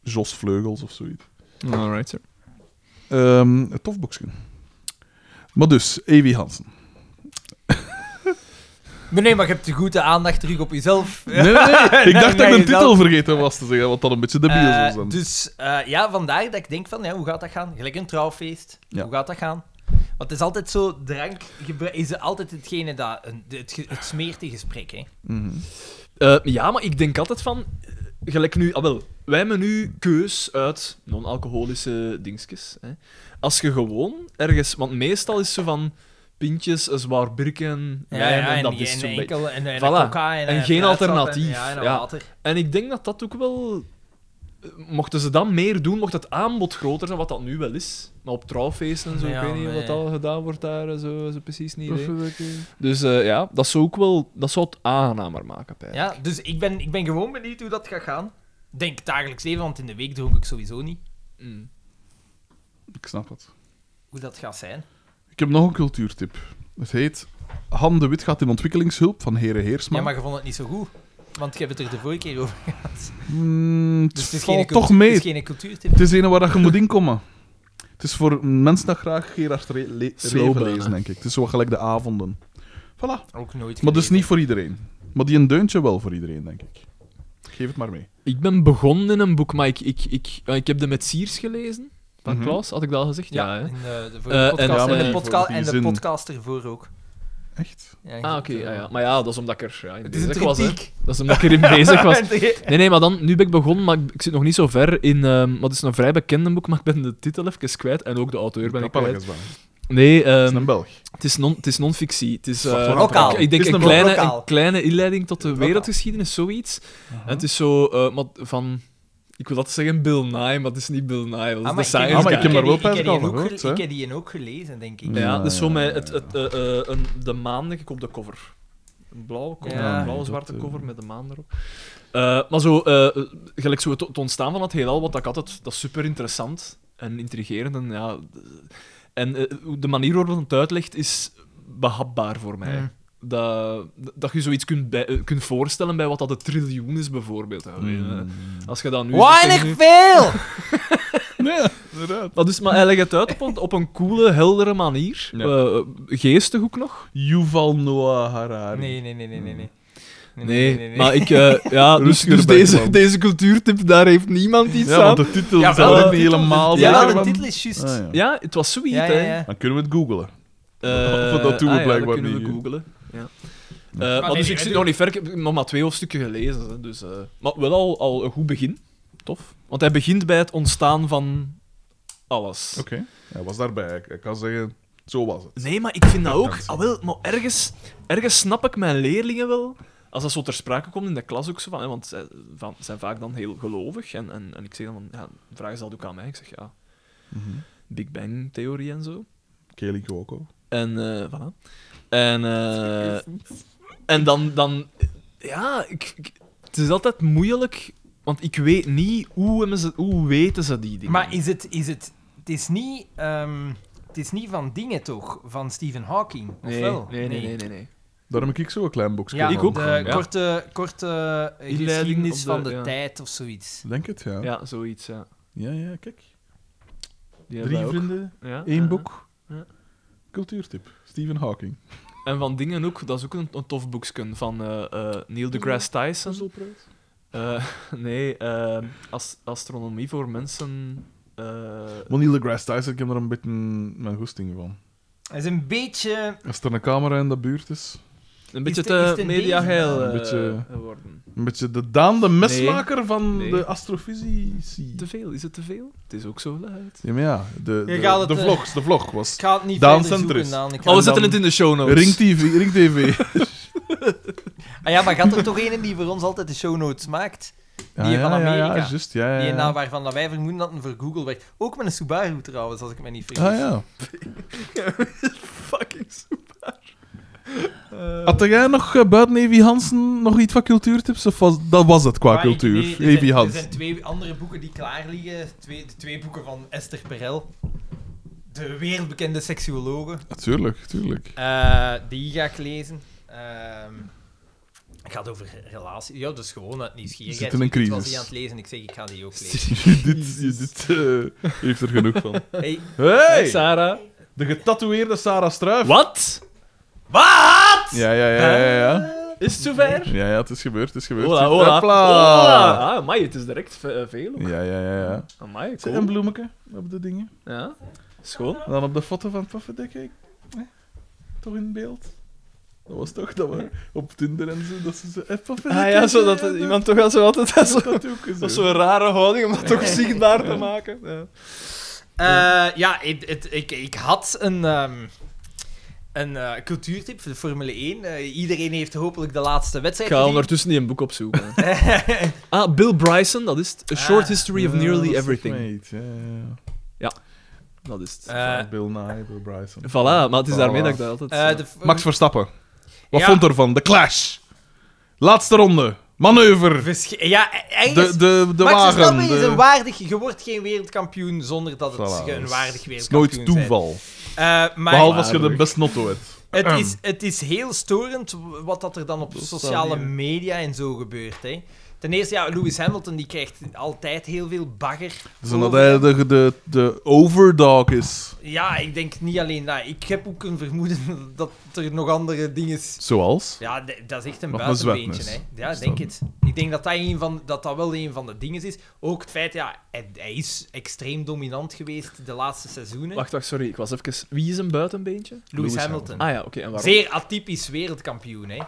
Jos Vleugels of zoiets. Alright, sir. Ehm een tof boekje. Maar dus, Evi Hansen. Maar nee, maar je hebt de goede aandacht terug op jezelf. Nee, nee, nee. Ik dacht dat ik Nee, een dat- titel vergeten was te zeggen, wat dat een beetje debiel Eh, zou zijn. dus eh, ja, vandaar dat ik denk van, ja, hoe gaat dat gaan? Gelijk een trouwfeest. Ja. Hoe gaat dat gaan? Want het is altijd zo, drank gebru- is altijd hetgene dat, een- het, ge- het smeert in gesprek, hè. Mhm. Eh, ja, maar ik denk altijd van... eh, Gelijk nu... Ah, wel. Wij hebben nu keus uit non-alcoholische dingetjes. Hè. Als je gewoon ergens... Want meestal is zo van... Pintjes, een zwaar birken, wijn, en, dat is zo'n beetje... enkel, en, en, Voilà. coca en, En eh, geen fruitsap en- alternatief. ja, en Ja. water. En ik denk dat dat ook wel... eh, Mochten ze dat meer doen, mocht het aanbod groter zijn, wat dat nu wel is. Maar op trouwfeesten en zo, Ja, ik weet niet nee. wat al gedaan wordt daar, eh, zo, zo precies niet. idee. Dus eh, ja, dat zou ook wel... Dat zou het aangenamer maken, bij. Ja, dus ik ben, ik ben gewoon benieuwd hoe dat gaat gaan. Ik Denk dagelijks leven, want in de week dronk ik sowieso niet. Mm. Ik snap het. Hoe dat gaat zijn. Ik heb nog een cultuurtip. Het heet Han de Wit gaat in ontwikkelingshulp van Heren Heersma. Hm. Ja, maar je vond het niet zo goed. Want je hebt het er de vorige keer over gehad. Mm, het Dus het is geen, valt cultu- toch mee. Het is geen cultuurtip. Het is een waar dat je moet inkomen. Het is voor mensen dat graag Gerard Re- Le- Reven Slowburn, lezen, hè. denk ik. Het is zo wat gelijk de avonden. Voilà. Ook nooit Maar dus gelezen. niet voor iedereen. Maar die een deuntje wel voor iedereen, denk ik. Geef het maar mee. Ik ben begonnen in een boek, maar ik, ik, ik, eh, ik heb de met Siers gelezen. Van Mhm. Klaus, had ik dat al gezegd? Ja, Ja, hè? en, eh, de, voor Eh, de en- podcast, ja, en, maar de, die- podca- voor die en de zin. podcast ervoor ook. Echt? Ja, Ah, je oké. zit, eh, ja, ja. Maar ja, dat is omdat ik er ja, in Het is een bezig was. Hè. kritiek. Ah, Dat is omdat ik erin bezig was. Oké. Nee, nee, maar dan, nu ben ik begonnen, maar ik, ik zit nog niet zo ver in... ehm wat is een vrij bekende boek, maar ik ben de titel even kwijt. En ook de auteur ben ik kwijt. Kapelletjes wel. Nee, ehm, Het is een Belg. het is non- het is non-fictie. het is... eh, Wacht, wacht, Lokaal. ik- Ik denk Is een een kleine, lokaal. een kleine inleiding tot de Lokaal. wereldgeschiedenis, zoiets. En het is zo... eh, maar van... Ik wil dat zeggen Bill Nye, maar het is niet Bill Nye. Dat is Ah, de maar science Ah, maar guy. ik heb maar wel die- ik pijs heb die al ook gehoord, gele- hè. Ik heb die ook gelezen, denk ik. Ja, Ja, dus zo ja, met ja, het, het, eh, eh, een, de maan, denk ik, op de cover. Een blauwe cover, Ja. een blauwe zwarte Dat, eh. cover met de maan erop. Eh, maar zo, eh, eh, gelijk zo het, het ontstaan van het heelal, wat ik altijd, dat is super interessant en intrigerend. En, ja, d- en eh, hoe de manier waarop het uitlegt is behapbaar voor mij. Mm. Dat, dat je zoiets kunt, bij- eh, kunt voorstellen bij wat dat een triljoen is, bijvoorbeeld. Ja, weet je, Hmm. eh, Als je dat nu... Weinig zegt, nu- veel! Ja, inderdaad. Maar, dus, maar hij legt het uit op een, op een coole, heldere manier. Ja. Eh, geestig ook nog. Yuval Noah Harari. Nee, nee, nee, nee, nee. nee. Nee, maar ik... eh, ja, dus, Rustiger dus bij, deze, man. deze cultuurtip, daar heeft niemand iets Ja, want aan. de titel Ja, ja, wel, zal de ik niet titel- helemaal Ja, Ja, zeggen, de want- titel is juist. Ah, ja. Ja, het was zoiets, Ja, ja, hè. ja. Dan kunnen we het googelen. Eh, Want dat doen we ah, ja, blijkbaar kunnen we niet, hè. googelen. Ja. Eh, Maar nee, maar dus nee, ik zit nee, nog niet ver, ik heb nog maar twee hoofdstukken gelezen. hè, Dus, eh, maar wel al, al een goed begin. Tof. Want hij begint bij het ontstaan van alles. Oké. Hij was daarbij. Ik, ik kan zeggen, zo was het. Nee, maar ik vind dat ook... Dank je. Ah, wel, maar ergens, ergens snap ik mijn leerlingen wel. als dat zo ter sprake komt in de klas ook zo van, hè, want zij van, zijn vaak dan heel gelovig. En, en, en ik zeg dan van, ja, vragen ze dat ook aan mij. Ik zeg ja, Mhm. Big Bang theorie en zo. Kelly Cuoco. En eh voilà. En, eh, en dan, dan ja, ik, ik- het is altijd moeilijk, want ik weet niet hoe, hebben ze, hoe weten ze die dingen. Maar is het, is het, het is niet, ehm, het is niet van dingen toch, van Stephen Hawking, of nee, wel? nee, nee, nee, nee, nee. Daarom heb ik zo een klein boekje. Ja, Ik ook. De Ja. korte, korte Inleiding geschiedenis op de- van de ja. tijd of zoiets. Denk het, ja. Ja, Ja, zoiets, ja. ja, kijk. Die hebben Drie wij ook. Ah, vrienden, Ja, één ja, ja. boek. Cultuurtip. Stephen Hawking. En van dingen ook, dat is ook een, een tof boeksken van eh, eh, Neil deGrasse Tyson. Puzzelprijs. Eh, nee, eh, as- astronomie voor mensen. eh, Maar Neil deGrasse Tyson, ik heb daar een beetje mijn goesting van. Dat is een beetje... Als er een camera in de buurt is, een beetje het- is het te een mediageil ding? Een eh, beetje- geworden. een beetje de Daan de mesmaker van Nee. de astrofysici. Te veel, is het te veel? Het is ook zo luid. Ja, maar ja, de, Je de, gaat het, de eh, vlogs, de vlog was. Ik ga het niet Daan verder Centris. zoeken, Daan. Ik ga- Oh, dan- we zetten het in de show notes. Ring TV, Ring TV. Ah ja, maar gaat er toch een in die voor ons altijd de show notes maakt? Ja, van ja, ja, ja, Amerika. juist, Eh. ja, ja, Die ja. nou waarvan dat wij vermoeden dat het voor Google werkt. Ook met een Subaru trouwens, als ik me niet vergis. Ah, ja. Fucking Had jij nog eh, buiten Evi Hansen nog iets van cultuurtips? Of was, dat was het qua Maar Ah, ik- cultuur? nee, er zijn- Evi Er zijn Hansen. twee andere boeken die klaar liggen. Twee, de twee boeken van Esther Perel. De wereldbekende seksuologe. Natuurlijk, tuurlijk. Eh, die ga ik lezen. Ehm, het gaat over relaties. Ja, dus gewoon uit nieuwsgierigheid. Zit in een Ik was crisis. die aan het lezen. Ik zeg, ik ga die ook lezen. dit dit eh, heeft er genoeg van. Hey, Hey, Hey! Sarah. De getatoeëerde Sarah Struif. Wat? Ja, ja, ja, ja. Ja, Is het zover? ja, ja het is gebeurd, het is gebeurd. Hola, Ziet, hola. hopla. hola. Ah, amai, het is direct ve- eh, veel. Ja, ja, ja, ja. Amai, Zit een cool. bloemetje op de dingen. Ja. Schoon. En dan op de foto van Paffendekker. eh, Toch in beeld. Dat was toch dat we op Tinder en zo, dat ze zo... Eh, Paffendekker, Ah ja, zodat eh, het- iemand toch wel zo altijd dat zo... dat ook Dat is zo'n rare houding om dat toch zichtbaar te maken. Ja. Eh, ja, het, het- ik, ik had een, ehm, een eh, cultuurtip voor de Formule 1. Eh, iedereen heeft hopelijk de laatste Ik wedstrijd ga gezien. Eh, ondertussen die een boek opzoeken. ah, Bill Bryson, dat is het. A Short Ah. History of Ja, dat is Nearly toch Everything. meet, Ja, ja, ja. Dat is het. Eh, Van Bill Nye, Bill Bryson. voilà, maar het is daarmee Voilà. dat ik dat altijd... Eh, eh, de, Max Verstappen. Wat Ja. vond ervan? De clash. Laatste ronde. Manoeuvre. Versch- ja, eh, De, ergens... de, de Max wagen. Verstappen is de- een waardig... Je wordt geen wereldkampioen zonder dat het Voilà, een dat waardig is wereldkampioen Nooit toeval. zijn. Eh, maar Behalve als je de Waardig. best notto hebt. het, is, het is heel storend wat dat er dan op sociale hier. media en zo gebeurt. Hè. Ten eerste, ja, Lewis Hamilton die krijgt altijd heel veel bagger. Dus omdat over hij hem. de, de, de overdog is. Ja, ik denk niet alleen dat. Ik heb ook een vermoeden dat er nog andere dingen... Zoals? Ja, d- dat is echt een Nog een buitenbeentje, hè. zwetnis. Ja, Is denk dat- het. Ik denk dat dat, een van, dat dat wel een van de dingen is. Ook het feit, ja, hij, hij is extreem dominant geweest de laatste seizoenen. Wacht, wacht, sorry. Ik was even... Wie is een buitenbeentje? Lewis, Lewis Hamilton. Ah ja, oké. en waarom? Zeer atypisch wereldkampioen, hè.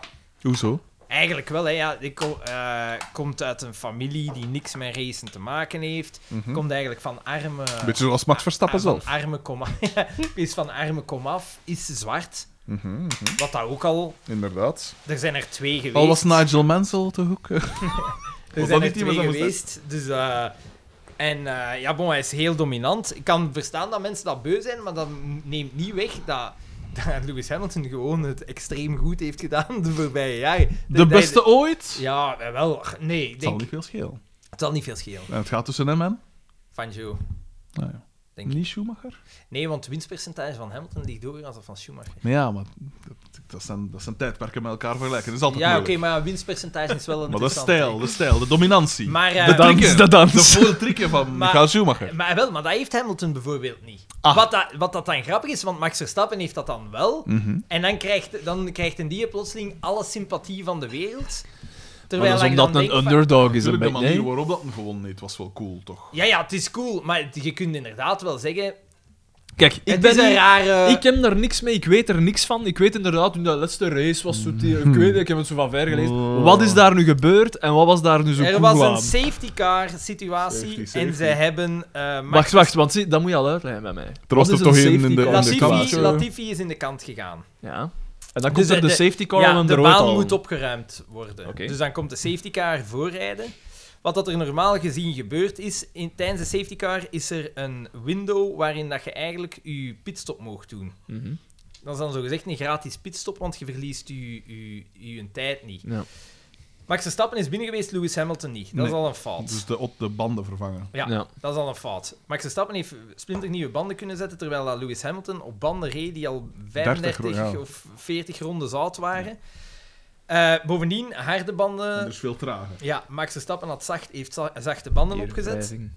Hoezo? Eigenlijk wel, hè. Ja, ik kom- eh, komt uit een familie die niks met racen te maken heeft. Mhm. Komt eigenlijk van arme... Hm? Beetje zoals Max Verstappen van zelf. arme komaf. is van arme komaf, is zwart. Mhm, mhm. Wat dat ook al... Inderdaad. Er zijn er twee geweest. Al was Nigel Mansell toch ook? eh, Er Was zijn dat er niet die twee met dat geweest, dus... eh, en eh, ja, bon, hij is heel dominant. Ik kan verstaan dat mensen dat beu zijn, maar dat neemt niet weg dat, dat Lewis Hamilton gewoon het extreem goed heeft gedaan de voorbije jaren. Dat De hij- beste ooit? Ja, eh, wel. Nee, ik Het zal denk... niet veel schelen. Het zal niet veel schelen. En het gaat tussen hem en? Van Joe. Nou ja. Denk ik. Niet Schumacher? Nee, want het winstpercentage van Hamilton ligt hoger dan dat van Schumacher. Nee, ja, maar dat, dat, zijn, dat zijn tijdperken met elkaar vergelijken. Dat is altijd Ja, oké, moeilijk. maar winstpercentage is wel een Maar de interessant, stijl, de stijl, de dominantie. hè. Maar, eh, de dans, de dans. De volle trikken van Maar- Michael Schumacher. maar wel, maar dat heeft Hamilton bijvoorbeeld niet. Ah. Wat, dat, wat dat dan grappig is, want Max Verstappen heeft dat dan wel. Mhm. En dan krijgt, dan krijgt een die plotseling alle sympathie van de wereld. Maar Terwijl dat is ik omdat dan het een denk van- underdog is. Een Natuurlijk, de beetje, manier nee? waarop dat hem gewoon niet was wel cool, toch? Ja, ja, het is cool, maar het- je kunt inderdaad wel zeggen... Kijk, ik het ben is een niet- rare... Ik heb daar niks mee, ik weet er niks van. Ik weet inderdaad hoe dat laatste race was. Zo die- ik weet, ik heb het zo van ver gelezen. Oh. Wat is daar nu gebeurd en wat was daar nu zo er cool was aan? een safety car situatie Safety, en safety. ze hebben... eh, Max Wacht, wacht, want zie, dat moet je al uitleggen bij mij. Er was Wat er is toch één in safety de- car? in de Latifi, kant. Latifi is in de kant gegaan. Ja. En dan Dus komt er de- de de- safety car ja, om hem de eruit baan halen. moet opgeruimd worden. Oké. Dus dan komt de safety car voorrijden. Wat dat er normaal gezien gebeurd is, in, tijdens de safety car is er een window waarin dat je eigenlijk je pitstop mag doen. Mhm. Dat is dan zogezegd een gratis pitstop, want je verliest je, je, je tijd niet. Ja. Max Verstappen is binnen geweest, Lewis Hamilton niet. Dat is Nee. al een fout. Dus de, op de banden vervangen. Ja, Ja. dat is al een fout. Max Verstappen heeft splinternieuwe banden kunnen zetten, terwijl dat Lewis Hamilton op banden reed die al 35 30, ja. of 40 rondes oud waren. Eh, bovendien, harde banden... dus veel trager. Ja, Max Verstappen had zacht, heeft za- zachte banden opgezet. Eerbeving.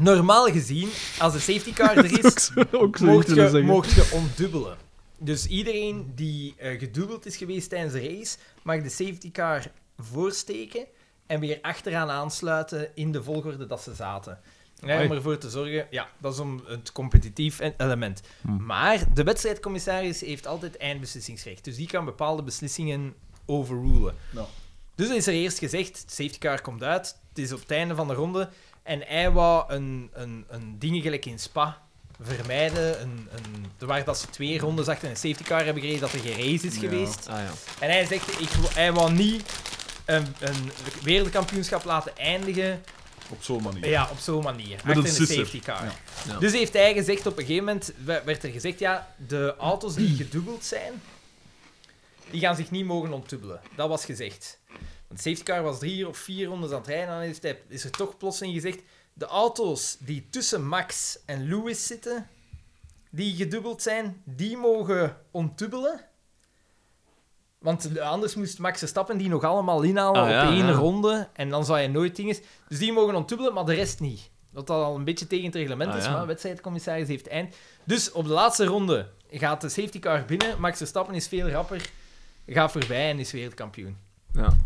Normaal gezien, als de safety car er is, Ook mocht willen je, zeggen. mocht je ondubbelen. Dus iedereen die eh, gedubbeld is geweest tijdens de race, mag de safety car voorsteken en weer achteraan aansluiten in de volgorde dat ze zaten. Ja, om Amai. ervoor te zorgen, ja, dat is om het competitief en- element. Hmm. Maar de wedstrijdcommissaris heeft altijd eindbeslissingsrecht, dus die kan bepaalde beslissingen overrulen. Ja. Dus is er eerst gezegd, de safety car komt uit, het is op het einde van de ronde, en hij wou een, een, een ding gelijk in Spa vermijden. Een, een, er waren dat ze twee rondes achter een safety car hebben gereden dat er geen race is Ja. geweest. Ah ja. En hij zegt, ik, wil- hij wou niet een, een wereldkampioenschap laten eindigen Op zo'n manier. ja, op zo'n manier. Met een achter een sisser. safety car. Ja. Ja. Dus heeft hij gezegd, op een gegeven moment we- werd er gezegd, ja, de auto's die gedubbeld zijn, die gaan zich niet mogen ontdubbelen. Dat was gezegd. Want de safety car was drie of vier rondes aan het rijden en dan heeft hij, is er toch plotseling gezegd, de auto's die tussen Max en Lewis zitten, die gedubbeld zijn, die mogen ontdubbelen. Want anders moest Max de stappen die nog allemaal inhalen Ah, ja, op één ja. ronde. En dan zou je nooit dingen... Dus die mogen ontdubbelen, maar de rest niet. Dat dat al een beetje tegen het reglement Ah, is, ja. maar de wedstrijdcommissaris heeft eind. Dus op de laatste ronde gaat de safety car binnen. Max Verstappen is veel rapper, gaat voorbij en is wereldkampioen. ja.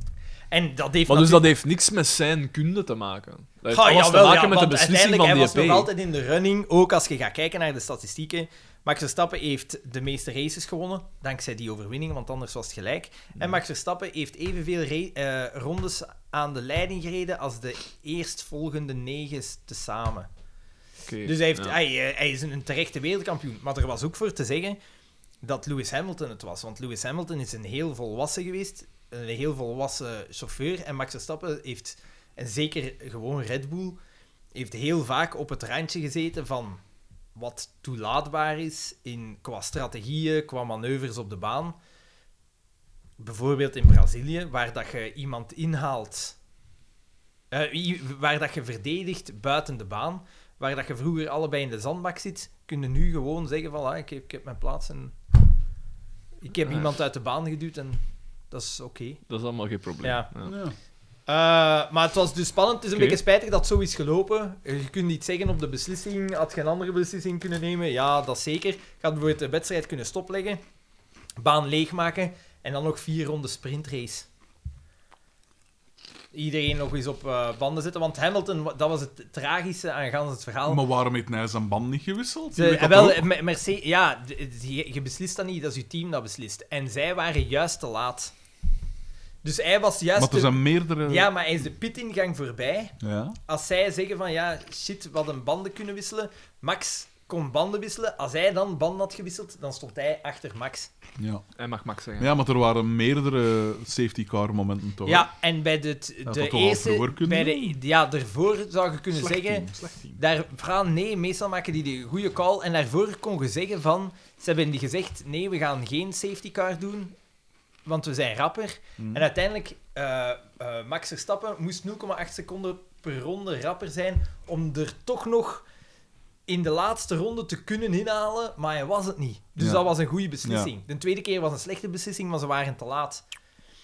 En dat heeft Maar natuurlijk- dus dat heeft niks met zijn kunde te maken. Dat heeft Ga, alles jawel, te maken ja, met de want beslissing van uiteindelijk, die Hij was nog altijd EP. in de running, ook als je gaat kijken naar de statistieken. Max Verstappen heeft de meeste races gewonnen, dankzij die overwinning, want anders was het gelijk. En Max Verstappen heeft evenveel ra- eh, rondes aan de leiding gereden als de eerstvolgende negen tezamen. Oké, Dus hij, heeft, ja. hij, eh, hij is een, een terechte wereldkampioen. Maar er was ook voor te zeggen dat Lewis Hamilton het was. Want Lewis Hamilton is een heel volwassen geweest. Een heel volwassen chauffeur. En Max Verstappen heeft, en zeker gewoon Red Bull, heeft heel vaak op het randje gezeten van wat toelaatbaar is in, qua strategieën, qua manoeuvres op de baan. Bijvoorbeeld in Brazilië, waar dat je iemand inhaalt, eh, i- waar dat je verdedigt buiten de baan waar dat je vroeger allebei in de zandbak zit, kunnen nu gewoon zeggen van, ah, ik, heb, ik heb mijn plaats en ik heb Ja. iemand uit de baan geduwd en dat is oké. Dat is allemaal geen probleem. Ja. Ja. Ja. Eh, maar het was dus spannend. Het is een Oké. beetje spijtig dat het zo is gelopen. Eh, Je kunt niet zeggen op de beslissing. Had je een andere beslissing kunnen nemen? Ja, dat zeker. Je had bijvoorbeeld de wedstrijd kunnen stopleggen, baan leegmaken en dan nog vier ronden sprintrace. Iedereen nog eens op eh, banden zetten. Want Hamilton, wa- dat was het tragische aan gans het verhaal. Maar waarom heeft hij zijn band niet gewisseld? Ze- Je weet dat Eh, wel, toch ook? Me- Mercedes, ja, d- d- je, je beslist dat niet, dat is je team dat beslist. En zij waren juist te laat. Dus hij was juist. Maar er te- zijn meerdere... Ja, maar hij is de pitingang voorbij. Ja. Als zij zeggen van ja, shit, wat een banden kunnen wisselen. Max kon banden wisselen. Als hij dan banden had gewisseld, dan stond hij achter Max. Ja. Hij mag Max zeggen. ja, maar er waren meerdere safety car momenten toch? Ja, en bij de, t- had de dat toch al eerste. vroeger kunnen bij de, ja, daarvoor zou je kunnen Slecht zeggen. team, slecht team. Daar, vooral nee, meestal maken die de goede call. En daarvoor kon je zeggen van... Ze hebben die gezegd, nee, we gaan geen safety car doen, want we zijn rapper. Mm. En uiteindelijk, eh, eh, Max Verstappen moest 0,8 seconden per ronde rapper zijn om er toch nog in de laatste ronde te kunnen inhalen, maar hij was het niet. Dus Ja. dat was een goede beslissing. De tweede keer was een slechte beslissing, maar ze waren te laat.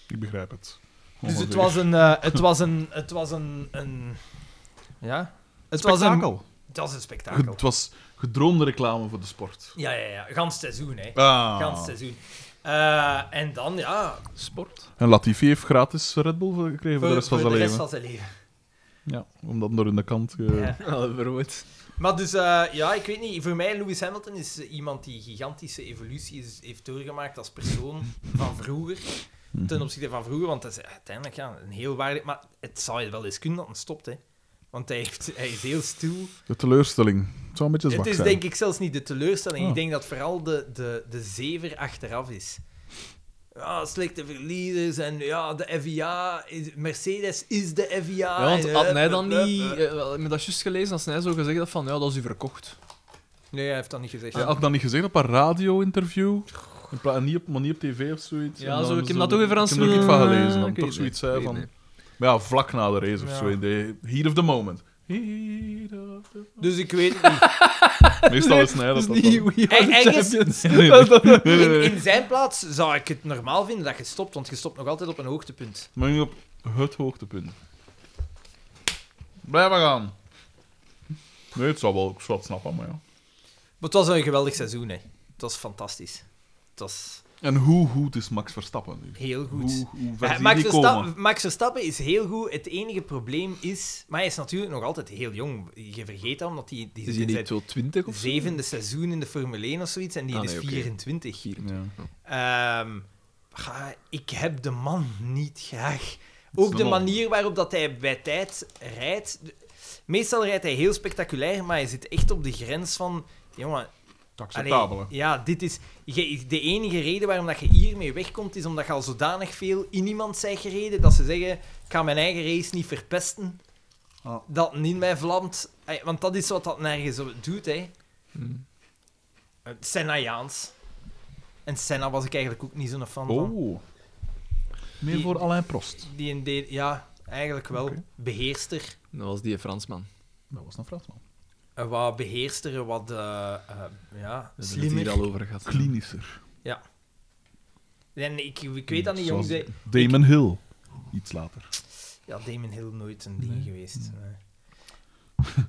Ik begrijp het. Dus het Ongeveer. was een... eh, het was een... Het was een... een ja? Het was een... Spektakel. Het was een Ge- spektakel. Het was gedroomde reclame voor de sport. Ja, ja, ja. Gans seizoen, hè. Ah. Gans seizoen. Eh, en dan, ja, Sport. En Latifi heeft gratis Red Bull gekregen voor de rest van zijn leven. van zijn leven. Ja, omdat door in de kant. eh, Ja. Ja, verwoord. Maar dus, eh, ja, ik weet niet. Voor mij, Lewis Hamilton is eh, iemand die gigantische evolutie is- heeft doorgemaakt als persoon van vroeger. Ten opzichte van vroeger, want dat is eh, uiteindelijk ja, een heel waardig... Maar het zou je wel eens kunnen dat hij stopt, hè. Want hij, heeft, hij is heel stil. De teleurstelling. Het zou een beetje zwak Het is zijn. denk ik zelfs niet de teleurstelling. Ah. Ik denk dat vooral de, de, de zever achteraf is. ja, slechte verliezers en ja, de FIA, is- Mercedes is de FIA. Ah, Ja, want en, had eh, hij dan eh, niet... eh, eh. eh, wel, Ik heb dat juist gelezen, als hij zo gezegd had van, ja, dat is u verkocht. Nee, hij heeft dat niet gezegd. Had ik dat niet gezegd op een radio-interview? In pla- en niet op, maar niet op tv of zoiets. Ja, En dan zo, ik heb zo- dat toch even aan Ik heb er ook iets van gelezen. Dan Ik toch weet zoiets niet, zei ik van... weet Maar ja, vlak na de race of Ja. zo. in de heat of the moment. Heat of the- Dus ik weet het niet. Meestal is hij dat Dat dat is niet dan. We En- Are en is- Champions. Nee, nee. In, in zijn plaats zou ik het normaal vinden dat je stopt, want je stopt nog altijd op een hoogtepunt. Maar nu op het hoogtepunt. Blijf maar gaan. Nee, het zou wel, ik zou het snappen, maar ja. Maar het was een geweldig seizoen, hè. Het was fantastisch. Het was En hoe goed is Max Verstappen nu? heel goed. Hoe, hoe ver Ja, zie je Max, die Versta- komen? Max Verstappen is heel goed. Het enige probleem is... Maar hij is natuurlijk nog altijd heel jong. Je vergeet dat, omdat hij... Die, Is hij dit niet zijn 20 of zo? zevende seizoen in de Formule 1 of zoiets. En die Ah, is nee, oké. 24. Hier. Ja. Ehm, ga- ik heb de man niet graag. Ook de Snel. manier waarop dat hij bij tijd rijdt. Meestal rijdt hij heel spectaculair, maar hij zit echt op de grens van... Jongen, Het Allee, acceptabele. ja, dit is... je- de enige reden waarom dat je hiermee wegkomt, is omdat je al zodanig veel in iemand bent gereden, dat ze zeggen, ik ga mijn eigen race niet verpesten. Ah. Dat niet mij vlamt. Ey, Want dat is wat dat nergens op doet, hè. Eh, Senna-Jaans. En Senna was ik eigenlijk ook niet zo'n fan van. Oh. Meer Die- voor Alain Prost. Die een deed... Ja, eigenlijk wel. Oké. Beheerster. Dat was die Fransman. Dat was een Fransman. Eh, wat beheerster, eh, wat... eh eh, ja, We hebben het slimmer. hier al over gehad. Klinischer. En ik, ik weet dat niet, Zoals jongens. hè. Damon Hill. Iets later. Ja, Damon Hill nooit een ding geweest. Nee.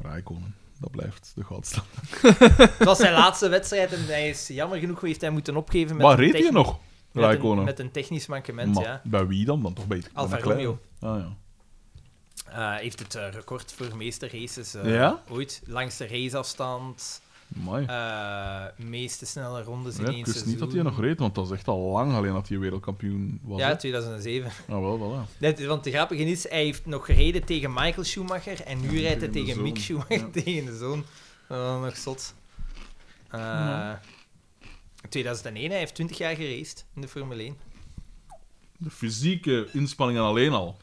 Raikkonen. Dat blijft de goudstand. Het was zijn laatste wedstrijd en hij is jammer genoeg heeft hij moeten opgeven met Maar een reed je techni- nog? met een, Raikkonen. met een technisch mankement, Maar ja. Bij wie dan? Dan toch bij bij Alfa een kleine. Romeo Ah, ja. eh, heeft het eh, record voor meeste races eh, Ja? ooit. Langste raceafstand, Amai. eh, meeste snelle rondes Ja, in ik één wist seizoen. niet dat hij nog reed, want dat is echt al lang alleen dat hij wereldkampioen was. Ja, hè? 2007. Ah, wel, wel. Net, want de grappige is, hij heeft nog gereden tegen Michael Schumacher en nu Ja, rijdt tegen de hij tegen zoon. Mick Schumacher, Ja. tegen de zoon. Oh, nog zot. Eh, Ja. 2001, hij heeft 20 jaar geraced in de Formule 1. De fysieke inspanningen alleen al.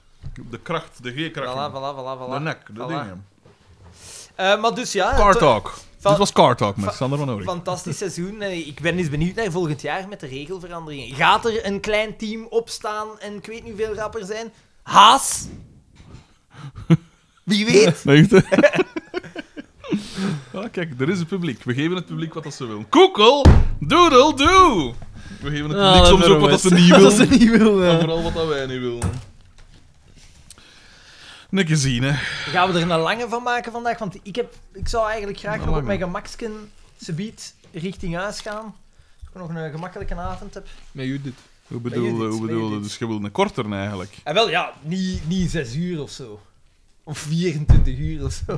De kracht, de Voilà, G-kracht. voilà, voilà, voilà. De nek, de Voilà. dingen. Eh, maar dus ja, Car to- Talk. Van- Dit was Car Talk met van- Sander van Oorik. fantastisch seizoen. En ik ben eens benieuwd naar volgend jaar met de regelveranderingen. Gaat er een klein team opstaan en ik weet niet veel rapper zijn? Haas? Wie weet? Nee, echt, hè? ah, kijk, er is een publiek. We geven het publiek wat dat ze willen. Koekel, doodle, doe! We geven het publiek Ah, soms ook verwijs. wat dat ze niet Dat willen. ze niet wil, En ja. vooral wat dat wij niet willen. Nikke zien, hè. Gaan we er een lange van maken vandaag? Want ik, heb, ik zou eigenlijk graag Een nog op lange. mijn gemaksken subiet richting huis gaan. Dat Ik nog een gemakkelijke avond heb. Met Judith. Hoe bedoel- Ben je bedoel dit? hoe hoe Ben je bedoel- bedoel dit? Dus je wil een korter eigenlijk. En Eh, wel, ja, niet, niet zes uur of zo. Of 24 uur of zo.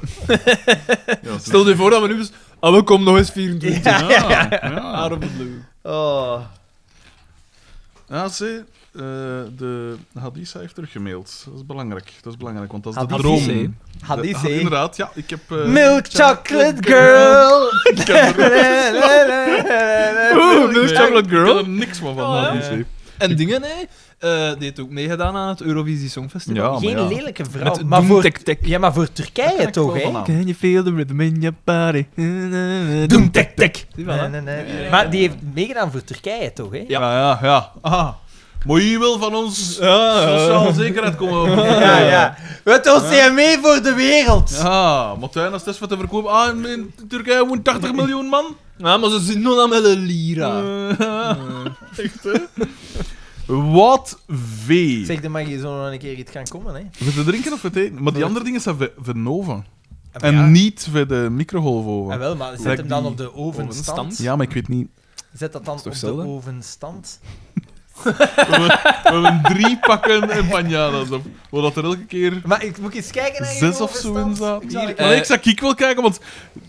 Stel je voor dat we nu eens... Ah, we komen nog eens 24 ja, dus- ja, ja. Arme blauw. Oh. Ah, zie, eh, de Hadisa heeft teruggemaild. Dat is belangrijk. Dat is belangrijk, want dat is de Hadis, droom. hè? De- Hadis, ah, hè? Inderdaad, ja. Ik heb... eh, Milk chocolate girl. Ik heb er, Oeh, Milk Chocolate Ik Girl. heb er niks van van Oh, ja? Hadis, hè. En dingen, hè. eh, die heeft ook meegedaan aan het Eurovisie Songfestival. Ja, maar Geen ja. lelijke vrouw, Met maar Doem voor, Tek Tek. ja, maar voor Daar Turkije ken toch, ik wel hè? van Can you feel the rhythm in your body? Doem tek tek. Zie je wel, Nee, hè? nee, nee. Maar die heeft meegedaan voor Turkije toch, hè? Ja, ja, ja. Ah. Maar je wil van ons sociaal zekerheid komen. ja. ja. Met OCME voor de wereld. Ja, Martijn, als het is wat te verkopen. Ah, in, in Turkije woont 80 miljoen man. Ja, maar ze zien nog aan met een lira. Eh, Echt, hè? Wat vee. Zeg, dan mag je zo nog een keer iets gaan komen, hè? Voor te drinken of voor te eten? Maar die andere dingen zijn voor- voor de oven. Ah, En ja. niet voor de microgolfoven. Ah, wel, maar zet Zeg hem dan die op de ovenstand. ovenstand. Ja, maar ik weet niet. Zet dat dan op toch de zelden? ovenstand. We hebben drie pakken empanadas op. Wat dat er elke keer Maar ik moet eens kijken naar je zes of zo in ovenstand. zaten. Ik zal Hier, eh, eh, een Allee, keer- ik zou kiek wel kijken, want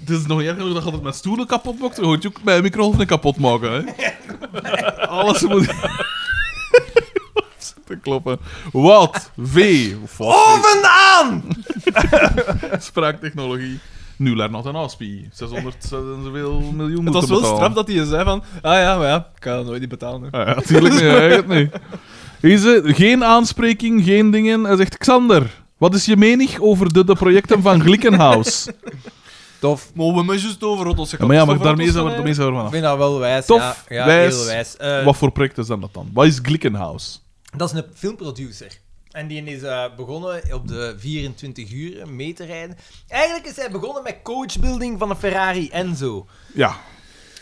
het is nog niet erg genoeg dat je het met stoelen kapot maakt. Dan moet je ook mijn microgolven kapot maken. Hè? Alles moet... Te kloppen. Wat? V. Of wat? Oh! Oven aan! Spraaktechnologie. Nu leer not een ASPI. 600 en zoveel miljoen moeten Het was wel betalen. straf dat hij zei van... Ah ja, maar ja, ik kan dat nooit niet betalen. hè. Ah, ja, natuurlijk niet. Hij het niet. Hier is het, geen aanspreking, geen dingen. Hij zegt, Xander, wat is je mening over de, de projecten van Glickenhaus? Tof. Maar we hebben het juist over rottels. Ja, maar ja, maar daarmee zijn we, daarmee zijn we Ik vanaf. vind dat wel wijs. Tof, ja, ja, wijs. Heel wijs. Eh, Wat voor projecten zijn dat dan? Wat is Glickenhaus? Dat is een filmproducer. En die is eh, begonnen op de 24 uur mee te rijden. Eigenlijk is hij begonnen met coachbuilding van een Ferrari Enzo. Ja,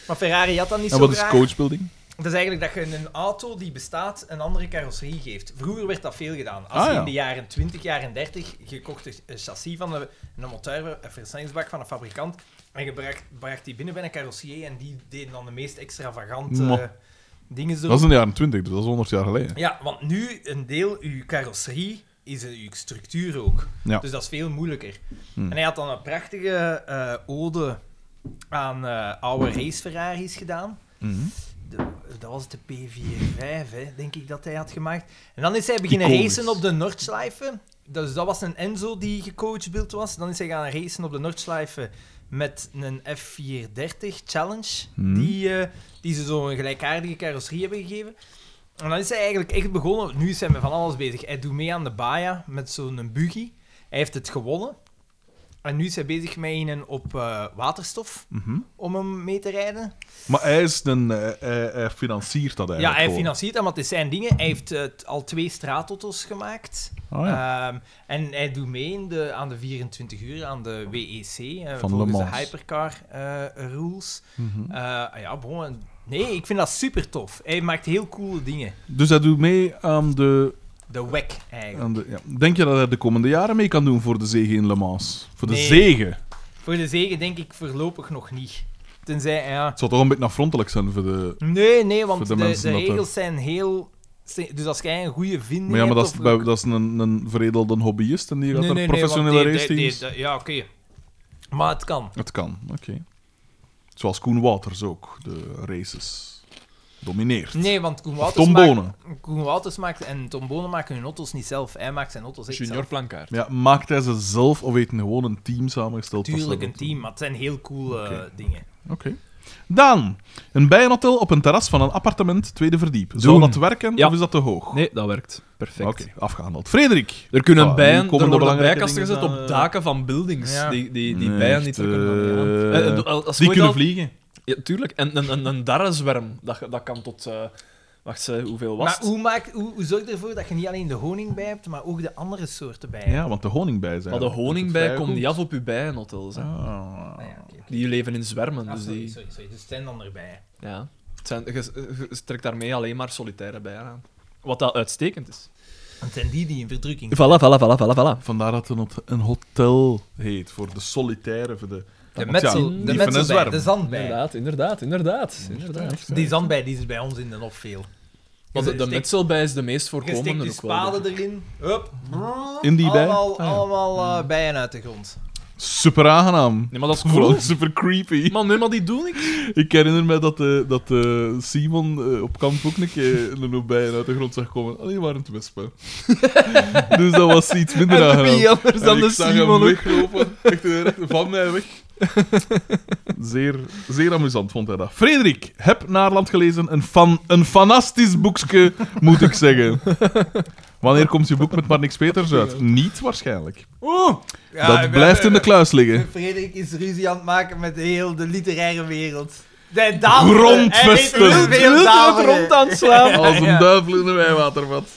Maar Ferrari had dat niet en zo wat is graag. coachbuilding? Dat is eigenlijk dat je een auto die bestaat een andere carrosserie geeft. Vroeger werd dat veel gedaan. Als Ah, je ja. in de jaren 20, jaren 30, je kocht een- een chassis van een, een motor, een versnellingsbak van een fabrikant, en je bracht, bracht die binnen bij een carrossier en die deden dan de meest extravagante Mwah. eh, dingen zo. Dat is in de jaren 20, dus dat is 100 jaar geleden. Ja, want nu een deel uw carrosserie is een- uw structuur ook. Ja. Dus dat is veel moeilijker. Hmm. En hij had dan een prachtige eh, ode aan eh, oude race Ferraris gedaan. Mhm. De- dat was de P45, hè, denk ik dat hij had gemaakt. En dan is hij beginnen Iconisch. racen op de Nordschleife. Dus dat was een Enzo die gecoachbeeld was. Dan is hij gaan racen op de Nordschleife met een F430 Challenge. Hmm. Die, eh, die ze zo'n gelijkaardige carrosserie hebben gegeven. En dan is hij eigenlijk echt begonnen. Nu is hij met van alles bezig. Hij doet mee aan de Baja met zo'n buggy. Hij heeft het gewonnen. En nu is hij bezig met een op eh, waterstof Mhm. om hem mee te rijden. Maar hij, is een, eh, hij, hij financiert dat eigenlijk Ja, hij gewoon. financiert dat, want het zijn dingen. Hij heeft eh, t- al twee straatauto's gemaakt. Ah, ja. Ehm, en hij doet mee in de, aan de 24 uur, aan de WEC, eh, Van volgens Le de Mans. Hypercar eh, rules. Mhm. Eh, ja, bon, en- nee, ik vind dat super tof. Hij maakt heel coole dingen. Dus hij doet mee aan de, De WEC eigenlijk. aan de... ja. Denk je dat hij de komende jaren mee kan doen voor de zege in Le Mans? Voor de Nee. zegen? Voor de zegen denk ik voorlopig nog niet. Tenzij, ja... Het zou toch een beetje afrontelijk zijn voor de... Nee, nee, want Voor de de, de, mensen dat er- regels zijn heel... Dus als jij een goede vinding Maar ja, maar dat hebt... is, of- bij- dat is een, een veredelde hobbyist en die gaat Nee, er nee, nee, professionele want die- die- raceteams... die- die- Ja, oké. Maar het kan. Het kan, oké. Zoals Koen Waters ook de races domineert. Nee, want Koen Of Wouters, Tom maakt, Bonen. Koen Wouters maakt en Tom Bonen maken hun auto's niet zelf. Hij maakt zijn auto's echt Junior zelf. Plankaart. Ja, maakt hij ze zelf of heeft hij gewoon een team samengesteld? van Tuurlijk een zelf? team, maar het zijn heel coole Oké. dingen. Oké. Dan, een bijenhotel op een terras van een appartement, tweede verdiep. Zou Doen. dat werken Ja. of is dat te hoog? Nee, dat werkt. Perfect. Oké, afgehandeld. Frederik! Er kunnen Ah, nu bijen, komen de er worden belangrijke bijkasten dingen gezet aan, op eh. daken van buildings. Ja. Die, die, die Nee, bijen echt, niet terug kunnen. eh, ja. Eh, eh, als- als Die gooit kunnen al- vliegen. Ja, tuurlijk. En een, een, een darrenzwerm, dat, dat kan tot... eh, wacht, eh, hoeveel was Maar het? hoe, maakt, hoe, hoe zorg je ervoor dat je niet alleen de honing bij hebt, maar ook de andere soorten bij hebt? Ja, want de honingbij zijn. Maar de honingbij komt niet ja. af op uw bijenhotels. hè. Ah, ja, oké. dus Die leven in zwermen, Ah, dus sorry, die... sorry, sorry. Dus het zijn dan erbij. Ja. Het zijn, je, eh, je- je trekt daarmee alleen maar solitaire bijen aan. Wat dat uitstekend is. Het zijn die die in verdrukking zijn. Voilà, voilà, voilà, voilà, voilà. Vandaar dat het een hot- een hotel heet, voor de solitaire, voor de... De Want ja, metsel, die de van een metselbij, zwerm. de zandbij. Inderdaad, inderdaad, inderdaad. inderdaad. Die zandbij die is bij ons in de hof veel. Want de, de Je steekt- metselbij is de meest je steekt voorkomende. die ook wel, spade erin, hup, In die bij? allemaal, Ah, ja. allemaal eh, bijen uit de grond. Super aangenaam. Nee, maar dat is Vooral cool. super creepy. Man, nee, maar die doen ik. Ik herinner me dat, eh, dat eh, Simon eh, op kamp ook een keer een hoop bijen uit de grond zag komen. Alleen waren het wespen. dus dat was iets minder aangenaam. anders En ik zag hem weglopen. Echt eh, recht van mij weg. Zeer, zeer amusant vond hij dat. Frederik, heb Naarland gelezen. Een, fan, een fantastisch boekje, moet ik zeggen. Wanneer komt je boek met maar niks beters uit? Niet waarschijnlijk. Ja, dat ik ben- eh, blijft in de kluis liggen. Frederik is ruzie aan het maken met heel de literaire wereld. De dames, Grondvesten. Veel het dames rond aan het slaan. Als een Ja. duivel in een wijwatervat.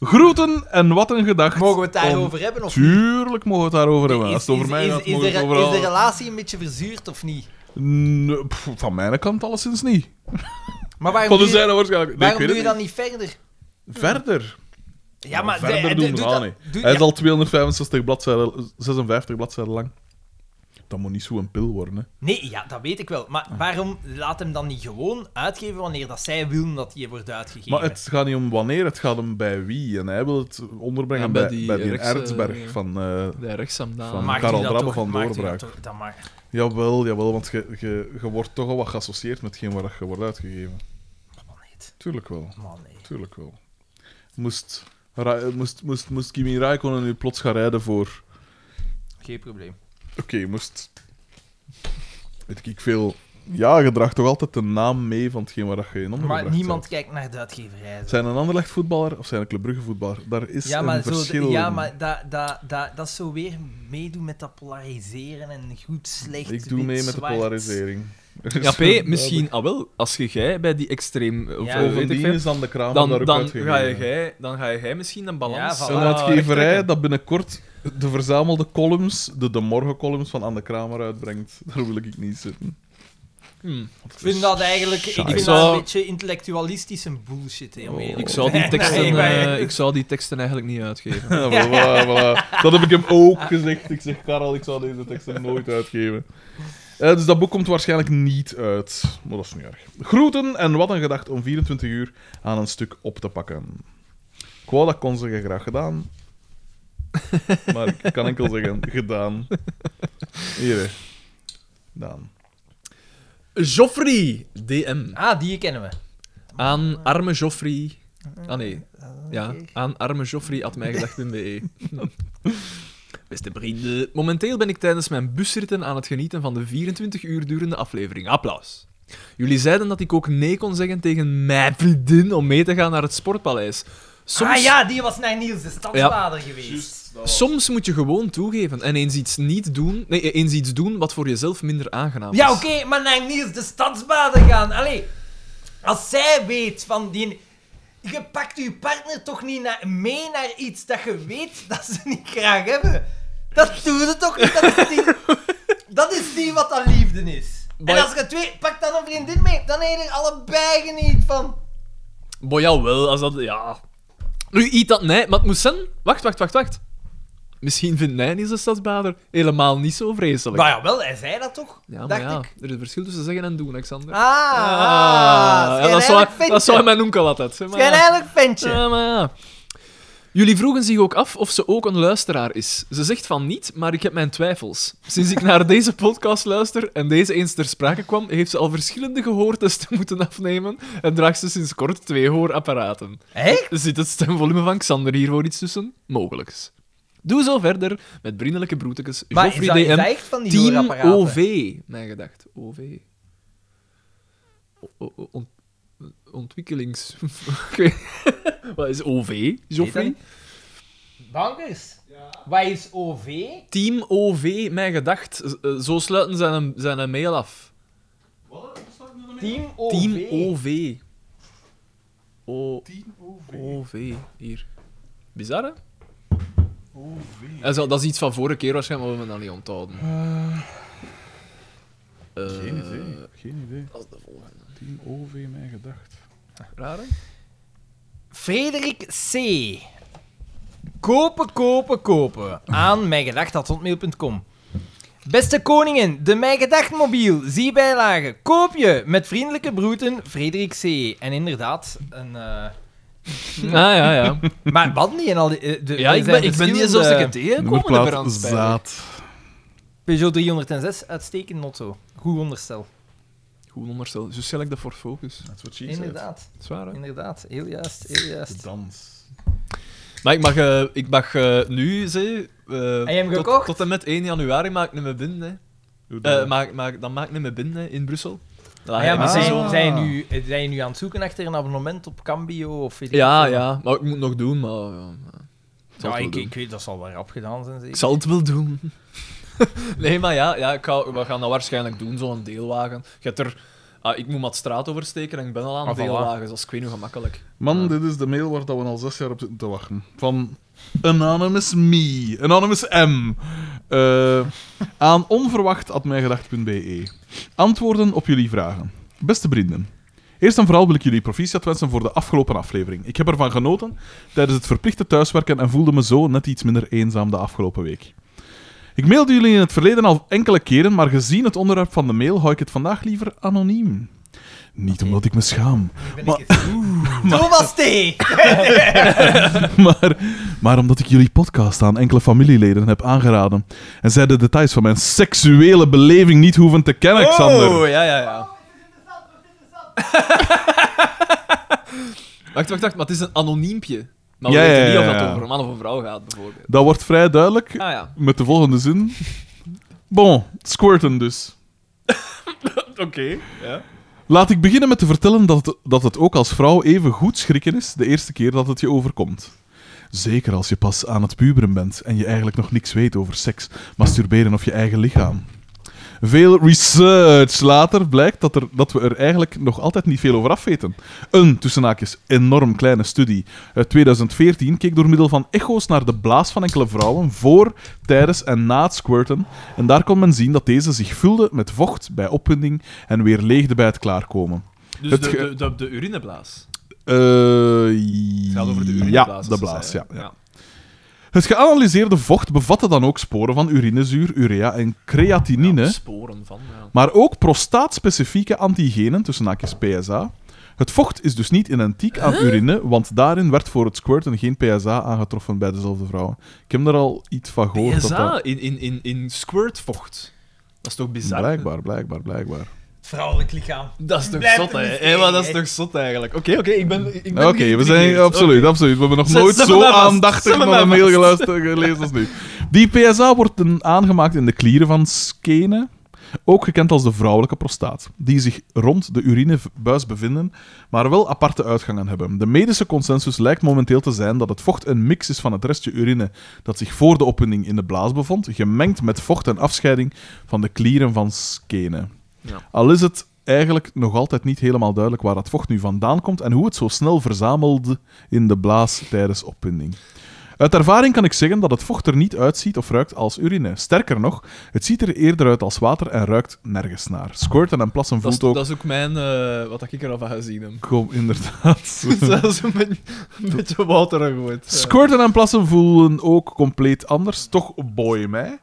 Groeten en wat een gedacht. Mogen we het Om- daarover hebben of niet? Tuurlijk mogen we het daarover hebben. Als Is, het over is- mij is- gaat, is mogen we de, het is de overal... relatie een beetje verzuurd of niet? Nee, pff, van mijn kant alleszins niet. Maar Van waarom, de doe je, zijde waarschijnlijk. Nee, ik waarom weet doe je het dan niet verder? niet. Verder. Ja, maar de- verder de- doen doe we dat- niet. doe- Hij ja. is al 265 bladzijden, 56 bladzijden lang. Dat moet niet zo'n pil worden, hè. Nee, ja, dat weet ik wel. Maar Ah. waarom laat hem dan niet gewoon uitgeven wanneer dat zij willen dat hij wordt uitgegeven? Maar het gaat niet om wanneer, het gaat om bij wie. En hij wil het onderbrengen Ja, bij bij, bij die, die rechtse, Ertsberg eh, van... eh, Daar rechts aan daar. Van- Maakt u Karel dat Drabbe toch- van maakt u dat Doorbraak. toch- Dat mag... Jawel, jawel, want je, je, je wordt toch al wat geassocieerd met geen waar je wordt uitgegeven. Man, nee. Tuurlijk wel, Man, oh, nee. tuurlijk wel. Moest, Ra- eh, moest, moest, moest Kimi Räikkönen nu plots gaan rijden voor... Geen probleem. Oké, moest Weet ik veel. Ja, je draagt toch altijd de naam mee van hetgeen waar dat je in ondergebracht Maar niemand bent. kijkt naar de uitgeverij. dus- Zijn een Anderlecht voetballer of zijn een Club Brugge voetballer? Daar is Ja, maar, een zo, verschil ja, in. maar dat, dat, dat, dat is zo weer meedoen met dat polariseren en goed, slecht, Ik doe wit, mee met de zwart. polarisering. Ja, P, misschien, ah wel, als je jij bij die extreem, of Ja. eh, weet ik Bovendien veel, is dan de kraam dan, daar ook dan, uitgegeven. ga jij, dan ga jij misschien een balans... Ja, voilà. Een ah, uitgeverij rechttrekken. dat binnenkort de verzamelde columns, de De Morgen columns van Anne Kramer uitbrengt. Daar wil ik niet zitten. Hmm. Ik vind dat eigenlijk ik Saai. vind Ik zou- dat een beetje intellectualistische bullshit. hè, om Oh. eerlijk Ik te zou, die zijn. teksten, Nee, maar- eh, ik zou die teksten eigenlijk niet uitgeven. Ja, voilà, voilà. Dat heb ik hem ook gezegd. Ik zeg, Karel, ik zal deze teksten nooit uitgeven. Eh, dus dat boek komt waarschijnlijk niet uit. Maar dat is niet erg. Groeten en wat een gedacht om 24 uur aan een stuk op te pakken. Ik wou dat kon zeggen, graag gedaan. Maar ik kan enkel zeggen, gedaan. Hier, hè. gedaan. Joffrey, DM. Ah, die kennen we. Aan arme Joffrey... Ah nee, ja. Aan arme Joffrey at mijgedacht.be. Beste vrienden, momenteel ben ik tijdens mijn busritten aan het genieten van de 24 uur durende aflevering. Applaus. Jullie zeiden dat ik ook nee kon zeggen tegen mijn vriendin om mee te gaan naar het sportpaleis. Soms... Ah ja, die was naar Niels de stadsvader geweest. Soms moet je gewoon toegeven en eens iets niet doen, nee, eens iets doen wat voor jezelf minder aangenaam is. Ja, oké, maar naar Niels de stadsvader gaan. Allee, als zij weet van die... Je pakt je partner toch niet na- mee naar iets dat je weet dat ze niet graag hebben. Dat doe je toch niet? Dat is niet, dat is niet wat dat liefde is. Maar- En als je twee... Pak dan een vriendin mee, dan heb je er allebei geniet van. Boy, jawel, als dat... Ja. Nu, iets dat... Nee, maar het moest zijn... Wacht, wacht, wacht, wacht. Misschien vindt Nijnis de stadsbader helemaal niet zo vreselijk. Nou ja, wel, hij zei dat toch? ja, maar dacht ja, ik. er is een verschil tussen zeggen en doen, Alexander. Ah, ja, dat, zou, schijnheilig hij- ventje. dat zou hij mijn onkel altijd. hè, maar ja. Schijnheilig ventje. Ja, maar ja. Jullie vroegen zich ook af of ze ook een luisteraar is. Ze zegt van niet, maar ik heb mijn twijfels. Sinds ik naar deze podcast luister en deze eens ter sprake kwam, heeft ze al verschillende gehoortesten moeten afnemen en draagt ze sinds kort twee hoorapparaten. Echt? Zit het stemvolume van Xander hiervoor iets tussen? Mogelijks. Doe zo verder met vriendelijke broetekes. Maar is dat, Joffrey is dat DM, echt van die Team hoorapparaten? OV, mijn gedacht. OV. O- o- o- ont- ontwikkelings... Ik weet- Wat is OV, Weet Joffrey? dat Bankers? Wat is OV? Team OV, mijn gedacht. Z- eh, Zo sluiten ze een, zijn een mail af. Team OV. Team OV. O- OV. OV, hier. Bizar, hè? En zo, dat is iets van vorige keer waarschijnlijk, maar we hebben dat niet onthouden. Eh, Geen idee. Geen idee. Dat is de volgende. Team OV, mijn gedacht. Raar, hè? Frederik C. Kopen, kopen, kopen. Aan mijgedacht.hotmail.com Beste koningen, de Mijgedacht mobiel, zie bijlagen. Koop je met vriendelijke broeten, Frederik C. En inderdaad, een... eh, Ah, ja, ja. Maar wat niet? En al die, eh, de, Ja, er ik zijn ben, ik ben die verschillende- zelfs een keer tegengekomen in de Nummerplaat brandspijl. Zaad. Peugeot 306, uitstekend motto. Goed onderstel. Goed onderstel. Zo stel ik dat voor focus. That's what she said. Inderdaad, Zwaar, hè? inderdaad. Heel juist, heel De juist. dans. Maar ik mag, eh, ik mag eh, nu, ze... eh, je hem tot, gekocht? Tot en met 1 januari maak ik niet meer binnen, hè. Hoe Eh, dan? maak, maak, dan maak ik niet meer binnen, hè, in Brussel. Dan Ah, ga ja, ik maar in zij- zijn, Brussel. Ah. zijn, nu, zijn nu aan het zoeken achter een abonnement op Cambio of weet ik Ja, veel? ja. Maar ik moet het nog doen, maar... ja, ja. Ik zal Ja, het wel ik, doen. ik weet, dat zal wel rap gedaan zijn, Ik zeker. zal het wel doen. nee, maar ja, ja ik ga, we gaan dat waarschijnlijk doen, zo'n deelwagen. Je hebt er... ah, ik moet maar de straat oversteken en ik ben al aan Ah, voilà. deelwagens. Dat is ik weet niet hoe gemakkelijk. Man, dit is de mail waar dat we al zes jaar op zitten te wachten. Van Anonymous Me. Anonymous M. Eh, aan onverwacht.mijgedacht.be. E. Antwoorden op jullie vragen. Beste vrienden. Eerst en vooral wil ik jullie proficiat wensen voor de afgelopen aflevering. Ik heb ervan genoten tijdens het verplichte thuiswerken en voelde me zo net iets minder eenzaam de afgelopen week. Ik mailde jullie in het verleden al enkele keren, maar gezien het onderwerp van de mail hou ik het vandaag liever anoniem. Niet omdat ik me schaam, Ben maar- ik het. Thomas T. maar, maar omdat ik jullie podcast aan enkele familieleden heb aangeraden. En zij de details van mijn seksuele beleving niet hoeven te kennen, Xander. Oh, ja, ja, ja. wacht, wacht, wacht. Maar het is een anoniempje. Maar we Ja, weten ja, niet ja, Ah, of dat ja. over een man of een vrouw gaat, bijvoorbeeld. Dat wordt vrij duidelijk Ah ja. met de volgende zin. Bon, squirten dus. Oké. Ja. Laat ik beginnen met te vertellen dat het, dat het ook als vrouw even goed schrikken is de eerste keer dat het je overkomt. Zeker als je pas aan het puberen bent en je eigenlijk nog niks weet over seks, masturberen of je eigen lichaam. Veel research later blijkt dat, er, dat we er eigenlijk nog altijd niet veel over afweten. Een, tussen haakjes, enorm kleine studie uit 2014 keek door middel van echo's naar de blaas van enkele vrouwen voor, tijdens en na het squirten. En daar kon men zien dat deze zich vulde met vocht bij opwinding en weer leegde bij het klaarkomen. Dus Het de, ge- de, de, de urineblaas. Eh, Het gaat over de ja, urineblaas. als de ze blaas, zei, ja, hè. ja. Het geanalyseerde vocht bevatte dan ook sporen van urinezuur, urea en creatinine. Ja, sporen van. Ja. maar ook prostaatspecifieke antigenen, tussen haakjes PSA. Het vocht is dus niet identiek aan urine, want daarin werd voor het squirten geen PSA aangetroffen bij dezelfde vrouwen. Ik heb er al iets van gehoord. dat PSA dat- in, in, in, in squirtvocht. Dat is toch bizar? Blijkbaar, blijkbaar, blijkbaar. Het vrouwelijk lichaam. Dat is toch Blijft zot, een hè? mysterie, Hé, maar dat is hè? toch zot eigenlijk? Oké, oké, ik ben. ik ben Oké, we zijn... geïntrigeerd. Absoluut, absoluut. We hebben nog Zet- nooit zet me zo daar vast. aandachtig Zet me naar een daar mail vast. geluisterd eh, gelezen als nu. Die PSA wordt dan aangemaakt in de klieren van skene, ook gekend als de vrouwelijke prostaat, die zich rond de urinebuis bevinden, maar wel aparte uitgangen hebben. De medische consensus lijkt momenteel te zijn dat het vocht een mix is van het restje urine dat zich voor de opwinding in de blaas bevond, gemengd met vocht en afscheiding van de klieren van skene. Ja. Al is het eigenlijk nog altijd niet helemaal duidelijk waar dat vocht nu vandaan komt en hoe het zo snel verzamelde in de blaas tijdens opwinding. Uit ervaring kan ik zeggen dat het vocht er niet uitziet of ruikt als urine. Sterker nog, het ziet er eerder uit als water en ruikt nergens naar. Squirten en plassen Dat is, voelt ook... dat is ook mijn. eh, wat ik er al van gezien heb. Kom, inderdaad. dat is een beetje, een beetje water gegooid. Ja. Squirten en plassen voelen ook compleet anders. Toch boeien mij.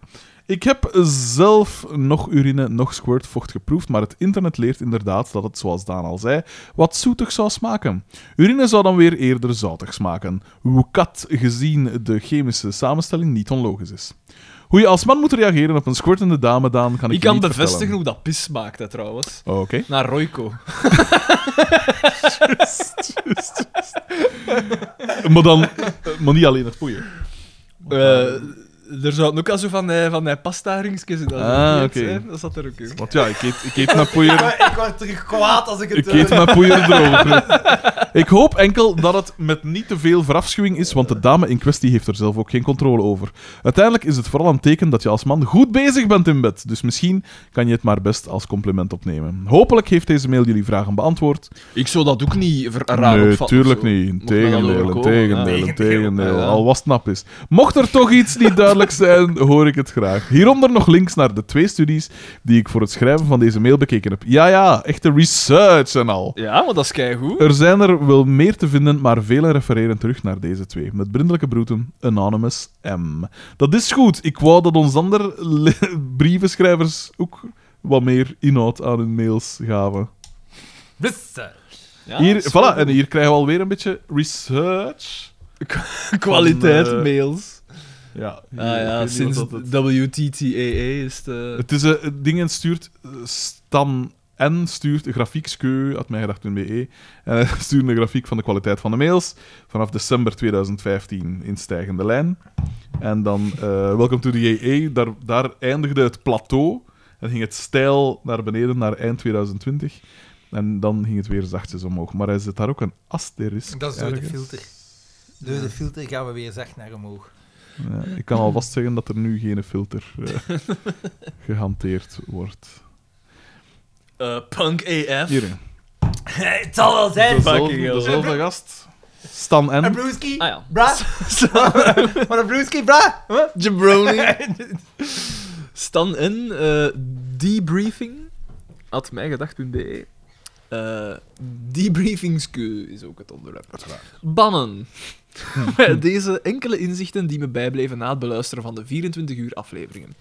Ik heb zelf nog urine, nog squirtvocht geproefd, maar het internet leert inderdaad dat het, zoals Daan al zei, wat zoetig zou smaken. Urine zou dan weer eerder zoutig smaken. Woekat, gezien de chemische samenstelling, niet onlogisch is. Hoe je als man moet reageren op een squirtende dame, Daan, kan ik, Ik je kan niet bevestigen vertellen. Oh, hoe dat pis maakt, hè, trouwens. Oké. Naar Royco. Maar dan, maar niet alleen het poeien. Eh, er zaten ook al zo van die, van die pasta-ringsjes in. dat Ah, zo. oké. Hè, Dat zat er ook in. Want ja, ik eet, ik eet naar poeier. Ik word terug kwaad als ik het... Ik eet mijn poeier erover. Ik hoop enkel dat het met niet te veel verafschuwing is, want de dame in kwestie heeft er zelf ook geen controle over. Uiteindelijk is het vooral een teken dat je als man goed bezig bent in bed. Dus misschien kan je het maar best als compliment opnemen. Hopelijk heeft deze mail jullie vragen beantwoord. Ik zou dat ook niet ver- raar nee, opvatten, tuurlijk zo. niet. Mocht me dat Integendeel, overkomen, integendeel, ja. integendeel. Ja. Al was het nap is. Mocht er toch iets niet duidelijk zijn, hoor ik het graag. Hieronder nog links naar de twee studies die ik voor het schrijven van deze mail bekeken heb. Ja, ja, echte research en al. Ja, maar dat is keigoed. Er zijn er wel meer te vinden, maar velen refereren terug naar deze twee. Met brindelijke broeten, Anonymous M. Dat is goed. Ik wou dat ons andere le- brievenschrijvers ook wat meer inhoud aan hun mails gaven. Ja, hier, dat is voilà, wel en hier krijgen we alweer een beetje research. Kwaliteit Van, eh, mails. Ja, Ah ja, ik weet niet sinds wat dat het... WTTAA is de... het is eh, het dingen stuurt eh, Stan N stuurt een grafiekskeu uit mijn gedachten.be en hij stuurde E, eh, een grafiek van de kwaliteit van de mails vanaf december 2015 in stijgende lijn. En dan eh Welcome to the JE, daar, daar eindigde het plateau en ging het stijl naar beneden naar eind 2020. En dan ging het weer zachtjes omhoog. Maar hij zet daar ook een asterisk. Dat is door de ergens. filter. Door de filter gaan we weer zacht naar Hm. omhoog. Ja, ik kan alvast zeggen dat er nu geen filter eh, gehanteerd wordt. eh, punk AF. Hier. Het zal wel zijn. Fucking Dezelfde, hell. dezelfde gast. Stan N. Een broeski, Ah ja. bra. Maar een broeski, bra. Huh? Jabroni. Stan in eh, debriefing. At mijgedacht.be. E. Eh debriefingsku is ook het onderwerp. Bannen. Met Deze enkele inzichten die me bijbleven na het beluisteren van de 24 uur afleveringen.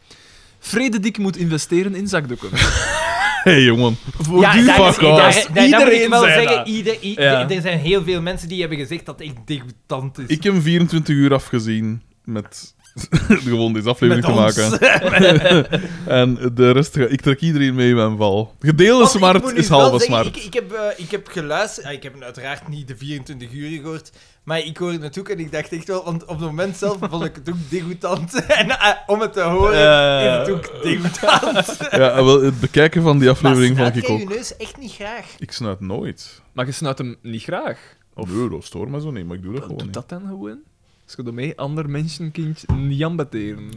Frederik moet investeren in zakdoeken. Hey jongen. Voor Ja, dus die dat fuck is- dat off. is- dat moet Iedereen ik wel zei zeggen. dat. ieder- i- Ja. Er zijn heel veel mensen die hebben gezegd dat ik degoutant is. Ik heb 24 uur afgezien met gewoon deze aflevering te ons. maken. En de rest, ga- ik trek iedereen mee in mijn val. Gedeelde Want ik smart moet nu is wel halve zeggen, smart. Ik, ik, heb, eh, ik heb geluisterd. ah, ik heb uiteraard niet de 24 uur gehoord. Maar ik hoorde het ook en ik dacht echt wel... Want op het moment zelf vond ik het ook degoutant. En eh, om het te horen, Eh, Ja, ja, ja. is het ook degoutant. Ja, en wel, het bekijken van die aflevering Maar vond ik snuit ook. jij je neus echt niet graag. Ik snuit nooit. Maar je snuit hem niet graag. Of nee, dat stoor me zo niet, maar ik doe dat gewoon Doe niet. dat dan gewoon. Als je daarmee ander mensenkind niet ambeteren.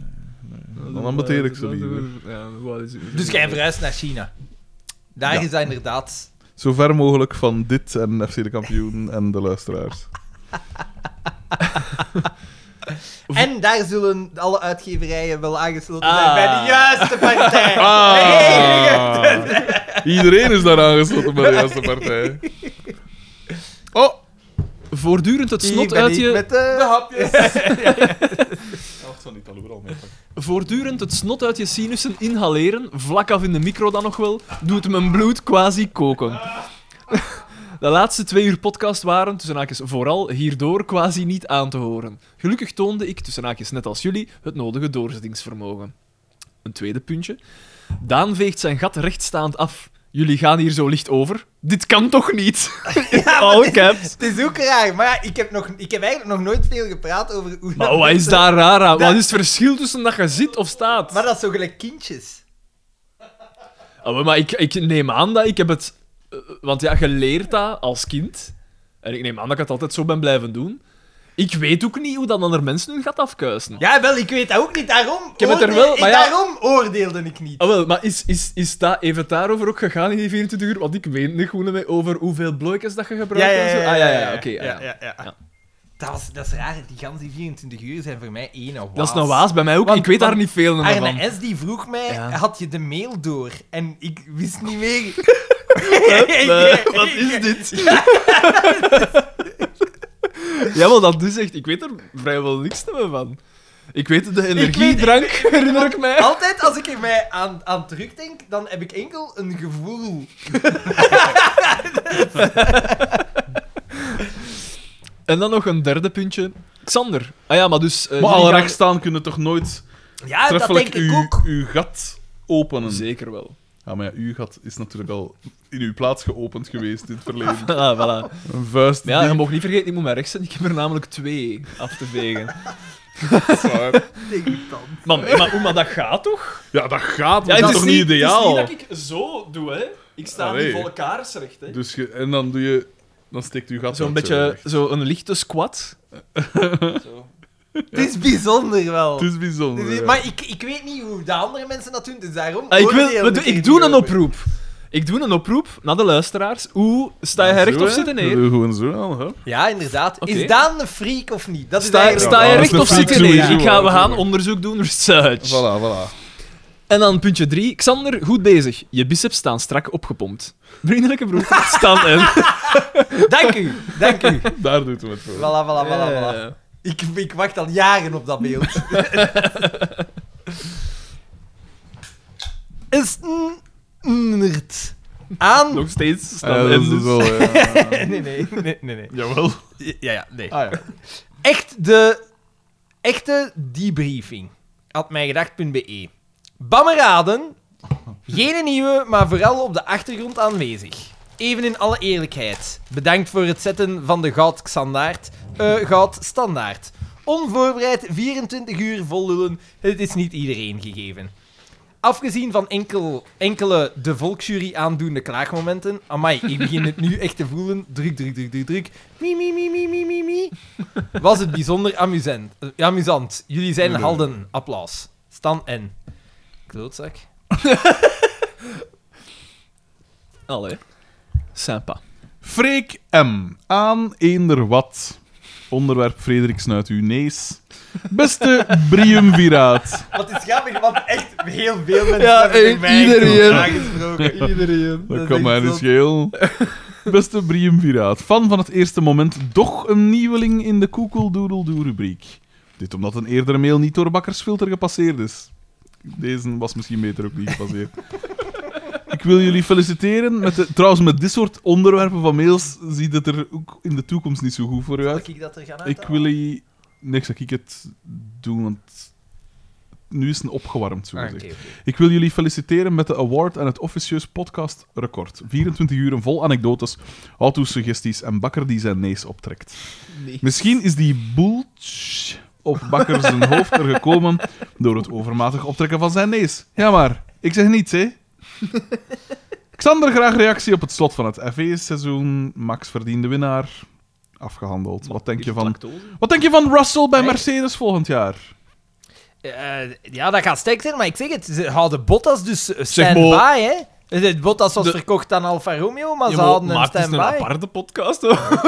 dan ambeteer ik ze Dat is- liever. Ja, wat is Dus jij verhuist naar China. Daar Ja. is dat inderdaad... Zo ver mogelijk van dit en FC de kampioen en de luisteraars. En daar zullen alle uitgeverijen wel aangesloten Ah. zijn bij de juiste partij. Ah, Iedereen is daar aangesloten bij de juiste partij. Oh, Voortdurend het Hier snot ben uit ik je... met eh, de- Wacht, van die taloer al Voortdurend het snot uit je sinussen inhaleren, vlak af in de micro dan nog wel, doet mijn bloed quasi koken. De laatste twee uur podcast waren, tussen haakjes vooral, hierdoor quasi niet aan te horen. Gelukkig toonde ik, tussen haakjes net als jullie, het nodige doorzettingsvermogen. Een tweede puntje. Daan veegt zijn gat rechtstaand af. Jullie gaan hier zo licht over. Dit kan toch niet? Oh, All caps. Het is ook raar, maar ja, ik heb, nog, ik heb eigenlijk nog nooit veel gepraat over hoe... dat Maar Oh, oh, wat is mensen- daar raar aan? Wat is het verschil tussen dat je zit of staat? Maar dat is zo gelijk kindjes. Oh, maar- maar ik, ik neem aan dat ik heb het... eh, Want ja, je leert dat als kind. En ik neem aan dat ik het altijd zo ben blijven doen. Ik weet ook niet hoe dat andere mensen hun gaat afkuisen. Ja, wel, ik weet dat ook niet. Daarom, ik heb het er wel, maar ja- daarom oordeelde ik niet. Ah, wel, maar is, is, is dat, heeft het daarover ook gegaan in die 24 uur? Want ik weet niet goed mee over hoeveel blokjes dat je gebruikt en zo. Ah, ja, ja, oké. ah, ja. Ja. Dat, was, dat is raar, die ganse 24 uur zijn voor mij één waas. Dat is nou waas bij mij ook. Want- ik weet daar want niet veel van. Arne S. die vroeg mij, Ja. had je de mail door? En ik wist niet meer. Wat is dit? ja, wel, dat is echt... Ik weet er vrijwel niks meer van. Ik weet de energiedrank, herinner ik mij. Altijd als ik er mij aan, aan terugdenk, dan heb ik enkel een gevoel. En dan nog een derde puntje. Xander. Ah ja, maar dus... eh, Maar jullie alle gaan- rechtstaan kunnen toch nooit Ja, Ah, dat denk treffelijk ik uw, ook. uw gat openen? Zeker wel. Ja, maar ja, uw gat is natuurlijk al in uw plaats geopend geweest in het verleden. Ah, voilà. Een vuist. Ja, je diep, mag niet vergeten, ik moet mijn rechts zijn. Ik heb er namelijk twee af te vegen. zwaar. Degoutant. Maar, maar, Ah, hoe, maar dat gaat toch? Ja, dat gaat, Ja, maar dat is toch niet ideaal? Het is niet dat ik zo doe, hè. Ik sta Allee. niet volle kaars recht, hè. Dus je, en dan doe je... Dan steekt uw gat Zo'n uit, zo beetje weg. zo'n lichte squat. Het is bijzonder wel. Het is bijzonder. Dus, ja. Maar ik, ik weet niet hoe de andere mensen dat doen, dus daarom... Ah, ik, wil, oordeel we doen- er ik doe niet een over. oproep. Ik doe een oproep naar de luisteraars. Hoe sta Ja, je recht zo, of hè. zitten We neer? doen Gewoon zo aan, hè? Ja, inderdaad. Oké. Is Daan een freak of niet? Dat is Sta, eigenlijk... sta Ja, je dat is recht of een freak zitten neer? sowieso, Ik ga, we hè, gaan tuurlijk. onderzoek doen, research. Voilà, voilà. En dan puntje 3. Xander, goed bezig. Je biceps staan strak opgepompt. Vriendelijke broer, Stan en... Dank u, dank u. Daar doet we het voor. Voilà, voilà, voilà, voilà. Eh, Ik, ik wacht al jaren op dat beeld. Is nerd aan... Nog steeds Stan Ja, dat en is dus. dus wel, ja. Nee, nee, nee, nee, nee. Jawel. Ja, ja, nee. Ah, ja. Echt de... Echte debriefing. At mijgedacht.be. E. Bammeraden. Geen nieuwe, maar vooral op de achtergrond aanwezig. Even in alle eerlijkheid. Bedankt voor het zetten van de goud standaard. eh goud standaard. Onvoorbereid 24 uur vol lullen. Het is niet iedereen gegeven. Afgezien van enkel, enkele de volksjury aandoende klaagmomenten. Amai, ik begin het nu echt te voelen. Druk, druk, druk, druk, druk. Mie, mie, mie, mie, mie, mie, mie. Was het bijzonder amusant. eh, amusant. Jullie zijn Nee. helden. Applaus. Stan N. Klootzak. Allee. Sympa. Freek M. Aan eender wat. Onderwerp Frederik snuit uw nees. Beste Briumviraat. Wat is grappig, want echt heel veel mensen Ja, hebben tegen eh, mij iedereen. aangesproken. Iedereen. Dat Dat kan is mij echt niet zot. schelen. Beste Briumviraat. Fan van het eerste moment, doch een nieuweling in de koekeldoedeldoe-rubriek. Dit omdat een eerdere mail niet door Bakkersfilter gepasseerd is. Deze was misschien beter ook niet gepasseerd. Ik wil jullie feliciteren. Met de, trouwens, met dit soort onderwerpen van mails ziet het er ook in de toekomst niet zo goed voor uit. Zal ik dat er gaan Ik uithalen? wil, i- niks dat ik het doe, want nu is het een opgewarmd, zo Ah, gezegd. oké, oké. Ik wil jullie feliciteren met de award en het officieus podcastrecord. 24 uren vol anekdotes, auto-suggesties en Bakker die zijn nees optrekt. Nee. Misschien is die boeltsch op Bakker zijn hoofd er gekomen door het overmatig optrekken van zijn nees. Ja maar, ik zeg niets, hè. Xander, graag reactie op het slot van het FE-seizoen. Max verdiende winnaar. Afgehandeld. Wat denk, je van, wat denk je van Russell bij Nee. Mercedes volgend jaar? Eh, ja, dat gaat sterk zijn, maar ik zeg het, ze houden Bottas dus maar. stand-by, hè. De Bottas was De- verkocht aan Alfa Romeo, maar Ja, ze maar- houden hem maar het is een stand-by. aparte podcast, hoor.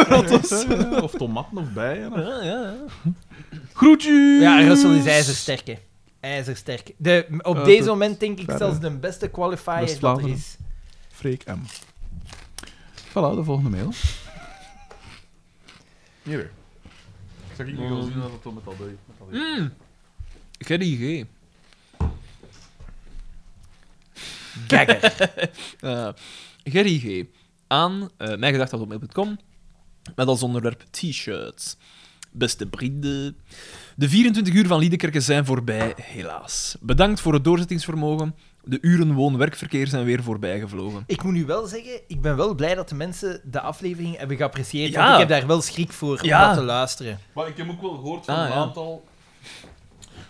Of tomaten of bijen. Ja, ja. Groetjes! Ja, Russell is ijzersterk, hè. Ijzersterk. De, op Eh, deze dat- moment denk ik daar, zelfs eh, de beste qualifier dat er West-Vlaanderen. is. Freek M. Voilà, de volgende mail. Hier. Zal ik niet Mm. wel zien dat het met al deed? Ik heb die Hmm. G. Kijk, Eh, Gerry G. aan uh, mijngedacht.com met als onderwerp t-shirts. Beste vrienden, de 24 uur van Liedekerke zijn voorbij, helaas. Bedankt voor het doorzettingsvermogen. De uren woon-werkverkeer zijn weer voorbij gevlogen. ik moet nu wel zeggen, ik ben wel blij dat de mensen de aflevering hebben geapprecieerd, Ja. want ik heb daar wel schrik voor Ja. om dat te luisteren. Maar ik heb ook wel gehoord van Ah, een ja. aantal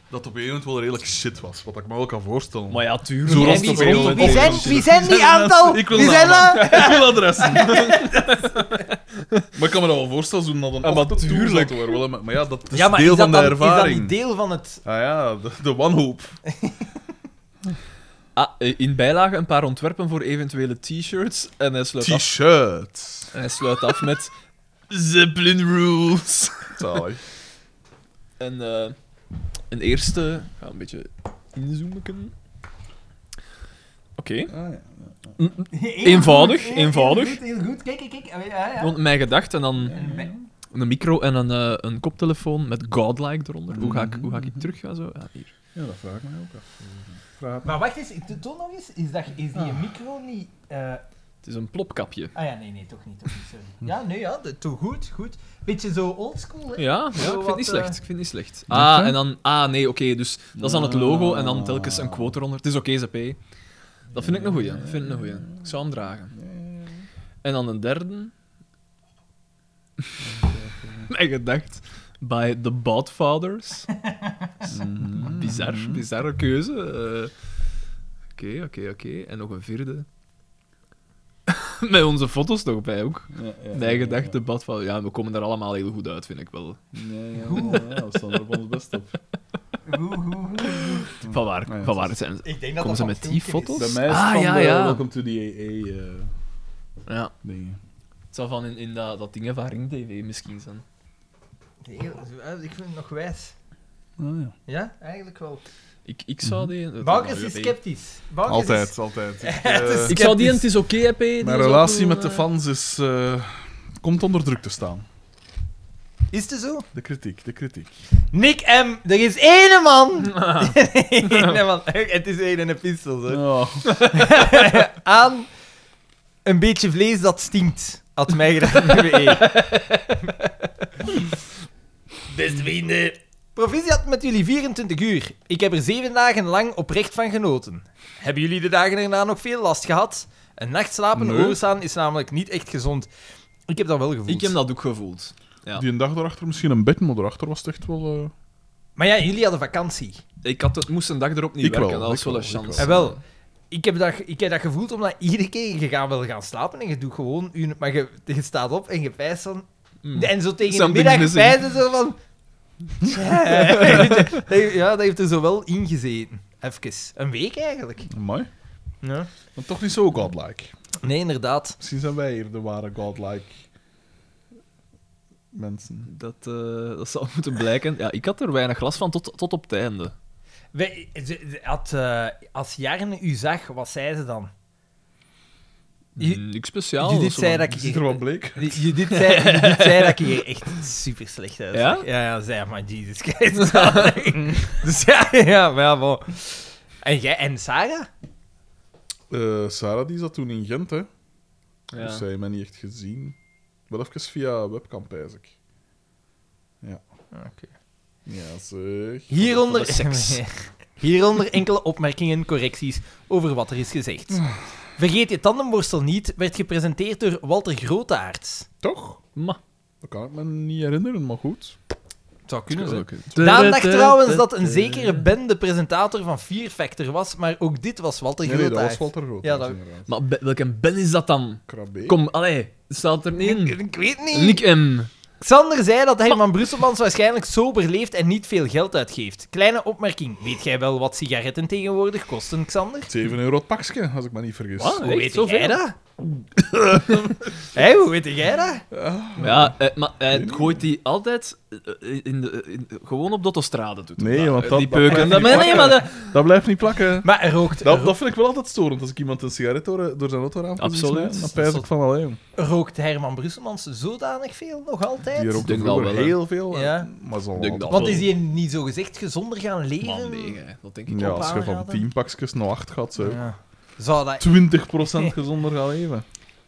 dat op een gegeven moment wel redelijk shit was. Wat ik me wel kan voorstellen. Maar ja, tuurlijk. Zo En was wie, het op wie, een wie gegeven zijn, moment. wie zijn die aantal? Ik wil wie zijn namen. dat? Ik wil adressen. maar ik kan me dat wel voorstellen, zo'n dat een Ah, maar ochtend toe tuurlijk. zat waar wel, maar- Maar ja, dat is Ja, maar deel is dat van de dan, is dat ervaring. niet deel van het... Ah ja, de, de wanhoop. Ah, eh, in bijlage een paar ontwerpen voor eventuele t-shirts. En hij sluit, af, T-shirts. en hij sluit af met... Zeppelin rules. Zalig. En eh, een eerste... Ik ga een beetje inzoomen. Oké. Ah, ja. Eenvoudig, eenvoudig. Heel goed, heel goed. Kijk, kijk, kijk. Ah, ja, ja. Want mijn gedacht en dan En bij- een micro en een, eh, een koptelefoon met godlike eronder. Hoe ga ik, hoe ga ik terug gaan zo? Ja, hier. ja, dat vraag ik mij ook af. Maar wacht eens, ik- toon nog eens. Is, dat, is die micro niet... eh, Het is een plopkapje. ah ja, nee, nee, toch niet. Toch niet sorry. Ja, nee, ja, dat- toch goed, goed. Beetje zo oldschool, hè. Ja, ja ik vind wat, het niet eh, slecht. Ik vind het niet slecht. Denk Ah, je? Ah. en dan... Ah, nee, oké. dus dat is dan het logo en dan telkens een quote eronder. Het is oké, ZP. Dat vind ik een goeie. Dat vind ik een goeie. Ik zou hem dragen. En dan een derde. mijn gedacht. Bij The Bodfathers. Bizar, Mm-hmm. bizarre keuze. eh. Oké, oké, oké. En nog een vierde. Met onze foto's nog bij ook. Mijn gedacht, de badvader. Ja, we komen daar allemaal heel goed uit, vind ik wel. Nee, ja, ja, ja, we staan er op ons best op. Hoe, hoe, hoe. Van waar, ja, van het waar zijn ze? Ik denk dat Komen dat ze van met die filmpjes is. foto's? Bij mij is het ah, van ja, de ja. Welcome to the AA eh ja. dingen. Het zal van in, in dat, dat ding van Ring TV misschien zijn. Heel- eh, ik vind het nog wijs. Ah, ja. Ja, eigenlijk wel. Ik, ik zou die... dat- Baukes dat- is sceptisch. Baukes Altijd, Is... altijd. Ik, Het is- eh, Ik zou die... en Het is oké, EP. die mijn is ook relatie wel, met de eh, fans is, eh, komt onder druk te staan. Is het zo? De kritiek, de kritiek. Nick M, er is ene man. ene man. Het is één en een pistool, hè. Oh. aan een beetje vlees dat stinkt. Had mij gedaan. Beste vrienden. Proficiat met jullie 24 uur. Ik heb er 7 dagen lang oprecht van genoten. Hebben jullie de dagen erna nog veel last gehad? Een nacht slapen Nee. overstaan is namelijk niet echt gezond. Ik heb dat wel gevoeld. Ik heb dat ook gevoeld. Ja. Die een dag daarachter misschien een bed, maar daarachter was het echt wel... eh, Maar ja, jullie hadden vakantie. Ik had, het- moest een dag erop niet Ik wel, werken, dat ik was wel wel, een ik chance. Eh, En Eh, wel, ik heb, dat, ik heb dat gevoeld omdat iedere keer je gaat wel gaan slapen en je doet gewoon, je- maar je, je staat op en je pijst van. Mm. En zo tegen Something's de middag missing. pijzen zo van. Tja. Dat heeft- ja, dat heeft er zo wel ingezeten. Even. Een week eigenlijk. Amai. Ja. Maar toch niet zo godlike. Nee, inderdaad. Misschien zijn wij hier de ware godlike mensen. Dat, eh, dat zal moeten blijken. Ja, ik had er weinig last van tot, tot op het einde. Wij, ze- ze had, eh, als Jarne u zag, wat zei ze dan? Je- Niks Mm, speciaal. Judith dat is zo zei van- dat ik- Ziet er wat bleek? Judith zei, Judith zei dat ik er echt super slecht uit Ja? zag. Ja, ja, zei ja, maar Jesus Christ. dus ja, ja, maar ja, bon. En jij en Sarah? Eh, Sarah die zat toen in Gent, hè. Ja. Dus zij heeft mij niet echt gezien. Wel even via webcam, pijs ik. Ah, Oké. Ja, zeg. Hieronder, Voor de seks. hieronder enkele opmerkingen en correcties over wat er is gezegd. Vergeet je tandenborstel niet werd gepresenteerd door Walter Grootaerts. Toch? Ma. Dat kan ik me niet herinneren, maar goed. Het zou kunnen Oké. zijn. Daan dacht trouwens dat een zekere bed. Ben de presentator van Fear Factor was, maar ook dit was Walter Nee, nee, dat was Grootaerts. Walter Rood. Ja, dat- Maar be- welke Ben is dat dan? Krabbe. Kom, allee, staat er niet ik, in. ik weet niet. Nick M. Xander zei dat Herman Brusselmans waarschijnlijk sober leeft en niet veel geld uitgeeft. Kleine opmerking. Weet jij wel wat sigaretten tegenwoordig kosten, Xander? 7 euro het pakje, als ik me niet vergis. Wat? Hoe Echt? weet Zoveel? jij dat? Hé, hoe weet jij dat? Ja, eh, maar hij gooit die altijd eh, in de, in- gewoon op de autostrade. Doet hij Nee, want Eh, dat- die dat peuken. blijft Dat, niet maar nee, maar dat- Dat blijft niet plakken. Maar er rookt, Dat, dat vind ik wel altijd storend, als ik iemand een sigaret door, door zijn auto raam Absoluut. Dan pijs ik van alleen. rookt Herman Brusselmans zodanig veel nog Die altijd? rookt Denk vroeger wel wel, hè. heel veel. Ja. Maar zal Denk wel. dat. Want is hij niet zo gezegd gezonder gaan leven? Man, nee, hè, dat denk ik Ja, ook. als je van aanraden. 10 pakjes naar 8 gaat, zo. Ja. Zou dat... 20% gezonder gaan leven.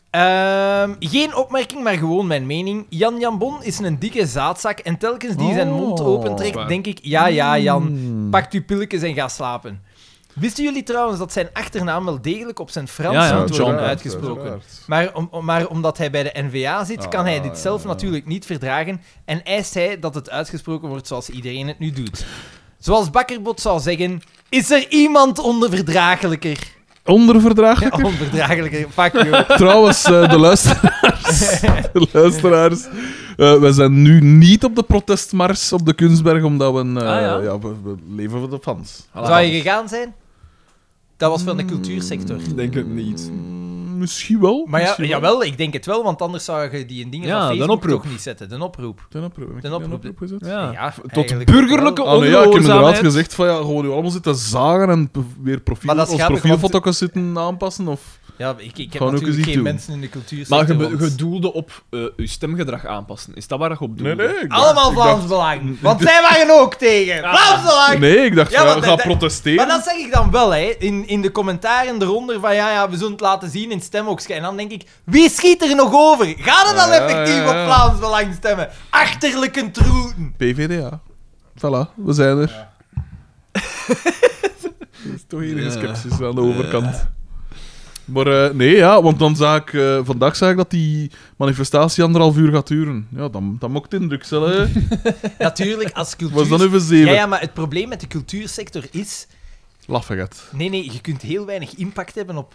Ehm, geen opmerking, maar gewoon mijn mening. Jan Jambon is een dikke zaadzak en telkens die zijn mond Oh. opentrekt, denk ik, ja, ja, Jan. Hmm. Pakt uw pilletjes en ga slapen. Wisten jullie trouwens dat zijn achternaam wel degelijk op zijn Frans Ja, ja, moet worden John. uitgesproken? Maar, om, om- maar omdat hij bij de NVA zit, Ah, kan hij dit zelf ja. natuurlijk niet verdragen en eist hij dat het uitgesproken wordt zoals iedereen het nu doet. Zoals Bakkerbot zou zeggen, is er iemand onderverdragelijker? Ja, Onderverdraaglijk. onverdraaglijker, fuck you. Trouwens, eh, de luisteraars. De luisteraars. eh, we zijn nu niet op de protestmars op de Kunstberg, omdat we, een, eh, Ah, ja. ja, we, we leven voor de fans. Zou je gegaan zijn? Dat was Hmm. van de cultuursector. Denk het niet. Mm, misschien wel. Maar ja, misschien wel. jawel, ik denk het wel, want anders zou je die in dingen Ja, van de Facebook oproep. toch niet zetten. De oproep. Ten oproep. heb ik Ten die oproep. gezet? Ja. eigenlijk burgerlijke wel. Ah, nee, ja, ik heb inderdaad Ongehoorzaamheid. gezegd van ja, gewoon nu allemaal zitten zagen en p- weer profiel, Maar dat is ons grappig, profielfoto's zitten aanpassen. Of... Ja, ik, ik heb Gewoon ook eens natuurlijk iets geen doen. mensen in de cultuursector. Maar je be- want- je doelde op eh je stemgedrag aanpassen. Is dat waar je op doelde? ik dacht- Allemaal ik Vlaams dacht- Belang. Want zij waren ook tegen. Vlaams Belang! Nee, ik dacht Ja, van, ja, want ga dat- protesteren. Maar dat zeg ik dan wel, hè. In, in de commentaren eronder van ja, ja, we zullen het laten zien in stemhoekje. En dan denk ik, wie schiet er nog over? Gaat er dan Ja, ja, effectief ja. op Vlaams Belang stemmen? Achterlijke troeten. PVDA. Voilà, we zijn er. er is toch enige Ja. sceptisch aan de overkant. Maar eh, nee, ja, want dan zag ik, eh, vandaag zag ik dat die manifestatie anderhalf uur gaat duren. Ja, dan, dan mocht het indruk stellen. hè. Natuurlijk, als cultuur... Was dan even ja, zeven. ja, maar het probleem met de cultuursector is... Laffigheid. Nee, nee, je kunt heel weinig impact hebben op,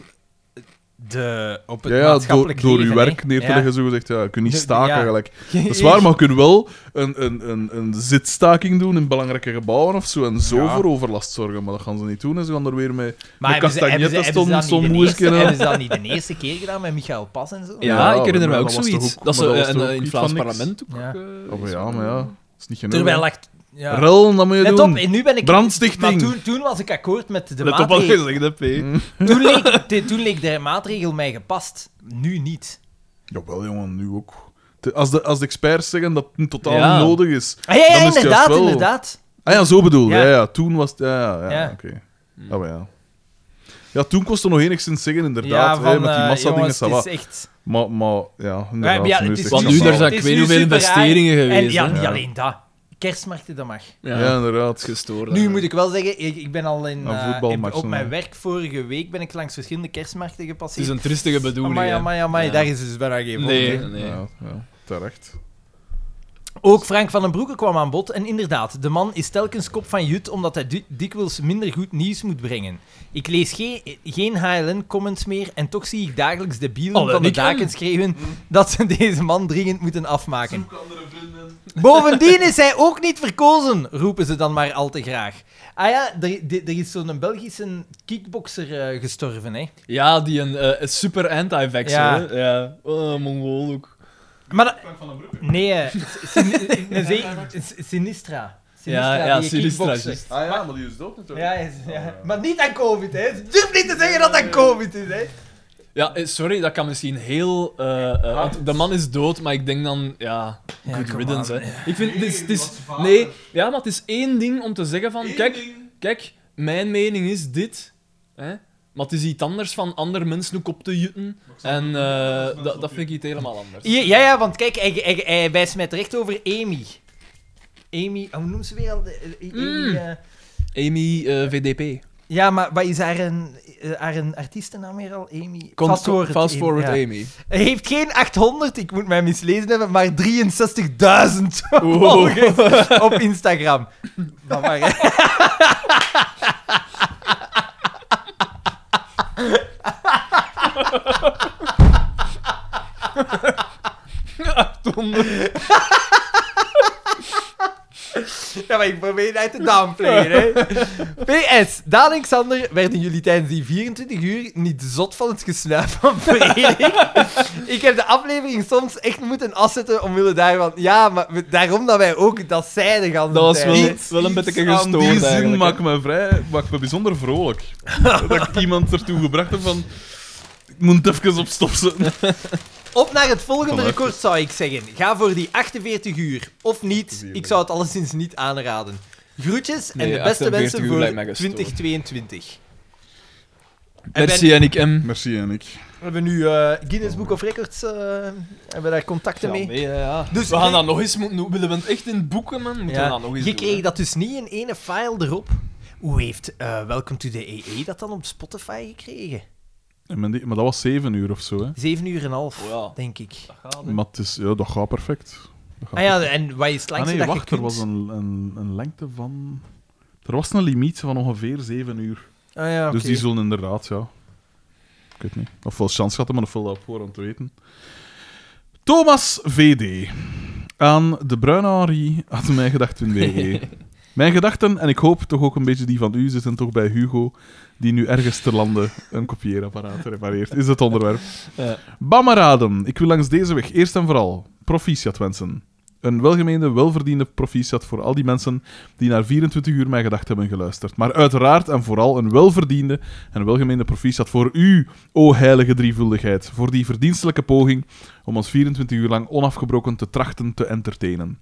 de, op het Ja, ja, door, maatschappelijk door uw leven, werk hè. neer te Ja. leggen, zo gezegd. Ja, je kunt niet Nee, staken, ja. gelijk. Dat is waar, maar je kunt wel een, een, een, een zitstaking doen in belangrijke gebouwen of zo. En zo Ja. voor overlast zorgen. Maar dat gaan ze niet doen. En ze gaan er weer mee. Maar met hebben ze- hebben castagnetten ze- hebben ze stonden, dat niet zo'n de moesje. eerste- en- Hebben ze dat niet de eerste keer gedaan met Michael Pas en zo? Ja, Ja, ik herinner maar me ook dat was zoiets. toch ook- dat ze maar dat was eh, toch en, eh, ook in iets het van Vlaams niks? parlement ook. Ja. eh, Oh, maar is ja, dat- maar ja. Dat is niet genoeg. Terwijl hè. ik... Ja. Rel, dat moet je Let doen. op, en nu ben ik... Brandstichting. Maar toen, toen was ik akkoord met de Let op wat je maatregel. zegt, hè, P. Toen leek, de- toen leek de maatregel mij gepast. Nu niet. Jawel, jongen, nu ook. Te- Als de, als de experts zeggen dat het niet totaal Ja. niet nodig is. Ah, ja, Dan is ja, het juist inderdaad, wel- inderdaad. Ah ja, zo bedoel je. Ja. Ja. Ja, toen was het. Ja, ja, ja, Ja. Hm. oké. Ah, maar ja. Ja, toen kon ze nog enigszins zeggen, inderdaad. hè, met die eh, massa-dingen, jongens, ça het va. is echt... Maar, maar ja, Ja, inderdaad. maar ja, nu het is is het Want echt nu, schandaal. daar het zijn is ik weet nu hoeveel super raar. investeringen En geweest. ja, hè. niet Ja. alleen dat. Kerstmarkten, dat mag. Ja, Het inderdaad. is gestoord. Nu hè. moet ik wel zeggen, ik, ik ben al in, Aan eh, voetbalmatchen, op mijn hè. werk vorige week ben ik langs verschillende kerstmarkten Het is gepasseerd. een tristige bedoeling. amai, hè. amai, amai, Ja. daar is dus bijna geen Nee, volgende. nee. Ja, ja, terecht. Ook Frank van den Broeke kwam aan bod en inderdaad, de man is telkens kop van jut omdat hij di- dikwijls minder goed nieuws moet brengen. Ik lees geen, geen HLN-comments meer en toch zie ik dagelijks de bielen Alle van de Nick daken hem. schreeuwen Mm. dat ze deze man dringend moeten afmaken. Bovendien is hij ook niet verkozen, roepen ze dan maar al te graag. Ah ja, er, de- er is zo'n Belgische kickbokser eh, gestorven, hè. Ja, die een eh, super anti-vaxxer. Ja. hè. Ja. Oh, Mongool ook. Maar dat- Nee, eh, sin- een zee- sin- Sinistra. Sinistra, Ja, ja, die Sinistra, kickbokser. juist. Ah ja, maar die is dood natuurlijk. Ja, is- ja. maar niet aan COVID, hè. Ze durft niet te zeggen dat dat COVID is, hè. Ja, eh, sorry, dat kan misschien heel. eh, Ah. eh, want de man is dood, maar ik denk dan. Ja, Ja, good come riddance. on. Hè. Ik vind. Het is, het is, nee, ja, maar het is één ding om te zeggen: van kijk, kijk mijn mening is dit. Hè, maar het is iets anders van andere mensen ook op te jutten. En eh, dat, dat vind ik iets helemaal anders. Ja, ja, ja, want kijk, hij, hij, hij wijst mij terecht over Amy. Amy, oh, hoe noemt ze weer al? De- eh, Amy, Mm. eh, Amy eh, VDP. ja, maar wat is haar, een, eh, haar een artiestennaam weer al? Amy. Con- Fast Forward, Fast Amy, forward ja. Amy. Hij heeft geen 800, ik moet mij mislezen hebben, maar 63.000 Wow. volgers op Instagram. Maar, maar, hè. Ja, maar ik probeer het te downplayen, hè. PS, Daan en Xander werden jullie tijdens die 24 uur niet zot van het gesnuif van Frederik. ik heb de aflevering soms echt moeten afzetten omwille daarvan. Ja, maar we- daarom dat wij ook dat zeiden gaan Dat was wel, Iets- wel een beetje Aan gestoord die zin eigenlijk, maakt hè. me, vrij, maakt me bijzonder vrolijk. dat ik iemand ertoe gebracht heb van... Ik moet het even op stop zetten. Op naar het volgende Kom, even. record zou ik zeggen. Ga voor die 48 uur. Of niet, ik zou het alleszins niet aanraden. Groetjes en Nee, de beste 48 wensen uur voor lijkt mij gestoord. 2022. En ben- Merci en ik M. Merci, en ik. We hebben nu eh, Guinness Book of Records. eh, hebben we daar contacten Ja, mee? nee, ja, ja. Dus we gaan ik- dat nog eens moeten doen. Willen we het echt in boeken, man? Moeten Ja, we dat nog eens je doen, kreeg hè? dat dus niet in ene file erop. Hoe heeft eh Welcome to the EE dat dan op Spotify gekregen? En men die- maar dat was zeven uur of zo, hè. Zeven uur en half, Oh ja. denk ik. Dat gaat, hè. Maar het is, ja, dat gaat perfect. Dat gaat Ah ja, en wat is het Ah langste nee, dat wacht, je er kunt? was een, een, een lengte van... Er was een limiet van ongeveer 7 uur. Ah ja, oké. Dus die zullen inderdaad, ja... Ik weet niet. Ofwel chance hadden, maar ofwel dat op voorhand te weten. Thomas VD. Aan de bruine Henri had mijn gedachten WG. Mijn gedachten, en ik hoop toch ook een beetje die van u, zitten toch bij Hugo, die nu ergens te landen een kopieerapparaat repareert. Is het onderwerp. Ja. Bammeraden. Ik wil langs deze weg eerst en vooral proficiat wensen. Een welgemeende, welverdiende proficiat voor al die mensen die naar 24 uur mijn gedachten hebben geluisterd. Maar uiteraard en vooral een welverdiende en welgemeende proficiat voor u, o heilige drievuldigheid, voor die verdienstelijke poging om ons 24 uur lang onafgebroken te trachten te entertainen.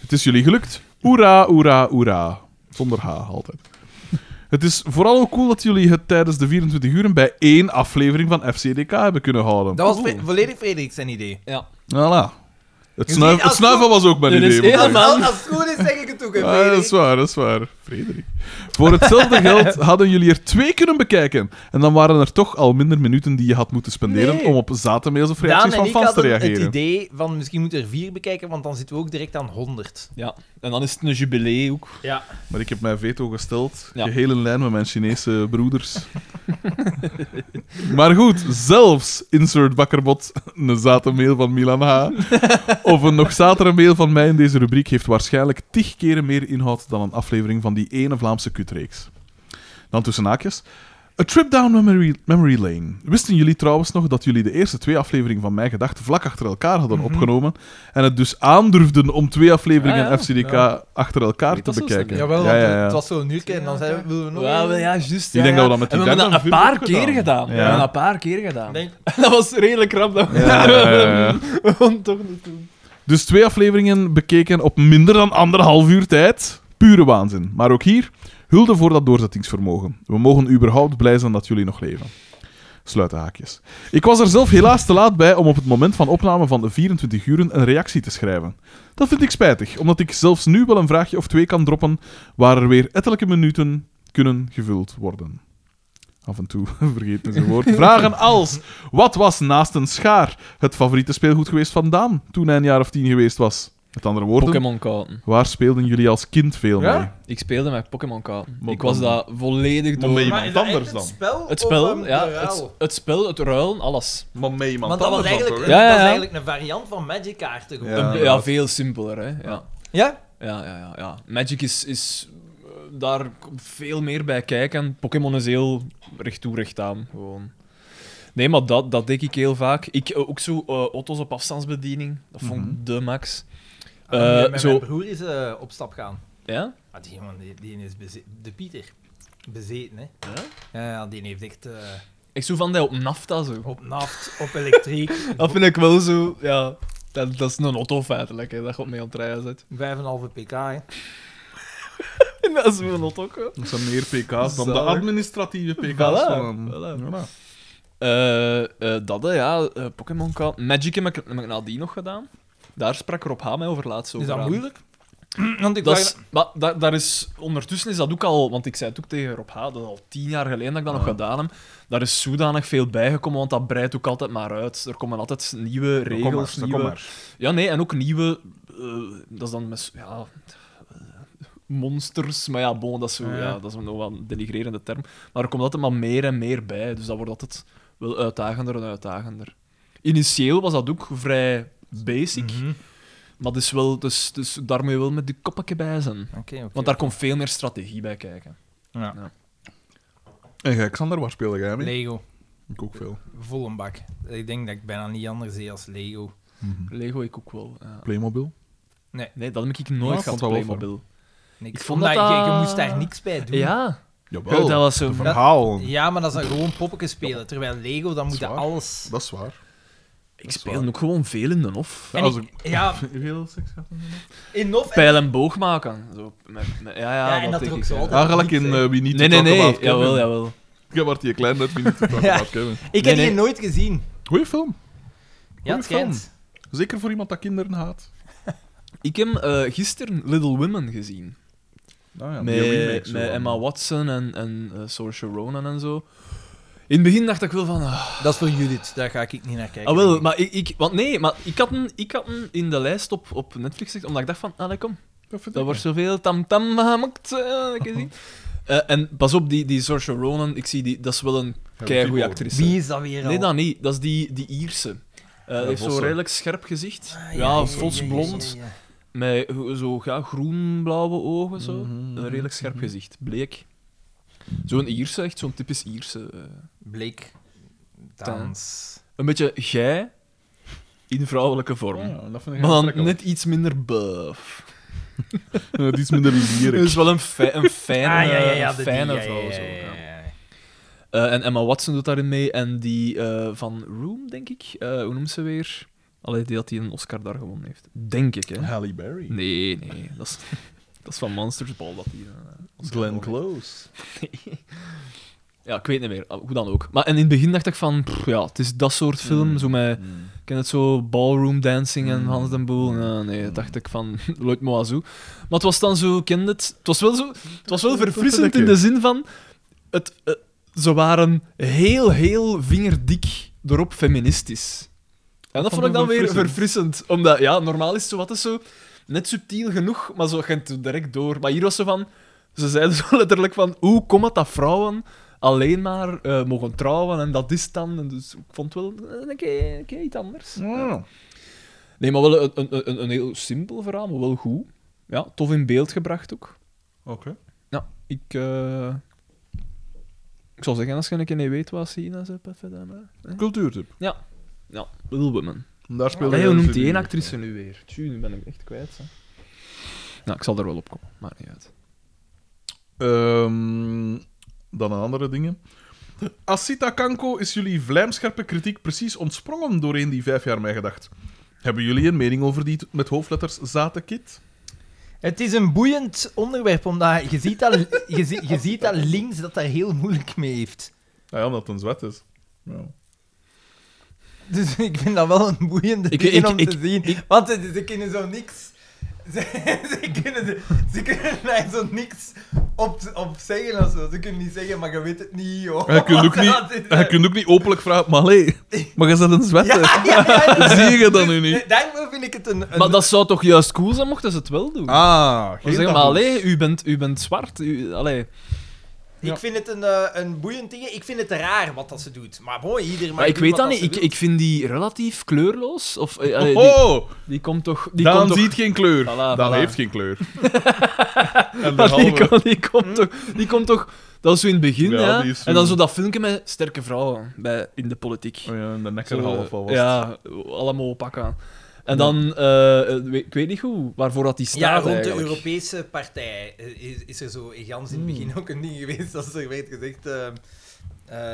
Het is jullie gelukt. Hoera, hoera, hoera. Zonder H altijd. Het is vooral ook cool dat jullie het tijdens de 24 uur bij één aflevering van FCDK hebben kunnen houden. Dat was Oh, Oeh. Fre- volledig Frederik zijn idee. Ja. Voilà. Het, Je snuif- ziet, het als- snuiven was ook mijn Er is idee. moet ik heel zeggen. man. Als, als het goed is, zeg ik het ook, hè, Ah, dat Frederik. is waar, dat is waar. Frederik. Voor hetzelfde geld hadden jullie er twee kunnen bekijken. En dan waren er toch al minder minuten die je had moeten spenderen Nee. om op zatenmails of Daan reacties en van ik fans te hadden het reageren. idee van misschien moeten er vier bekijken, want dan zitten we ook direct aan 100. ja. En dan is het een jubilee ook. Ja. Maar ik heb mijn veto gesteld. Ja. Geheel in lijn met mijn Chinese broeders. maar goed, zelfs insert bakkerbot, een zate mail van Milan H. of een nog zatere mail van mij in deze rubriek heeft waarschijnlijk tig keren meer inhoud dan een aflevering van die ene Vlaamse kutreeks. Dan tussen haakjes. A trip down memory, memory lane. Wisten jullie trouwens nog dat jullie de eerste twee afleveringen van Mijn Gedachten vlak achter elkaar hadden Mhm. opgenomen en het dus aandurfden om twee afleveringen Ah, ja. FCDK Ja. achter elkaar Weet te dat zo bekijken? snel? Jawel, ja, ja, ja. het was zo'n uurtje en dan zeiden we, willen we nog Ja, een? wel, ja, juist. Ik ja, denk ja. dat we dat met En die we derde hebben dat een film paar ook gedaan. keer gedaan. We Ja. hebben dat een paar keer gedaan. Denk- Dat was redelijk rap. Dat we Ja, ja, ja. we konden toch niet doen. Dus twee afleveringen bekeken op minder dan anderhalf uur tijd. Pure waanzin. Maar ook hier, hulde voor dat doorzettingsvermogen. We mogen überhaupt blij zijn dat jullie nog leven. Sluit de haakjes. Ik was er zelf helaas te laat bij om op het moment van opname van de 24 uren een reactie te schrijven. Dat vind ik spijtig, omdat ik zelfs nu wel een vraagje of twee kan droppen waar er weer ettelijke minuten kunnen gevuld worden. Af en toe vergeet men zijn woord. Vragen als: wat was naast een schaar het favoriete speelgoed geweest van Daan toen hij een jaar of tien geweest was? Met andere woorden, Pokémon kaarten. waar speelden jullie als kind veel Ja? mee? Ik speelde met Pokémon kaarten. Maar Ik was dan- dat volledig Maar door. mee- Maar Iemand is dat anders echt dan? Het spel, Het of, spel, ehm, ja, de ruil? het, het spel, het ruilen, alles. Maar mee, man. Want dat was eigenlijk, hè? Ja, ja, Dat is ja. eigenlijk een variant van Magic kaarten gewoon. Ja, Ja, inderdaad. veel simpeler, hè. Ja. Ja? Ja, ja, ja, ja. Magic is, is eh, daar komt veel meer bij kijken. Pokémon is heel recht toe, recht aan. Gewoon. Nee, maar dat, dat denk ik heel vaak. Ik eh, ook zo eh, auto's op afstandsbediening. Dat vond ik Mhm. de max. Ah, Eh, met zo- Mijn broer is eh, op stap gaan. Ja? Ah, die, man, die, die is beze- de Pieter. Bezeten, hè. Ja, ja, die heeft echt eh, Ik zo van dat op NAFTA zo. op naft, op elektriek, Dat vind ik wel zo. Ja, dat, dat is een auto feitelijk, hè, dat je op mee aan het rijden zit. 5,5 pk, hè. En dat is een auto ook. hè. Dat zijn meer pk's dan de Zalig. administratieve pk's. Voilà, van hem. voilà. Voilà. Eh, eh, dat, hè, ja, eh, Pokémon kaart. Magic heb ik, heb ik nadien nog gedaan. Daar sprak Rob H. mij over laatst over. Is dat aan. moeilijk? Want ik Dat wou- is, maar da- daar is, ondertussen is dat ook al, want ik zei het ook tegen Rob H, dat is al tien jaar geleden dat ik dat nog gedaan heb. Daar is zodanig veel bijgekomen, want dat breidt ook altijd maar uit. Er komen altijd nieuwe Dat Kom maar, regels, dat kom nieuwe... maar. Ja, nee, en ook nieuwe... eh, dat is dan met... s- Ja, eh, monsters, maar ja, bon, dat is, zo, Ah, Ja. ja. dat is nog wel een denigrerende term. Maar er komt altijd maar meer en meer bij, dus dat wordt altijd wel uitdagender en uitdagender. Initieel was dat ook vrij basic, Mhm. maar dus wel, dus, dus daarmee wel met de koppetje bij zijn. Oké, oké. Want daar komt veel meer strategie bij kijken. Ja. En jij, Xander, waar speelde jij mee? Lego, Ik ook veel. vol een bak. Ik denk dat ik bijna niet anders zie als Lego. Mhm. Lego ik ook wel. ja. Playmobil. Nee, dat heb ik Ja, nooit ik gehad, vond dat wel Playmobil. Niks. Ik vond Omdat dat je, je dat- moest daar niks bij doen. Ja, Jawel. dat Dat, was zo... Verhaal. Ja, maar dat is dan gewoon poppetjes spelen. Terwijl Lego, dan moet je Zwaar. alles... is waar. Ik speel ook gewoon veel in de hof. En als ik- ik- Ja, Veel seks gehad? in Nof... Pijl en boog maken. Zo, met, met- ja, ja, Ja, en dat er denk ook ik, zo ja. altijd- Ja, gelijk in eh, Wie niet Nee, te nee, Talk nee. About Kevin. Jawel, jawel. Ja, wordt die klein uit Wie niet te Talk Ja. About Kevin. Ik Nee, heb nee. die nooit gezien. Goeie film. Ja, het film. schijnt. Zeker voor iemand dat kinderen haat. Ik heb eh, gisteren Little Women gezien. Nou ja, die remake met zo met van. Emma Watson en, en eh, Saoirse Ronan en zo. In het begin dacht ik wel van... ah, Dat is voor Judith, daar ga ik niet naar kijken. Ah, wel, maar ik, ik... Want nee, maar ik had een, ik had een in de lijst op, op Netflix gezet, omdat ik dacht van... ah, Allee, kom, Dat vind Dat ik wordt niet. zoveel tamtam gemaakt. eh, ik weet niet. Eh, en pas op, die, die Saoirse Ronan, ik zie die, dat is wel een Ja, keigoede Viggo. actrice. Wie is dat weer al? Nee, dat niet. Dat is die, die Ierse. Eh die heeft Vossen. zo'n redelijk scherp gezicht. Ah, ja, vals ja, ja, blond. ja, ja. Met go- zo ja, groenblauwe ogen. Zo. Mhm. Een redelijk scherp gezicht. Bleek. Zo'n Ierse, echt zo'n typisch Ierse. eh. Bleek. Dans. Een beetje gij in vrouwelijke vorm. Ah, Ja, dat vind ik Maar dan aantrekkelijk. net iets minder buff. Het is minder Dat lyrisch. is wel een, fi- een fijne, Ah, ja, ja, ja. een de- fijne die, ja, vrouw. ja, eh, Zo, ja, ja. ja, ja. Eh, en Emma Watson doet daarin mee. En die eh, van Room, denk ik. Eh, hoe noemt ze weer? Allee, die dat hij een Oscar daar gewonnen heeft. Denk ik, hè? Halle Berry. Nee, nee. Dat is, dat is van Monsters Ball dat hij. eh, Oscar Glenn gewonnen Close. heeft. ja, ik weet niet meer. Hoe dan ook. Maar en in het begin dacht ik van, pff, ja, het is dat soort film. Mm. Zo met, ik ken het zo, ballroom dancing en Mm. Hans den Boel. Ja, nee, dacht ik van, Lloyd Moazou. Maar het was dan zo, ik ken het. Het was wel zo, het was wel verfrissend in de zin van, het, eh, ze waren heel, heel vingerdik erop feministisch. En dat vond vond ik je dan weer verfrissend? verfrissend. Omdat, ja, normaal is het zo wat is zo net subtiel genoeg, maar zo gaat het direct door. Maar hier was ze van, ze zeiden zo letterlijk van, hoe komt het dat vrouwen alleen maar eh, mogen trouwen en dat is het dan. En dus ik vond het wel eh, een keer, een keer iets anders. Ja. Nee, maar wel een, een, een, een heel simpel verhaal, maar wel goed. Ja, tof in beeld gebracht ook. Oké. Ja, ik... eh, Ik zou zeggen, als je een keer niet weet wat zien, dan zet even dan, hè. Cultuurtip. Ja. Ja, Little Women. Daar speelde Hey, jij hoe noemt natuurlijk die één mee. actrice nu weer? Tju, nu ben ik echt kwijt. Hè. Nou, ik zal er wel op komen, maakt niet uit. Ehm, dan aan andere dingen. Asita Kanko is jullie vlijmscherpe kritiek precies ontsprongen doorheen die vijf jaar mij gedacht. Hebben jullie een mening over die t- met hoofdletters Zatenkit? Het is een boeiend onderwerp, omdat je ziet dat, je, zie- je ziet dat links dat daar heel moeilijk mee heeft. Nou ja, omdat het een zwet is. Ja. Dus ik vind dat wel een boeiende Ik- ding ik- om ik- te zien. want ze, ze kunnen zo niks... Ze, ze kunnen, ze, ze kunnen daar zo niks op, op zeggen of zo. Ze kunnen niet zeggen, maar je weet het niet, joh. En je kunt ook Want dat niet, is- eh, en je kunt ook niet openlijk vragen, maar hé, maar je zet een Ja, zwetter. ja, ja, ja. Zie je dat nu niet? Daarom vind ik het een... een Maar dat zou toch juist cool zijn mochten ze het wel doen? Ah, geen Of zeg maar, taboes. allee, u bent, u bent zwart. U, allee. Ja. Ik vind het een, eh, een boeiend ding. Ik vind het raar wat dat ze doet. Maar mooi, ieder mag Maar ik doen weet wat dat dat niet. ze Ik, wil. ik vind die relatief kleurloos. Of, eh, allee, die, Oh, die komt toch... Die komt Daan toch- ziet geen kleur. Voilà, Daan voilà. heeft geen kleur. en Maar die, derhalve- komt- die komt toch, die komt toch... Dat is zo in het begin, Ja, ja. die is zo- En dan zo dat filmpje met sterke vrouwen bij, in de politiek. Oh ja, en de Zo, nekker half al was. het. Ja, allemaal pak aan. En dan, eh, eh, weet- ik weet niet hoe, waarvoor dat die staat Ja, rond de eigenlijk. Europese partij eh, is, is er zo in gans in het Hmm. begin ook een ding geweest dat er werd gezegd eh,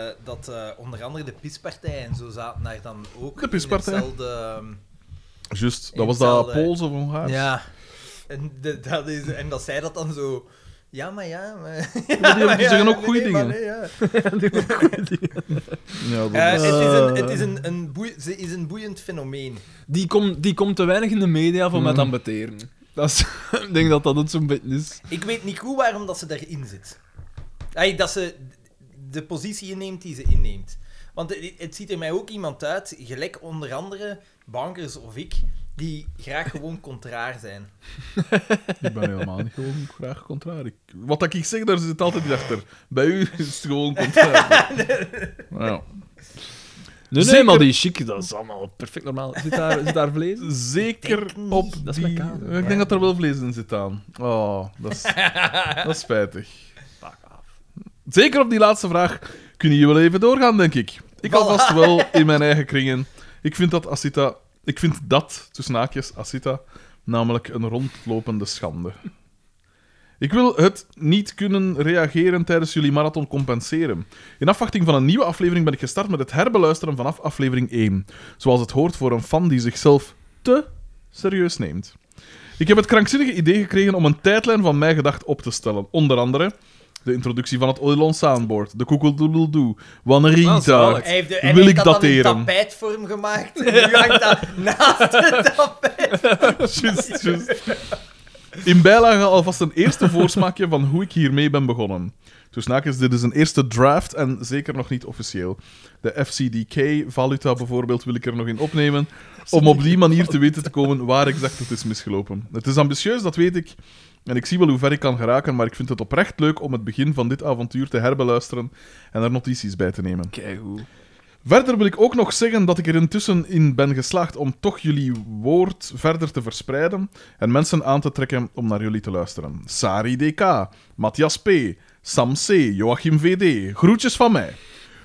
eh, dat eh, onder andere de PIS-partij en zo zaten daar dan ook. De PIS-partij. in hetzelfde, Juist, dat In was eh, dat hetzelfde- Pools of Hongaars? Ja. En, de- dat is, en dat zij dat dan zo. Ja, maar ja. Maar, die zeggen ook goede dingen. ja. Ja, dat Eh, is- het is, een, het is, een, een boei- ze is een boeiend fenomeen. Die, komt die komt te weinig in de media voor mij te ambeteren. Dat is, ik denk dat dat het zo'n beetje is. Ik weet niet goed waarom dat ze daarin zit. Ay, dat ze de positie inneemt die ze inneemt. Want het, het ziet er mij ook iemand uit, gelijk onder andere bankers of ik, die graag gewoon contrair zijn. Ik ben helemaal niet gewoon graag contrair. Ik- Wat dat ik zeg, daar zit altijd iets achter. Bij u is het gewoon contrair. Nou ja. Nee, Zeker. maar die chic, dat is allemaal perfect normaal. Zit daar, zit daar vlees? in? Zeker denk niet. op Dat die... is mijn kader. Ik denk dat er wel vlees in zit aan. Oh, dat is, dat is spijtig. Zeker op die laatste vraag kunnen jullie wel even doorgaan, denk ik. Ik alvast wel in mijn eigen kringen. Ik vind dat Asita... Ik vind dat, tussen haakjes, Asita, namelijk een rondlopende schande. Ik wil het niet kunnen reageren tijdens jullie marathon compenseren. In afwachting van een nieuwe aflevering ben ik gestart met het herbeluisteren vanaf aflevering 1. Zoals het hoort voor een fan die zichzelf te serieus neemt. Ik heb het krankzinnige idee gekregen om een tijdlijn van mijn gedacht op te stellen. Onder andere de introductie van het Oilon Soundboard, de Koekeldoedeldoe, Ah, Wannerita. zalig. Hij heeft, de, hij Wil heeft ik dat dan in dateren? tapijtvorm gemaakt. En nu hangt dat naast het tapijt. Just, just. In bijlage alvast een eerste voorsmaakje van hoe ik hiermee ben begonnen. Dus naakjes, dit is een eerste draft en zeker nog niet officieel. De FCDK-valuta bijvoorbeeld wil ik er nog in opnemen, om op die manier te weten te komen waar exact het is misgelopen. Het is ambitieus, dat weet ik. En ik zie wel hoe ver ik kan geraken, maar ik vind het oprecht leuk om het begin van dit avontuur te herbeluisteren en er notities bij te nemen. Kijk hoe. Verder wil ik ook nog zeggen dat ik er intussen in ben geslaagd om toch jullie woord verder te verspreiden en mensen aan te trekken om naar jullie te luisteren. Sari DK, Matthias P., Sam C., Joachim VD, groetjes van mij.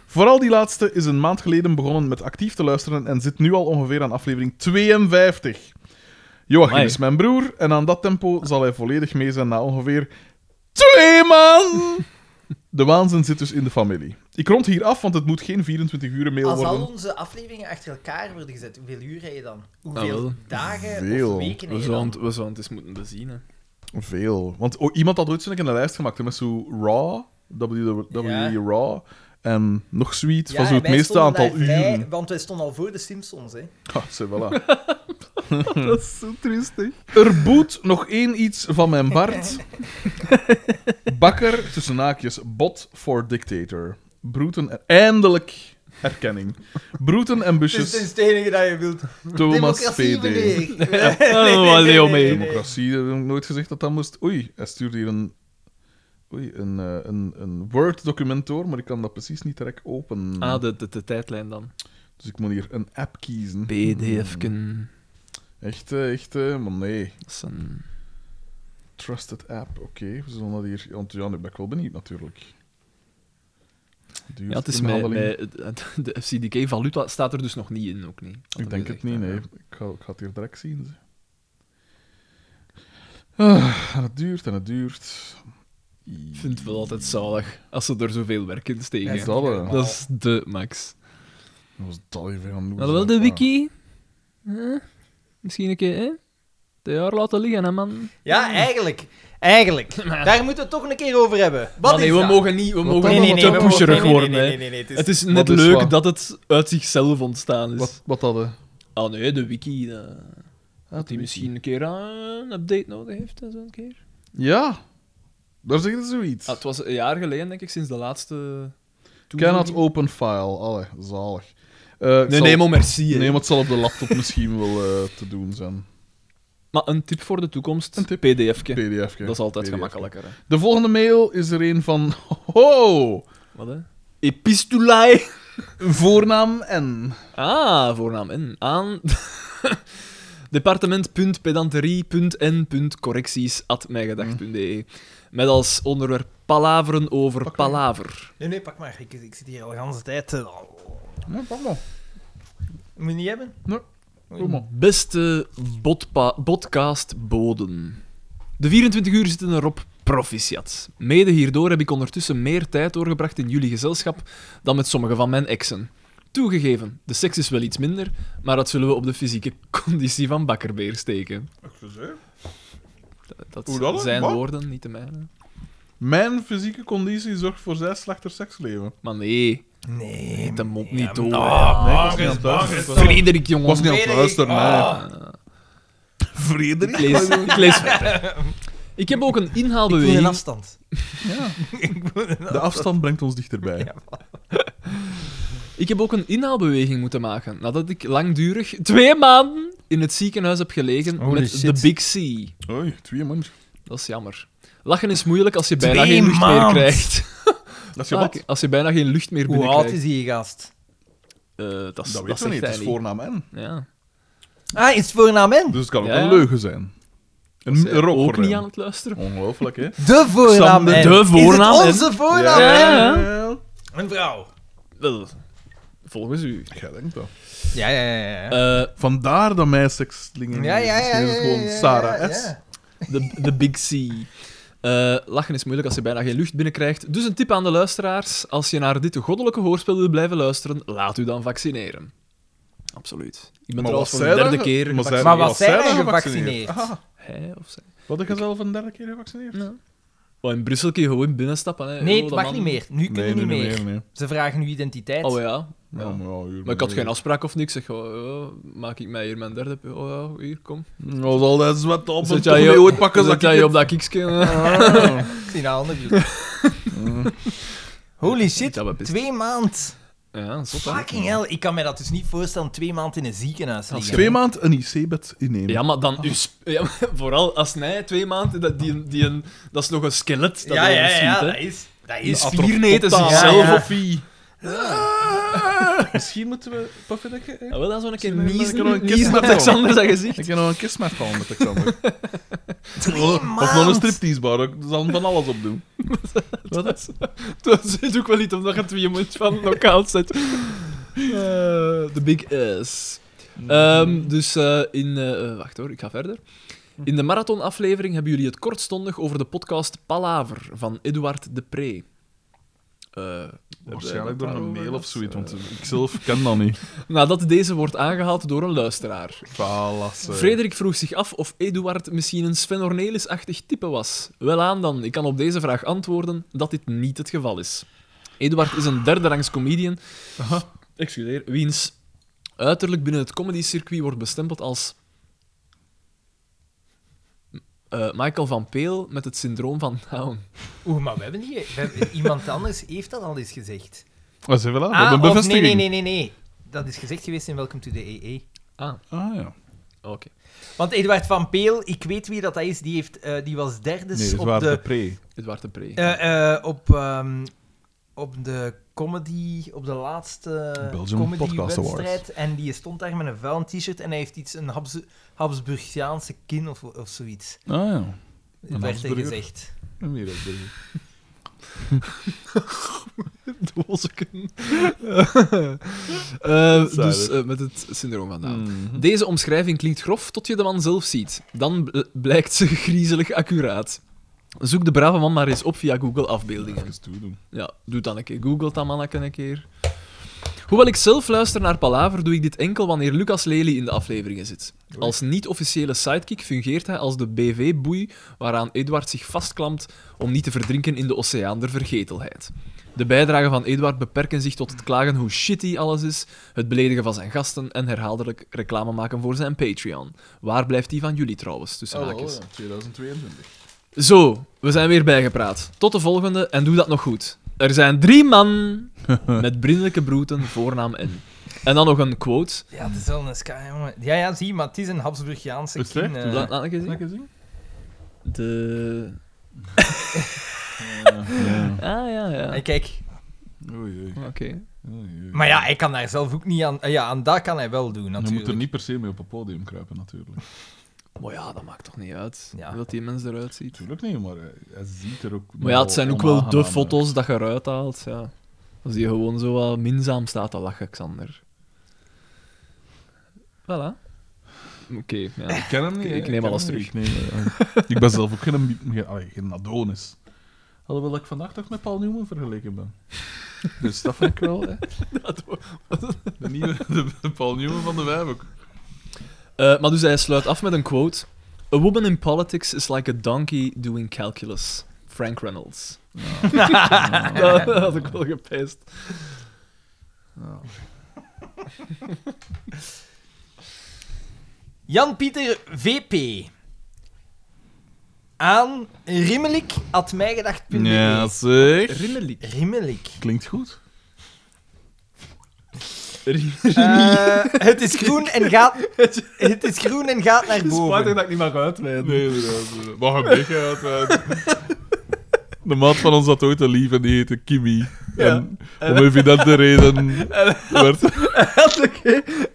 Vooral die laatste is een maand geleden begonnen met actief te luisteren en zit nu al ongeveer aan aflevering 52. Joachim Amai. is mijn broer en aan dat tempo zal hij volledig mee zijn na ongeveer twee maanden. De waanzin zit dus in de familie. Ik rond hier af, want het moet geen 24 uur mail Als worden. al onze afleveringen achter elkaar worden gezet, hoeveel uur heb je dan? Hoeveel wel. dagen Veel. of weken heb We Dus je zouden, dan? het- we zouden het eens moeten bezien. Hè. Veel. Want o- iemand had ooit zo'n keer een lijst gemaakt hè, met zo Raw, WWE Raw, en nog zoiets van zo en het wij meeste stonden aantal daar vrij, uren. want wij stonden al voor de Simpsons, hè. Ha, zeg, Ah, voilà. Dat is zo triestig. Er boet nog één iets van mijn Bart. Bakker, tussen haakjes, bot for dictator. Broeten, eindelijk herkenning. Broeten en Dus het is busjes, het enige dat je wilt. Thomas Democratie, PD. meneer. Oh, Leo mee. Democratie, dat heb ik nooit gezegd dat dat moest. Oei, hij stuurde hier een, oei, een, eh, een, een Word-document door, maar ik kan dat precies niet direct openen. Ah, de, de, de tijdlijn dan. Dus ik moet hier een app kiezen. Mm. BDF'ken. Echt, eh, echt, eh, maar nee. Dat is een... Trusted app, oké. We zullen dat hier... Want ja, nu ben ik wel benieuwd, natuurlijk. Duur Ja, het is met, inhandeling. met- het- de FCDK-valuta staat er dus nog niet in, ook niet. Had hem Ik denk het gezegd, niet, hè. nee. Ik ga, ik ga het hier direct zien. ze. Ah, en het duurt en het duurt. Ik vind het wel altijd zalig als ze er zoveel werk in steken. Ja, zal wel. dat is de max. Wat was dat even aan doen? Ah, Maar wel de wiki. Huh? Misschien een keer, hè? De jaar laten liggen, hè, man. Ja, eigenlijk. Eigenlijk. Daar moeten we het toch een keer over hebben. Wat Maar Ah, nee, is we dat? mogen niet, we mogen dan? niet Nee, nee, te nee, we pusherig nee, nee, worden. Nee, hè. nee, nee, nee, het is- Het is net is leuk waar. dat het uit zichzelf ontstaan is. Wat, wat hadden Ah nee, de wiki. eh, dat wiki. die misschien een keer ah, een update nodig heeft, eh, zo'n keer. Ja. Daar zeggen ze zoiets. Ah, het was een jaar geleden, denk ik, sinds de laatste... Cannot toevoeging. open file. Allee, zalig. Eh, ik Nee, zal- nee, maar merci. hè. Nee, maar het zal op de laptop misschien wel eh, te doen zijn. Maar een tip voor de toekomst, Een een tip. pdf'ke. PDF. Dat is altijd gemakkelijker. Hè. De volgende mail is er een van. Ho! Wat hè? Epistulae. Voornaam N. Ah, voornaam N. Aan departement.pedanterie.n.correcties.mijgedacht.de e. Met als onderwerp palaveren over palaver. Nee, nee, pak maar. Ik, ik zit hier al de hele tijd. eh, al- Ja, pak maar. Moet je niet hebben? Doe maar. Beste botpa- podcastboden. De 24 uur zitten erop proficiat. Mede hierdoor heb ik ondertussen meer tijd doorgebracht in jullie gezelschap dan met sommige van mijn exen. Toegegeven, de seks is wel iets minder, maar dat zullen we op de fysieke conditie van Bakkerbeer steken. Dat Hoe dan? zijn Wat? woorden, niet de mijne. Mijn fysieke conditie zorgt voor zes slechter seksleven. Maar nee, Nee. hit de mond niet door. Oh, Nee, ik was niet aan het luisteren. Frederik, jongen. Ah. Ik was niet aan het luisteren, nee. Ah. Frederik. Ik lees, ik lees verder. Ik heb ook een Ik voel een inhaalbeweging. afstand. Ja. Ik voel een De afstand brengt ons dichterbij. Ja. Ik heb ook een inhaalbeweging moeten maken nadat ik langdurig twee maanden in het ziekenhuis heb gelegen Holy met shit. de Big C. Oei, twee man. Dat is jammer. Lachen is moeilijk als je bijna Twee geen lucht maand. meer krijgt. Dat is Ah, je wat? Als je bijna geen lucht meer Hoe oud is binnenkrijgt. die gast? Eh, dat is Dat dat weten we zegt niet, hij het is voornaam en. Ja. Ah, is het voornaam Dus het kan ook Ja, ja. een leugen zijn. Was Een hij rock ook voor niet hem. aan het luisteren. Ongelooflijk, hè? De voornaam Xander, en. de voornaam Is en. het onze voornaam Ja. en? ja. Een vrouw. Wel, volgens u. Jij denkt dat. Ja, ja, ja. ja. Eh, Vandaar dat mij sekslingen. Ja, ja, ja. Misschien is het gewoon Sarah S. De, de Big C. Eh, lachen is moeilijk als je bijna geen lucht binnenkrijgt. Dus een tip aan de luisteraars: als je naar dit goddelijke hoorspel wil blijven luisteren, laat u dan vaccineren. Absoluut. Ik Maar ben trouwens was voor de zij derde dan- keer. Maar zij- gevaccineerd. Maar was wat zijn zij wij dan gevaccineerd? gevaccineerd? Hij of zij? Wat heb je zelf een derde keer gevaccineerd? Ja. Oh, in Brussel kun je gewoon binnenstappen. Hè. Nee, Oh, het dat mag man- niet meer. Nu kunnen Nee, niet nee, meer. nee, nee. Ze vragen uw identiteit. Oh ja. Ja. Ja, maar, ja, hier, Maar ik had geen afspraak of niks. Ik Zeg, oh, ja, maak ik mij hier mijn derde. p- Oh ja, hier, kom. Dat was al dat zwet op. Zet Zet jij jij je- ooit pakken? Zet Zat jij jij je op dat kiksken? hè? Ik zie een ander beeld. Holy shit, Dat we best- twee maand. Ja, zot hè. Fucking hell, ik kan me dat dus niet voorstellen, twee maanden in een ziekenhuis Als liggen. Twee maanden een IC-bed innemen. Ja, maar dan... uw sp- ja, maar vooral als hij twee maanden... Dat, die, die, een dat is nog een skelet dat Ja, ja, hij ja, schiet, dat hè. is... Dat Die is... is vier neten totaal. zichzelf Ja, ja. of wie. Misschien moeten we... Puffendekje? Ja, Ah, wel, dan zo'n keer Zullen we niezen, dan nog een keer niezen op snappen? Alexander zijn gezicht. Ik heb nog een kiss met gaan met de kamer. Twee Of nog een maand. striptease-bar. Ik zal van alles op doen. Wat is dat? zit ook wel niet omdat je twee mond van lokaal zet. Eh, De big ass. Ehm, dus eh, in... eh, eh, wacht hoor, ik ga verder. In de marathonaflevering hebben jullie het kortstondig over de podcast Palaver van Eduard de Pre. Eh, Waarschijnlijk door een mail of zoiets, want ik zelf ken dat niet. Eh, Nadat deze wordt aangehaald door een luisteraar. Falasse. Frederik vroeg zich af of Eduard misschien een Sven Ornelis-achtig type was. Welaan dan, ik kan op deze vraag antwoorden dat dit niet het geval is. Eduard is een derde rangs comedian, excuseer, wiens uiterlijk binnen het comedycircuit wordt bestempeld als eh, Michael van Peel met het syndroom van Down. Oeh, maar we hebben die... we hebben- iemand anders heeft dat al eens gezegd. Wat is even aan? We Ah, hebben een of bevestiging. Nee, nee, nee, nee, nee. Dat is gezegd geweest in Welcome to the EE. Ah, Ah ja. Oh, oké. Want Eduard van Peel, ik weet wie dat is, die, heeft, eh, die was derde Nee, op zwaar de... de pre. Eduard de Pre. Eh, eh, op, ehm, op de comedy, op de laatste Belgium Podcast Awards. comedy-wedstrijd. En die stond daar met een vuil t-shirt en hij heeft iets, een Habs Habsburgiaanse kin of, of zoiets. Ah ja. Een werd er Habsburger. gezegd. Een wereldburger. Dozeken. Eh, dus Zuider. eh, met het syndroom van Down. Mhm. Deze omschrijving klinkt grof tot je de man zelf ziet. Dan bl- blijkt ze griezelig accuraat. Zoek de brave man maar eens op via Google afbeeldingen. Even toedoen. Ja, doe dan een keer. Google dat manneke een keer. Hoewel ik zelf luister naar Palaver, doe ik dit enkel wanneer Lucas Lely in de afleveringen zit. Als niet-officiële sidekick fungeert hij als de BV-boei waaraan Eduard zich vastklampt om niet te verdrinken in de oceaan der vergetelheid. De bijdragen van Eduard beperken zich tot het klagen hoe shitty alles is, het beledigen van zijn gasten en herhaaldelijk reclame maken voor zijn Patreon. Waar blijft die van jullie trouwens, tussen Oh, haakjes? 2022. Zo, we zijn weer bijgepraat. Tot de volgende en doe dat nog goed. Er zijn drie man met brindelijke broeten, voornaam en. En dan nog een quote. Ja, het is wel een sky, jongen. Ja, ja, zie, maar het is een Habsburgiaanse Is het kin. echt? eh. Laat, laat ik eens zien. Lekker zien? De... Ja. Ah, ja, ja. En kijk, Oei, oei. Oké. Oei, oei. maar ja, hij kan daar zelf ook niet aan... eh, Ja, aan dat kan hij wel doen, Je moet natuurlijk. er niet per se mee op een podium kruipen, natuurlijk. Maar ja, dat maakt toch niet uit. Ja. hoe Dat die mens eruit ziet. Natuurlijk niet, maar hij, hij ziet er ook. Maar ja, het nogal zijn ook wel de onaangenaam uit. foto's dat je eruit haalt. Ja. Als je gewoon zo wat minzaam staat te lachen, Xander. Voilà. Oké, ja. Ik ken hem niet. Ik- hè. ik neem ken alles hem niet. Ik, neem- eh, ik ben zelf ook geen, geen, allee, geen Adonis. Alhoewel dat ik vandaag toch met Paul Newman vergeleken ben. Dus dat vind ik wel, hè. De, nieuwe, de, de Paul Newman van de wijf ook. Eh, maar dus hij sluit af met een quote. A woman in politics is like a donkey doing calculus. Frank Reynolds. dat had ik wel gepijst. Jan-Pieter VP. Aan rimmelik.mijgedacht.be Ja, zeg. Rimmelik. Rimmelik. Klinkt goed. Eh, het is groen en gaat... Het is groen en gaat naar boven. Spijtig dat ik niet mag uitweiden. Nee, inderdaad. inderdaad. Mag een beetje uitweiden. De maat van ons had ooit een lief en die heette Kimi. En om evidente reden werd...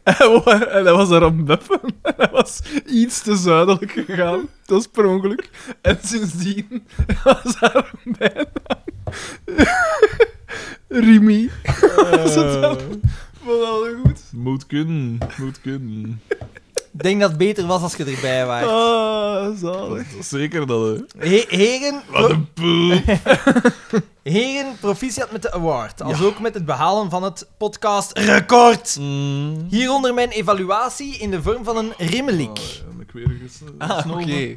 En hij was daar aan het beffen. En hij was iets te zuidelijk gegaan. Dat is per ongeluk. En sindsdien was haar bijnaam... Rimi. Vond dat wel goed. Moet kunnen, moet kunnen. Ik denk dat het beter was als je erbij was. Ah, zalig. Zeker dat, hè. He- heren, Wat een poep. heren, proficiat met de award. Als ook met het behalen van het podcast record. Hieronder mijn evaluatie in de vorm van een rimmelik. Ah, En ik weer eens... eh, Ah, oké.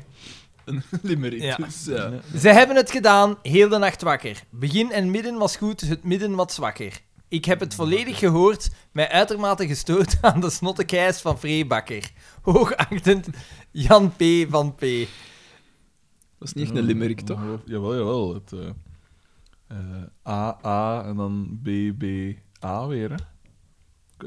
Een limerick, Ja. dus ja. Ze hebben het gedaan, heel de nacht wakker. Begin en midden was goed, het midden wat zwakker. Ik heb het volledig gehoord, mij uitermate gestoord aan de snottekijs van Vreebakker. Hoogachtend Jan P. van P. Dat is niet echt een limerick, toch? Jawel, jawel. Het, eh, eh, A, A en dan B, B, A weer, hè.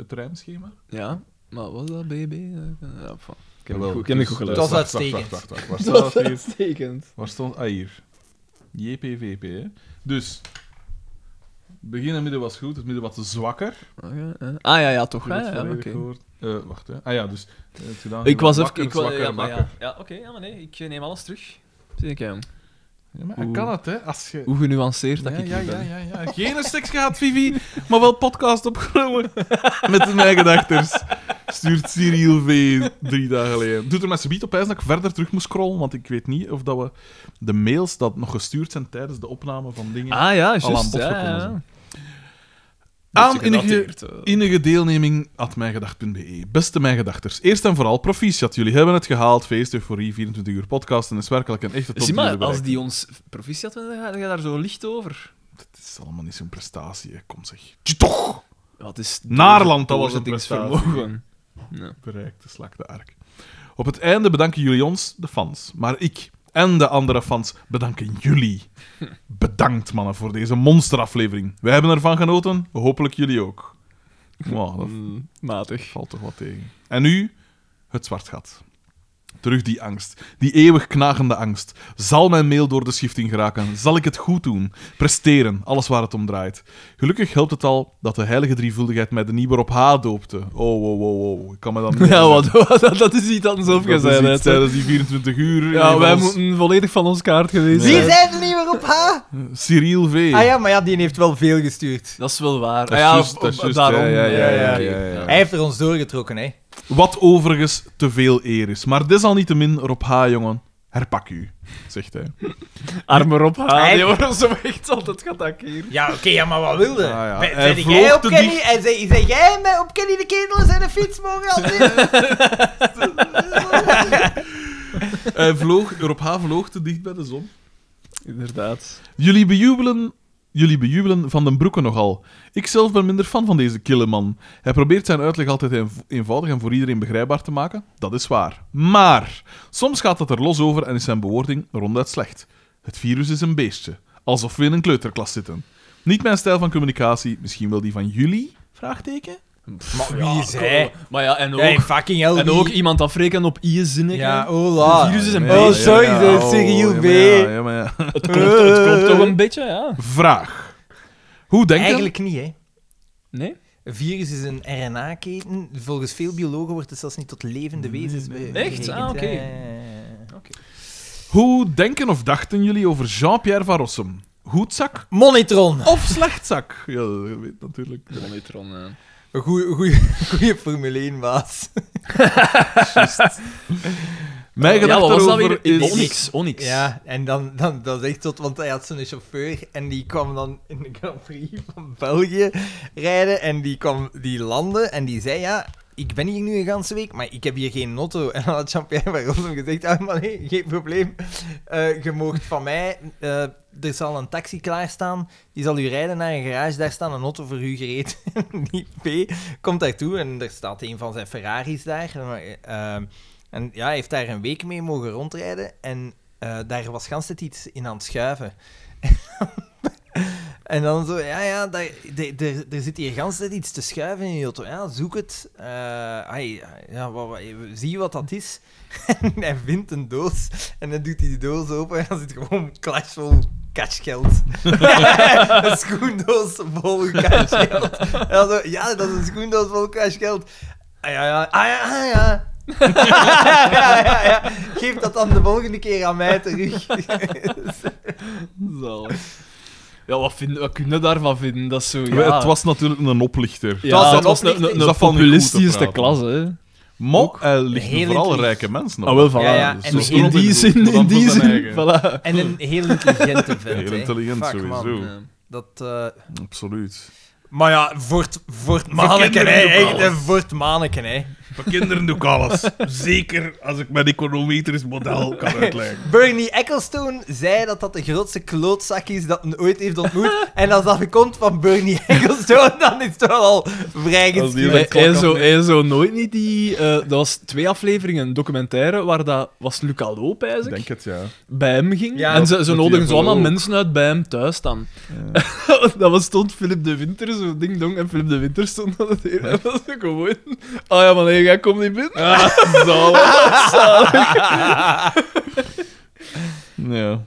Het rijmschema. Ja. Maar wat was dat, BB? Ja, van. Ik heb Jawel, niet goed- ik heb niet goed dus- geluisterd. Dat Wacht, was wacht, uitstekend. wacht, wacht, wacht. Waar staat hier? uitstekend. Waar stond ah, hier? JPVP, hè? Dus. Begin en midden was goed, het midden wat zwakker. Oké, eh. Ah ja, ja, toch. Je Ja, hebt ja, volledig oké. gehoord. Eh, wacht, hè. Ah ja, dus. eh, het gedaan, Ik was even... wakker, Ik, wa- zwakker, ja, maar ja. wakker. Ja, oké, ja, maar nee, ik eh, neem alles terug. Zie ik, ja. Ja, maar hij kan het, hè? Als je. Hoe genuanceerd dat ja, ik ja, hier ja, ben. ja, ja. Geen seks gehad, Vivi, maar wel podcast opgenomen. Met de eigen achters. Stuurt Cyril V drie dagen geleden. Doet er met z'n biet op ijs dat ik verder terug moet scrollen, want ik weet niet of dat we de mails dat nog gestuurd zijn tijdens de opname van dingen. Ah ja, Al aan juist. bod Ja, gekomen ja. zijn. Beetje Aan innige, gedateerd, eh. innige deelneming at mijngedacht.be. Beste mijngedachters, eerst en vooral proficiat. Jullie hebben het gehaald. Feest, euforie, 24 uur podcast en is werkelijk een echte top Zie maar, jullie als bereiken. die ons proficiat willen, dan ga je daar zo licht over. Het is allemaal niet zo'n prestatie, hè. kom zeg. Tje, Toch! Wat is Naarland, dat was een vermogen. Ja. Bereikt de slak de ark. Op het einde bedanken jullie ons, de fans. Maar ik en de andere fans bedanken jullie. Bedankt, mannen, voor deze monsteraflevering. Wij hebben ervan genoten, hopelijk jullie ook. Wow, dat Mm, matig. valt toch wat tegen. En nu het zwart gat. Terug die angst, die eeuwig knagende angst. Zal mijn mail door de schifting geraken? Zal ik het goed doen? Presteren, alles waar het om draait. Gelukkig helpt het al dat de heilige drievuldigheid mij de nieuwe op H doopte. Oh, oh, oh, oh. Ik kan me dan niet Ja, wat, wat- dat- dat is iets anders Dat is iets eh, opgezet. hè. tijdens die 24 uur. Ja, Een wij van ons- moeten volledig van ons kaart geweest Wie zijn. zijn er niet meer op H? Cyril V. Ah ja, maar ja, die heeft wel veel gestuurd. Dat is wel waar. Dat is Ah ja, juist, op- dat is op- juist, daarom. eh, ja, ja, ja, ja, oké. ja, ja, ja. Hij heeft er ons doorgetrokken, hè. Wat overigens te veel eer is. Maar desalniettemin, Rob H. jongen, herpak u, zegt hij. Arme Rob H. Hij- Die wordt zo echt altijd geattaqueerd. Ja, oké, ja, maar wat wilde? Ah, ja. Ben- Hij ben vloog jij op te Kenny? dicht. En zei, zei jij mij op Kenny de Ketel zijn de fiets mogen als Hij vloog, Rob H. vloog te dicht bij de zon. Inderdaad. Jullie bejubelen, jullie bejubelen Van den Broeke nogal. Ik zelf ben minder fan van deze kille man. Hij probeert zijn uitleg altijd eenv- eenvoudig en voor iedereen begrijpbaar te maken. Dat is waar. Maar soms gaat het er los over en is zijn bewoording ronduit slecht. Het virus is een beestje. Alsof we in een kleuterklas zitten. Niet mijn stijl van communicatie, misschien wel die van jullie? Vraagteken? Maar Ja, wie zij? cool. Oh, Maar ja, en ook, Hey, fucking hell. en wie- ook iemand afrekenen op je zinnen. Ja, Ja, hola. virus is een Oh, beetje- sorry, dat is oh, Cyril B. B. het, klopt, Eh. het klopt toch een beetje, ja. Vraag. Hoe denkt Eigenlijk niet, hè. Nee? Een virus is een RNA-keten. Volgens veel biologen wordt het zelfs niet tot levende wezens be- Echt? berekend. Ah, oké. Ja, ja, ja. Hoe denken of dachten jullie over Jean-Pierre Van Rossum? Goedzak Monitron. Oh. of slechtzak? Ja, dat weet natuurlijk. eh. Monitron, ja. Goeie, goeie, goeie Formule 1, baas. Mijn Ja, gedachte wat was dat over weer? is... Onyx, Onyx. Ja, en dan, dan, dat is echt tot, want hij had zo'n chauffeur en die kwam dan in de Grand Prix van België rijden en die, kwam, die landde en die zei ja, ik ben hier nu een ganse week, maar ik heb hier geen notto. En dan had Jean-Pierre van Rossum gezegd, ah, maar nee, geen probleem, Eh je moogt van mij, eh, er zal een taxi klaarstaan, die zal u rijden naar een garage, daar staat een auto voor u gereed. En die P komt daartoe en er staat een van zijn Ferraris daar. En, eh, eh, En ja, hij heeft daar een week mee mogen rondrijden en eh, daar was gans tijd iets in aan het schuiven. en dan zo, ja, ja, daar, de- de- er zit hier gans tijd iets te schuiven in je auto. Ja, zoek het. Eh, ai, ja, wat, wat- zie wat dat is. en hij vindt een doos en dan doet hij die doos open en dan zit gewoon clash vol cashgeld. een schoendoos vol cashgeld. En dan zo, ja, dat is een schoendoos vol cashgeld. Ah ja, ja, ah ja, ah, ja. ja, ja, ja. Geef dat dan de volgende keer aan mij terug. Zalig. Ja, wat, vind, wat kun je daarvan vinden? Dat is zo, We- ja... Het was natuurlijk een oplichter. ja, was een het was oplichting. een, een, Dat valt niet goed te populistische praten. klasse, hè. Mok hij ligt Heel vooral intelligent. rijke mensen op. Ah, wel, voilà. Ja, ja, en Dus heel in die goed. zin, Dan in die voor zijn zin, eigen. voilà. En een heel intelligente vent. Heel hè. intelligent, Fuck, man. sowieso. Dat, eh, Absoluut. Maar ja, voor het- voor het manneken, hè. kinderen doen Echt, alles. hè, Voor het manneken, hè. Voor kinderen doe ik alles. Zeker als ik mijn econometrisch model kan uitleggen. Bernie Ecclestone zei dat dat de grootste klootzak is dat men ooit heeft ontmoet. en als dat komt van Bernie Ecclestone, dan is het wel al vrij Als die- gestuurd. Hij, Tuurlijk, hij, klok zo, afnemen. hij zo nooit niet die... eh, dat was twee afleveringen, een documentaire, waar dat was Luca Ik Loop, eigenlijk, denk het, ja. bij hem ging. Ja, en ze, dat ze die nodigen ervoor zo allemaal ook. mensen uit bij hem thuis dan. dat was, stond Philip de Winter, zo ding-dong, en Philip de Winter stond aan het deur. En dat was gewoon... Ah ja, maar nee, jij komt niet binnen. Zalig. Ja.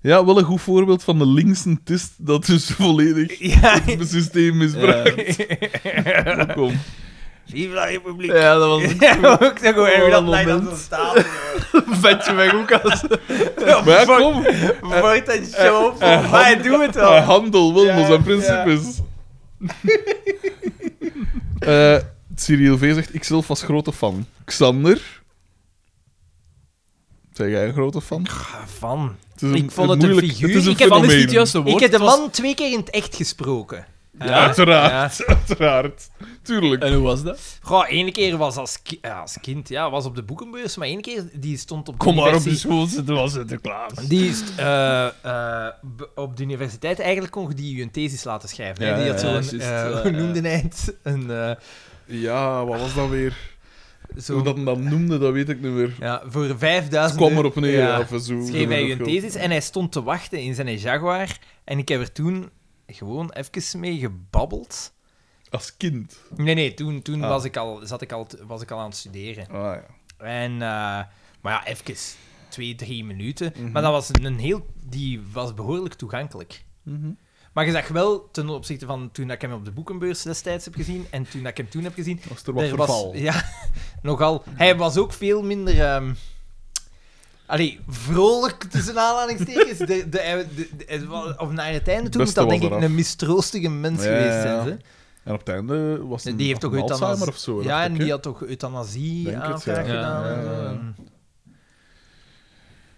Ja, wel een goed voorbeeld van de linkse tist dat dus volledig Ja. het systeem misbruikt. Maar Kom. Vive la Republiek. Ja, dat was een Ja, Oh, ook zo gewoon, hoe Wat dat een lijkt aan moment. zo'n stapel. vetje weg ook als... Maar ja, kom. Wordt een show, maar hij doet het Hij wel. handel wel, Ja, maar zijn principes. Eh, Cyril V zegt, ikzelf was grote fan. Xander? Zeg jij een grote fan? eh, Van. Het is Ik vond het een moeilijk- figuur. het is een Ik heb- Van is niet het fenomeen. juiste woord. Ik heb de het was- man twee keer in het echt gesproken. Eh, Ja, uiteraard. Uiteraard. Tuurlijk. En hoe was dat? Goh, één keer was als, ki- ja, als kind, ja, was op de boekenbeurs, maar één keer die stond op de Kom maar op universi- de school zitten, was Sinterklaas. dus. Die is eh, eh, b- op de universiteit eigenlijk kon je die hun thesis laten schrijven. hè. Ja, die had ja, zo'n, juist, eh, ja, hoe ja. noemde hij het? Een, eh, Ja, wat was dat weer? zo, Hoe dat hem dat noemde, dat weet ik niet meer. ja, voor Het 5000 kwam erop neer. Ja. Ja. Of zo. schreef hij een Ja. thesis en hij stond te wachten in zijn Jaguar. En ik heb er toen gewoon even mee gebabbeld. Als kind. Nee, nee, toen, toen Ah. was, ik al, zat ik al, was ik al aan het studeren. Ah ja. En, eh, maar ja, even twee, drie minuten. Mhm. Maar dat was een heel, die was behoorlijk toegankelijk. Maar je zag wel ten opzichte van toen ik hem op de boekenbeurs destijds heb gezien en toen ik hem toen heb gezien. Was er wat er was, verval. ja, nogal. Hij was ook veel minder. ehm Allee, vrolijk tussen aanhalingstekens. De, de, de, de- het wa- of naar het einde toe moet beste dat was denk ik eraf. een mistroostige mens Ja, geweest ja, ja. zijn. Ze. En op het einde was het Die heeft toch euthanasie... Alzheimer of zo. ja, dacht ik, en hè? die had toch euthanasie Denk het, aanvraag ja. gedaan. eh. Ja, en ja, zo. ja.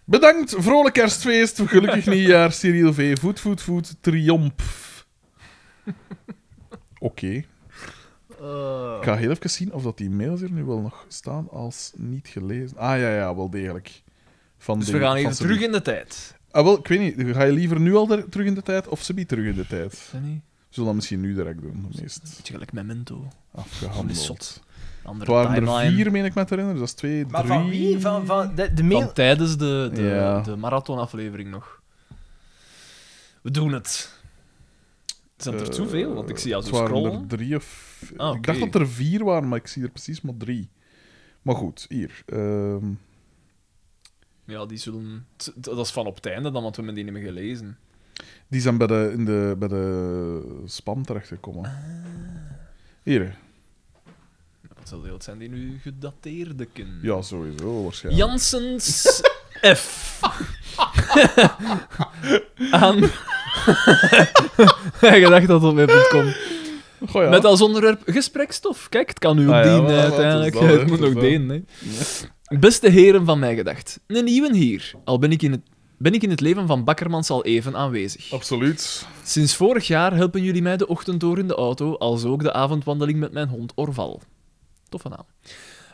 Bedankt, vrolijk kerstfeest, gelukkig nieuwjaar, Cyril V. Voet, voet, voet, triomf. Oké. Eh. Ik ga heel even zien of dat die mails hier nu wel nog staan als niet gelezen. Ah ja, ja, wel degelijk. Van Dus de- we gaan van even Sabine. terug in de tijd. Ah, wel, ik weet niet, ga je liever nu al der- terug in de tijd of ze biedt terug in de tijd? Zijn niet? We zullen dat misschien nu direct doen, het meest Beetje gelijk Memento. Dat is afgehandeld. zot. Andere Het Oh, waren er timeline. vier, meen ik me te herinneren, dus dat is twee, Maar drie... van wie? Van, van de, de mail... Van tijdens de, de, Ja. de marathonaflevering nog. We doen het. Zijn er Eh, zoveel? Want ik zie jou het zo waren scrollen. er drie of... Ah, Ik oké. dacht dat er vier waren, maar ik zie er precies maar drie. Maar goed, hier. ehm, Ja, die zullen... t- t- Dat is van op het einde dan, want we hebben die niet meer gelezen. die zijn bij de, in de, bij de spam terechtgekomen. Ah. Hier. Wat zal dat zijn die nu gedateerde kind? Ja, sowieso, waarschijnlijk. Janssens F. Aan... Hij gedacht dat het op mij.com. Goh, ja. Met als onderwerp gesprekstof. Kijk, het kan nu op Ah ja, dien wel, eh, wel, uiteindelijk. het is dat, het hè, moet het is nog dat. deen. Hè. Beste heren van mij gedacht. Een nieuwe hier. Al ben ik in het, ben ik in het leven van Bakkermans al even aanwezig. Absoluut. Sinds vorig jaar helpen jullie mij de ochtend door in de auto, als ook de avondwandeling met mijn hond Orval. Toffe naam.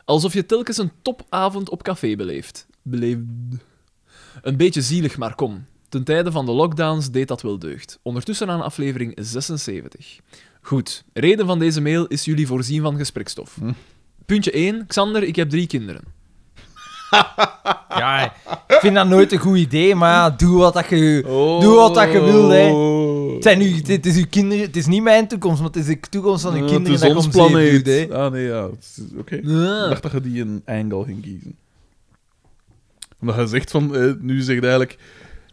Alsof je telkens een topavond op café beleeft. Beleefd. Een beetje zielig, maar kom. Ten tijde van de lockdowns deed dat wel deugd. Ondertussen aan aflevering Hm. 76. Goed, reden van deze mail is jullie voorzien van gesprekstof. Puntje 1. Xander, ik heb drie kinderen. Ja, ik vind dat nooit een goed idee, maar ja, doe wat dat je, Oh. Oh. doe wat dat je wil. Hè. Het, zijn nu, het is uw kinderen, het is niet mijn toekomst, maar het is de toekomst van uw Eh, kinderen het dat is je ons om zeep planeet. doet, hè. Ah, nee, ja. het is- Oké. Ah, Ik dacht dat je die een angle ging kiezen. Omdat je zegt van... eh, nu zegt eigenlijk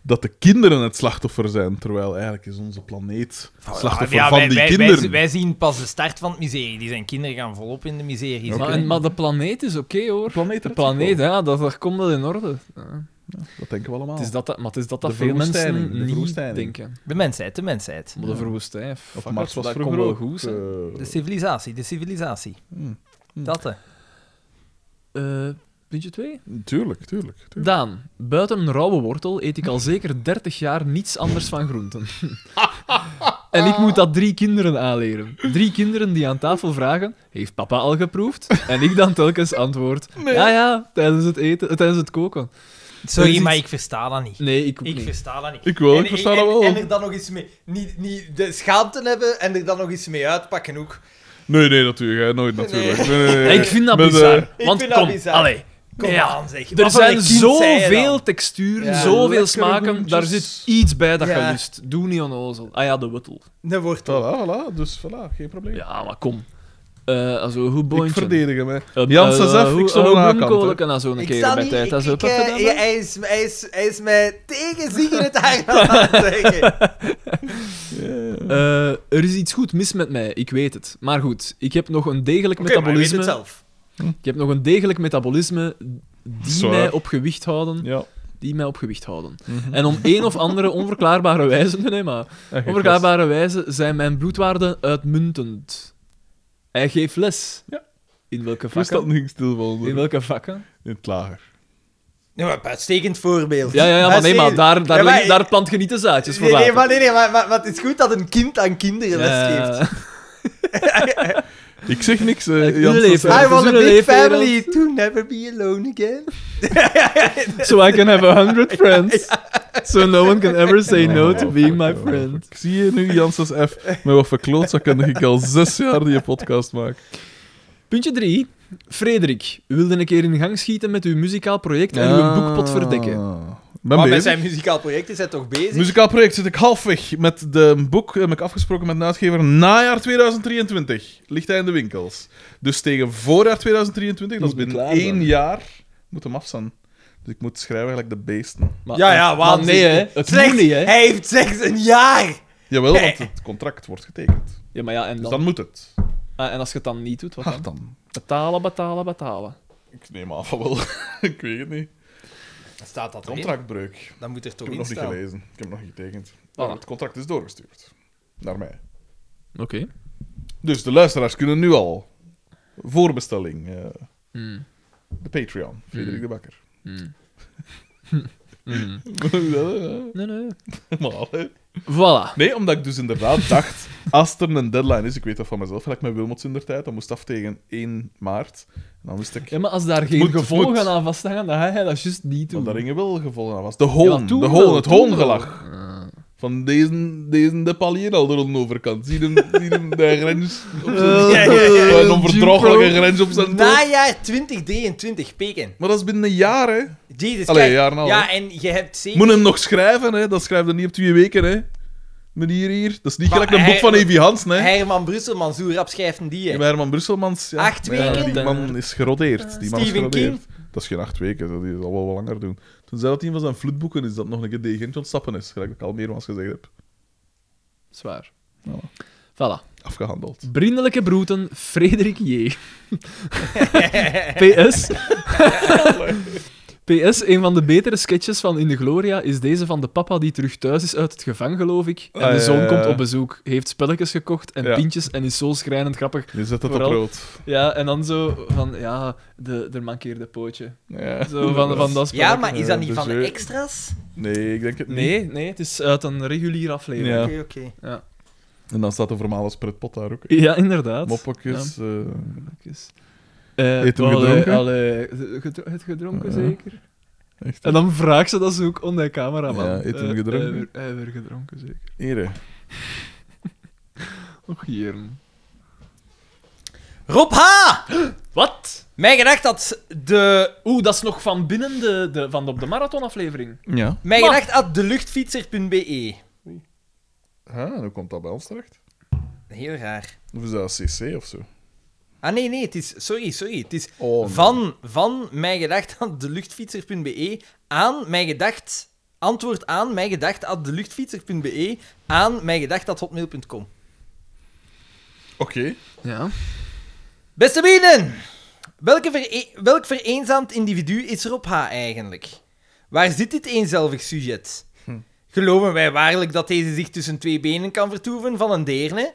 dat de kinderen het slachtoffer zijn, terwijl eigenlijk is onze planeet slachtoffer Ja, van wij- die wij- wij- kinderen. Wij, zien pas de start van het miserie. Die zijn kinderen gaan volop in de miserie. Oké. zitten, Maar, hè. en- maar de planeet is oké, hoor. de planeet, De redt zich wel. planeet, ja, dat, dat komt wel in orde. Ja. Dat denken we allemaal. Oh. Het is dat, dat- maar het is dat, dat De veel verwoestijning, de mensen niet verwoestijning. denken. De mensheid, de mensheid. Maar de verwoestijning, fuck of it, Mars was dat vroeger komt wel ook, goed. Dus- zijn. eh, De civilisatie, de civilisatie. hmm. Dat, hè. Eh, puntje 2. Tuurlijk, tuurlijk. tuurlijk. Daan, buiten een rauwe wortel eet ik al zeker 30 jaar niets anders van groenten. en ik moet dat drie kinderen aanleren. Drie kinderen die aan tafel vragen: Heeft papa al geproefd? En ik dan telkens antwoord: Ja, ja, tijdens het eten, eh, tijdens het koken. Sorry, iets- maar ik versta dat niet. Nee, ik ook Ik niet. versta dat niet. Ik wel, En- ik versta en- dat wel. En er dan nog iets mee... Niet, niet de schaamte hebben en er dan nog iets mee uitpakken ook. Nee, nee, natuurlijk. Hè. Nooit natuurlijk. Nee, nee, nee, nee. Ik vind dat Met, eh, bizar. ik want vind dat kom, bizar. allee, Kom Ja, aan, zeg. er Wat voor zijn een kind zij je dan? zoveel texturen, Ja. zoveel Lekkere smaken. Daar groentjes. zit iets bij dat Ja. je lust. Doe niet onnozel. Ah ja, de wortel. Een wortel. Voilà, voilà. Dus voilà, geen probleem. Ja, maar kom. Eh also, een goed ik boontje. Eh, verdedig hem, hè. Jan Sazaf, ik zal hem aankanten. aankomen. En zo een Ik sta keer bij niet... tijd. Dat is ook ik, eh, even gedaan, hè? hij, is, hij, is, hij is mij tegen zingen het haar aan het zeggen. Eh, Er is iets goed mis met mij, ik weet het. Maar goed, ik heb nog een degelijk Oké, maar je weet het metabolisme. zelf. Ik heb nog een degelijk metabolisme die Zwaar. mij op gewicht houden. Ja. Die mij op gewicht houden. En om een of andere onverklaarbare wijze, nee, nee, maar En geen glas. onverklaarbare wijze zijn mijn bloedwaarden uitmuntend. Hij geeft les. Ja. In welke Ik wist dat vakken? niet stilvallen. In welke vakken? In het lager. Nee, maar uitstekend voorbeeld. Ja, ja, ja, maar nee, maar daar, daar, Ja, maar- leg- daar plant je niet de zaadjes voor Nee, nee, later. maar, nee, nee, maar, maar, maar het is goed dat een kind aan kinderen les Ja. geeft. Ik zeg niks, eh, Ik wil Jan leven. Sazaf. I want a Zo'n big leefwereld. family to never be alone again. So I can have a hundred friends. So no one can ever say no to Oh, being fuck, oh, my friend. fuck. Ik zie je nu, Janssens F. Met wat voor klootzak kan ik al zes jaar die podcast maak. Puntje 3. Frederik, u wilde een keer in gang schieten met uw muzikaal project en Ah. uw boekpot verdekken. Ah. Ben maar met bezig. zijn muzikaal project is hij toch bezig? Muzikaal project zit ik halfweg met de boek. Heb ik afgesproken met de uitgever. Najaar 2023 ligt hij in de winkels. Dus tegen voorjaar 2023, dat is Moet het binnen klaar zijn. één jaar, moet hem af zijn. Dus ik moet schrijven eigenlijk de beesten. Maar- ja, ja, maar waanzin. nee, hè. Het Slechts- moet niet, hè. Hij heeft slechts een jaar. Jawel, want het contract wordt getekend. Ja, maar ja, en, Dus dan, dan moet het. Ah, en als je het dan niet doet, wat Ah, dan? dan. Betalen, betalen, betalen. Ik neem aan van wel. ik weet het niet. Staat dat erin? Contractbreuk. Ik Dat moet er toch heb het nog in niet staan. gelezen. Ik heb het nog niet getekend. Maar Ah. het contract is doorgestuurd. Naar mij. Oké. Dus de luisteraars kunnen nu al voorbestelling. eh, Mm, de Patreon. Frederik Mm. de Bakker. mm. Mm. Nee, nee. Normaal, hè? Voilà. Nee, omdat ik dus inderdaad dacht, als er een deadline is, ik weet dat van mezelf, gelijk met Wilmots in der tijd, dat moest af tegen 1 maart. En dan wist ik Ja, maar als daar geen moet, het moet. gevolgen aan vasthangen, dan ga jij dat juist niet doen. dat daar dingen wel gevallen aan was. De Ja, hoon, maar toen de wel, hoon, het toen hoongelach. wel. Ah. Van deze, deze de palier al door de overkant. Zie hem, zie hem de grens. Op zijn, Ja, ja, ja, ja. een onverdrooglijke grens op zijn toon. Najaar 2023, peken. Maar dat is binnen een jaar, hè. Jezus, Allee, kijk. een jaar en een half, ja, hè. en je hebt zeker... Moet hem nog schrijven, hè. Dat schrijft hij niet op twee weken, hè. Meneer hier. Dat is niet Maar gelijk een hij- boek van Evi Hansen, hè. Herman Brussel, Mansoer Rap schrijft die, hè. Ja, maar Herman Brusselmans, ja. Acht Maar ja, weken? die man is gerodeerd. Die man is Stephen gerodeerd. Dat is geen acht weken, dat die zal wel wat langer doen. Toen zei dat een van zijn vloedboeken is dat nog een keer degentje ontstappen is, gelijk dat ik al meermaals gezegd heb. Zwaar. Voilà. Voilà. Afgehandeld. Vriendelijke broeten, Frederik J. PS. PS, een van de betere sketches van In de Gloria is deze van de papa die terug thuis is uit het gevangen, geloof ik. En Ah, ja, de zoon ja, ja. komt op bezoek, heeft spelletjes gekocht en Ja. pintjes en is zo schrijnend grappig. Je zet het op Vooral- rood. Ja, en dan zo van, ja, de, er mankeerde pootje. Ja. Zo van, van dat Ja, spelletje. maar is dat niet dus van de weer- extras? Nee, ik denk het niet. Nee, nee, het is uit een reguliere aflevering. Ja. Oké, oké. Ja, En dan staat de voormalige spritpot daar ook. hè. Ja, inderdaad. Moppakjes. eh Moppakjes. Eh, Heeft hem allee, gedronken? allee, gedro- het gedronken, Ja. zeker? echt. En dan vraagt ze dat ze ook onder de cameraman. Ja, heeft hem Eh, gedronken? Hij weer- hij weer gedronken, zeker. Hier, hè. Och, hier. Rob H! Wat? Mij gedacht dat de, Oeh, dat is nog van binnen de, de, van de, op de marathonaflevering. Ja. mij Maar- gedacht dat deluchtfietser.be. Ah, hoe komt dat bij ons terecht? Heel raar. Of is dat CC of zo? Ah nee, nee, het is, sorry, sorry. Het is Oh, nee. van, van mij gedacht dat deluchtfietser.be E, aan mij gedacht, antwoord aan mij gedacht dat deluchtfietser.be E, aan mij gedacht dat hotmail.com. Oké. Ja. Beste vrienden, welke vere- e- welk vereenzaamd individu is er op H eigenlijk? Waar zit dit eenzelvig sujet? Geloven wij waarlijk dat deze zich tussen twee benen kan vertoeven van een deerne?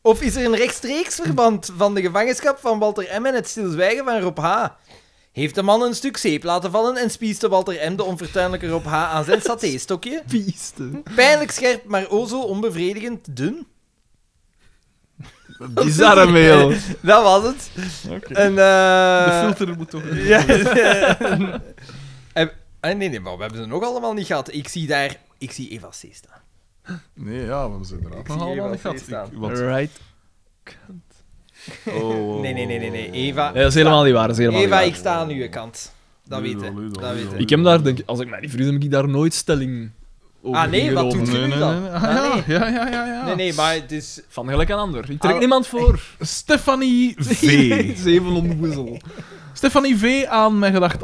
Of is er een rechtstreeks verband van de gevangenschap van Walter M. en het stilzwijgen van Rob H.? Heeft de man een stuk zeep laten vallen en spieste Walter M. de onfortuinlijke Rob H. aan zijn satéstokje? Piste. Pijnlijk scherp, maar o zo onbevredigend dun? Bizarre mail. Dat was het. En, eh, de filter moet toch... Ja. eh, eh, eh, nee, nee, maar we hebben ze nog allemaal niet gehad. Ik zie daar... Ik zie Eva C. staan. Nee, ja, we hebben ze inderdaad Ik nog zie allemaal hier niet wel gehad. staan. Ik- want- Right. oh, oh, Nee, nee, nee, nee, nee. Eva... Nee, dat is helemaal niet waar. Dat is helemaal Eva, niet ik waar. sta aan uw kant. Dat Ludo, weten. Ludo, Dat Ludo. weten. Ik... heb daar, denk ik, als ik mij niet vergis, heb ik daar nooit stelling over Ah, nee, wat genomen. doet u? Nee, nee, nee. nee. Ah, ja, Ah, ja, ja, ja, ja. Nee, nee, maar dus- het is... Van gelijk aan ander. Ik trek Ah, niemand voor. Stefanie V. Zeven omwoezel. Stefanie V aan mijn gedacht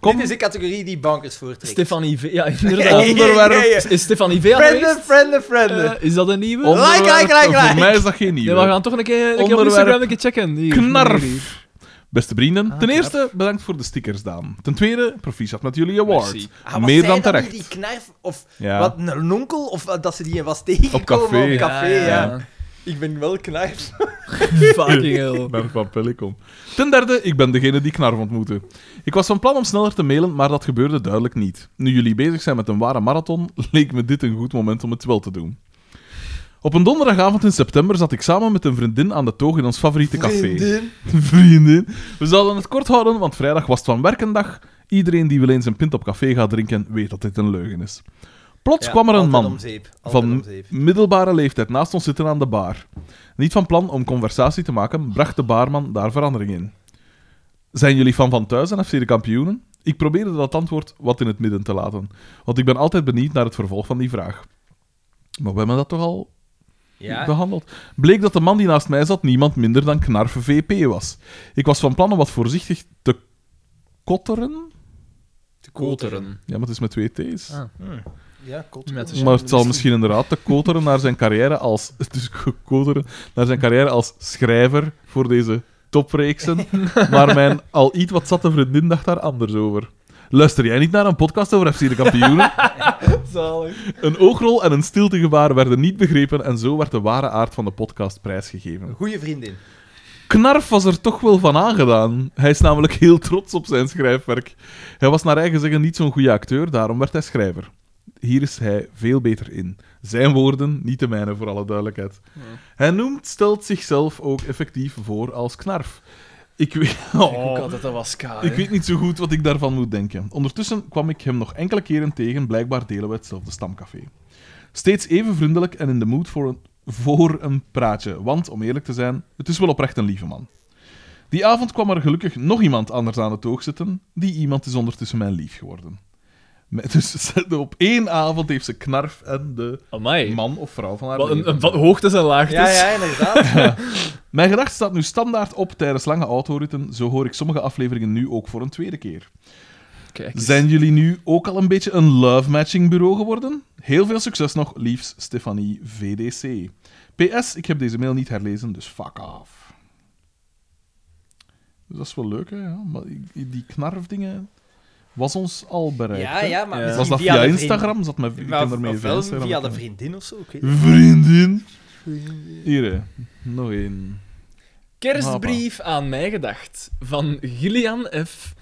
Dit is de categorie die bankers voortrekt. Stefanie V. Ja, Ja, inderdaad. ja, ja, ja. Is Stefanie V Frienden, aanwezig? frienden, frienden. Eh, is dat een nieuwe? Onder- Like, like, like, like. Voor mij is dat geen Nee, nieuwe. we gaan toch een keer, een keer op Onderwerp. Instagram een keer checken. Hier. Knarf. Beste vrienden, Ah, ten knap. eerste bedankt voor de stickers, Daan. Ten tweede, proficiat met jullie award. Merci. Ah, wat Meer zei dan dat nu, terecht. Die knarf, of Ja. wat, een onkel, of eh, dat ze die was tegengekomen café. op café, ja, ja. Ik ben wel knarf. Fucking hell. Ik ben van Pelicom. Ten derde, ik ben degene die Knarf ontmoette. Ik was van plan om sneller te mailen, maar dat gebeurde duidelijk niet. Nu jullie bezig zijn met een ware marathon, leek me dit een goed moment om het wel te doen. Op een donderdagavond in september zat ik samen met een vriendin aan de toog in ons favoriete café. Vrienden. Vrienden. We zouden het kort houden, want vrijdag was het van werkendag. Iedereen die wel eens een pint op café gaat drinken, weet dat dit een leugen is. Plots Ja, Dus kwam er een altijd man om zeep, altijd om van zeep. middelbare leeftijd naast ons zitten aan de bar. Niet van plan om conversatie te maken, bracht de baarman daar verandering in. Zijn jullie fan van thuis en FC de kampioenen? Ik probeerde dat antwoord wat in het midden te laten, want ik ben altijd benieuwd naar het vervolg van die vraag. Maar we hebben dat toch al Ja. behandeld. Bleek dat de man die naast mij zat niemand minder dan Knarf VP was. Ik was van plan om wat voorzichtig te kotteren. Te Koteren. Ja, maar het is met twee T's. Ah. Hm. Ja, kotteren. Met de Maar het zal misschien inderdaad te koteren naar zijn carrière als... Dus koteren naar zijn carrière als schrijver voor deze topreeksen. Maar mijn al iets wat zatte vriendin dacht daar anders over. Luister jij niet naar een podcast over FC de kampioenen? Zalig. Een oogrol en een stiltegebaar werden niet begrepen en zo werd de ware aard van de podcast prijsgegeven. Goeie vriendin. Knarf was er toch wel van aangedaan. Hij is namelijk heel trots op zijn schrijfwerk. Hij was naar eigen zeggen niet zo'n goede acteur, daarom werd hij schrijver. Hier is hij veel beter in. Zijn woorden, niet de mijne voor alle duidelijkheid. Hij noemt, stelt zichzelf ook effectief voor als knarf. Ik weet, Ik ook Oh, altijd, dat was kaal. ik weet niet zo goed wat ik daarvan moet denken. Ondertussen kwam ik hem nog enkele keren tegen, blijkbaar delen we hetzelfde stamcafé. Steeds even vriendelijk en in de mood voor een, voor een praatje. Want, om eerlijk te zijn, het is wel oprecht een lieve man. Die avond kwam er gelukkig nog iemand anders aan de toog zitten. Die iemand is ondertussen mijn lief geworden. Met- Dus op één avond heeft ze knarf en de Amai. man of vrouw van haar Wat een, leven. een, wat hoogtes en laagtes. Ja, ja, inderdaad. Mijn gedachte staat nu standaard op tijdens lange autoritten. Zo hoor ik sommige afleveringen nu ook voor een tweede keer. Kijk eens. Zijn jullie nu ook al een beetje een love matching bureau geworden? Heel veel succes nog, liefst Stefanie VDC. PS, ik heb deze mail niet herlezen, dus fuck off. Dus dat is wel leuk, hè? Ja? Maar die- die knarfdingen was ons al bereikt. ja, hè? ja, maar Ja. misschien Was dat via, via, de Instagram? Zat mijn, ik Vriendin. ken Maar of- daarmee ofwel Instagram Hm. via de kennen. vriendin of zo. ik weet het Vriendin. Hier, hè. nog één. Kerstbrief aan mij gedacht. Van Gillian F.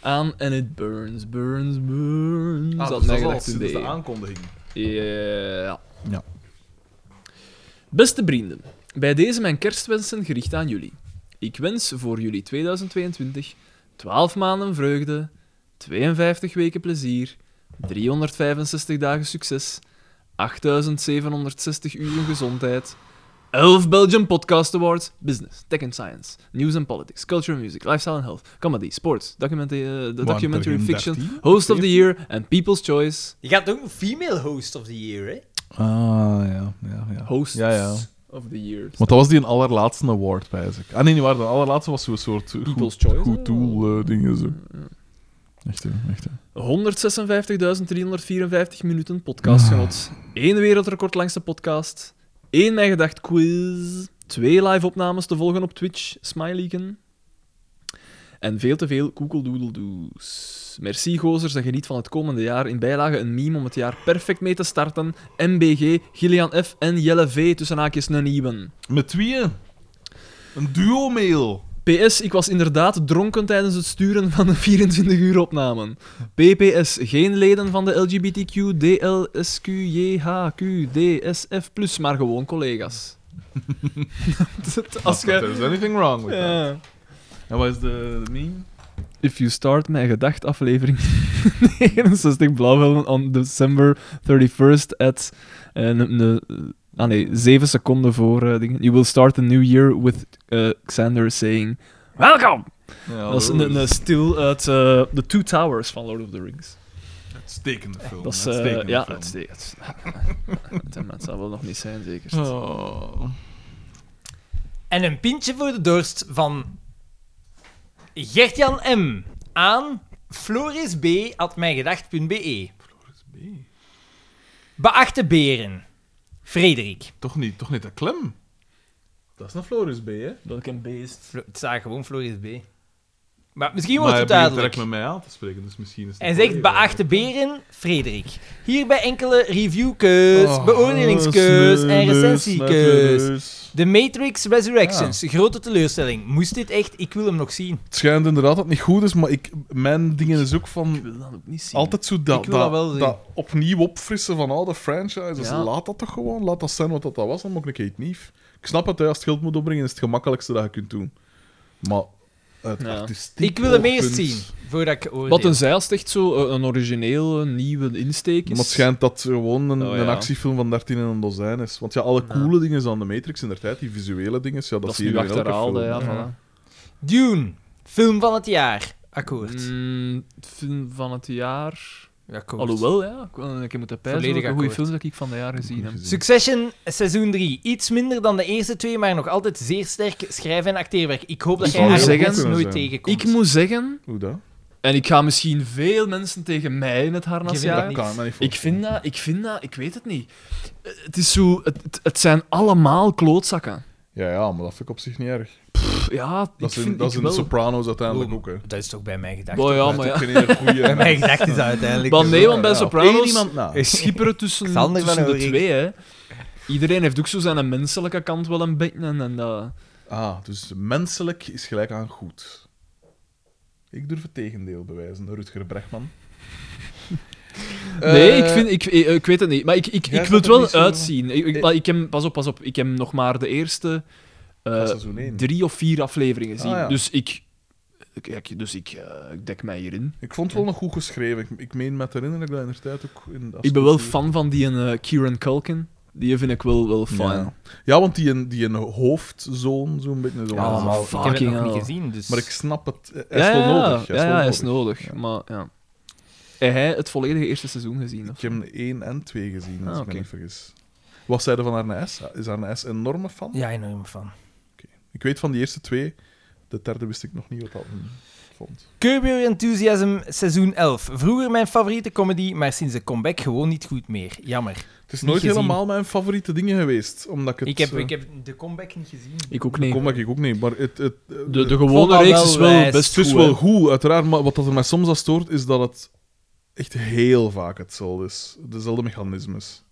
Aan en it burns, burns, burns. Ah, Aan mij gedacht in de E. aankondiging. Eh, Ja. Ja. Beste vrienden, bij deze mijn kerstwensen gericht aan jullie. Ik wens voor jullie 2022 12 maanden vreugde, 52 weken plezier, 365 dagen succes, 8760 uren gezondheid, 11 Belgium Podcast Awards, Business, Tech and Science, News and Politics, Culture and Music, Lifestyle and Health, Comedy, Sports, documenta- eh, Documentary geen Fiction, 13? Host of the Year en People's Choice. Je gaat ook een female host of the year, hè? Ah, ja. ja, ja. Hosts Ja, ja. of the Year. Want dat was die een allerlaatste award, pijs ik. Ah nee, niet waar. De allerlaatste was zo'n soort goed- People's goed, Choice, hè? doel-dingen. zo. Echt, hè, echt. hè. 156.354 minuten podcastgenot. Ah. Eén wereldrecord langste podcast. Eén Mijn Gedacht quiz. Twee live opnames te volgen op Twitch, smileyken. En veel te veel koekeldoedeldoes. Merci gozers en geniet van het komende jaar. In bijlage een meme om het jaar perfect mee te starten. MBG, Gillian F. en Jelle V. tussen haakjes een nieuwen. Met tweeën. Een duo-mail. PS, ik was inderdaad dronken tijdens het sturen van de 24 uur opnamen. PPS, geen leden van de LGBTQ, DLSQJHQ, DSF+, maar gewoon collega's. Als je... There's anything wrong with that. Ja. En wat is de de meme? If you start mijn gedacht aflevering 69 Blauwhelmen on December 31st at eh, ne- ne- ah nee, 7 seconden voor eh, dingen. You will start the new year with eh, Xander saying Welcome! Ja, Dat is een, een stil uit eh, The Two Towers van Lord of the Rings. Uitstekende film. Dat is, eh, Oh, uitstekende ja, film. uitstekend. dat zou wel nog niet zijn, zeker. Oh. En een pintje voor de dorst van Gertjan M. aan florisb.mijngedacht.be. E. Beachte beren. Frederik. Toch niet, toch niet de klem? Dat is een Floris B, hè? Welk een beest. Flo- Het staat gewoon Floris B. Maar misschien maar wordt het hij begint duidelijk. direct met mij aan te spreken, dus misschien is het En een zegt collega. beachte beren, Frederik. Hierbij enkele reviewkeus, Oh, beoordelingskeus sneu, en neus, recensiekeurs. neus. The Matrix Resurrections, grote teleurstelling. Moest dit echt? Ik wil hem nog zien. Het schijnt inderdaad dat het niet goed is, maar ik, mijn dingen is ook Ik van... wil dat ook niet zien. Altijd zo dat, Ik wil dat wel zien. dat opnieuw opfrissen van oude franchises. Ja. Laat dat toch gewoon. Laat dat zijn wat dat was, dan maak ik het niet. Ik snap het, hè, als het geld moet opbrengen, is het gemakkelijkste dat je kunt doen. Maar het Ja. artistiek Ik wil hem eerst oogpunt- zien, voordat ik oordeel. Wat een zij als het echt zo eh, een origineel eh, nieuwe insteek is. Maar het schijnt dat gewoon een, Oh, ja. een actiefilm van 13 en een dozijn is. Want ja, alle coole dingen zijn aan de Matrix in der tijd, die visuele dingen, ja, dat, dat is zie je nu nu in elke achterhaalde, film. eh, ja. Ja. Voilà. Dune, film van het jaar. Akkoord. Mm, film van het jaar... Akkoord. Alhoewel, ja. Ik wil een keer moeten pijzen Volledig welke goede akkoord. films dat ik van de jaren gezien heb. Succession seizoen 3. Iets minder dan de eerste twee, maar nog altijd zeer sterk schrijven en acteerwerk. Ik hoop dat Ik jij moet haar zeggen- nooit zijn. tegenkomt. Ik moet zeggen, Hoe dat? en ik ga misschien veel mensen tegen mij in het harnas Je vindt dat jagen, Dat kan ik me niet Ik voorstellen. vind dat, ik vind dat, ik weet het niet. Eh, Het is zo, het, het, het zijn allemaal klootzakken. Ja, ja, maar dat vind ik op zich niet erg. Pff, ja, Dat ik zijn, vind dat ik zijn de wel. Sopranos uiteindelijk ook, hè. Dat is toch bij mijn gedachten. Boah, ja, Dat is maar ja. ook geen hele goeie. Bij mijn gedachten is dat uiteindelijk... Maar nee, want bij Ja, op één Sopranos iemand na. schipperen tussen, Xander van tussen de Oerik. twee, hè. Iedereen heeft ook zo zijn menselijke kant wel een beetje. En, en dat... Ah, dus menselijk is gelijk aan goed. Ik durf het tegendeel bewijzen, Rutger Bregman. Nee, Eh, ik, vind, ik, eh, ik weet het niet. Maar ik, ik, Jij ik wil zat het er wel niet zo- uitzien. Ik, ik- Eh. maar ik heb, pas op, pas op. Ik heb nog maar de eerste eh, Van seizoen één. drie of vier afleveringen Ah, gezien. ja. Dus ik... ik- ik- dus ik, eh, ik dek mij hierin. Ik vond het wel nog goed geschreven. Ik, ik meen met herinneren dat ik dat in de tijd ook... In de Ik ben wel afspeelserie- fan van die eh Kieran Culkin. Die vind ik wel, wel fijn. Ja. ja, want die, een- die een hoofdzoon, zo'n beetje zo. Ja, Ja, maar- allemaal. Ik heb het fucking nog hell. niet gezien, dus... maar ik snap het. eh, Hij ja, is wel ja, ja. nodig. Ja, ja, hij nodig. is nodig. Ja. Maar, ja. Heeft hij het volledige eerste seizoen gezien? Ik Of? heb hem 1 en 2 gezien, als ik Ah, oké. me niet vergis. Wat zei je van Arne S? Is Arne S een enorme fan? Ja, enorm van. Ik weet van die eerste twee. De derde wist ik nog niet wat dat vond. Curb Your Enthusiasm seizoen 11. Vroeger mijn favoriete comedy, maar sinds de comeback gewoon niet goed meer. Jammer. Het is Niet nooit gezien. helemaal mijn favoriete dingen geweest. Omdat ik het... Ik heb, eh, ik heb de comeback niet gezien. Ik ook niet. Kom, dat ik ook niet. Maar het, het, eh, De, de vond gewone dat reeks wel is wel wijs. best het is goed. wel hè. goed, uiteraard. Maar wat dat er mij soms aan stoort, is dat het echt heel vaak hetzelfde is. Dezelfde mechanismes.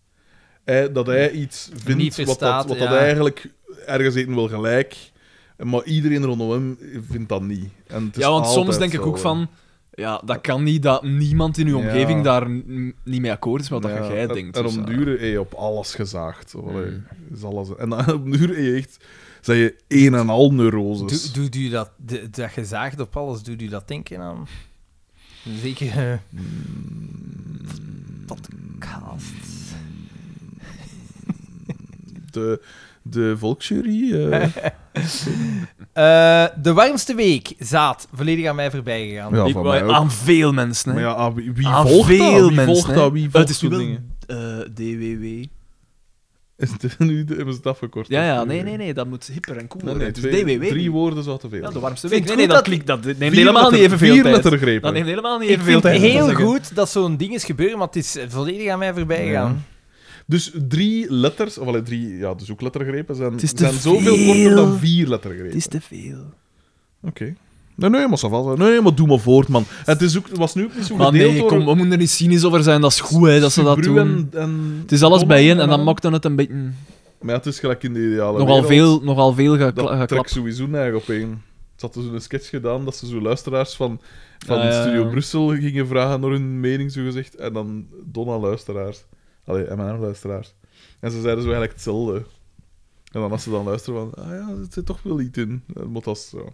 Hij- dat hij iets vindt Niet wat, dat, verstaat, wat ja. dat eigenlijk ergens eten wil gelijk. Maar iedereen rondom hem vindt dat niet. En het is Ja, want soms altijd denk ik ook zo. van... Ja, dat kan niet dat niemand in uw Ja. omgeving daar n- niet mee akkoord is met wat Ja, dat jij en- denkt. En dus, om ja. Hmm. duur eh, op alles gezaagd. Of, allee, is alles, en dan, om duur eh, echt, zijn je een en al neuroses. Doe- Doet u dat, de- dat gezaagd op alles, doet u dat denken aan? Zeker. eh, Mm. podcast. de, de volksjury. eh, Eh, de warmste week, zaad, volledig aan mij voorbij gegaan. ja, Ik van wou- mij ook. aan veel mensen, Maar hè. ja, ah, wie, wie aan volgt veel dat? Wie mensen, volgt hè. dat? Wie Eh, Het volgt is nu zo'n wel dingen? eh, DWW. Is het nu hebben ze het afgekort? Ja, ja, nee, nee, nee, dat moet hipper en cooler. Nee, nee, worden. dus twee- DWW. Drie woorden zou te veel. ja, de zijn. warmste Vind week. het Nee, goed nee, dat, dat- klinkt, dat neemt Vier helemaal niet letter- evenveel vier tijd. lettergrepen. Dat neemt helemaal niet Ik evenveel vind het tijd. om te heel zeggen. goed dat zo'n ding is gebeuren, maar het is eh, volledig aan mij voorbij gegaan. Dus drie letters, of allee, drie ja, de zoeklettergrepen zijn, Het is te zijn zoveel veel. korter dan vier Het lettergrepen. is te veel. Oké. Nee, nee, maar ça va. Nee, maar doe maar voort, man. Het is ook, was nu ook niet zo Maar gedeeld nee, door... kom, we moeten er niet cynisch over zijn. Dat is goed hè, dat ze dat Subaru en- doen. en Het is alles Tom bijeen en dan al. maakt dan het een beetje... Maar ja, het is gelijk in de ideale Nogal wereld. veel, nogal veel Dat gekla- trekt geklapt. sowieso nergens op één. Ze hadden zo'n sketch gedaan dat ze zo luisteraars van, van Ah, ja, Studio ja. Brussel gingen vragen naar hun mening, zo gezegd. En dan Donna luisteraars. Allee, M&M luisteraars. En ze zeiden zo eigenlijk hetzelfde. En dan als ze dan luisteren van, ah ja, er zit toch wel iets in. Dat moet als zo.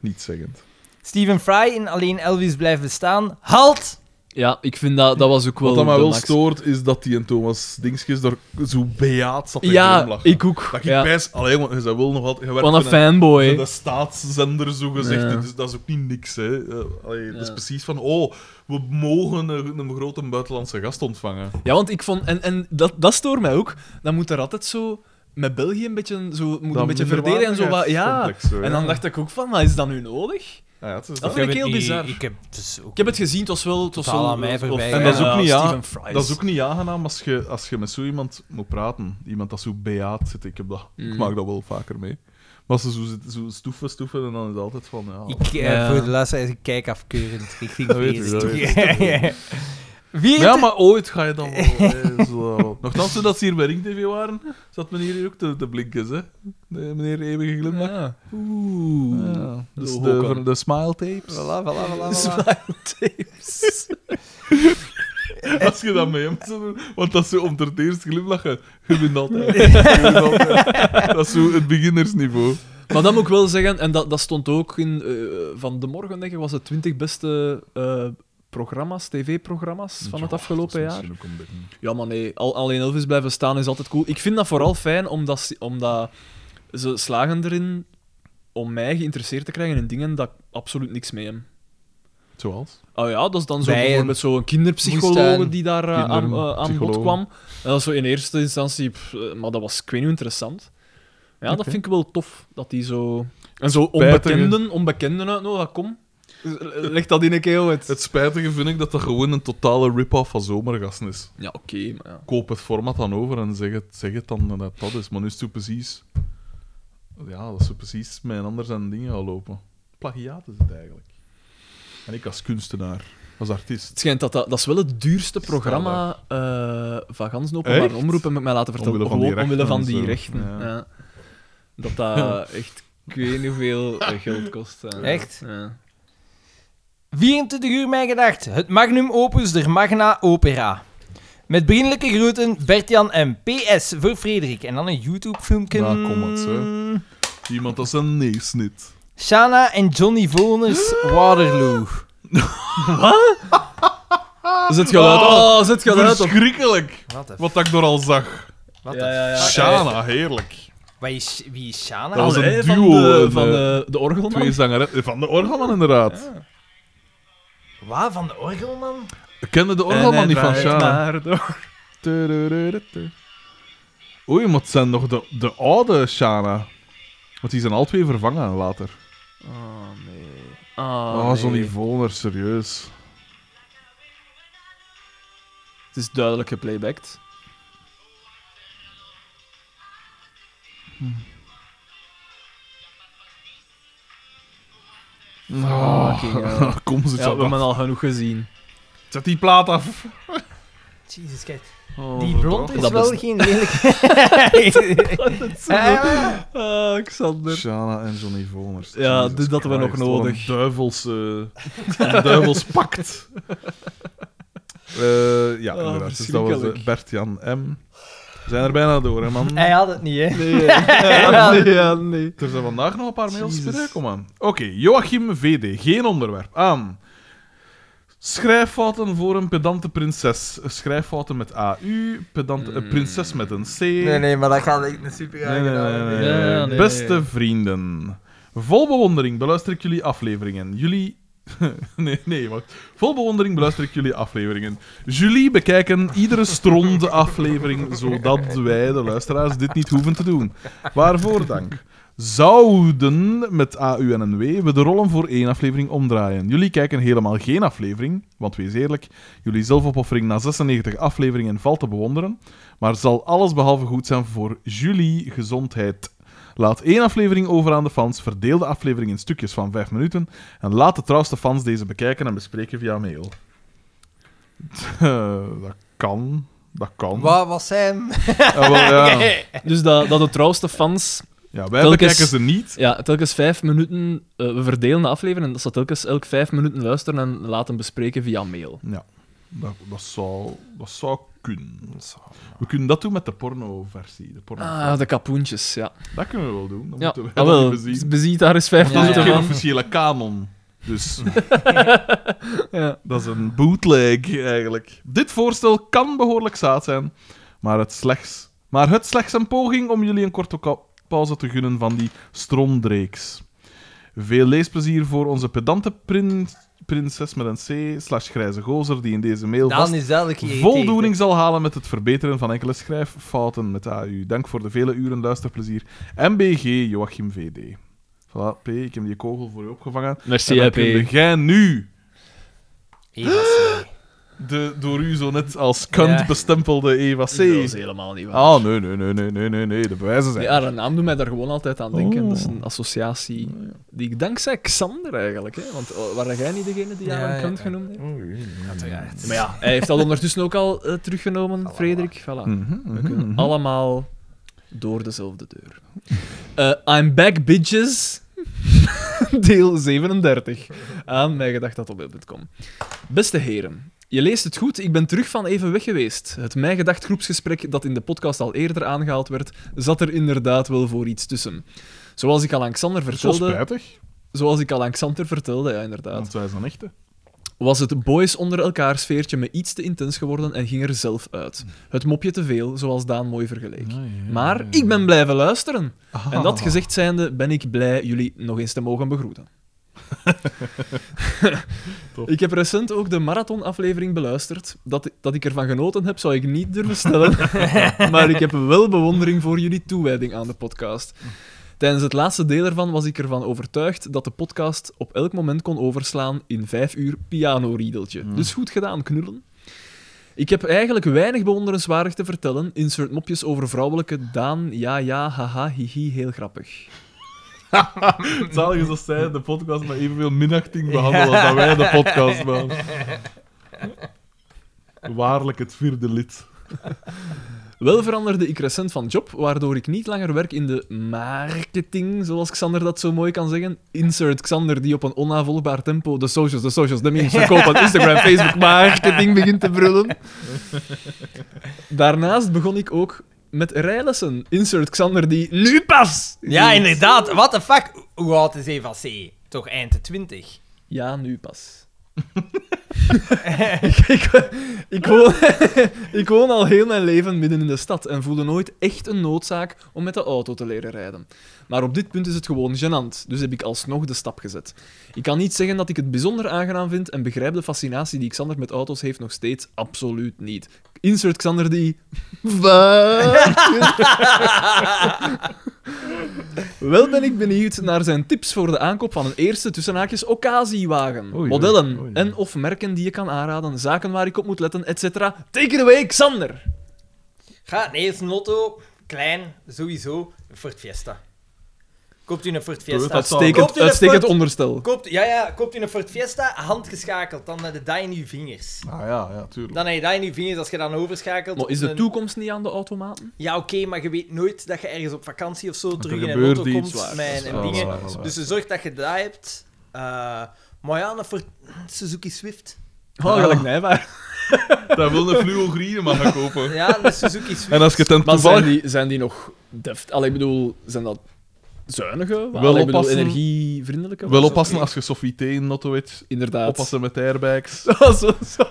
Niet zeggend. Stephen Fry in Alleen Elvis blijft bestaan. Halt! Ja, ik vind dat, dat was ook wel Wat dat mij de wel max. stoort, is dat die en Thomas Dingskes daar zo bejaard zat te Ja, glimlachen. ik ook. Dat ik Ja. pijs... Allee, jongen, je wil nog altijd... je werkt Wat in een een- fanboy. De, staatszender, zo gezegd. Ja. Dus dat is ook niet niks. Hè. Eh, allee, Dat is Ja. precies van: oh, we mogen een, een grote buitenlandse gast ontvangen. Ja, want ik vond... En, en dat, dat stoort mij ook. Dan moet er altijd zo... Met België een beetje, zo, moet een beetje verdedigen en zo. Wat, ja. En dan dacht ik ook van, maar is dat nu nodig? Ja, ja, het is Dat dat. vind ik heb heel het niet- bizar. Ik heb het dus ook Ik heb het gezien, het was wel... Het was Totaal wel aan mij of- voorbij, en ja. dat is ook niet, ja. Steven Fries. dat is ook niet aangenaam als je, als je met zo iemand moet praten. Iemand dat zo bejaard zit. Ik, heb dat, ik Mm. maak dat wel vaker mee. Maar als ze zo, zitten- zo stoeven, stoeven en dan is het altijd van: ja, Ik, eh, Ja. Voor de luisteraars, ik kijk afkeurend richting Dat Oh. weet ik, Beest. dat weet Wie Maar ja, maar ooit ga je dan wel. hè, zo. wel. Nochtans, toen dat ze hier bij Ring TV waren, zat meneer hier ook te, te blinken. Hè? De, meneer Eeuwige Glimlach. Ja. Oeh. Ja, dus Zo de, hoog van de smile tapes. Voilà, voilà, voilà, voilà. Smiletape. Als je dat met hem zou doen, want dat is zo om het eerst glimlachen. Je wint altijd. Je wint altijd. Dat is zo het beginnersniveau. Maar dat moet ik wel zeggen, en dat, dat stond ook in eh, van de morgen, denk ik, was het 20 beste eh, programma's, tv-programma's van het afgelopen jaar. Ja, maar nee, al, alleen Elvis blijven staan is altijd cool. Ik vind dat vooral fijn, omdat, ze- omdat ze slagen erin om mij geïnteresseerd te krijgen in dingen dat ik absoluut niks mee heb. Zoals? Oh ja, dat is dan zo Bijen, bijvoorbeeld zo'n kinderpsycholoog moestuin, die daar eh, aan, eh, aan bod kinderpsycholoog. kwam. En dat is zo in eerste instantie, pff, eh, maar dat was, ik weet niet, hoe interessant. Ja, dat Oké. vind ik wel tof, dat die zo... En zo Spijtige- onbekenden, onbekenden uitnodigen, kom. Leg dat in een keel uit. Het spijtige vind ik dat dat gewoon een totale rip-off van zomergasten is. Ja, oké, maar ja. Koop het format dan over en zeg het, zeg het dan dat dat is. Maar nu is het zo precies... Ja, dat is zo precies met een ander zijn dingen gaan lopen. Plagiaat is het eigenlijk. En ik als kunstenaar, als artiest. Het schijnt dat dat, dat is wel het duurste programma eh van gans de openbare Echt? omroep, heb ik mij laten vertellen. Omwille van die Gewoon omwille van rechten die en zo. rechten. Ja. ja. Dat dat echt, ik weet niet hoeveel eh, geld kost. eh. Echt? Ja. 24 uur mijn gedacht. Het magnum opus der magna opera. Met vriendelijke groeten, Bertjan en PS voor Frederik. En dan een YouTube-filmpje. Nou, kom het, hè. Iemand als een neesnit. Shana en Johnny Voners, Waterloo. Zet geluid op. Oh, zet geluid op. Verschrikkelijk! Wat de f- Wat dat ik er al zag. Wat Ja, ja, de ja. f- Shana, heerlijk. Wat is, wie is Shana? Dat was een Allee, van duo, de, een, van eh, de, de orgelman. Twee zangeressen. Van de Orgelman, inderdaad. Waar, van de orgelman? Ik kende de Orgelman niet van Shana. Tudururutu. Oei, maar het zijn nog de, de oude Shana. Want die zijn al twee vervangen later. Oh nee. Oh, zo'n Ivoner, serieus. Het is duidelijk geplaybacked. Oh, Fucking hell. kom, Ja, zet, we dat hebben af. al genoeg gezien. zet die plaat af. Jesus Christ. Oh, Die blond is Dat wel is- geen lelijke... Ah, Eh? Ah, Xander. Shana en Johnny Voners. Ja, Jesus dit hadden we nog Christ, wat nodig. Een duivels, eh, een duivels pact. Eh, ja, Ah, inderdaad. Dus dat was eh, verschrikkelijk. Bert-Jan M. We zijn er bijna door, hè, man. Mm. Hij had het niet, hè. Nee, ja, nee, ja, nee. Er zijn vandaag nog een paar mails Jezus. binnen. Kom aan. Oké, Joachim VD. Geen onderwerp. Aan. Schrijffouten voor een pedante prinses. Schrijffouten met AU, pedante, eh, prinses met een C. Nee, nee, maar dat gaat echt een super Nee, nee, nee, nee, nee. Ja, ja, nee. Beste vrienden. Vol bewondering beluister ik jullie afleveringen. Jullie... Nee, nee, wacht. Vol bewondering beluister ik jullie afleveringen. Jullie bekijken iedere stronde aflevering, zodat wij, de luisteraars, dit niet hoeven te doen. Waarvoor dank. Zouden, met AU en een W, we de rollen voor één aflevering omdraaien. Jullie kijken helemaal geen aflevering, want wees eerlijk, jullie zelfopoffering na 96 afleveringen valt te bewonderen maar zal alles behalve goed zijn voor jullie gezondheid. Laat één aflevering over aan de fans, verdeel de aflevering in stukjes van 5 minuten en laat de trouwste fans deze bekijken en bespreken via mail. Eh, dat kan. Dat kan. Wat was hem? Eh, wel, ja. Dus dat, dat de trouwste fans ja, wij Telkens- bekijken ze niet. ja, telkens vijf minuten... eh, we verdelen de aflevering en dat ze telkens elk vijf minuten luisteren en laten bespreken via mail. Ja, dat, dat, zou, dat zou kunnen. We kunnen dat doen met de pornoversie. De porno Ah, de kapoentjes, ja. Dat kunnen we wel doen. Dat ja. moeten wij ah, dan wel, even zien. beziet daar eens vijf Ja, Dat is minuten ook geen van. officiële kanon. Dus... Ja. Dat is een bootleg, eigenlijk. Dit voorstel kan behoorlijk zaad zijn, maar het slechts, maar het slechts een poging om jullie een korte ka- pauze te gunnen van die stromdreeks. Veel leesplezier voor onze pedante prin- prinses met een C, slash grijze gozer, die in deze mail vast Dan is duidelijk hier. voldoening zal halen met het verbeteren van enkele schrijffouten met AU. Dank voor de vele uren luisterplezier. MBG Joachim VD. Voilà, P, ik heb die kogel voor u opgevangen. Merci, en dan hè, P. kun jij nu Eén de door u zo net als kunt Ja. bestempelde Eva Dat is C. helemaal niet waar. Ah, nee, nee, nee, nee, nee, nee, nee, de bewijzen zijn. Ja, de naam doet mij daar gewoon altijd aan denken. Oh. Dat is een associatie die ik dankzij Xander eigenlijk. Hè? Want eh, waren jij niet degene die Ja, aan hem ja, kant ja. genoemd heeft? Uiteraard. Maar ja, hij heeft dat ondertussen ook al eh, teruggenomen, Voilà, Frederik. Voilà. Mhm, mhm, We kunnen mhm. allemaal door dezelfde deur. Eh, I'm back, bitches. Deel 37. Aan mijgedacht.com. Beste heren, je leest het goed, ik ben terug van even weg geweest. Het Mijn Gedacht groepsgesprek dat in de podcast al eerder aangehaald werd, zat er inderdaad wel voor iets tussen. Zoals ik al aan Xander Dat is wel vertelde... spijtig, Zoals ik al aan Xander vertelde, ja, inderdaad want wij zijn echte. was het boys onder elkaar sfeertje me iets te intens geworden en ging er zelf uit. Het mopje te veel, zoals Daan mooi vergeleek. Ah, Maar ik ben blijven luisteren. En dat gezegd zijnde ben ik blij jullie nog eens te mogen begroeten. Tof. ik heb recent ook de marathonaflevering beluisterd. Dat, dat ik ervan genoten heb, zou ik niet durven stellen. maar ik heb wel bewondering voor jullie toewijding aan de podcast. Tijdens het laatste deel ervan was ik ervan overtuigd dat de podcast op elk moment kon overslaan in vijf uur pianoriedeltje. Dus goed gedaan, knullen. Ik heb eigenlijk weinig bewonderenswaardig te vertellen. Insert mopjes over vrouwelijke Daan, ja, ja, haha, hihi, heel grappig. Zalig is dat zij de podcast met evenveel minachting behandelen als dat wij de podcast maken. Waarlijk het vierde lid. Wel veranderde ik recent van job, waardoor ik niet langer werk in de marketing, zoals Xander dat zo mooi kan zeggen. Insert Xander die op een onnavolgbaar tempo de socials, de socials, de memes verkopen, Instagram, Facebook, marketing begint te brullen. Daarnaast begon ik ook met rijlessen. Insert Xander die nu pas! Ja, inderdaad. What the fuck? Hoe oud is Eva C? Toch eind de 20? Ja, nu pas. ik, ik, ik, woon, ik woon al heel mijn leven midden in de stad en voelde nooit echt een noodzaak om met de auto te leren rijden. Maar op dit punt is het gewoon gênant, dus heb ik alsnog de stap gezet. Ik kan niet zeggen dat ik het bijzonder aangenaam vind en begrijp de fascinatie die Xander met auto's heeft nog steeds absoluut niet. Insert Xander die... Wel ben ik benieuwd naar zijn tips voor de aankoop van een eerste tussenhaakjes occasie-wagen. Oei, Modellen oei, oei. en of merken die je kan aanraden, zaken waar ik op moet letten, etc. Take it away, Xander! Ga, nee, het is een auto. Klein, sowieso. Een Ford Fiesta. Koopt u een Ford Fiesta. Dat zal- Koopt Uitstekend, u een uitstekend Ford- onderstel. Koopt, ja, ja, koopt u een Ford Fiesta, handgeschakeld, dan heb je dat in je vingers. Ah ja, ja, tuurlijk. Dan heb je dat in je vingers als je dan overschakelt. Maar is op de een- toekomst niet aan de automaten? Ja, oké, maar je weet nooit dat je ergens op vakantie of zo terug in een gebeurt auto iets, komt waar, met dat is en waar, dat is dingen. waar, dat is waar. Dus je zorgt dat je dat hebt. Eh, maar ja, een Ford Suzuki Swift. Oh, gelijk nijbaar. Daar wil een fluogrine maar kopen. Ja, een Suzuki Swift. En als je ten Maar toevallig... zijn die, zijn die nog deft? Allee, ik bedoel, zijn dat zuinige waal. Wel Ik bedoel, oppassen. energievriendelijke Wel waal. oppassen als je Sophie in Notto weet. Inderdaad. Oppassen met airbags. zo, zo, zo.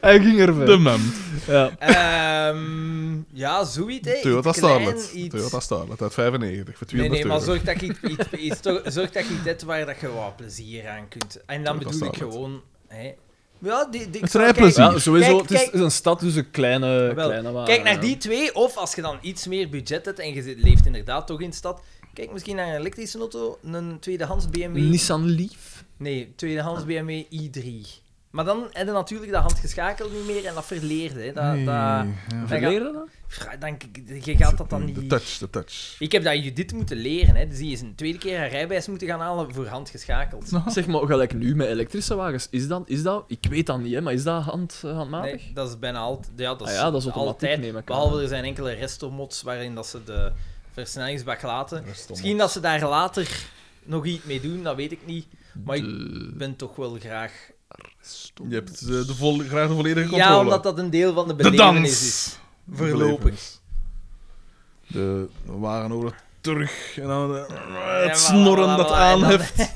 Hij ging er De ver. mem. Ja. Ehm, ja, zoiets. hè. Iets Toyota klein, Starlet. iets- Toyota Starlet uit 95 voor 200 Nee, nee, maar euro. zorg dat je iets, iets, iets- toch- zorg dat je iets hebt waar dat je wat plezier aan kunt. En dan Ja, dat bedoel ik staat het. gewoon... Hè. Ja, die, die, Het zou- rijplezier. Ja, sowieso. Kijk, het is kijk. een stad, dus een kleine, Wel, kleine waal. Kijk ja. naar die twee, of als je dan iets meer budget hebt en je zit- leeft inderdaad toch in de stad, kijk misschien naar een elektrische auto, een tweedehands BMW. Nissan Leaf. Nee, tweedehands BMW i3. Maar dan heb je natuurlijk dat handgeschakeld niet meer en dat verleerde. Hè. Dat, Nee, dat, ja. dat Verleer je dat? ga- dan- je gaat dat dan De niet... touch, de touch. Ik heb dat Judith moeten leren. Hè. Dus die is een tweede keer haar rijbewijs moeten gaan halen voor handgeschakeld. Zeg maar, gelijk nu met elektrische wagens, is dat, is dat ik weet dat niet, hè, maar is dat hand, eh, handmatig? Nee, dat is bijna altijd. Ja, dat is, Ah ja, dat is automatiek, altijd. neem ik aan. behalve er zijn enkele restomods waarin dat ze de versnellingsbak laten. Restomods. Misschien dat ze daar later nog iets mee doen, dat weet ik niet. Maar ik ben toch wel graag. Je hebt eh, de vol, graag de volledige controle. Ja, omdat dat een deel van de de belevenis is. dans. Voorlopig. De warenoren terug en dan eh, Ja, het snorren dat blablabla, en dan- aanheft.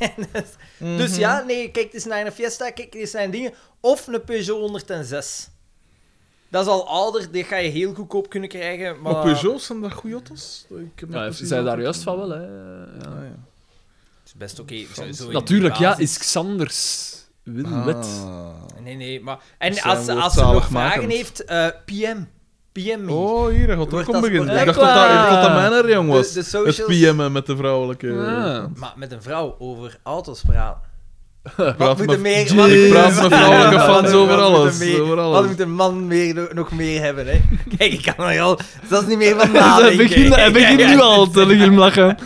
Mhm. dus ja, nee, kijk, het is naar een Fiesta, kijk, dit zijn dingen. Of een Peugeot 106. Dat is al ouder, die ga je heel goedkoop kunnen krijgen. Maar, Maar Peugeots, zijn dat goede auto's? Ik heb Ja, nog ze precies zei daar altijd- juist van wel, hè. ja. Ah, ja. Het is best oké. zo- zo in de Natuurlijk, ja, basis. is Xanders Wilwet. Ah. Nee, nee, maar... En zijn als, woord als ze nog zaligmakend. vragen heeft, eh, PM. PM me. Oh, hier, dat gaat Wordt ook dat om beginnen. Ik sportief? dacht dat dat, ik dacht dat Ah. mijn er jong was. De- de socials. Het E. PM'en met de vrouwelijke... Ah. Maar met een vrouw over auto's praten. Ik Wat praat moet met- er meer... Jezus. wat- Ik praat met vrouwelijke wat- fans wat over moet er alles. meer- Over Wat alles. moet een man meer, no- nog meer hebben, hè? Kijk, ik kan er al... Dat is niet meer van Ah, Hij nadenken. begint, hij begint nu al te glimlachen.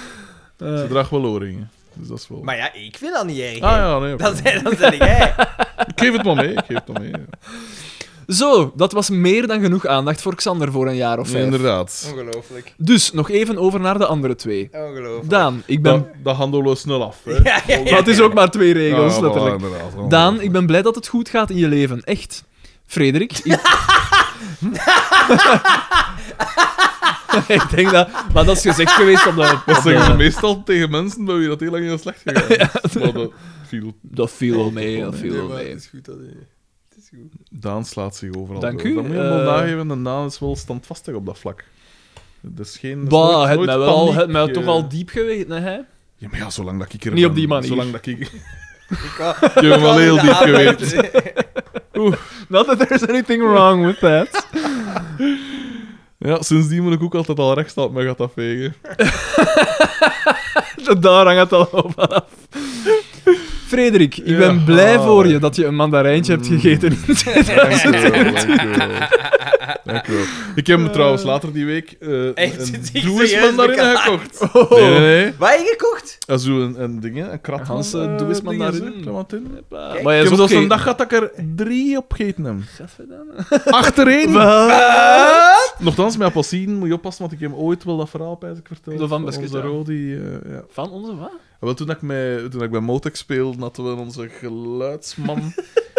Ze draagt wel oorringen. Dus dat is wel... Maar ja, ik vind dat niet erg, hè. Ah ja, nee. Dat zeg dat zeg jij. Ik geef het maar mee. Ik geef het maar mee. Zo, dat was meer dan genoeg aandacht voor Xander voor een jaar of Nee, vijf. inderdaad. Ongelooflijk. dus, nog even over naar de andere twee. Ongelooflijk. Daan, ik ben... Dat, dat handelen we snel af. Hè. Ja, ja, ja. Dat is ook maar twee Ja, regels, voilà, letterlijk. inderdaad. Daan, ik ben blij dat het goed gaat in je leven. Echt. Frederik, ik... ik denk dat... Maar dat is gezegd geweest op de... Dat op de- zeggen ze meestal tegen mensen bij wie dat heel lang heel slecht gegaan is. Maar dat viel... Dat viel wel mee, dat viel wel maar mee. Het is goed dat hij- Het is goed. Daan slaat zich overal Dank door. u, Dat moet je hem wel eh. nageven. En Daan is wel standvastig op dat vlak. Dat is geen... dat is Bah, nooit- het nooit mij, wel, paniek, het mij eh. toch al diep geweest, hè? hè? Ja, maar ja, zolang dat ik er Niet ben, op die manier. Zolang dat ik... Ik Ik kan- heb hem al heel ik diep kan geweten. Not that there's anything wrong with that. Ja, sindsdien moet ik ook altijd al recht staan op mijn gat afvegen. Daar hangt het al op af. Frederik, ik Ja. ben Mm. blij voor je dat je een mandarijntje hebt gegeten. Dankjewel, dankjewel. Dankjewel. Ik heb hem trouwens later die week eh Echt, een zit ik doeis serieus mandarine bekakt? gekocht. Oh. Nee, nee, nee. Wat heb je gekocht? Dat is zo'n een ding, hè, een krat. Een ganse van, eh, doeis dingen, mandarine. zo, wat in. maar Ik hij heb is zelfs ook een geen... dag gehad dat ik er drie opgeten heb. Achtereen! Ah. Nochtans, met appelsien moet je oppassen, want ik heb hem ooit wel dat verhaal bij ik verteld. Zo van biscuit, Onze ja. Rodi, eh, ja. Ah, Van onze wat? Wel, toen, ik met, toen ik bij Motex speelde, hadden we onze geluidsman.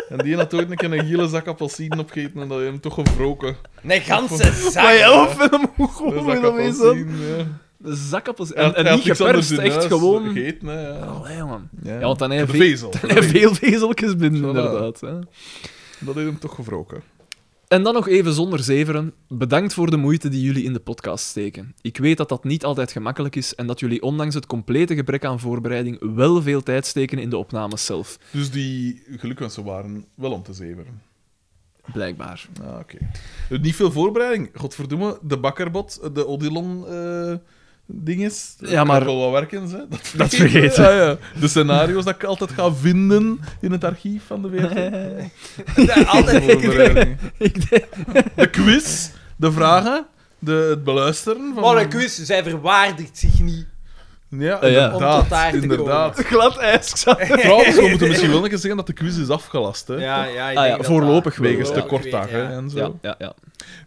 en die had ooit een keer een hele zak appelsien opgegeten en dat heeft hem toch gewroken. Een ganse Maar zak. ja, of hem Een zak gewoon is dat? appelsien, ja. Zakappels. Hij had- En, en hij had niet niks anders geperst, doen, echt hè, gewoon... Gegeten, hè, ja. Allee, man. Ja. Ja, want dan heeft de vezel. hij veel vezeltjes binnen, inderdaad. Hè. Dat heeft hem toch gewroken. En dan nog even zonder zeveren. Bedankt voor de moeite die jullie in de podcast steken. Ik weet dat dat niet altijd gemakkelijk is en dat jullie ondanks het complete gebrek aan voorbereiding wel veel tijd steken in de opnames zelf. Dus die gelukwensen waren wel om te zeveren. Blijkbaar. Ah, oké. Niet veel voorbereiding. Godverdomme, de bakkerbot, de Odilon... eh dinges. Ja, Dat maar- kan wel wat werkens, hè. Dat, Dat vergeten. Ja, ja. De scenario's dat ik altijd ga vinden in het archief van de WRT. Altijd Voorbereiding. Ik denk- De quiz, de vragen, de, het beluisteren. Van... Maar een Oh, quiz, zij verwaardigt zich niet. Ja, Eh, ja. inderdaad. Om tot daar te inderdaad. Glad ijs, Xander. Trouwens, we moeten misschien wel een keer zeggen dat de quiz is afgelast. Hè? Ja, ja, ik Ah denk ja, dat voorlopig dat- wel, Wegens ja. te kort dag, hè, Ja. en zo. Ja, ja, ja.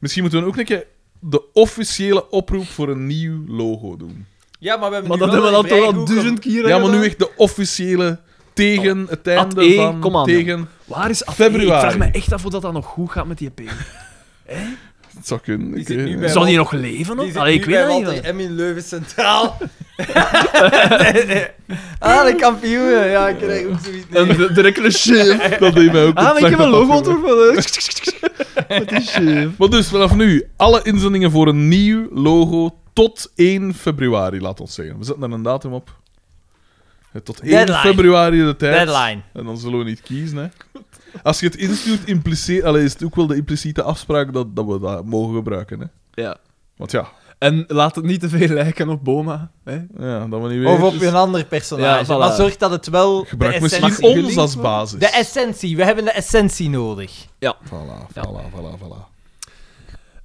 Misschien moeten we ook een keer de officiële oproep voor een nieuw logo doen. Ja, maar we hebben Maar nu dat hebben we wel dan een toch vrij al goed duizend keer Ja, maar nu gedaan. echt de officiële tegen het einde Ad E, van... kom aan. Tegen... Waar is Ad- Februari. Ik vraag me echt af of dat dan nog goed gaat met die EP. Het zou kunnen. Die ik zit weet nu het bij- niet. Zou die nog leven? Die hoor? zit Allee, ik nu bij weet het niet. Walter M in Leuven Centraal. ah, de kampioenen. Ja, ik krijg ook zoiets. En de, direct een chef. Dat deed mij ook Ah, maar ik exact heb een dat logo afgewerkt. door van. Wat is chef? Maar dus, vanaf nu, alle inzendingen voor een nieuw logo tot 1 februari, laat ons zeggen. We zetten daar een datum op. Eh, Tot 1 Deadline. februari de tijd. Deadline. En dan zullen we niet kiezen, hè. Als je het instuurt, impliceer, allee, is het ook wel de impliciete afspraak dat, dat we dat mogen gebruiken, hè. Ja. Want ja, En laat het niet te veel lijken op Boma. Hè? ja dat we niet weten. Of op dus een ander personage. Ja, voilà. Maar zorg dat het wel de Gebruik essentie... misschien ons als basis. De essentie. We hebben de essentie nodig. Voilà, voilà, Ja. voilà, voilà.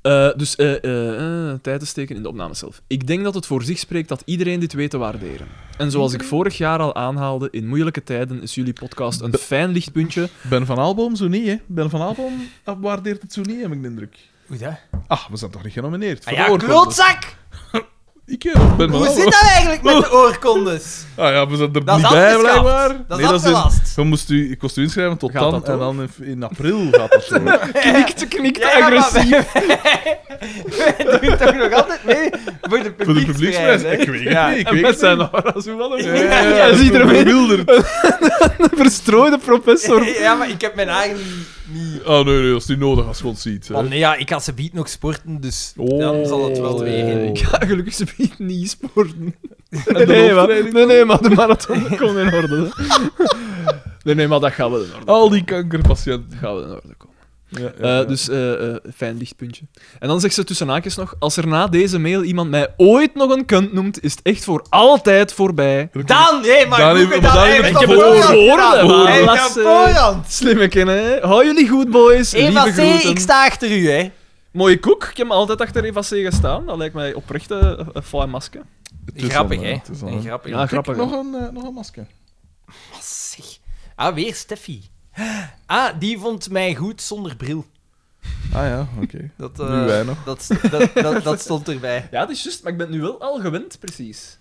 Eh, dus eh eh, eh, tijd te steken in de opname zelf. Ik denk dat het voor zich spreekt dat iedereen dit weet te waarderen. En zoals ik vorig jaar al aanhaalde, in moeilijke tijden is jullie podcast een fijn lichtpuntje. Ben van Aalboom zo niet, hè. Ben van Aalboom waardeert het zo niet, heb ik de indruk. Hoe dat? Ah, we zijn toch niet genomineerd? Ah voor ja, de oorkonde? klootzak! Ik eh, ben van Hoe Aalboom. zit dat eigenlijk met de oorkondes? Ah ja, we zijn er Dat is niet bij, afgeschaft. blijkbaar. Dat Nee, is in- afgelast. je moest u, ik moest u inschrijven tot Gaat dan, dat en door? dan in, in april gaat dat zo. Knikt, knikt Ja, ja, maar We doen toch nog altijd mee voor Voor de de publieksprijs, publieksprijs? hè? Ik weet het Ja. niet, ik En weet met het zijn niet. aura's, hoe wel Ja, ja, Hij dat ziet is er weer- verwilderd. een verstrooide professor. Ja, maar ik heb mijn eigen niet... Oh nee, nee, als die nodig als je ons ziet. hè. Want Oh, nee, ja, ik kan ze beat nog sporten, dus Oh. dan zal het wel weer in. Ik ga gelukkig ze niet- niet sporten. de Nee, maar, hoofdrijding? nee, nee, maar de marathon komt in orde. hè. Nee, nee, maar dat gaan we in orde. Al die kankerpatiënten. Dat gaan we in orde komen. Ja, ja, Eh, ja. dus eh, eh, fijn lichtpuntje. En dan zegt ze tussen haakjes nog: Als er na deze mail iemand mij ooit nog een kunt noemt, is het echt voor altijd voorbij. Dan, nee, maar Dan goed heeft- maar met dat- dan hij heeft heeft het op gehoord. voorhand Gehoord, gedaan. hè, Hij maar heeft dat, op eh, voorhand. Slimme kennen, hè? Hou jullie goed, boys. Eva Lieve C, groeten. ik sta achter u, hè. Mooie koek. Ik heb altijd achter Eva C gestaan. Dat lijkt mij oprecht eh, een fly masker. Het is Grappig, al, hè. het is al, Grappig. Ja, grappig. Kijk, Nog een, eh, nog een masker. Ah, zeg. Ah, weer Steffi. Ah, die vond mij goed zonder bril. Ah ja, oké. Dat, Nu eh, wij nog. Dat, st- dat, dat, dat stond erbij. Ja, dat is juist, maar ik ben het nu wel al gewend, precies.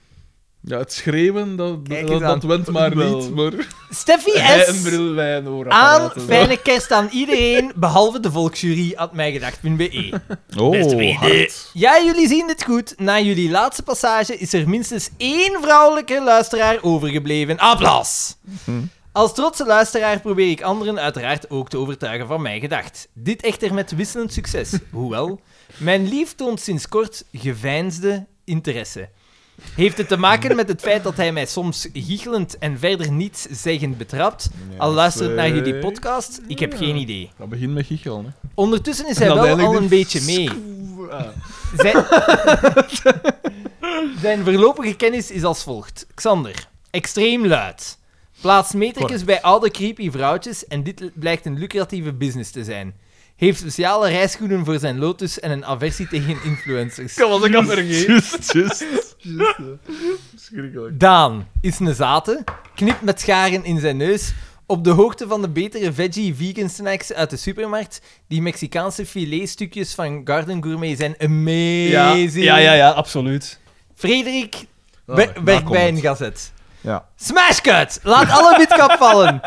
Ja, het schreeuwen, dat, Kijk dat, eens dat, aan. went maar Wel. niet. Maar... Steffi Hij een S. bril, wij een oor. Aan fijne kerst aan iedereen, behalve de volksjury, had mijgedacht.be. Oh, hard. E. Ja, jullie zien het goed. Na jullie laatste passage is er minstens één vrouwelijke luisteraar overgebleven. Applaus! Als trotse luisteraar probeer ik anderen uiteraard ook te overtuigen van mijn gedacht. Dit echter met wisselend succes. Hoewel, mijn lief toont sinds kort geveinsde interesse. Heeft het te maken met het feit dat hij mij soms giechelend en verder niets zeggend betrapt? Al luistert naar jullie podcast? Ik heb geen idee. Dat begint met giechel, hè. Ondertussen is hij En dan wel al eindigt een beetje mee. Zijn... Zijn voorlopige kennis is als volgt. Xander, extreem luid. Plaats metertjes bij oude creepy vrouwtjes en dit l- blijkt een lucratieve business te zijn. Heeft speciale rijschoenen voor zijn Lotus en een aversie tegen influencers. Kom, was ik had vergeten. Just, just. Schrikkelijk. Daan is een zate, knipt met scharen in zijn neus, op de hoogte van de betere veggie-vegan snacks uit de supermarkt. Die Mexicaanse filetstukjes van Garden Gourmet zijn Ja, amazing. ja, ja, ja, absoluut. Frederik Ah, wer- daar werkt komt bij het. een gazet. Ja. Smashcut! Laat alle witkap vallen!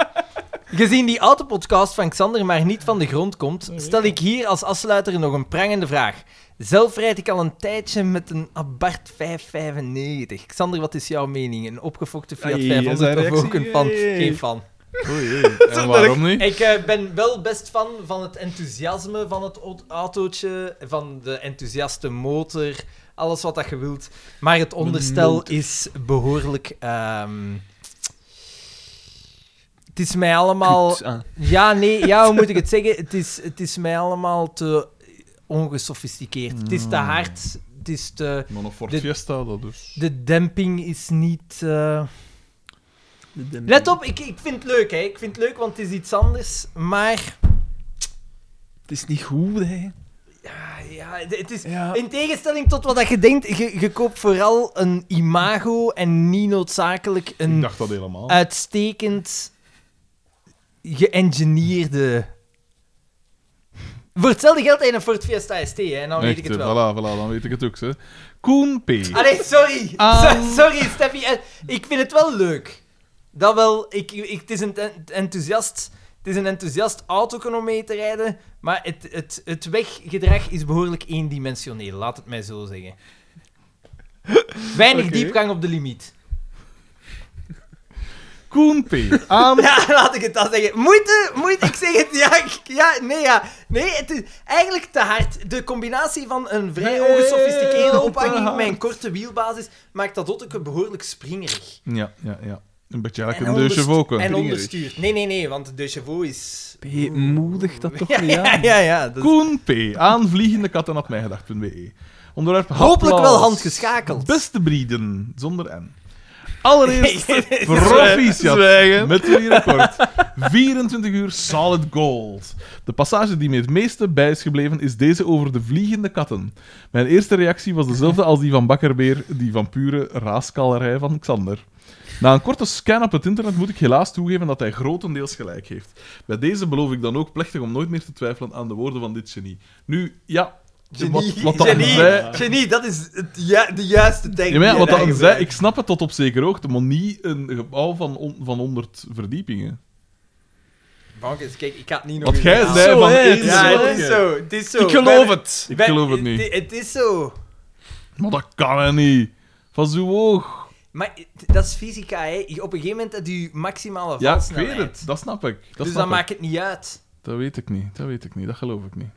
Gezien die autopodcast van Xander maar niet van de grond komt, stel ik hier als afsluiter nog een prangende vraag. Zelf rijd ik al een tijdje met een Abarth 595. Xander, wat is jouw mening? Een opgefokte Fiat Ai, zijn 500 of reactie, ook een fan? ai, ai. Geen fan. Oei, oei. En waarom niet? Ik eh, ben wel best fan van het enthousiasme van het au- autootje, van de enthousiaste motor, alles wat dat je wilt. Maar het onderstel motor. is behoorlijk... ehm, het is mij allemaal... Kut, ah. Ja, nee, ja, hoe moet ik het zeggen? Het is, het is mij allemaal te ongesofisticeerd. Het is te hard, het is te... Maar een Ford Dit- Fiesta, dat dus. De demping is niet... eh, De demping. Let op, ik, ik vind het leuk, hè. Ik vind het leuk, want het is iets anders, maar... Het is niet goed, hè. Ah, Ja, d- het is Ja. in tegenstelling tot wat dat je denkt, je, je koopt vooral een imago en niet noodzakelijk Ik een dacht dat helemaal. Eh, uitstekend geëngineerde. Voor hetzelfde geld heb je een Ford Fiesta ST, hè, en dan weet ik Echt, het eh, wel. Voilà, voilà, dan weet ik het ook. Hè. Koen P. Ah nee, sorry. Ah. So- sorry, Steffi. Eh, Ik vind het wel leuk. Dat wel, ik, ik, het is een en- enthousiast... Het is een enthousiast autoken om mee te rijden, maar het, het, het weggedrag is behoorlijk eendimensioneel, laat het mij zo zeggen. Weinig Oké. diepgang op de limiet. Koen P. Aan... Ja, laat ik het dan zeggen. Moeite, moeite, ik zeg het, ja, ik- ja, nee, ja. Nee, het is eigenlijk te hard. De combinatie van een vrij Heel ongesofisticeerde te ophanging hard. met een korte wielbasis maakt dat autoken behoorlijk springerig. Ja, ja, ja. Een beetje eigenlijk En een deusje onderst- voken. En onderstuurd. Nee, nee, nee, want de chauffeur is... Moedig dat toch Ja, niet ja, aan. ja. ja, dat is- Koen P. Aan vliegende katten op mijgedacht.be. E. Onderwerp Hopelijk wel happlaus. handgeschakeld. Beste brieden, zonder N. Allereerst Zwijgen. proficiat Zwijgen. met jullie record. 24 uur solid gold. De passage die me het meeste bij is gebleven is deze over de vliegende katten. Mijn eerste reactie was dezelfde als die van Bakkerbeer, die van pure raaskallerij van Xander. Na een korte scan op het internet moet ik helaas toegeven dat hij grotendeels gelijk heeft. Bij deze beloof ik dan ook plechtig om nooit meer te twijfelen aan de woorden van dit genie. Nu, ja, Genie, wat, wat dat genie, zei, genie, dat is het ju- de juiste denk. ja, maar ja, die wat je dan daar zei, ik snap het tot op zekere hoogte, maar niet een gebouw van, on- van 100 verdiepingen. gebruikt. Bankers, kijk, ik ga het niet nog Wat eens jij herhalen. zei Zo, van hè, één het Ja, zorg. het is zo, het is zo. Ik geloof het. Ik Wij- geloof het wij- niet. Het is zo. Maar dat kan hè niet. Van zo hoog. Maar het- dat is fysica, hè. Je- Op een gegeven moment dat je maximale Ja, ik valsnelheid. weet het. Dat snap ik. Dat, dus snap dan ik. maakt het niet uit. dat weet ik niet. Dat weet ik niet. Dat geloof ik niet.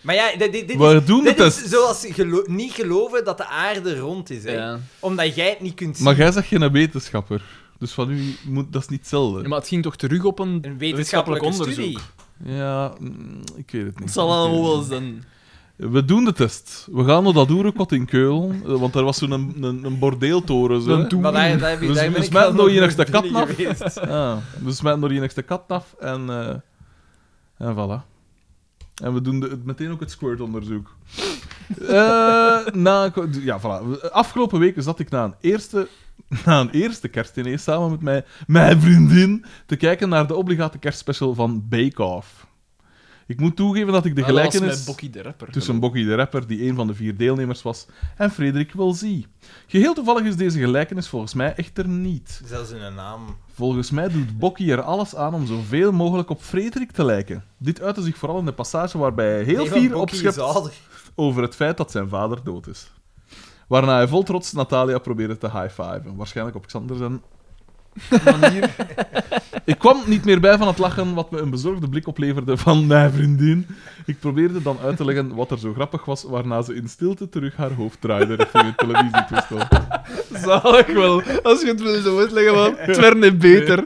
Maar ja, dit, dit, dit We is, doen dit de is test. zoals gelo- niet geloven dat de aarde rond is, hè. Ja. Omdat jij het niet kunt zien. Maar jij zegt geen wetenschapper. Dus van u moet dat is niet hetzelfde. Ja, Ja, maar het ging toch terug op een, Een wetenschappelijk onderzoek. mm, ik weet het niet. Het zal Ik weet allemaal het wel niet. zijn. We doen de test. We gaan naar dat oerenkot in Keulen. eh, Want daar was zo'n een, een, een bordeeltoren. Zo, hè. Een Maar daar, daar, Dus- daar ben dus ik met wel nog nog enigste binnen kat nog? geweest. Ah, we smijten door je nekste kat af en, eh, en voilà. En we doen de, het- meteen ook het squirt-onderzoek. Eh, na, ja, voilà. Afgelopen weken zat ik na een eerste, na een eerste kerstdiner samen met mijn, mijn vriendin te kijken naar de obligate kerstspecial van Bake Off. Ik moet toegeven dat ik de gelijkenis... met Bokkie de Rapper. Tussen Bokkie de Rapper, die een van de vier deelnemers was, en Frederik Welzie. Geheel toevallig is deze gelijkenis volgens mij echter niet. Zelfs in een naam. Volgens mij doet Bokkie er alles aan om zoveel mogelijk op Frederik te lijken. Dit uitte zich vooral in de passage waarbij hij heel Nee, want fier Bokkie is opschept ouder. over het feit dat zijn vader dood is. Waarna hij vol trots Natalia probeerde te high-fiven. Waarschijnlijk op Xander zijn manier. ik kwam niet meer bij van het lachen, wat me een bezorgde blik opleverde van mijn vriendin. Ik probeerde dan uit te leggen wat er zo grappig was, waarna ze in stilte terug haar hoofd draaide richting het televisietoestel. Zalig wel. Als je het wil zo uitleggen, maar het werd niet beter.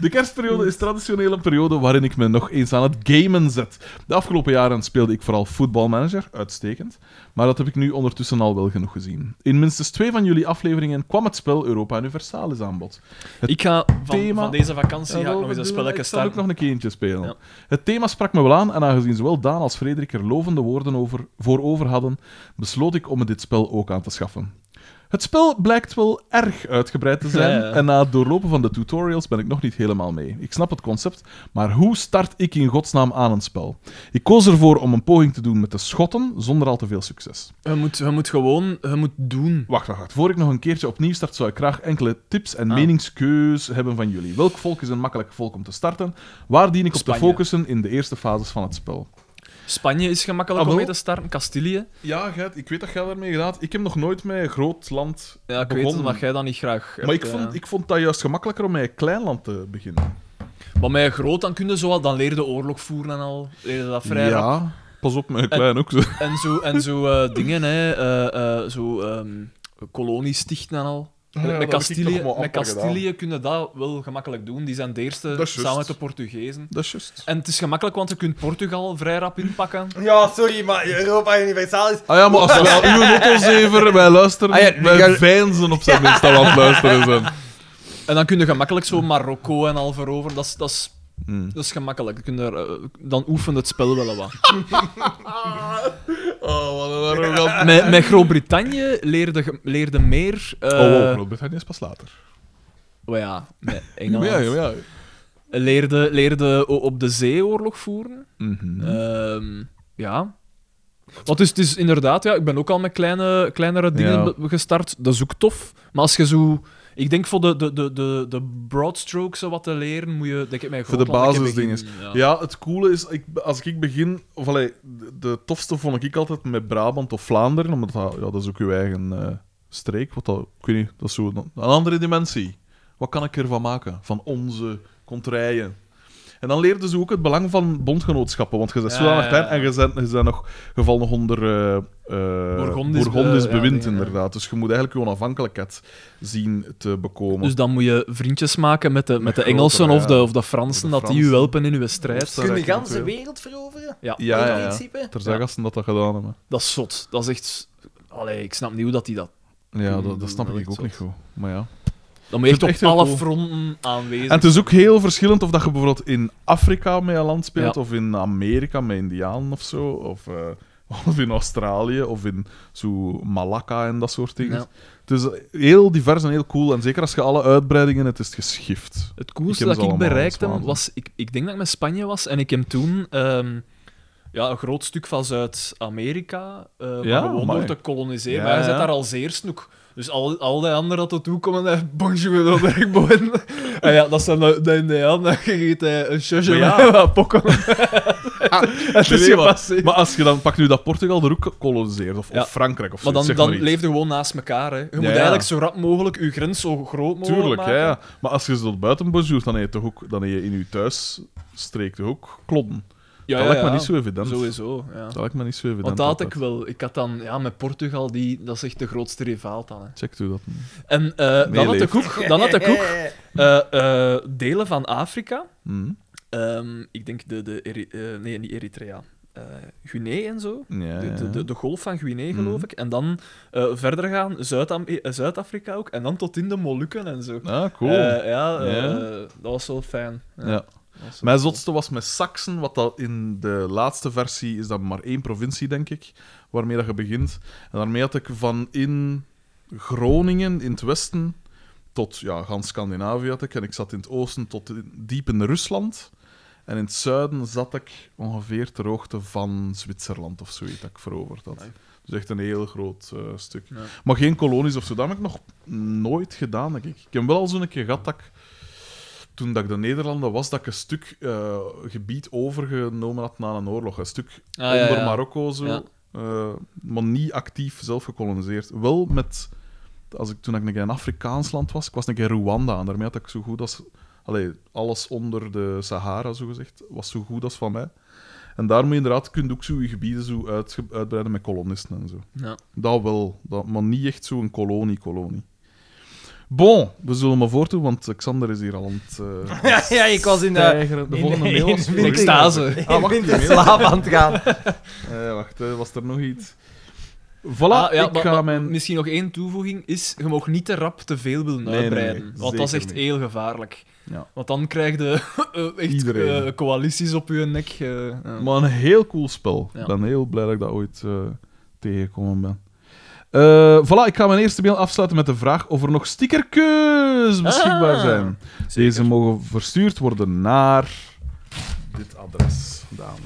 De kerstperiode is traditioneel een periode waarin ik me nog eens aan het gamen zet. De afgelopen jaren speelde ik vooral voetbalmanager, uitstekend. Maar dat heb ik nu ondertussen al wel genoeg gezien. In minstens twee van jullie afleveringen kwam het spel Europa Universalis aan bod. Het Ik ga van, thema- van deze vakantie ga ik Jawel, nog eens we een doen- spelletje Ik zal ook starten. nog een keertje spelen. Ja. Het thema sprak me wel aan en aangezien zowel Daan als Frederik er lovende woorden over, voor over hadden, besloot ik om me dit spel ook aan te schaffen. Het spel blijkt wel erg uitgebreid te zijn Ja, ja. en na het doorlopen van de tutorials ben ik nog niet helemaal mee. Ik snap het concept, maar hoe start ik in godsnaam aan een spel? Ik koos ervoor om een poging te doen met de schotten zonder al te veel succes. Je moet, je moet gewoon je moet doen. Wacht, wacht, wacht. Voor ik nog een keertje opnieuw start, zou ik graag enkele tips en Ah. meningskeus hebben van jullie. Welk volk is een makkelijk volk om te starten? Waar dien ik op te Spanje. focussen in de eerste fases van het spel? Spanje is gemakkelijk Ah, om wel. mee te starten. Castilië. Ja, Gert, ik weet dat jij daarmee gedaan hebt. Ik heb nog nooit met een groot land eh, Ja, ik weet begonnen. het, maar jij dat niet graag maar hebt, eh. ik vond, ja. ik vond dat juist gemakkelijker om met een klein land te beginnen. Maar met een groot, dan kun je zo al, dan leer je de oorlog voeren en al. Leer je dat vrij rap. ja, pas op met een klein ook. zo. En zo, en zo eh, dingen, hè. eh, eh, zo ehm kolonies stichten en al. ja, dat heb met ik Castilië, toch maar met amper Castilië kun je dat wel gemakkelijk doen. Die zijn de eerste, Dat is juist. samen met de Portugezen. Dat is juist. En het is gemakkelijk, want je kunt Portugal vrij rap inpakken. Ja, sorry, maar Europa Universalis. Ah ja, maar als we al uw mottozever, wij luisteren, Ah ja, wij ik ga- veinzen op zijn minst dat we aan het luisteren zijn. En dan kun je gemakkelijk zo Marokko en al veroveren. Dat is, dat is, Hmm. dat is gemakkelijk. Dan, kun je er, eh, dan oefent het spel wel wat. Oh, wat een arrogant. Met, met Groot-Brittannië leerde, ge- leerde meer... eh, Oh, wow, Groot-Brittannië is pas later. wel ja, met Ja, Engeland. ja, ja. Leerde, leerde o- op de zee oorlog voeren. Mhm. Ehm, ja. Want het is, het is inderdaad, ja, ik ben ook al met kleine, kleinere dingen Ja. be- gestart. Dat is ook tof. Maar als je zo Ik denk voor de, de, de, de, de broad strokes zo wat te leren, moet je... Denk ik, met Voor de Groenland een keer basisdinges. beginnen, Ja. Ja, het coole is, ik, als ik begin... Of, allee, de, de tofste vond ik altijd met Brabant of Vlaanderen, omdat dat, ja, dat is ook uw eigen eh, streek. Wat dat, ik weet niet, dat is zo een, een andere dimensie. Wat kan ik ervan maken? Van onze contraien. En dan leerden ze ook het belang van bondgenootschappen, want je bent Ja, zodanig ja, klein ja. en je bent, je bent nog geval nog onder eh, eh, Bourgondisch be- Bourgondisch ja, bewind, dingen, ja. inderdaad. Dus je moet eigenlijk je onafhankelijkheid zien te bekomen. Dus dan moet je vriendjes maken met de, met de grotere, Engelsen of de, ja. of de Fransen, Of de dat die u Fransen. helpen in uw strijd. Oostenrijk Kun je de ganse eventueel. wereld veroveren? Ja, ja, ja, In ja. principe? Er zijn gasten dat dat gedaan hebben. dat is zot. Dat is echt... Allee, ik snap niet hoe dat die dat... Ja, Hmm, dat, dat snap dat ik is ook zot. niet goed. Maar ja. Dan moet je Ik vind echt op het echt heel alle cool. fronten aanwezig En het is ook heel verschillend of dat je bijvoorbeeld in Afrika met een land speelt, Ja. of in Amerika met Indianen of zo, of, eh, of in Australië, of in zo Malacca en dat soort dingen. Ja. Het is heel divers en heel cool. En zeker als je alle uitbreidingen, het is het geschift. Het Ik coolste heb dat ze ik allemaal, bereikt dat is heb, was... Ik, ik denk dat ik met Spanje was en ik heb toen ehm, ja, een groot stuk van Zuid-Amerika eh, maar Ja, gewoon amai. door te koloniseren. Ja, maar hij ja. zit daar als eerst nog. Dus al, al die anderen dat ertoe komen, eh, bonjour, dat ben ik boven. En Ah ja, dat zijn de, de Indianen, dan geeft hij een shosje Maar met wat pokken. Het Nee, is nee, maar- gepasseerd. Maar als je dan pakt nu dat Portugal er ook koloniseert, of, Ja. of Frankrijk of zo. Maar dan, zeg dan iets. leef je gewoon naast elkaar. Hè. Je moet ja. eigenlijk zo rap mogelijk je grens zo groot mogelijk Tuurlijk, maken. ja, ja. Maar als je ze tot buiten bonjourt, dan heb je, toch ook, dan heb je in je thuisstreek toch ook klodden. Ja, dat ja, lijkt me ja. niet zo evident. Sowieso, ja. Dat lijkt me niet zo evident. Want dat had ik altijd. wel. Ik had dan, ja, met Portugal, die, dat is echt de grootste rivaal dan. Hè. Checkt u dat. niet? En eh dan, had Meeleef. ik ook, dan had ik ook eh, eh, delen van Afrika. Hm? Ehm, ik denk de, de Eri- eh, nee, niet Eritrea. Eh, Guinea en zo. Ja, De, Ah, ja. de, de, de golf van Guinea, geloof Mhm. ik. En dan eh, verder gaan, Zuid-Am- eh, Zuid-Afrika ook. En dan tot in de Molukken en zo. Ah, cool. Eh, ja, eh, Ja. dat was wel fijn. Ja. Ja. dat was wel Mijn cool. zotste was met Saxen, wat dat in de laatste versie is dat maar één provincie, denk ik, waarmee dat je begint. En daarmee had ik van in Groningen, in het westen, tot ja, gans Scandinavië had ik. En ik zat in het oosten tot in- diep in Rusland. En in het zuiden zat ik ongeveer ter hoogte van Zwitserland of zoiets dat ik veroverd had. Amai. Dus echt een heel groot eh, stuk. Ja. Maar geen kolonies of zo, dat heb ik nog nooit gedaan, denk ik. Ik heb wel al zo'n keer gehad dat ik, toen dat ik de Nederlanden was, dat ik een stuk eh, gebied overgenomen had na een oorlog. Een stuk Ah, ja, onder ja. Marokko, zo. Ja. eh, maar niet actief zelf gekoloniseerd. Wel met, als ik, toen ik een keer in Afrikaans land was, ik was een keer in Rwanda, en daarmee had ik zo goed als... Allee, alles onder de Sahara, zogezegd, was zo goed als van mij. En daarmee inderdaad kun je ook zo je gebieden zo uitge- uitbreiden met kolonisten en zo. Ja. Dat wel, dat, maar niet echt zo'n kolonie-kolonie. Bon, we zullen maar voortdoen, want Xander is hier al aan het... eh, Ja, ja, ik was in de, stijgeren. de in- volgende mail in was... winter- Extase. Ah, wacht, in de die mail. slaap aan het gaan. Eh, wacht, eh, was er nog iets? Voilà, Ah, ja, ik maar- ga maar mijn... Misschien nog één toevoeging is, je mag niet te rap te veel willen Nee, nee, uitbreiden. nee, want dat is echt zeker niet. heel gevaarlijk. Ja. Want dan krijg je eh, echt Iedereen. eh, coalities op je nek. eh, ja. Maar een heel cool spel. Ik Ja. ben heel blij dat ik dat ooit eh, tegengekomen ben. Eh, voilà, ik ga mijn eerste mail afsluiten met de vraag of er nog stickerkeus beschikbaar Ah, zijn. Deze mogen verstuurd worden naar dit adres. Daan.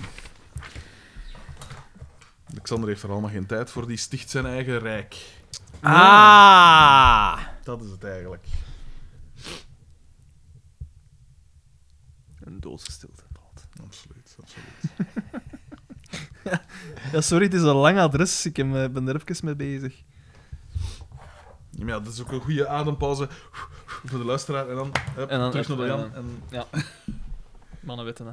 Alexander heeft er allemaal geen tijd voor, die sticht zijn eigen rijk. Ah. Dat is het eigenlijk. Een doodse stilte. Absoluut, absoluut. Ja, sorry, het is een lang adres. Ik heb, eh, ben er even mee bezig. Ja, maar ja, dat is ook een goede adempauze voor de luisteraar. En dan, hup, En dan terug naar de even, Jan. eh, En Mannen weten hè.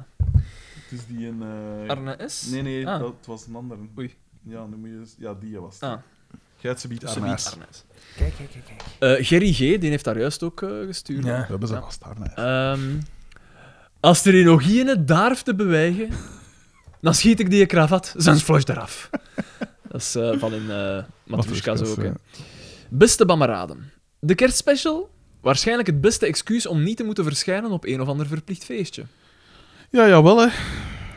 het is die een... eh, Arne S? Nee, nee, Ah. dat was een ander. Oei. Ja, nu moet je... Ja, die was het. Ah. Jij hebt ze biedt Ze Arnaas. biedt Arne S. Kijk, kijk, kijk. kijk. Eh, Gerry G, die heeft daar juist ook eh, gestuurd. Ja. We hebben ze Ja. vast Arnaas. Ehm, als er hier nog geen durft te bewijgen, dan schiet ik die kravat, zijn flush eraf. Dat is eh, van in eh Matrushka zo ook. eh? hè. Beste Bamaraden, de kerstspecial? Waarschijnlijk het beste excuus om niet te moeten verschijnen op een of ander verplicht feestje. Ja, jawel, hè.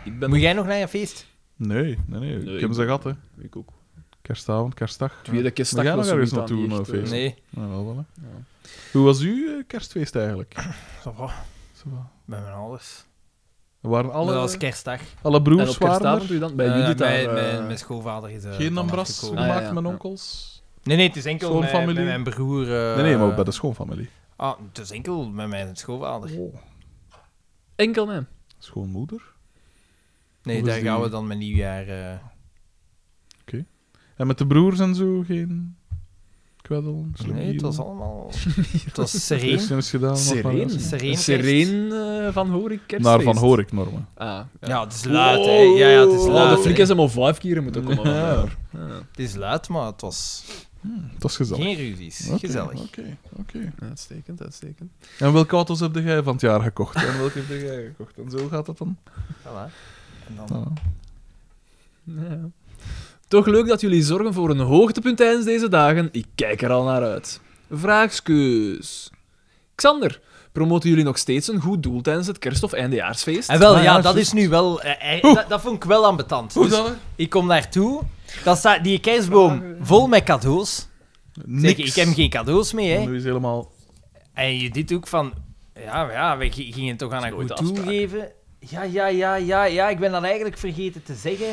Ik ben Moet jij nog naar je feest? Nee, nee, nee. Nee, ik ik- heb ze gehad, hè. Ik ook. Kerstavond, kerstdag. Tweede kerstdag Maar jij was nog ergens zoiets aan naartoe, die echt, eh, eh, Nee. Ja, wel, wel, hè. Ja. Hoe was uw eh, kerstfeest eigenlijk? Zo wat. Bij mijn ouders. Waren alle, Dat was kerstdag. alle En broers op waren kerstavond er? doe je dan bij Eh, Judith daar... mijn, eh, mijn, mijn schoonvader is eh, Geen dan ambras afgekomen. gemaakt, Ah, ja, ja. mijn Ja. onkels? Nee, nee, het is enkel met, Schoonfamilie? met mijn broer. eh, Nee, nee, maar bij de schoonfamilie. Ah, het is enkel met mijn schoonvader. Enkel man. Schoonmoeder. Nee, Hoe daar is die? gaan we dan met nieuwjaar... eh, En met de broers en zo geen kweddel, Nee, het was allemaal... het was sereen. Eerst eens gedaan. wat maar Sereen. was. Sereen Sereen eh, van Horik kerstfeest. Naar Van Horik, Norma. Ah, ja. Ja, het is luid, hè. Ja, ja, het is Wow. Oh, luid. de flik is hem al vijf keer moeten komen. van Ja. daar. Ja. Het is luid, maar het was Dat is gezellig. geen ruzies. Oké, Gezellig. Oké, oké. Uitstekend, uitstekend. En welke auto's heb jij van het jaar gekocht? En welke heb jij gekocht? En zo gaat dat dan? Voilà. En dan... Ah. Ja. Toch leuk dat jullie zorgen voor een hoogtepunt tijdens deze dagen. Ik kijk er al naar uit. Vraagskeus. Xander, promoten jullie nog steeds een goed doel tijdens het kerst- of eindejaarsfeest? En wel, Ah, ja, ja, dat juist. is nu wel... eh, eh, dat, dat vond ik wel ambetant. Hoe Dus dan? ik kom daartoe, dan staat die kerstboom vol met cadeaus. Zeg, Niks. ik heb geen cadeaus mee, hè. Nu is helemaal... En je dit ook van... Ja, maar ja, we g- gingen toch aan een nooit goed de afspraak. toegeven. Ja, ja, ja, ja, ja, ik ben dat eigenlijk vergeten te zeggen.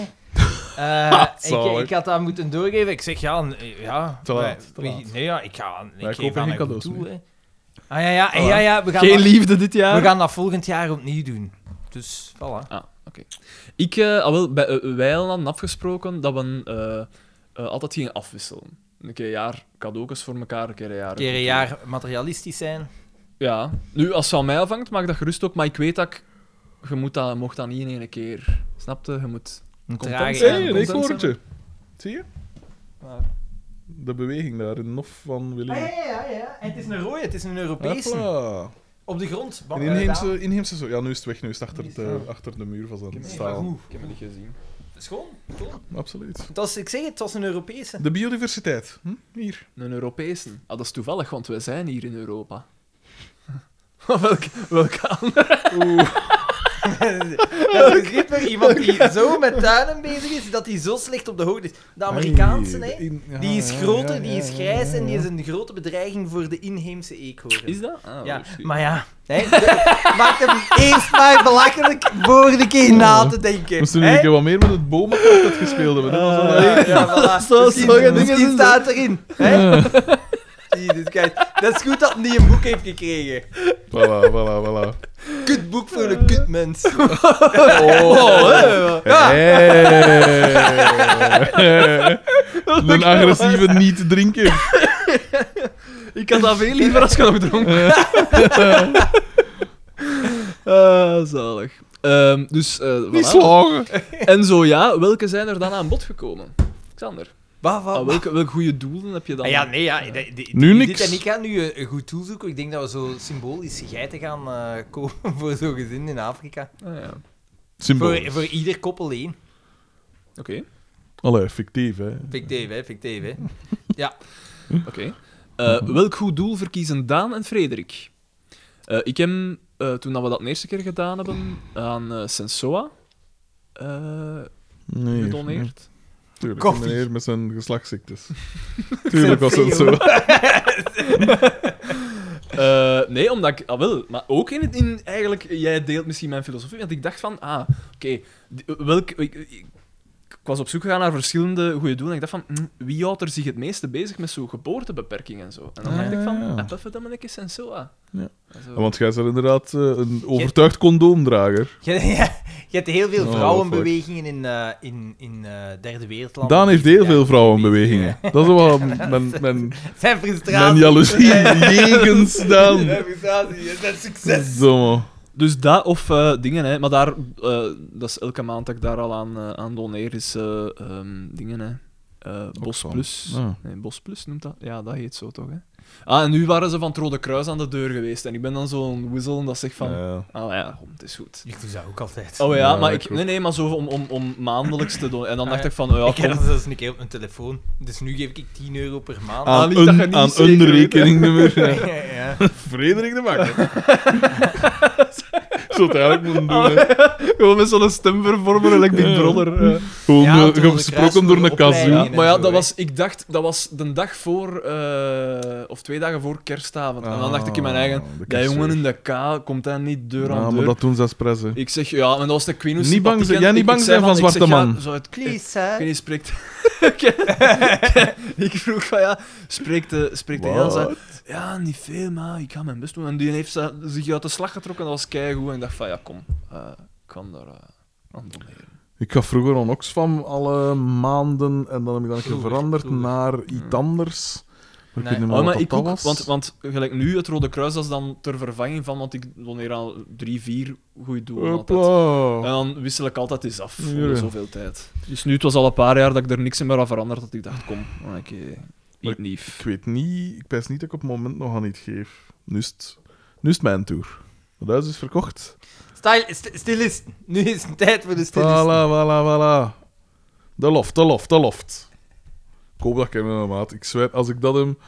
Eh, ik, Ah, Zalig. ik had dat moeten doorgeven. Ik zeg, ja, n- eh, ja. Te laat, te wij- laat. Nee, ja, ik ga ik Wij geef kopen aan geen een goed cadeaus toe, meer. hè. Ah ja, ja, en ja, ja, we gaan, Geen dat, liefde dit jaar? we gaan dat volgend jaar opnieuw doen. Dus, voilà. Ah, oké. Ik, eh, al wel, bij, eh, wij hadden afgesproken dat we eh, eh, altijd gingen afwisselen. Een keer een jaar cadeautjes voor elkaar, een keer een jaar... Een keer een jaar materialistisch zijn. Ja. Nu, als het van mij afhangt, maak dat gerust ook. Maar ik weet dat ik... Je moet dat, mocht dat niet in één keer. Snapte? Je moet... Een Content trage zijn, en- hè? hey, een content eekhoorntje. Zie je? Waar? De beweging daar, een nof van Willy. Ah, ja, ja, ja. En het is een rode, het is een Europese. Hopla. Op de grond. Bam, Een eh, daar. inheemse, inheemse zo. Ja, nu is het weg, nu is het achter de, achter de muur van zijn Nee, maar staal. goed. Ik heb het niet gezien. Schoon, schoon. Absoluut. Het was, ik zeg het, het was een Europese. De biodiversiteit. Hm? Hier. Een Europese. Ah, dat is toevallig, want wij zijn hier in Europa. welke, welke andere? Er is er iemand die zo met tuinen bezig is, dat hij zo slecht op de hoogte is. De Amerikaanse, Hey, de hè? in- ja, Die is ja, groter, ja, die ja, is ja, grijs ja, en die ja. is een grote bedreiging voor de inheemse eekhoorn. Is dat? Ah, Ja, oh, shit. maar ja. Hè, de- maak hem eerst maar belachelijk voor de keer na te denken. Moesten we hè? een keer wat meer met het bomenkort dat gespeeld hebben? hè? Dat was wel- Ja, ja, voilà. Zo- Misschien- sommige dingen misschien zijn zo. staat erin. Hè? Jezus, kijk. Dat is goed dat hij niet een boek heeft gekregen. Voilà, voilà, voilà. Kut boek voor een kut mens. Oh, hè. Hey. Een agressieve niet-drinker. Ik had dat veel liever als ik nog dronken. Ah, zalig. Ehm, dus, eh, Niet voilà. slagen. En zo ja, welke zijn er dan aan bod gekomen? Xander, Wat, wat, ah, welke, welke goede doelen heb je dan? Ah ja, nee, ja. de- de- Nu dit niks. en ik ga nu eh, een, een goed doel zoeken. Ik denk dat we zo symbolisch geiten gaan eh, kopen voor zo'n gezin in Afrika. Ah, ja. Symbool. Voor, voor ieder koppel één. Oké, Allee, fictief, hè. Fictief, hè. Fictief, hè. oké. Eh, welk goed doel verkiezen Daan en Frederik? Eh, ik heb, eh, toen dat we dat de eerste keer gedaan hebben, aan eh, Sensoa eh, Nee. gedoneerd. Tuurlijk, Koffie. een meneer met zijn geslachtsziektes. Tuurlijk was dat zo. Eh, nee, omdat ik... Ah, wel. Maar ook in, het- in... Eigenlijk, jij deelt misschien mijn filosofie, want ik dacht van... Ah, oké. die- eh, welk... Ik, ik, ik was op zoek gegaan naar verschillende goede doelen. En ik dacht van, hm, wie houdt er zich het meeste bezig met zo'n geboortebeperking en zo? En dan Ah, dacht ik van, ja. heb even dat mannetje en zo. ah. Ja. En zo. Want jij bent inderdaad eh, een overtuigd condoomdrager. Je, je hebt heel veel Oh, vrouwenbewegingen in, eh, in, in eh, derde wereldlanden. Daan heeft heel Ja. veel vrouwenbewegingen. Dat is wel mijn, mijn, mijn Zijn frustratie. jaloezie jegens Daan. Zijn frustratie. Zijn succes. Zo, man. Dus dat of eh, dingen, hè. Maar daar... eh, dat is elke maand dat ik daar al aan, eh, aan doneer, is eh, ehm, dingen, hè. Eh, Bos Oxfam. Plus. Ah. Nee, Bos Plus noemt dat. Ja, dat heet zo toch, hè? Ah, en nu waren ze van het Rode Kruis aan de deur geweest. En ik ben dan zo'n whistle dat zegt van... Ja. Ah ja, kom, het is goed. Ik doe dat ook altijd. Oh ja, Ja, maar ik ik... ook. Nee, nee, maar zo om, om, om maandelijks te doen. En dan Ah, dacht ja. ik van... Oh, ik ja, heb kom. dat zelfs een keer op mijn telefoon. Dus nu geef ik 10 euro per maand. Aan niet dat je een, niet aan zeker een weet, hè. rekeningnummer. ja. Frederik de Bakker. zou het eigenlijk moeten doen. hè. Gewoon met zo'n stemvervormer, like Big Brother. eh. Gewoon Ja, eh, toen we gesproken door kruiswoorden een kazoo. opleidingen. Maar ja, en zo, dat hè. was, ik dacht, dat was de dag voor, eh, of twee dagen voor kerstavond. En dan dacht ik in mijn eigen, Ah, de dat jongen kerstzeur. in de K, komt hij niet deur aan Ja, deur. maar dat doen ze als pres, hè. Ik zeg, ja, maar dat was de Queen Niet bang zijn- ja, niet bang zijn van zwarte man. zo het, ik Lisa. weet niet, spreekt... ik vroeg van, ja, spreekt de, spreekt de Jan, zei, ja, niet veel, maar ik ga mijn best doen. En die heeft ze- zich uit de slag getrokken, dat was keigoed. En ik dacht van, ja, kom, eh, ik kan daar eh, aan doneren. Ik ga vroeger aan Oxfam alle maanden en dan heb ik dat een keer Vroeger, veranderd vroeger. naar iets anders. Maar ik Nee. weet niet meer Oh, wat maar dat ik dat ook, was. want, want gelijk nu, het Rode Kruis, dat is dan ter vervanging van, want ik doneer al drie, vier goede doelen altijd. Hopla. En dan wissel ik altijd eens af, Ja. onder zoveel tijd. Dus nu, het was al een paar jaar dat ik er niks in meer aan veranderd dat ik dacht, kom, oké, Maar- eat nief. Ik weet niet, ik pijs niet dat ik op het moment nog aan iets geef. Nu is het, nu is het mijn tour. Dat huis is verkocht. Style, st- stilisten. Nu is het tijd voor de stilisten. Voilà, voilà, voilà. De loft, de loft, de loft. Ik hoop dat ik hem eh, maat. Ik zweer, als ik dat hem...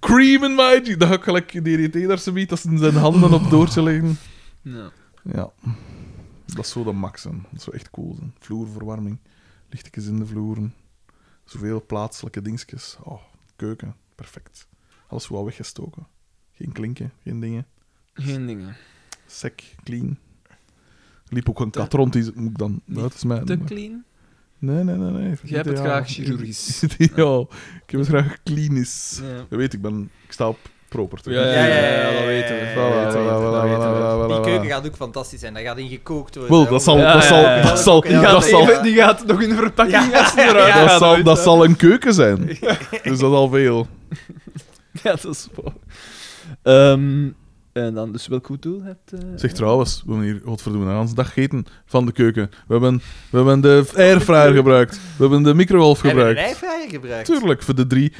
Cream in my... je- Dan ga ik gelijk DDT daar zo biedt, als in zijn handen op doortje liggen. Ja. Ja. Dat is zo de max, hè. Dat zou echt cool zijn. Vloerverwarming, lichtjes in de vloeren, zoveel plaatselijke dingetjes. Oh, keuken, perfect. Alles wel weggestoken. Geen klinken, geen dingen. Geen dingen. Sec, clean. Er liep ook een kat rond, die moet ik dan... Niet Nou, het is mijn... Te clean? Nee, nee, nee. nee. Jij hebt het Ideaal. graag chirurgisch. Ideaal. Ik heb het graag klinisch. Ja. Je weet, ik ben... Ik sta op proper. te Ja, doen. ja, ja, ja, dat weten Voilà, we. voilà, Dat weten we, dat voilà, weten we. voilà, Die voilà. keuken gaat ook fantastisch zijn. Daar gaat in gekookt worden. Wel, dat zal... Ja, Dat ja, zal... ja. Dat zal... Die gaat Dat zal... die gaat nog in de verpakking Ja. als die eruit Ja, dat, gaat, zal, weet dat je. zal een keuken zijn. Dus dat is al veel. Ja, dat is waar. Ehm, en dan, dus welk goed doel hebt... eh, Zeg trouwens, we hebben hier, godverdomme, een hele dag gegeten van de keuken. We hebben, we hebben de airfryer gebruikt. We hebben de microgolf Hebben we een gebruikt. rijvrij gebruikt? Tuurlijk, voor de drie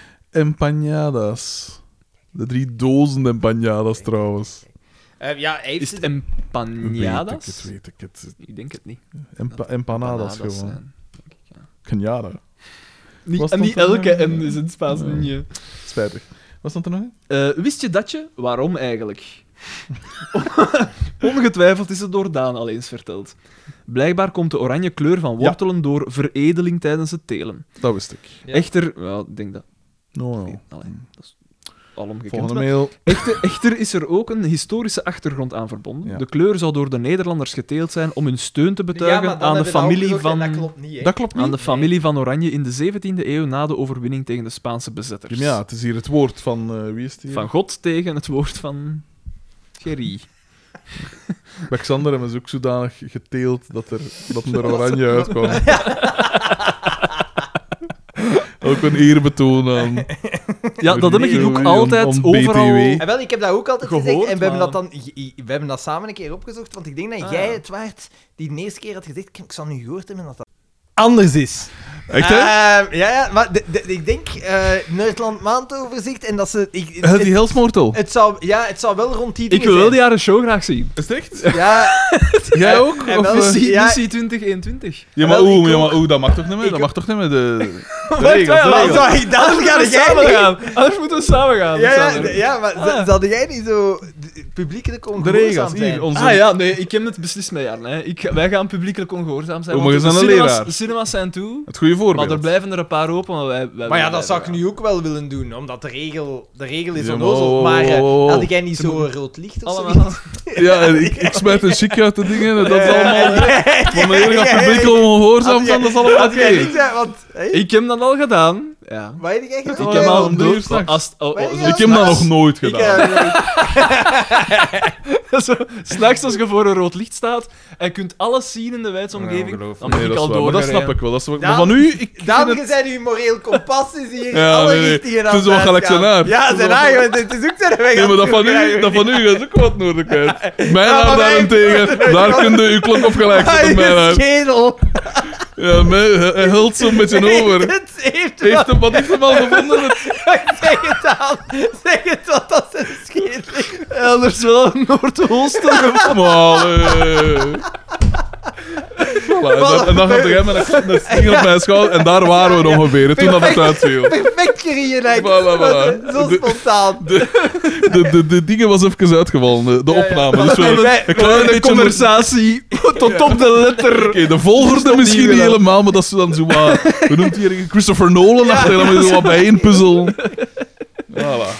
empanadas. De drie dozen empanadas trouwens. Eh, ja, hij heeft Is het ze de- Weet ik het, empanadas? weet ik het. Ik denk het niet. Empa- empanadas gewoon. zijn, denk ik, ja. Canjada. Was Niet, dat en niet dan- elke M is in het Spaans. Nee. niet, hè. Spijtig. Wat stond er nog in? Eh, wist je dat je? Waarom eigenlijk? Ongetwijfeld is het door Daan al eens verteld. Blijkbaar komt de oranje kleur van wortelen door veredeling tijdens het telen. Dat wist ik. Ja. Echter, ja, Oh. ik denk dat. No, no. nee, allee, dat is alom gekend, Nou, Volgende maar- mail. Echter, echter is er ook een historische achtergrond aan verbonden. Ja. De kleur zou door de Nederlanders geteeld zijn om hun steun te Ja, betuigen maar dan aan, de hebben we dat familie opgezocht en van, Dat klopt niet, hè. Dat klopt aan niet. de familie van Oranje in de 17e eeuw na de overwinning tegen de Spaanse bezetters. Ja, het is hier het woord van... eh, wie is het hier? Van God tegen het woord van Gerry. Bij Xander hebben ze ook zodanig geteeld dat er, dat hem er oranje uitkwam. ook een eerbetoon aan. Ja, dat heb ik hier ook Om- altijd om overal. BTW. En wel, ik heb dat ook altijd Gehoord, gezegd. En we hebben, maar- dat dan, we hebben dat samen een keer opgezocht. Want ik denk dat Ah, jij ja. het waard die de eerste keer had gezegd. Ik zal nu gehoord hebben dat dat anders is. Echt, hè? Ehm, ja, ja, maar de- de- ik denk eh Nederland maandoverzicht en dat ze... Ik, Is het die het, Helsmoortel? het zou, ja, het zou wel rond die Ik dingen wil wel zijn. die jaren show graag zien. Is het echt? Ja, Jij ook? en Of, wel- eh, Missie, ja. missie 2021. ja, maar wel, ik oeh, ja, ook. maar oeh, dat mag toch niet meer? Ik Dat ook. mag toch niet meer? De, de Wacht, regels, de wacht, regels. wacht. zou ik dan Anders gaan moeten we jij samen niet. gaan. Anders moeten we samen gaan. Ja, ja, Alexander. ja, maar z- zouden jij niet zo d- publiekelijk De ongehoorzaam regels, zijn? hier, onze... Ah ja, nee, ik heb het beslist met Jan. Hè. Ik, wij gaan publiekelijk ongehoorzaam zijn. Oh, want maar je bent de een cinemas, leraar. de cinemas zijn toe, Het goede voorbeeld. maar er blijven er een paar open. Maar, wij, wij Maar ja, wij- dat zou ik wij- nu ook wel willen doen, omdat de regel, de regel is Ja, maar- onnozel. Maar eh, oh, oh, oh. had jij niet zo'n rood licht of zoiets? Allemaal. Ja, en ik, ik smijt een chic uit de dingen en dat is allemaal... Van mijn hele ja, publiek ja. ongehoorzaam Had jij- zijn, dat is allemaal Had oké. jij niet, eh, want... hè? Ik heb dat al gedaan. Ja. Wat heb jij gedaan? Ik Oh heb ja, al om een drie uur doel. s'nachts. Als, oh, Maar oh, ja, zo Ik heb dat nog s'nachts- nooit Ik, gedaan. eh, Zo, S'nachts als je voor een rood licht staat en je kunt alles zien in de wijdsomgeving, ongelooflijk. dan ben Nee, ik dat al is waar, maar door. dat snap ik wel. Dat is wat- maar Ja. van u, ik Daan, vind je het- bent uw moreel kompas is hier Ja, alle nee, nee. richtingen Het is aan wel gelijk uitgaan. zijn haar. Het Ja, is zijn wel- haar, jongen, het is ook zijn weg. Nee, maar dat van u, dat dat van u is ook wat noorden kwijt. Mijn Ja, haar maar wij- daarentegen, daar kun je uw klok op gelijk zetten, mijn je haar. schedel. Ja, mij, hij hij hult zo'n beetje over. Het heeft Heeft wel... hem, wat heeft hem al gevonden? Het- Zeg het aan. Zeg het wat dat zijn schedel is. Elders wel een Noordoosten. Maar, eh. Voilà, en dan- en dan gaat hij met een, een sting op mijn schouder en daar waren we ongeveer, hè, toen dat het uitviel. Perfect gereenigd. Voilà, voilà. Zo De- spontaan. De, de, de dingen was even uitgevallen, de, de opname. Dus we hebben een klein De beetje... moeten- conversatie tot op de letter. Oké, de volgorde misschien niet gedaan. helemaal, maar dat is dan zo wat... We noemt hier een Christopher Nolan achter, dan moet je zo wat bijeen puzzelen. Voilà.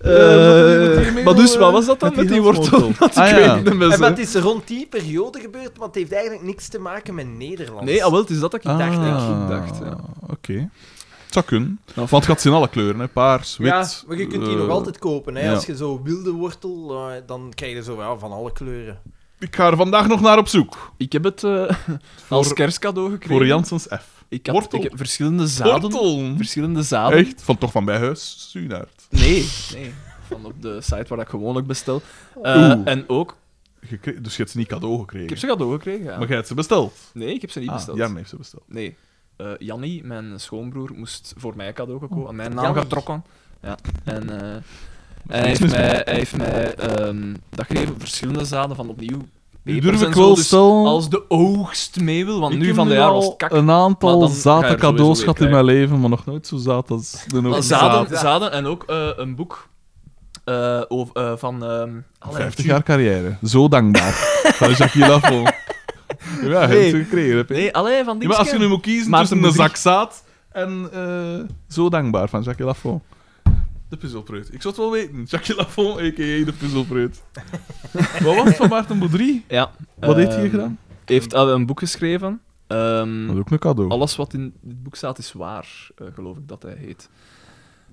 Eh, maar dus, wat was dat dan met die wortel? Ah, ja. En maar het is rond die periode gebeurd, maar het heeft eigenlijk niks te maken met Nederland. Nee, ah, wel, het is dat dat ik dacht. Ah, hè. Ik dacht, ja. Oké. Het zou kunnen. Want het gaat in alle kleuren, hè. Paars, wit... ja, maar je kunt die eh, nog altijd kopen. Hè? ja. Als je zo wilde wortel, eh, dan krijg je zo ja, van alle kleuren. Ik ga er vandaag nog naar op zoek. Ik heb het eh, als kerstcadeau gekregen. Voor Janssens F. Ik, had, Wortel. ik heb verschillende zaden. Wortel. Verschillende zaden. Echt? Van, toch van bij huis? Sunaard. Nee, nee. Van op de site waar ik gewoonlijk bestel. Eh, Oeh. en ook, Gekre- Dus je hebt ze niet cadeau ik gekregen. heb ze cadeau gekregen. Ja. Maar jij hebt ze besteld. Nee, ik heb ze niet Ah, besteld. Jan heeft ze besteld. Nee. Eh Jannie, mijn schoonbroer, moest voor mij cadeau kopen. Oh, aan mijn naam Jannie. getrokken. Ja. En, eh, en hij heeft mij, hij heeft mij ehm, dat gegeven, verschillende zaden van opnieuw. Nu pepers durf en ik zo, wel dus stel... als de oogst mee wil, want Ik nu heb van de jaar was al het kak. een maar aantal dan ga je zate er sowieso cadeaus weer gehad in mijn krijgen. leven, maar nog nooit zo zaat als de Wel, nodige Zaden, zaden en ook eh, een boek eh, over, eh, van... ehm, allee, 50 jaar carrière. Zo dankbaar. Van Jacques Lafon. Ja, heb Nee. je gekregen. Heb je. Nee, allee, van die Ja, maar als je nu moet kiezen Maar tussen de een muziek- zak zaad en eh, Zo dankbaar van Jacques Lafon. De puzzelpreut. Ik zou het wel weten. Jacques Lafon, a.k.a. de puzzelpreut. Wat was het van Maarten Boudry? Ja. Wat heeft hij ehm, gedaan? heeft eh, een boek geschreven. Ehm, Dat is ook een cadeau. alles wat in dit boek staat is waar, eh, geloof ik dat hij heet.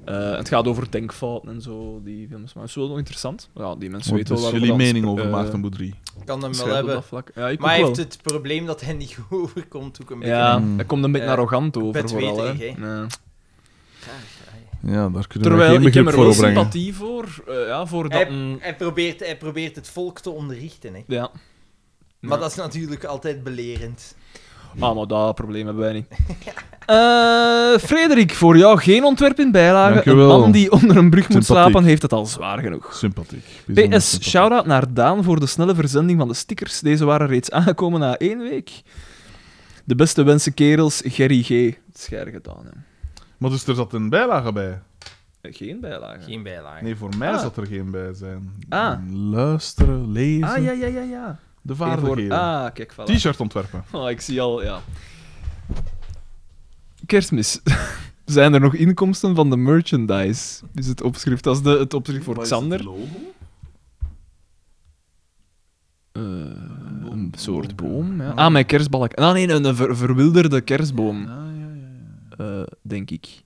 Eh, het gaat over denkfouten en zo, die films. Maar het is wel nog interessant. Ja, die mensen Wat weten is wel waar dus jullie we dan mening spre- over eh, Maarten Boudry? Kan hem wel schrijven op hebben. dat vlak. Ja, ik Maar ook hij wel. heeft het probleem dat hij niet goed overkomt ook een beetje. Ja, Mm. hij komt een beetje Eh, arrogant over vooral. hè. bedweterig, Ja. Ja, daar kunnen we geen Terwijl ik heb begrip er voor wel opbrengen. sympathie voor, eh, ja, voor dat... Hij, een- hij, probeert, hij probeert het volk te onderrichten. Hè. ja. Maar dat is natuurlijk altijd belerend. Ah, maar dat probleem hebben wij niet. Eh, Frederik, voor jou geen ontwerp in bijlage. Dankjewel. Een man die onder een brug moet Sympathiek. slapen, heeft het al zwaar genoeg. Sympathiek. Bijzonder PS, sympathiek. shout-out naar Daan voor de snelle verzending van de stickers. Deze waren reeds aangekomen na één week. De beste wensen, kerels. Gerry G. Het is gij gedaan, hè. Maar dus er zat een bijlage bij. Eh, Geen bijlage. Geen bijlage. Nee, voor mij Ah. zat er geen bij zijn. Ah. Luisteren, lezen, Ah, ja, ja, ja, ja. de Geen voor- vaardigheden. Ah, kijk, voilà. T-shirt ontwerpen. Oh, ik zie al, ja. Kerstmis. Zijn er nog inkomsten van de merchandise? Is het opschrift. Dat is de, het opschrift voor Xander. Eh, een soort boom, ja. Ah, mijn kerstbalk. Ah, nee, een een ver- verwilderde kerstboom, Ah, Ja, ja, ja. eh, denk ik.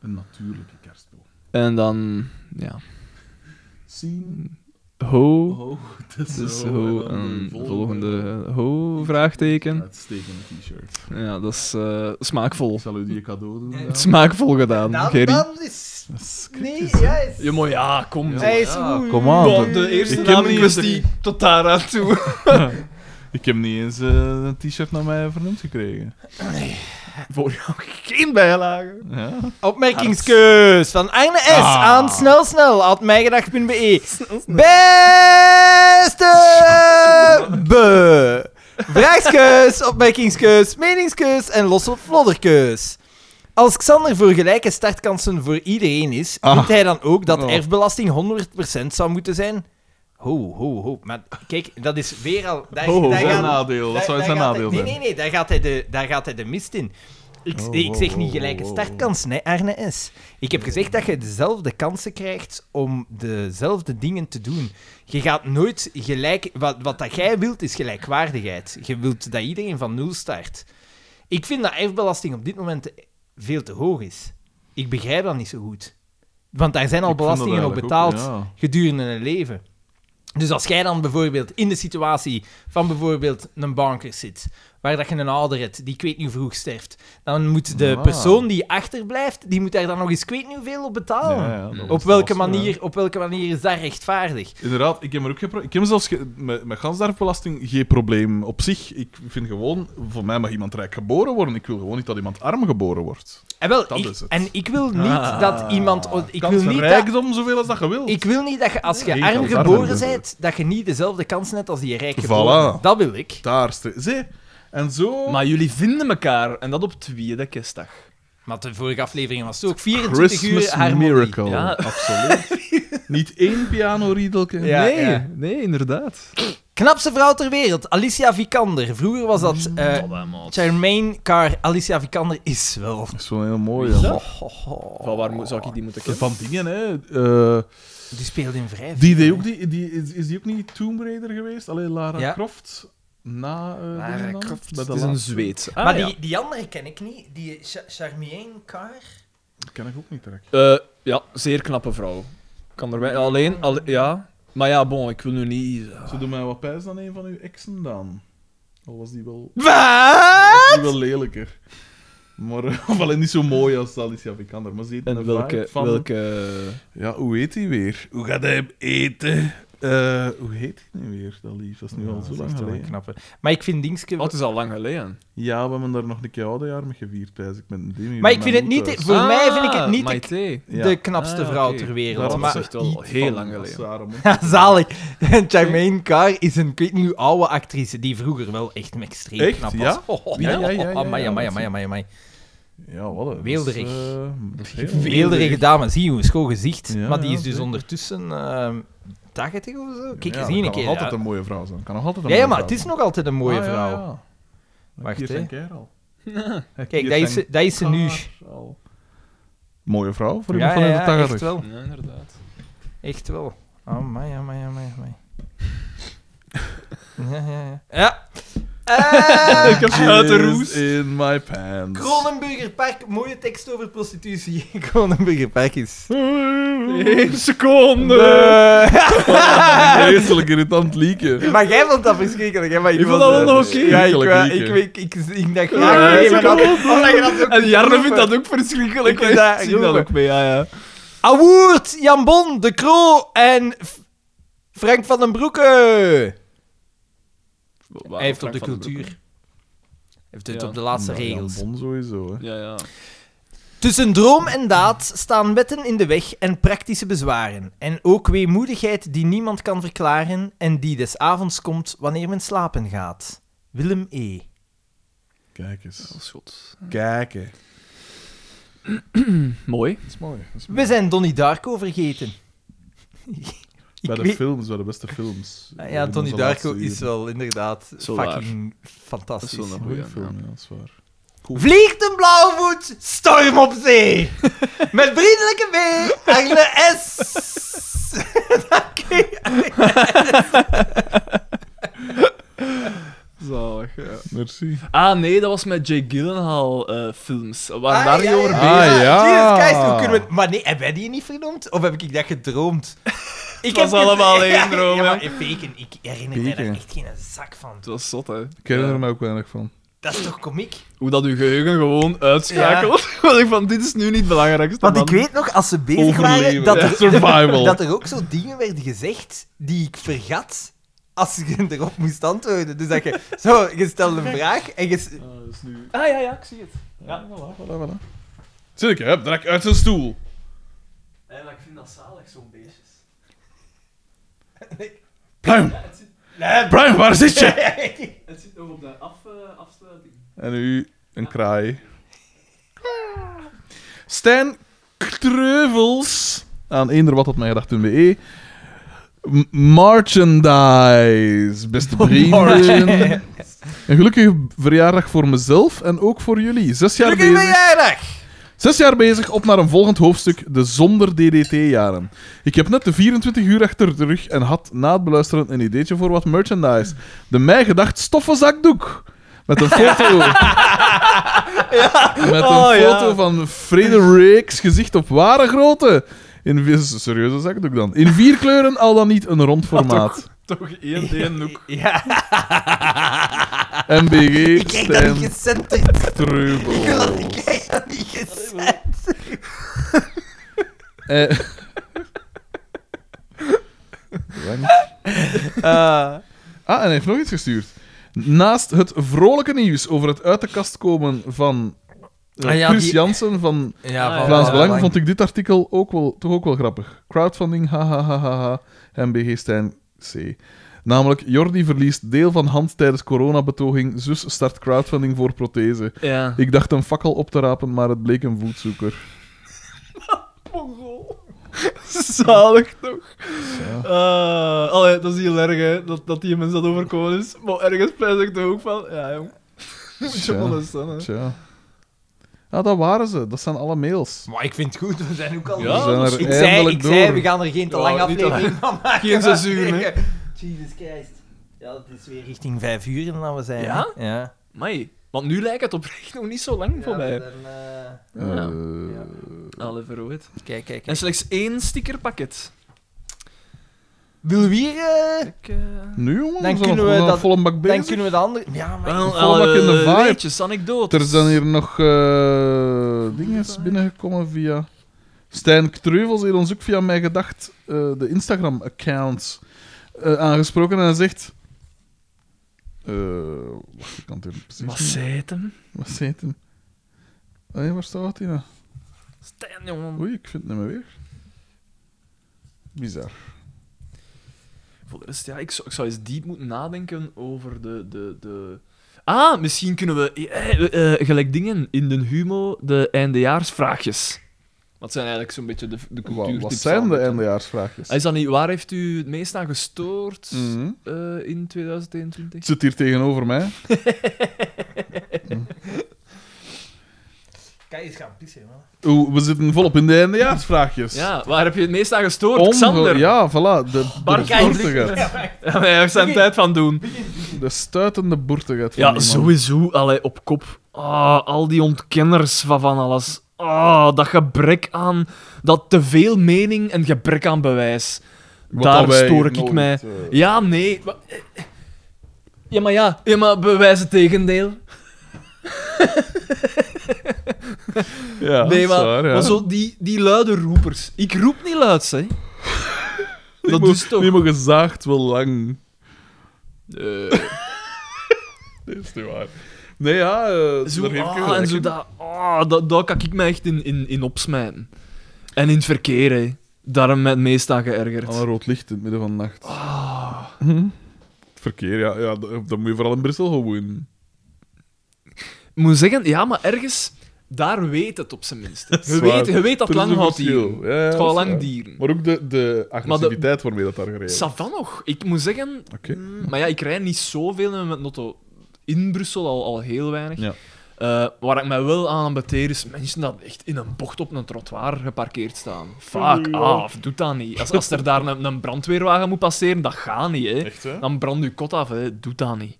Een natuurlijke kerstboom. En dan, ja. Zien. Ho, Oh, dat dus ho, een volgende eh, ho, vraagteken. Uitstekende t-shirt. Ja, dat is eh, smaakvol. Ik zal u die cadeau doen. Het is Smaakvol gedaan, Dan, Gerry. Nou, dan is... Dat is Nee, kritisch, hè. ja, is... Ja, maar ja, kom. Hij is Ja, moe. Kom aan. de eerste Ik heb naam in niet kwestie tot daar aan toe. Ik heb niet eens eh, een t-shirt naar mij vernoemd gekregen. Voor jou geen bijlage. Ja. Opmerkingskeus van Arne S. Ah. aan snelsnel, at mijgedag.be. Beste be. Vraagskeus, opmerkingskeus, meningskeus en losse flodderkeus. Als Xander voor gelijke startkansen voor iedereen is, Ah. vindt hij dan ook dat Oh. erfbelasting 100% zou moeten zijn? Ho, ho, ho. Maar kijk, dat is weer al... Daar, Oh, dat daar is een gaan- nadeel. Dat daar- zou daar zijn gaat nadeel hij- zijn. Nee, nee, nee, daar gaat hij de, daar gaat hij de mist in. Ik, Oh, nee, ik zeg oh, niet oh, gelijke oh, oh. startkansen, hè, Arne S. Ik heb gezegd dat je dezelfde kansen krijgt om dezelfde dingen te doen. Je gaat nooit gelijk... Wat, wat dat jij wilt, is gelijkwaardigheid. Je wilt dat iedereen van nul start. Ik vind dat erfbelasting op dit moment veel te hoog is. Ik begrijp dat niet zo goed. Want daar zijn al Ik vind dat belastingen op eigenlijk ook, betaald ja. gedurende een leven. Dus als jij dan bijvoorbeeld in de situatie van bijvoorbeeld een banker zit, waar dat je een ouder hebt die ik weet niet vroeg sterft. Dan moet de Ah. persoon die achterblijft, die moet daar dan nog eens ik weet niet hoeveel op betalen. dat Oh. op, was- welke eh, dat was- manier, op welke manier is dat rechtvaardig? Inderdaad, ik heb er ook geen pro- Ik heb zelfs ge- met, met gansdarfbelasting geen probleem op zich. Ik vind gewoon, voor mij mag iemand rijk geboren worden. Ik wil gewoon niet dat iemand arm geboren wordt. En, wel, Dat ik, is het. en ik wil niet Ah. dat iemand... Ik wil niet dat, rijkdom zoveel als dat je wilt. ik wil niet dat je als je Nee, arm dat is arm, geboren dus. bent, dat je niet dezelfde kans hebt als die rijk geboren. Voilà. Dat wil ik. Daar ste- Zie, en zo... Maar jullie vinden elkaar, en dat op tweede kerstdag. Maar de vorige aflevering was het ook 24 Christmas uur harmonie. Miracle. Ja. absoluut. niet één pianoriedelke. Ja, nee, ja. nee, inderdaad. Knapste vrouw ter wereld, Alicia Vikander. Vroeger was dat Mm. eh Charmaine Carr. Alicia Vikander is wel. Dat is wel heel mooi. Ja. Van waar moet- zou ik die moeten kennen? Van dingen, hè. eh, Die speelde in vijf. die deed ook die, die, is, is die ook niet Tomb Raider geweest? Alleen Lara Ja. Croft? Na, eh, Lara dingen dan? Croft. Bij Het de is een laatste. Zweedse. Ah, maar ja. die, die andere ken ik niet. Die Cha- Charmaine Carr. Dat ken ik ook niet direct. Eh, ja, zeer knappe vrouw. Kan er bij... Alleen, alle- ja. Maar ja, bon, ik wil nu niet... Ze doen mij wat pijs dan een van uw exen dan. Al was die wel, Wat? was die wel lelijker. Maar, eh, of alleen niet zo mooi als Alicia Vikander. Maar ze heeft En een welke... vibe van... welke... Ja, hoe heet hij weer? Hoe gaat hij hem eten? Eh, hoe heet hij nu weer, dat lief? Dat is nu al zo lang geleden. Knappe. Maar ik vind Dingske. Oh, het is al lang geleden. Ja, we hebben daar nog een keer oudejaar mee gevierd, pijs ik. Met Demi, Maar ik met vind mijn het niet... moeder. Ah, Voor mij vind ik het niet de, Maite. Ja. de knapste Ah, ja, vrouw oké. ter Daar wereld. had Daarom Maar ze is echt wel iets heel van lang als geleden. haar mond. Ja, zalig. En Charmaine Carr is een, ik weet niet hoe oude actrice, die vroeger wel echt een extreem Echt, knap ja? was. Oh, oh, Ja, ja, ja, ja, ja, ja, Amai, ja, amai, dat amai, amai, amai. Ja, wat een... eh, Weelderig. Uh, Weelderige dame, zie je, een schoon gezicht. Ja, maar die ja, is dus zeker. ondertussen ehm 80 of zo. Kijk Ja, eens dat hier een kan keer. nog altijd ja. een mooie vrouw zijn. Kan nog altijd een Ja, ja, mooie maar vrouw het is zijn. nog altijd een mooie Ah, ja, vrouw. ja. Wacht, Hier hè. zijn kerel. Kijk, dat is, ze- dat is ze nu. Mooie vrouw "Ah, voor iemand Ja, ja, van in ja, de tachtig. echt wel. Ja, inderdaad. Echt wel. Oh, Amai, amai, amai, amai. Ja, ja, ja. Ja. Eh, Ik heb ze Uit de roes. in my pants. Kronenburger Park, mooie tekst over prostitutie. Kronenburger Park is. Eén seconde! Vreselijk irritant lieken. Maar jij vond dat verschrikkelijk, hè? Maar ik Ik vond was, dat wel eh, nog oké. Ja, ik, Verschrikkelijk wou- ik, liedje. ik, ik, ik, ik dacht graag. ik Ja, vond en En Jarne vindt dat Ik ook verschrikkelijk. vind dat- Ik zie dat roepen. ook mee, ja, ja. Awoerd, Jambon, De Croo en F- Frank van den Broeke. Hij heeft op de cultuur. Hij heeft het Ja. op de laatste Nou, regels. Jan Bon sowieso, hè. Ja, ja. Tussen droom en daad staan wetten in de weg en praktische bezwaren. En ook weemoedigheid die niemand kan verklaren en die des avonds komt wanneer men slapen gaat. Willem E. Kijk eens. is goed. Kijken. Mooi. Dat is mooi. Dat is mooi. We zijn Donnie Darko vergeten. Bij de weet- films, bij de beste films. Ah Eh, Ja, in Donnie onze laatste Darko is uren. wel inderdaad Zo fucking Dat is fantastisch. wel een Goeie goeie film, ja. ja, dat is waar. Vliegt een blauwvoet, storm op zee. Met vriendelijke B, Arne S. Zalig, ja. Merci. Ah, nee, dat was met Jay Gyllenhaal eh, films. We Ah, waren daar niet over bezig. Ah, ja. Jesus Christ, hoe kunnen we... Maar nee, hebben wij die niet vernoemd? Of heb ik dat gedroomd? Ik was allemaal één ja, droom, Ja, hè. maar in Bacon, ik herinner me daar Bacon. echt geen zak van. Het was zot, hè. Ik herinner Ja. er mij ook weinig van. Dat is toch komiek? Hoe dat uw geheugen gewoon uitschakelt. Want ik van, dit is nu niet het belangrijkste. Want ik man. weet nog, als ze bezig waren, Overleven. dat Ja, er, Survival. dat er ook zo dingen werden gezegd die ik vergat als je erop moest antwoorden. Dus dat je, zo, je stelde een vraag en je... s- Ah, ja, ja, ik zie het. Ja, voilà, voilà, voilà. Zie ik, hè? Direct uit zijn stoel. Ja, maar ik vind dat zalig, zo'n beestjes. Pluim! Nee, Pluim, waar zit je? Het zit nog op de af, eh, afsluiting. En nu een kraai. Stijn Kreuvels. Aan eender wat had mij gedacht toen we E. Merchandise, beste vrienden. Een gelukkige verjaardag voor mezelf en ook voor jullie. Zes jaar Gelukkig bezig. verjaardag! Zes jaar bezig op naar een volgend hoofdstuk, de zonder DDT-jaren. Ik heb net de 24 uur achter de rug en had na het beluisteren een ideetje voor wat merchandise. De mij gedacht stoffenzakdoek. Met een foto. Met een Oh, ja. foto van Fredericks gezicht op ware grootte. In vi- is een serieuze zakdoek dan. In vier kleuren, al dan niet een rond formaat. Ah, Toch één, één noek. Ja. MBG, Stijn, gecenterd. Treubel. kijk dat niet gecenterd. Eh, Ah, en hij heeft nog iets gestuurd. Naast het vrolijke nieuws over het uit de kast komen van eh, Ah, ja, Chris die- Oh, Jansen van Ja, Ah, van Vlaams Belang, Belang. vond ik dit artikel ook wel, toch ook wel grappig. Crowdfunding, haha, ha, ha, ha, ha. MBG Stijn C. Namelijk, Jordi verliest deel van hand tijdens coronabetoging, zus start crowdfunding voor prothese. Ja. Ik dacht een fakkel op te rapen, maar het bleek een voetzoeker. Zalig toch? Eh, allee, dat is heel erg, hè, dat, dat die mensen dat overkomen is. Maar ergens pijs ik toch ook van, ja, jong. Moet je Tja. wel eens zijn, hè. Tja. Ja, dat waren ze. Dat zijn alle mails. Maar ik vind het goed, we zijn ook al... We zijn er ik zei, eindelijk ik zei, door. we gaan er geen te Ja, lange niet aflevering van maken. Geen zes uur, hè. Jesus Christ. Ja, het is weer richting vijf uur en dan we zijn. Ja? hè. Ja. Amai. Want nu lijkt het oprecht nog niet zo lang voor mij. dan, eh, Ja. Eh, ja. Alle verrooid. Kijk, kijk, En kijk. slechts één stickerpakket. Wil we hier... eh, Ik, eh, Nu, jongen, Dan we zijn kunnen nog- we we zijn dat- vol een bak bezig. dan kunnen we de andere... Ja, maar... Wel, voel me in de vibe. alle weetjes, anekdotes. Er zijn hier nog eh dingen binnengekomen via. Stijn Treuvels heeft ons ook via mij gedacht eh, de Instagram-accounts eh, aangesproken en hij zegt. eh, wacht, ik kan het hier precies. Wat niet- zei het hem? Wat zei het hem? Hé, waar staat hij nou? Stijn, jongen. Oei, ik vind het niet meer weer. Bizar. Voor de rest, ja, ik zou, ik zou eens diep moeten nadenken over de... de, de... Ah, misschien kunnen we... eh, eh, eh, gelijk dingen in de humo, de eindejaarsvraagjes. Wat zijn eigenlijk zo'n beetje de, de Wa- cultuur... wat zijn de eindejaarsvraagjes? Is dat niet... Waar heeft u het meest aan gestoord Mm. Mhm. eh, in Het 2021? zit hier tegenover mij. Kan je eens gaan pissen, man. Oeh, we zitten volop in de eindejaarsvraagjes. Ja, waar heb je het meest aan gestoord, Onge- Xander? Ja, voilà. De, Bart de boertigheid. Ja, wij hebben zijn tijd van doen. De stuitende boertigheid van Ja, die man. sowieso. Allee, op kop. Ah, al die ontkenners van van alles. Ah, dat gebrek aan... Dat te veel mening en gebrek aan bewijs. Wat Daar dat wij stoor hier ik nooit, mij. eh, Ja, nee. wa- Ja, maar ja. Ja, maar bewijs het tegendeel. ja, nee, maar, dat is waar, ja. maar zo die, die luide roepers. Ik roep niet luid, hè. Die Dat mo- is toch... Die mogen gezaagd wel lang. Eh, Dat is niet waar. Nee, ja, eh zo, daar geef ik je ah, gelijk en zo in. dat, ah, dat, daar kan ik me echt in, in, in opsmijten. En in het verkeer, hè. Daar heb ik me het meest aan geërgerd. Aan een rood licht in het midden van de nacht. Ah. Hm? Het verkeer, ja, ja dat, dat moet je vooral in Brussel gewoon. Ik moet zeggen, ja, maar ergens, daar weet het op zijn minst. Je waar. weet, je weet dat Er is het lang een gaat verschil. dieren. Ja, ja, Het dat gaat is lang waar. dieren. Maar ook de, de agressiviteit waarmee dat daar gereden wordt. Savan nog. Ik moet zeggen... Oké. mm, maar ja, ik rijd niet zoveel met Notto. In Brussel al, al heel weinig. Ja. Eh, waar ik mij wel aan beteer is mensen dat echt in een bocht op een trottoir geparkeerd staan. Fuck af, doe dat niet. Als, als er daar een, een brandweerwagen moet passeren, dat gaat niet, hè. Echt, hè? Dan brandt uw kot af, hè. Doe dat niet.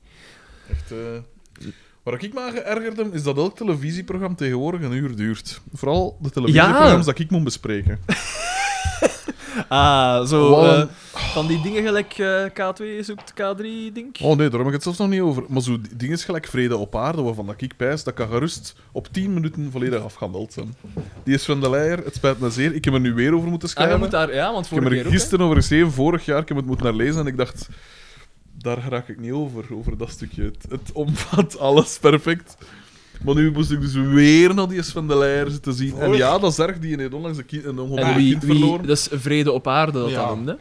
Echt, eh, Waar ik me aan geërgerd heb, is dat elk televisieprogramma tegenwoordig een uur duurt. Vooral de televisieprogramma's dat ik moet bespreken. Ah, zo... Wat een- eh, van die dingen gelijk eh, K2 zoekt K3, denk ik. Oh nee, daar heb ik het zelfs nog niet over. Maar zo dingen is gelijk Vrede op Aarde, waarvan dat ik pijs, dat kan gerust op 10 minuten volledig afgehandeld zijn. Die is van de Leijer, het spijt me zeer. Ik heb er nu weer over moeten Ah, je schrijven. moet daar... Ja, want ik heb vorige keer er ook, hè. gisteren over geschreven, vorig jaar, ik heb het moeten naar lezen en ik dacht, daar raak ik niet over, over dat stukje. Het, het omvat alles perfect. Maar nu moest ik dus weer naar die Sven de Leijer zitten zien. En ja, dat is erg, die heeft onlangs een, kind, een ongeboren En wie, kind wie... verloren. Dat is vrede op aarde, dat Ja. dat noemde.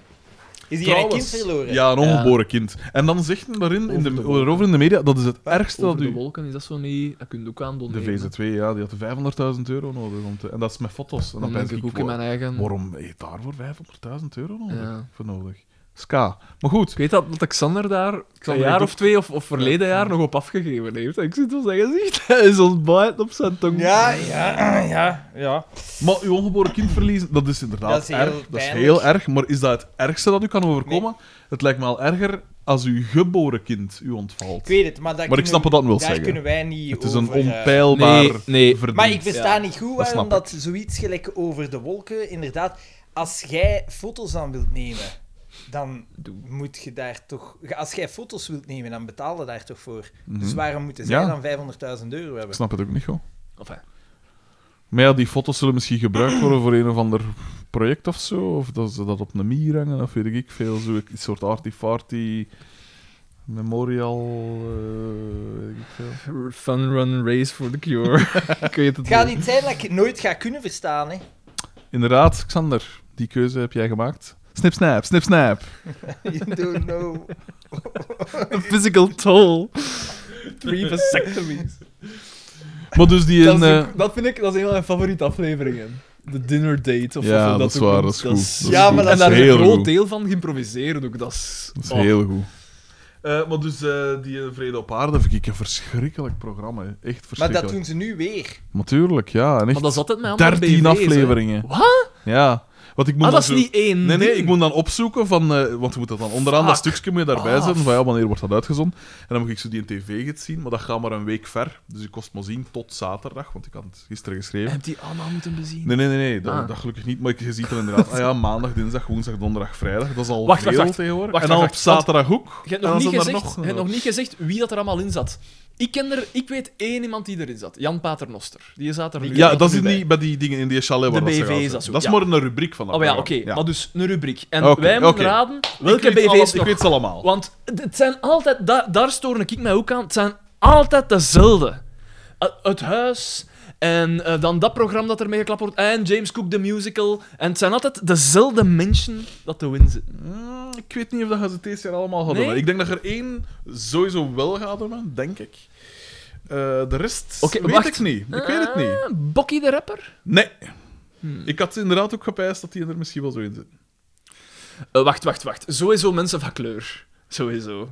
Is hier een Trouwens, kind verloren? Ja, een ongeboren kind. En dan zegt men daarin, in de, over in de media, dat is het ergste Over dat de u... wolken is dat zo niet. Dat kun je ook aan De VZ2, ja, die had 500.000 euro nodig. Om te... En dat is met foto's. En Dan dan denk denk ik ik, ook in mijn wa- eigen. waarom heeft daarvoor 500.000 euro nodig? Ja. Voor nodig? Ska. Maar goed, Ik weet dat, dat Xander daar een Xander jaar heeft of twee of, of verleden jaar nog op afgegeven heeft. En ik zit op zijn gezicht. Hij is ontbijt op zijn tong. Ja, ja, ja, ja. maar uw ongeboren kind verliezen, dat is inderdaad Dat is heel erg. Dat is pijnlijk. heel erg. Maar is dat het ergste dat u kan overkomen? Het lijkt me al erger als uw geboren kind u ontvalt. Ik weet het, maar, daar Maar ik kunnen- snap wat dat wil daar zeggen. kunnen wij niet Het is over... een eh, onpeilbaar Nee, nee. verdienst. Maar ik versta Ja, niet goed dat waarom snap dat zoiets gelijk over de wolken, inderdaad, als jij foto's aan wilt nemen dan Doe. moet je daar toch... Als jij foto's wilt nemen, dan betaal je daar toch voor. Mhm. Dus waarom moeten Ja. zij dan 500.000 euro Ik hebben? snap het ook niet, hoor. Enfin, Maar ja, die foto's zullen misschien gebruikt worden voor een of ander project of zo. Of dat ze dat op een mier hangen, of weet ik veel. Zo'n soort artifarty memorial... eh, weet ik veel. fun run race for the cure. Kun je het Het gaat niet zijn dat ik het nooit ga kunnen verstaan, hè. Inderdaad, Xander, die keuze heb jij gemaakt. Snip, snap, snip, snap. You don't know. The physical toll. Three vasectomies. Maar dus die... Dat, een, is eh, ook- dat vind ik dat is een van mijn favoriete afleveringen. De dinner date. Of Ja, of dat is ook waar, noemt. dat is goed. Dat is ja, goed. maar en Dat daar is is een heel goed. groot deel van geïmproviseerd ook. Dat is, Dat is oh. heel goed. Eh, maar dus eh, die eh, Vrede op Aarde vind ik een verschrikkelijk programma. hè. Echt Maar verschrikkelijk. dat doen ze nu weer. Natuurlijk, ja. En Maar echt dat is altijd mijn 13 afleveringen. Wat? Ja. Want ik moet Ah, dan dat is zo- niet één. Nee, nee, ding. ik moet dan opzoeken van... eh, want je moet dat dan onderaan, dat Fuck. stukje moet je daarbij Ah. zetten. Van ja, wanneer wordt dat uitgezonden? En dan moet ik zo die in tv gids zien. Maar dat gaat maar een week ver. Dus ik kost maar zien tot zaterdag. Want ik had het gisteren geschreven. Heb die allemaal moeten bezien? Nee, nee, nee, nee dat, Ah. dat gelukkig niet. Maar je ziet er inderdaad... Ah ja, maandag, dinsdag, woensdag, donderdag, vrijdag. Dat is al Wacht, wacht, veel wacht. tegenwoordig. Wacht, en dan wacht, op wacht. Want- zaterdag ook. Je hebt, En nog dan niet, zijn er gezegd, nog- eh, je hebt nog niet gezegd wie dat er allemaal in zat. Ik, ken er, ik weet één iemand die erin zat. Jan Paternoster. Die zat er nu Ja, er dat nu is bij. niet bij die dingen in die chalet waar De dat ze BV gaan is zijn. dat zo, Dat is ja. maar een rubriek van dat Oh ja, oké. programma. Maar dus een rubriek. En Oké, wij moeten oké. raden Ik welke weet BV's alle- nog... Ik weet ze allemaal. Want het zijn altijd... da- daar storen ik mij ook aan. Het zijn altijd dezelfde. Eh, het huis... En eh, dan dat programma dat ermee geklapt wordt. En James Cook, de musical. En het zijn altijd dezelfde mensen dat te win zitten. Mm, Ik weet niet of dat je ze deze jaar allemaal hadden. Nee? Ik denk dat er één sowieso wel gaat doen, denk ik. Eh, de rest Oké, weet wacht. ik niet. Ik weet het niet. Ah, Hmm. Bokkie de rapper? Nee. Ik had inderdaad ook gepijst dat die er misschien wel zo in zit. Eh, wacht, wacht, wacht. Sowieso mensen van kleur. Sowieso.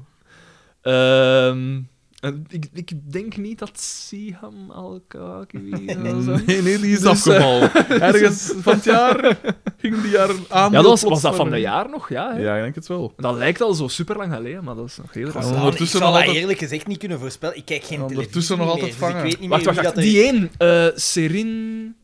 Ehm, en ik, ik denk niet dat Siham Al-Kawaki was. hè. Nee, nee, die is Dus, afgevallen. Ergens van het jaar ging die jaar aan. Ja, dat was, was dat van een jaar nog, ja. hè? Ja, ik denk het wel. Dat lijkt al zo super lang geleden, maar dat is nog heel raar. Ondertussen ik zal nog dat altijd- eerlijk gezegd niet kunnen voorspellen. Ik kijk geen televisie Ondertussen nog meer, altijd dus ik vangen. weet niet Wacht, meer wie wacht, wacht. dat er- Die één, eh, Serin,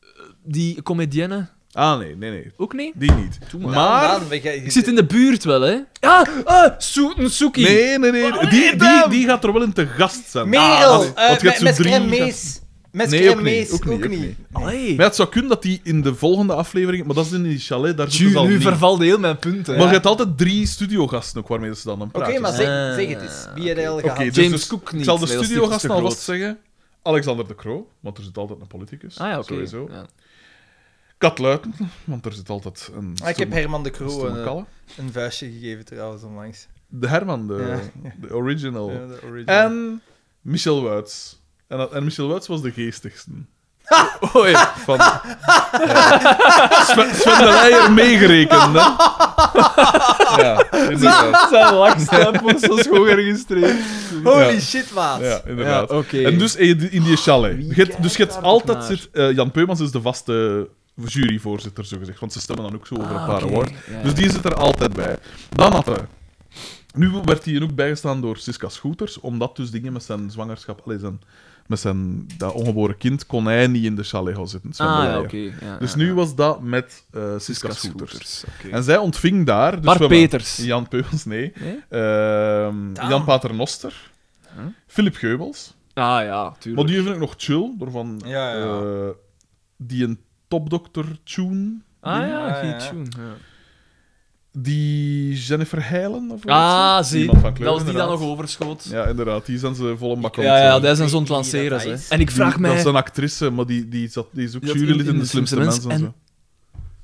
eh, die comedienne, Ah, nee, nee, nee. ook niet? Die niet. maar. Maar... Daan, we gaan- Ik zit in de buurt wel, hè? Ja, ah, Soeten Suki. Nee, nee, nee. Die, die, die gaat er wel in te gast zijn. Merel, Ah, eh, want je hebt met zo met drie crème gasten. mees. Met Nee, crème ook niet, mees, ook ook, niet, ook niet. niet. Allee. Maar ja, het zou kunnen dat die in de volgende aflevering... Maar dat is in die chalet, daar zitten Tju, ze al nu niet. vervalde heel mijn punten. Maar je hebt altijd drie studiogasten ook waarmee ze dan een Oké, praatje maar hebben. zeg, Ah, zeg het eens. Wie had hij al Oké, dus- gehad? James dus Cook Ik niet, zal de nee, dat is studiogasten te groot. alvast zeggen. Alexander de Croo, want er zit altijd een politicus. Ah ja, oké. Sowieso. Ja. Kat Luiten, want er zit altijd een Ah, ik heb stomme- Herman de Croo stomme een, kalle. een vuistje gegeven trouwens onlangs. eh, De Herman, de, Ja. de original. Ja, de original. En Michel Wuits. En, dat- en Michel Wuits was de geestigste. Oei. Van, ja. Sven, Sven de Leijer meegerekend, hè? Ja, inderdaad. Zijn lakstap was zo schoon geregistreerd. Holy Ja. shit, maat. Ja, inderdaad. oké. En dus in die- in die chalet. Je hebt- dus je hebt daar altijd... naar? Zit, eh, Jan Peumans is de vaste juryvoorzitter, zogezegd. Want ze stemmen dan ook zo over Ah, een paar awards. Dus die zit er altijd bij. Dan had hij... Nu werd hij ook bijgestaan door Siska Scooters, omdat dus dingen met zijn zwangerschap... Allee, zijn, met zijn dat ongeboren kind kon hij niet in de chalet gaan zitten. Sven de Ah, ja, Leijer. oké. Ja, Dus ja, nu ja. was dat met eh, Siska, Siska Scooters. Scooters, oké. En zij ontving daar... Dus Bart we hebben- Peters. Jan Peumans, nee. Nee? Ehm, Daan. Jan Paternoster. Huh? Philip Geubels. Ah ja, tuurlijk. Maar die vind ik nog chill, door van Ja, ja, ja. eh, die een topdokter tune. Ah ja, Ah, ja, Geet Tjoen, ja. Die Jennifer Heilen of Ah, zoiets, hè? zie. Iemand van Dat kleur, was die dat nog inderdaad. overschoot. Ja, inderdaad. Die zijn ze vol een bak aan Ja, het, ja, eh, daar zijn ze Ik weet niet ontlanteren. wie dat is. En ik die- vraag Dat is mij... een actrice, maar die, die, zat, die is ook Die zat jurylid in de slimste mensen. En... Zo.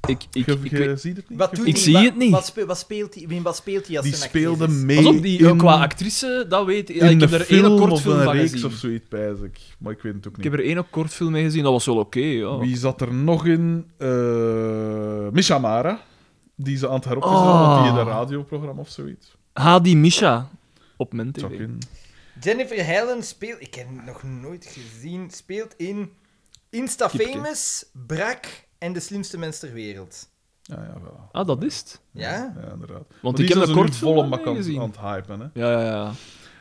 Ik, ik, Je- ik, je weet- ziet het niet? Wat Je- doet Ik die? zie Wa- het niet. Wat, spe- wat speelt die? Wie wat speelt die als Die een actrice speelde is? mee Pas op, die, eh, in qua actrice, dat weet ik. Ja, in ik heb een er één film kort of film een van reeks of gezien. zoiets, pijs ik. Maar ik weet het ook Ik niet. heb er één kort film mee gezien, dat was wel oké. ja. Wie zat er nog in? Eh Misha Mara. Die ze aan het heropjes Ah. hadden, want die in een radioprogramma of zoiets. Hadi Misha. Op mijn Zou tv. kunnen. Jennifer Helen speelt... Ik heb het nog nooit gezien. Speelt in Instafamous, Brak en De Slimste Mens ter Wereld. Ja, ja, voilà. Ah, dat is het. Ja? Ja, inderdaad. Want die ik heb zijn ze een nu kort volle film mak mee aan, aan gezien. het hypen. Hè. Ja, ja, ja.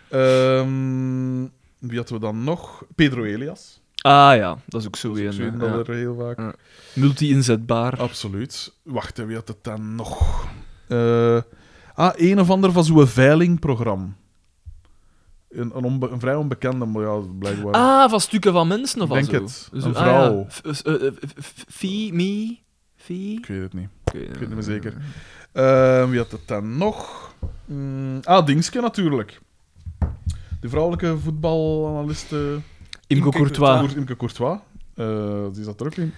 Ehm, wie hadden we dan nog? Pedro Elias. Ah ja, dat is ook zo Ik een. zie eh, dat ja. er Ah, heel vaak. Multi-inzetbaar. Absoluut. Wacht, hè, wie had het dan nog? Eh, ah, een of ander van zo'n veilingprogramma. Een, een, onbe- een vrij onbekende, maar ja, blijkbaar. Ah, van stukken van mensen of Ik al denk zo? het. Zo- Een ah, vrouw. ja. F- eh, eh, f- f- Fee, me, fee? Ik weet het niet. Ik weet Ik weet het niet meer zeker. Eh, wie had het dan nog? Mm, ah, Dingske natuurlijk. De vrouwelijke voetbalanaliste Imco Courtois. Cour- Imke Courtois. Eh, die zat er ook in.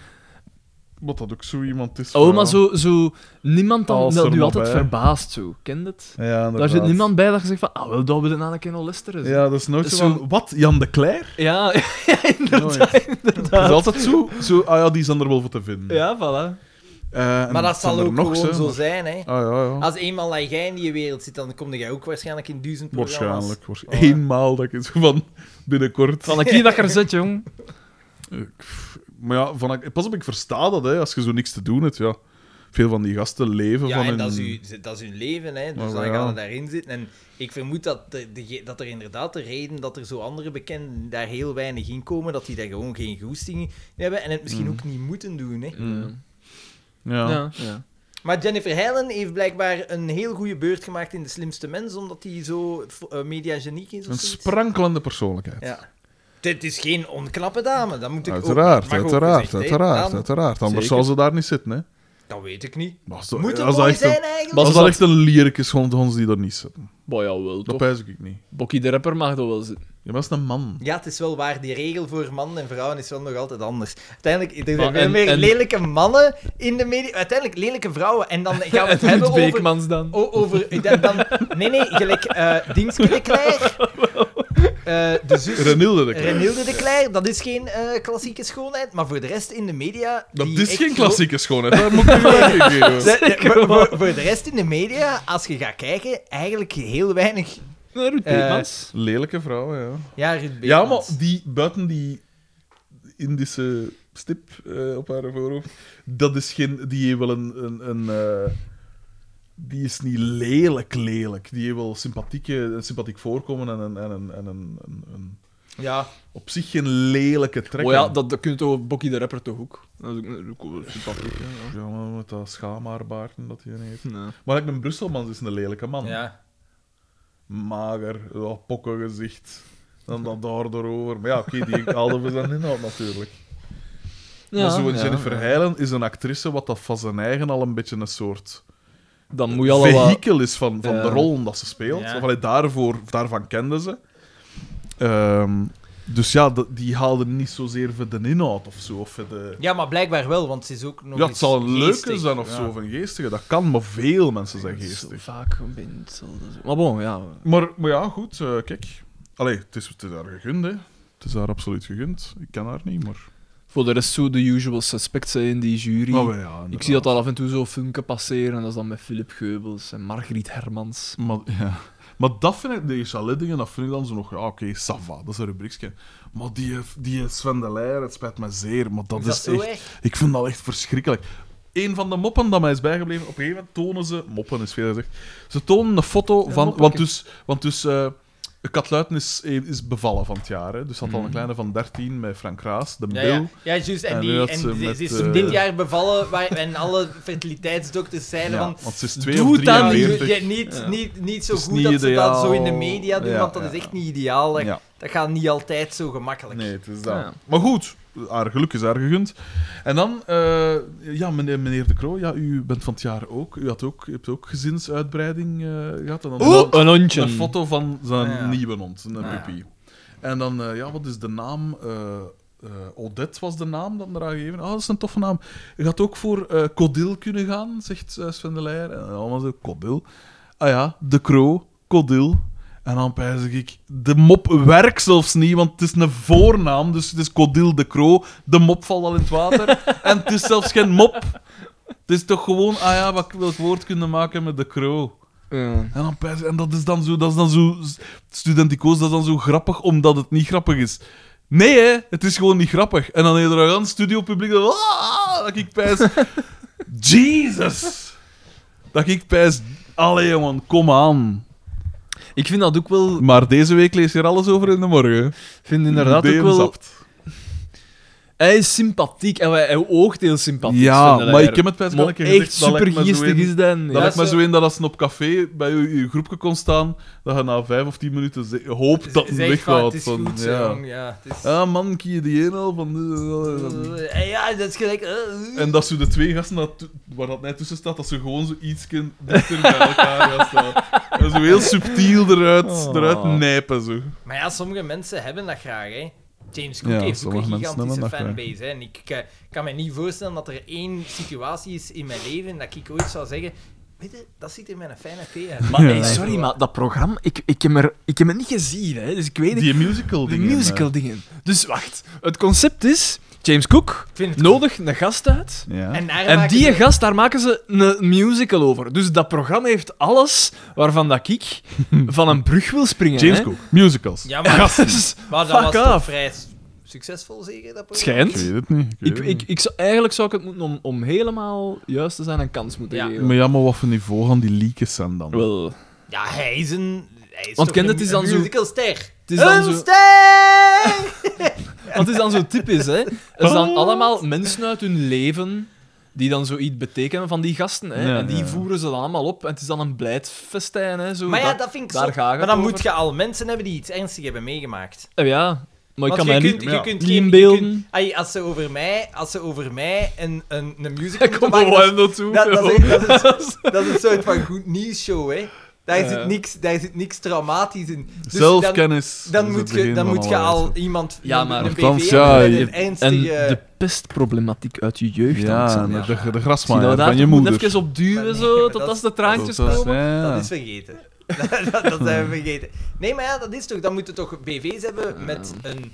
Wat dat ook zo iemand is. eh, Oh, van- maar zo, zo niemand dan, Ah, Als dat er nu nog altijd bij. verbaast zo. Ken het? Ja, Daar inderdaad. zit niemand bij dat je zegt van, ah, wel, dat we dan aan een keer al listeren. Ja, dat is nooit zo, Zo- van, Wat? Jan de Cler? ja, ja, inderdaad. Nooit. Dat is inderdaad. altijd zo, zo. Ah ja, die zijn er wel voor te vinden. Ja, voilà. Eh, en Maar dat zijn zal er ook nog, gewoon hè, zo maar- zijn, hè. Ah ja, ja. Als eenmaal dat jij in die wereld zit, dan kom jij ook waarschijnlijk in duizend programma's. Waarschijnlijk. waarsch- Ah. Eenmaal dat ik het zo van binnenkort. Van een keer dat je er zit, jong. Ik- Maar ja, van, ik- pas op, ik versta dat, hè, als je zo niks te doen hebt. Ja. Veel van die gasten leven Ja, van en hun... dat, is uw, dat is hun leven, hè. dus Maar dan Oh, ja. gaan we daarin zitten. En ik vermoed dat, de, de- dat er inderdaad de reden dat er zo andere bekenden daar heel weinig in komen, dat die daar gewoon geen goesting in hebben en het misschien Mm. ook niet moeten doen. Hè. Ja. Ja. ja. Maar Jennifer Helen heeft blijkbaar een heel goede beurt gemaakt in De Slimste Mens, omdat die zo f- eh, mediageniek is of Een zoiets. sprankelende persoonlijkheid. Ja. Dit is geen onknappe dame, dat moet ik ook... Uiteraard, mag ook uiteraard, gezegd, hè. uiteraard, Dan- uiteraard. Anders zou Zeker. ze daar niet zitten, hè. Dat weet ik niet. Maar Als dat, Moet het als dat mooi echt zijn, een, eigenlijk? als Als dat dat- echt een lierik is, gewoon ons die er niet zitten. Boy, ja, wel, Dat toch? pijs ik niet. Bokkie de rapper mag dat wel zitten. Ja, maar dat is een man. Ja, het is wel waar. Die regel voor mannen en vrouwen is wel nog altijd anders. Uiteindelijk, er Maar zijn en- meer en- lelijke mannen in de media. Uiteindelijk lelijke vrouwen. En dan gaan we het hebben Ruud over... Beekmans dan. o- over dan, dan, nee, nee, gelijk eh Dingske de Kler. Eh, de zus... Renilde de Klerk. Renilde de Kler. Dat is geen eh, klassieke schoonheid. Maar voor de rest in de media... Dat die is echt geen gro- klassieke schoonheid, dat moet ik je wel meegeven. Ze- voor, voor, voor de rest in de media, als je gaat kijken, eigenlijk heel weinig. Nee, Ruud Eh, Beekmans. Lelijke vrouw, ja. Ja, Ruud Ja, maar Beekmans. die, buiten die Indische stip eh, op haar voorhoofd, dat is geen... Die heeft wel een... een, een eh, die is niet lelijk lelijk. Die heeft wel sympathieke, een sympathiek voorkomen en, een, en, een, en een, een, een- Ja, op zich geen lelijke trek. Oh ja, dat, dat kunt toch Bokkie de rapper toch ook? Dat is ook- ook wel sympathiek, hè, ja. Ja, maar met dat schaamhaarbaarden dat hij heeft. Nee. Maar ik ben Brusselmans is een lelijke man. ja. Mager, ja, pokkengezicht. Dan dat daardoor over. Maar ja, oké, die haalden we dan inhoud natuurlijk. Ja, maar zo'n ja, Jennifer ja. Heilen is een actrice wat dat van zijn eigen al een beetje een soort Dan moet je al wat... vehikel is van, van Ja. de rol dat ze speelt. Ja. Of, allee, daarvoor, daarvan kende ze. Ehm, dus ja, dat- die haalde niet zozeer voor de inhoud of zo. Of voor de... Ja, maar blijkbaar wel, want ze is ook nog Ja, het eens zal een leuke geestig. zijn of Ja. zo, van geestige. Dat kan, maar veel mensen zijn Zo geestig. Vaak een beetje hetzelfde. Maar bon, ja. Maar, maar ja, goed, eh, kijk. Allee, het is, het is haar gegund, hè. Het is haar absoluut gegund. Ik ken haar niet, maar... Voor de rest zo de usual suspects hè, in die jury. Maar Oh, ja, ik inderdaad. zie dat daar af en toe zo funken passeren. En dat is dan met Philip Geubels en Margriet Hermans. Maar, ja. maar dat vind ik, die chalet-dingen, dat vind ik dan zo nog... Ja, oké, Sava, dat is een rubriekje. Maar die, die Sven de Leijer, het spijt me zeer, maar dat Is is, dat zo echt... erg? Ik vind dat echt verschrikkelijk. Een van de moppen dat mij is bijgebleven, op een gegeven moment tonen ze... Moppen is veel gezegd. Ze tonen een foto van... moppetje. want dus... Want dus eh, Kat Luiten is, eh, is bevallen van het jaar. Hè. Dus ze had al een Mhm. kleine van 13 met Frank Raas, de Ja, Bill. ja. ja juist. En, En die, nu had en ze ze, met, ze is eh, dit jaar bevallen waar, en alle fertiliteitsdokters zeiden Ja, van... want ze is doe 2 of het dan niet. 43. je- niet, Ja. niet, niet zo Het is goed niet dat ze dat ideaal. zo in de media doen, Ja, want dat ja, is echt ja. niet ideaal. Dat, Ja. dat gaat niet altijd zo gemakkelijk. Nee, het is dat. Ja. Maar goed, haar geluk is haar gegund. En dan, eh, ja, meneer, meneer De Croo, ja, u bent van het jaar ook. U had ook, u hebt ook gezinsuitbreiding eh, gehad. En dan Een- Een hondje. een foto van zijn Ah, ja. nieuwe hond, een Ah, ja. puppy. En dan, eh, ja, wat is de naam? Eh eh, Odette was de naam dat eraan gegeven. Ah, dat is een toffe naam. Je gaat ook voor eh Codil kunnen gaan, zegt eh, Sven de Leijer. En allemaal zo, Codil. Ah ja, de Kroo, Codil. En dan pijs ik, de mop werkt zelfs niet, want het is een voornaam, dus het is Codil de Kroo. De mop valt al in het water. en het is zelfs geen mop. Het is toch gewoon, ah ja, wat welk woord kunnen maken met de Kroo. Ja. En, dan pijs- en dat is dan zo, dat is dan zo studenticoos, dat is dan zo grappig omdat het niet grappig is. Nee, hè, het is gewoon niet grappig. En dan heb je er een studiopubliek dat, ah, dat ik pijs. Jesus! Dat ik pijs. Allee jongen, kom aan. Ik vind dat ook wel... Maar deze week lees je er alles over in de morgen. vind inderdaad ook wel... Zapt. Hij is sympathiek en wij, hij oogt heel sympathiek. ja, vinden maar wij ik heb het bij Maar het echt super geestig is dat. ja. Dat Ja, ik me zo- zo in dat als een op café bij je, je groepje kon staan, dat je na vijf of tien minuten ze- hoopt dat het Zeg weg van, gaat. Dus Het is van, goed, zo, ja. jong, ja. Het is... Ah, man, kie je die een al van... eh, eh, eh. Eh, ja, dat is gelijk. eh. En dat ze de twee gasten dat, to- waar dat net tussen staat, dat ze gewoon zo iets dichter bij elkaar gaan staan. En zo heel subtiel eruit, Oh. eruit nijpen. Zo. Maar ja, sommige mensen hebben dat graag, hè. James Cook Ja, heeft ook een sommige mensen gigantische hebben dat fanbase, hè. En ik eh, kan me niet voorstellen dat er één situatie is in mijn leven dat ik ooit zou zeggen... Weet je, dat ziet er mijn fijne P uit. Maar, Ja. hey, sorry, maar dat programma, ik, ik, heb, er, ik heb het niet gezien, hè, dus ik weet niet. Die musical De dingen. musical dingen. Dus wacht, het concept is: James Cook Ik vind het nodig een gast uit. eh. Ja. En, daar En maken die ze- gast, daar maken ze een musical over. Dus dat programma heeft alles waarvan dat ik van een brug wil springen. James hè. Cook, musicals. Ja, maar, Gast is- maar dat was dus Fuck toch off. vrij s- succesvol, zeker? Dat programma? Ik weet Schijnt. het niet. weet Ik, het ik, ik zou, eigenlijk zou ik het moeten om, om helemaal juist te zijn een kans moeten Ja. niet. geven. Maar ja, maar wat voor niveau gaan die leakers zijn dan? Wel, Ja, hij is een... Hij is Want toch kent een, het is een dan zo- musicalster. het is dan een zo, ster! want het is dan zo typisch, hè? Het zijn allemaal mensen uit hun leven die dan zoiets betekenen van die gasten, hè? Ja, en die ja. voeren ze dan allemaal op. En het is dan een blijdfestijn, hè? Zo, Maar ja, dat- dat vind ik daar zo... gaat het Maar dan over. moet je al mensen hebben die iets ernstigs hebben meegemaakt. Eh, ja, maar Want ik kan mij je niet... kunt, ja, je kunt niet geen- je inbeelden. kunt- ai, als ze over mij, als ze over mij een, een, een musical moeten Ik kom maken, dat er wel is- hem naartoe. dat, dat, joh. is, dat, is, dat is een soort van goed nieuws show, hè. Daar, Ja. zit niks, daar zit niks traumatisch in. Dus dan, Zelfkennis. dat dan is moet het je, begin dan van moet je alles, al hè. iemand Ja, een- maar- een BV Nochtans, hebben ja, met je- een En ernstige... de pestproblematiek uit je jeugd. Ja, Alexander. de, de, de Zie je grasmaaier dat daar van je toch moet moeder. dus even op duwen, Maar nee, zo, maar tot dat als is- de traantjes Dat is- komen. ja. Dat is vergeten. dat, dat zijn we vergeten. Nee, maar ja, dat is toch. Dan moeten we toch BV's hebben met een.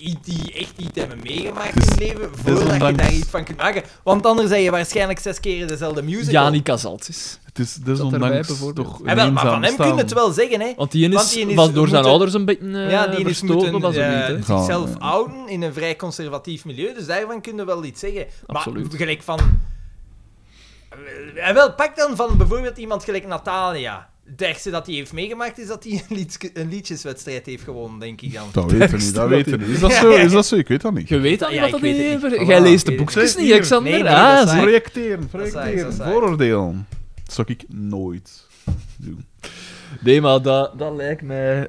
i- Die echt iets hebben meegemaakt in Dus- het leven, voordat je desondanks- daar iets van kunt maken. Want anders zijn je waarschijnlijk zes keer dezelfde musical. Janica Zaltis. Het is erbij, desondanks bijvoorbeeld. toch En wel, maar eenzaam van hem staan. kun je het wel zeggen, hè? Want die een Want is, die een is was door zijn moeten- ouders een beetje eh ja, die is verstoten, moeten was hem eh, niet. Hè? zichzelf Ja, ja. houden in een vrij conservatief milieu, dus daarvan kun je wel iets zeggen. Absoluut. Maar gelijk van... eh, En wel, pak dan van bijvoorbeeld iemand gelijk Natalia. Het ergste dat hij heeft meegemaakt is dat hij een, liedske- een liedjeswedstrijd heeft gewonnen, denk ik dan. Dat weten we niet, dat dat weten we hij- niet. Is dat zo? Is dat zo? Ik weet dat niet. Je weet dat Ja, niet ik wat dat weet het idee niet. ver- Voilà, Jij leest ik de weet boekjes het. niet, Hier. Alexander. Nee, nee, ah, dat is zie. waar. Projecteren, is waar, projecteren. dat is waar. Vooroordelen. Dat zou ik nooit doen. Nee, maar dat, dat lijkt mij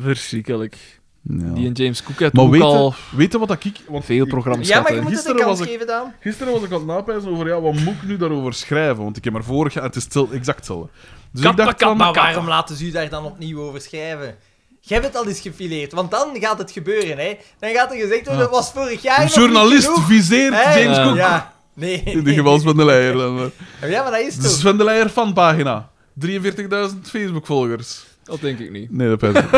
verschrikkelijk. Ja. Die en James Cook heeft Maar ook weet al je, weet je wat dat ik... Want veel ik- programma's Ja, gehad. maar je hè. moet het een Gisteren kans was ik- geven, Daan. Gisteren was ik aan het napijzen over, ja, wat moet ik nu daarover schrijven? Want ik heb er vorig jaar... Het is stil, exact hetzelfde. Dus ik Kappa, dacht van... kappa, Maar waarom laten ze u daar dan opnieuw over schrijven? Jij hebt het al eens gefileerd, want dan gaat het gebeuren, hè. Dan gaat er gezegd worden, Ja. dat was vorig jaar Een nog niet journalist genoeg, viseert hè? James Cook. Ja, nee. In de geval Sven de Leijer. dan. Ja, maar dat is De toch... Sven de Leijer fanpagina. 43.000 Facebook-volgers. Dat denk ik niet. Nee, dat weet ik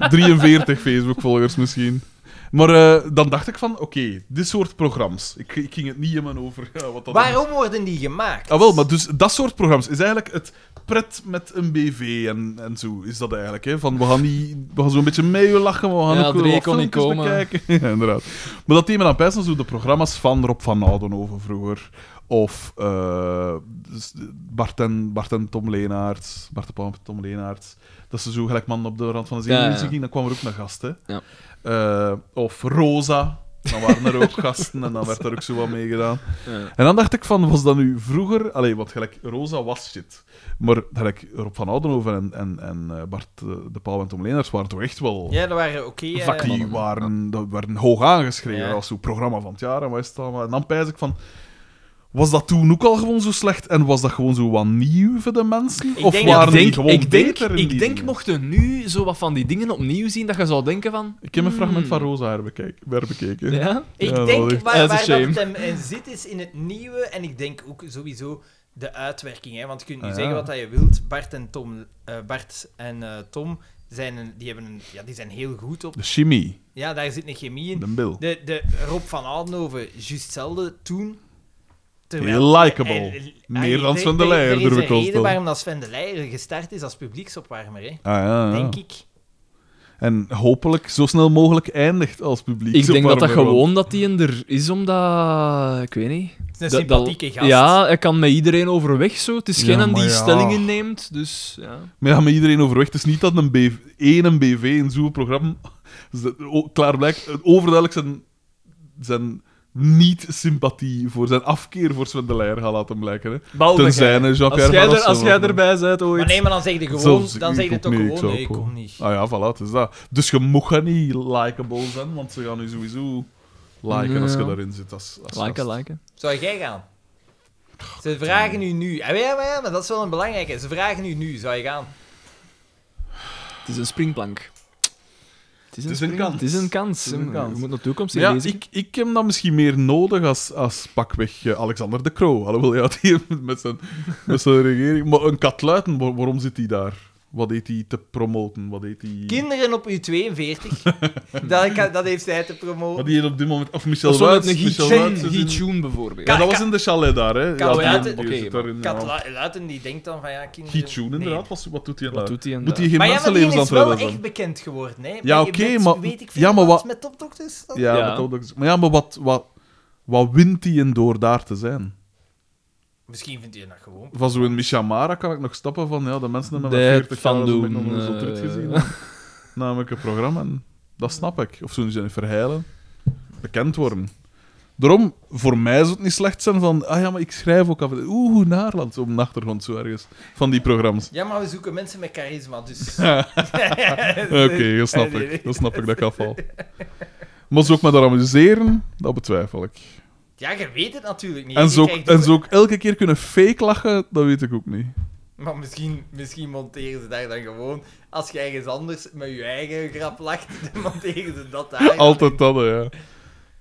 niet. 43 Facebook-volgers misschien. Maar eh, dan dacht ik van, oké, dit soort programma's. Ik, ik ging het niet helemaal over ja, eh, wat dat Waarom worden die gemaakt? Ah, wel, maar dus dat soort programma's is eigenlijk het pret met een BV en, en zo is dat eigenlijk. Hè? Van, we gaan, niet, we gaan zo'n beetje mee lachen, we gaan Ja, ook wel Dree wat kon niet filmpjes komen. bekijken. ja, inderdaad. Maar dat thema dan best zo de programma's van Rob van Oudenhoven vroeger. Of eh, dus Bart, en, Bart en Tom Leenaerts, Bart de Pauw en Tom Leenaerts. Dat ze zo gelijk man op de rand van de zee Ja, ja, ja. ging, dan kwam er ook een gast. Hè? Ja. Eh, of Rosa, dan waren er ook gasten en dan werd er ook zo wat mee gedaan. Ja. En dan dacht ik van, was dat nu vroeger... Allee, want gelijk, Rosa was shit. Maar gelijk, Rob van Oudenhoven en, en, en eh, Bart eh, de Pauw en Tom Leenaerts waren toch echt wel... Ja, dat waren oké. eh, Vak die waren, dat werden hoog aangeschreven Ja. als zo'n programma van het jaar en wat is het allemaal. En dan pijs ik van... Was dat toen ook al gewoon zo slecht en was dat gewoon zo wat nieuw voor de mensen? Ik of denk- waren ik denk, die gewoon ik denk, beter in ik die denk dingen? mocht je nu zo wat van die dingen opnieuw zien, dat je zou denken van... Ik heb een hmm, fragment van Rosa herbekeken- herbekeken. Ja? Ik Ja, wel denk echt. waar, Dat is waar dat een het hem in zit is in het nieuwe en ik denk ook sowieso de uitwerking. Hè? Want je kunt nu Ah, ja. zeggen wat dat je wilt. Bart en Tom, eh, Bart en, eh, Tom zijn, een- die hebben een, ja, die zijn heel goed op. De chimie, Ja, daar zit een chemie in. de bil. De, de Rob van Oudenhoven, juist zelden toen. Heel likable. en- en- Meer dan er- Sven de er- Leijer, Er durf ik is een wel te reden stellen. waarom dat Sven de Leijer gestart is als publieksopwarmer, hè? Ah, ja, ja. denk ik. En hopelijk zo snel mogelijk eindigt als publiek. Ik denk dat dat Warmer, want- gewoon dat die er is, omdat... Ik weet niet. Het is een Dat- dat- sympathieke gast. Ja, hij kan met iedereen overweg zo. Het is Ja, geen een maar die ja. stellingen neemt, dus ja. Maar ja, met iedereen overweg. Het is niet dat een BV, één een BV in zo'n programma... Dus dat- o- Klaar blijkt, overduidelijk zijn zijn niet-sympathie, voor zijn afkeer voor Sven de Leijer gaat laten blijken. Hè. Balde Tenzij jij. een Als Jean-Pierre jij, Van er, als Rossum jij of- erbij bent ooit. Maar nee, maar dan zeg je gewoon, Zelfs dan ik zeg je ook toch niet, ik gewoon, zou nee, ik ook kom wel. niet. Ah ja, voilà, het is dat. Dus je mocht gaan niet likable zijn, want ze gaan nu sowieso liken als je Ja. daarin zit. Als, als Liken, gast. liken. Zou jij gaan? Ze vragen u nu. Ah, ja, maar ja, maar dat is wel een belangrijke. Ze vragen u nu, zou je gaan? Het is een springplank. Het is Het is een kans. Het is een kans. Het is een kans. Je moet naar de toekomst Maar Ja, lezen. ik, ik heb dat misschien meer nodig als, als pakweg eh, Alexander de Croo. Alhoewel, ja, die heeft met zijn, met zijn regering... Maar een katluiten, waar- waarom zit hij daar? Wat deed hij te promoten? Wat deed hij... Kinderen op u 42. dat, kan- dat heeft zij te promoten. Wat die op dit moment... Of Michel Dat is wel met Wuits. een Michel Heat- Wuits is in- Heat Tune bijvoorbeeld. Ja, dat was in de chalet daar, hè. Kan- ja, ja, die, die oké, zit daar in, ja. Kat Lu- Luiten die denkt dan van ja, kinderen. Heat Tune, inderdaad. Nee. Wat, wat doet hij Wat daar? doet hij en Moet hij daar? geen Maar ja, maar die mensenlevens aan is het wel redden zijn? echt bekend geworden. Hè? Ja, Je oké, bent, maar- Weet ik ja, maar wat... wat- met topdokters. dan? Ja, Ja. met Todox. Maar ja, maar wat, wat, wat wint hij in door daar te zijn? Misschien vindt je dat gewoon. Van zo'n Michamara kan ik nog stappen van, ja, de mensen hebben Dat met 40 van jaar doen, nog eens op eh. trut gezien. Namelijk een programma, en dat snap ik. Of zo'n zijn verheilen, bekend worden. Daarom, voor mij zou het niet slecht zijn van, ah ja, maar ik schrijf ook af en toe, oeh, Naarland, op de achtergrond zo ergens, van die programma's. Ja, maar we zoeken mensen met charisma, dus. Oké, dat snap ik. Dat snap ik dat ik afval. Maar ze ook maar daar amuseren, dat betwijfel ik. Ja, je weet het natuurlijk niet. En Je ze, ook, krijgt dus en ook- ze ook elke keer kunnen fake lachen, dat weet ik ook niet. Maar misschien, misschien monteren ze daar dan gewoon. Als je ergens anders met je eigen grap lacht, dan monteren ze dat daar. Altijd dat, hè, ja.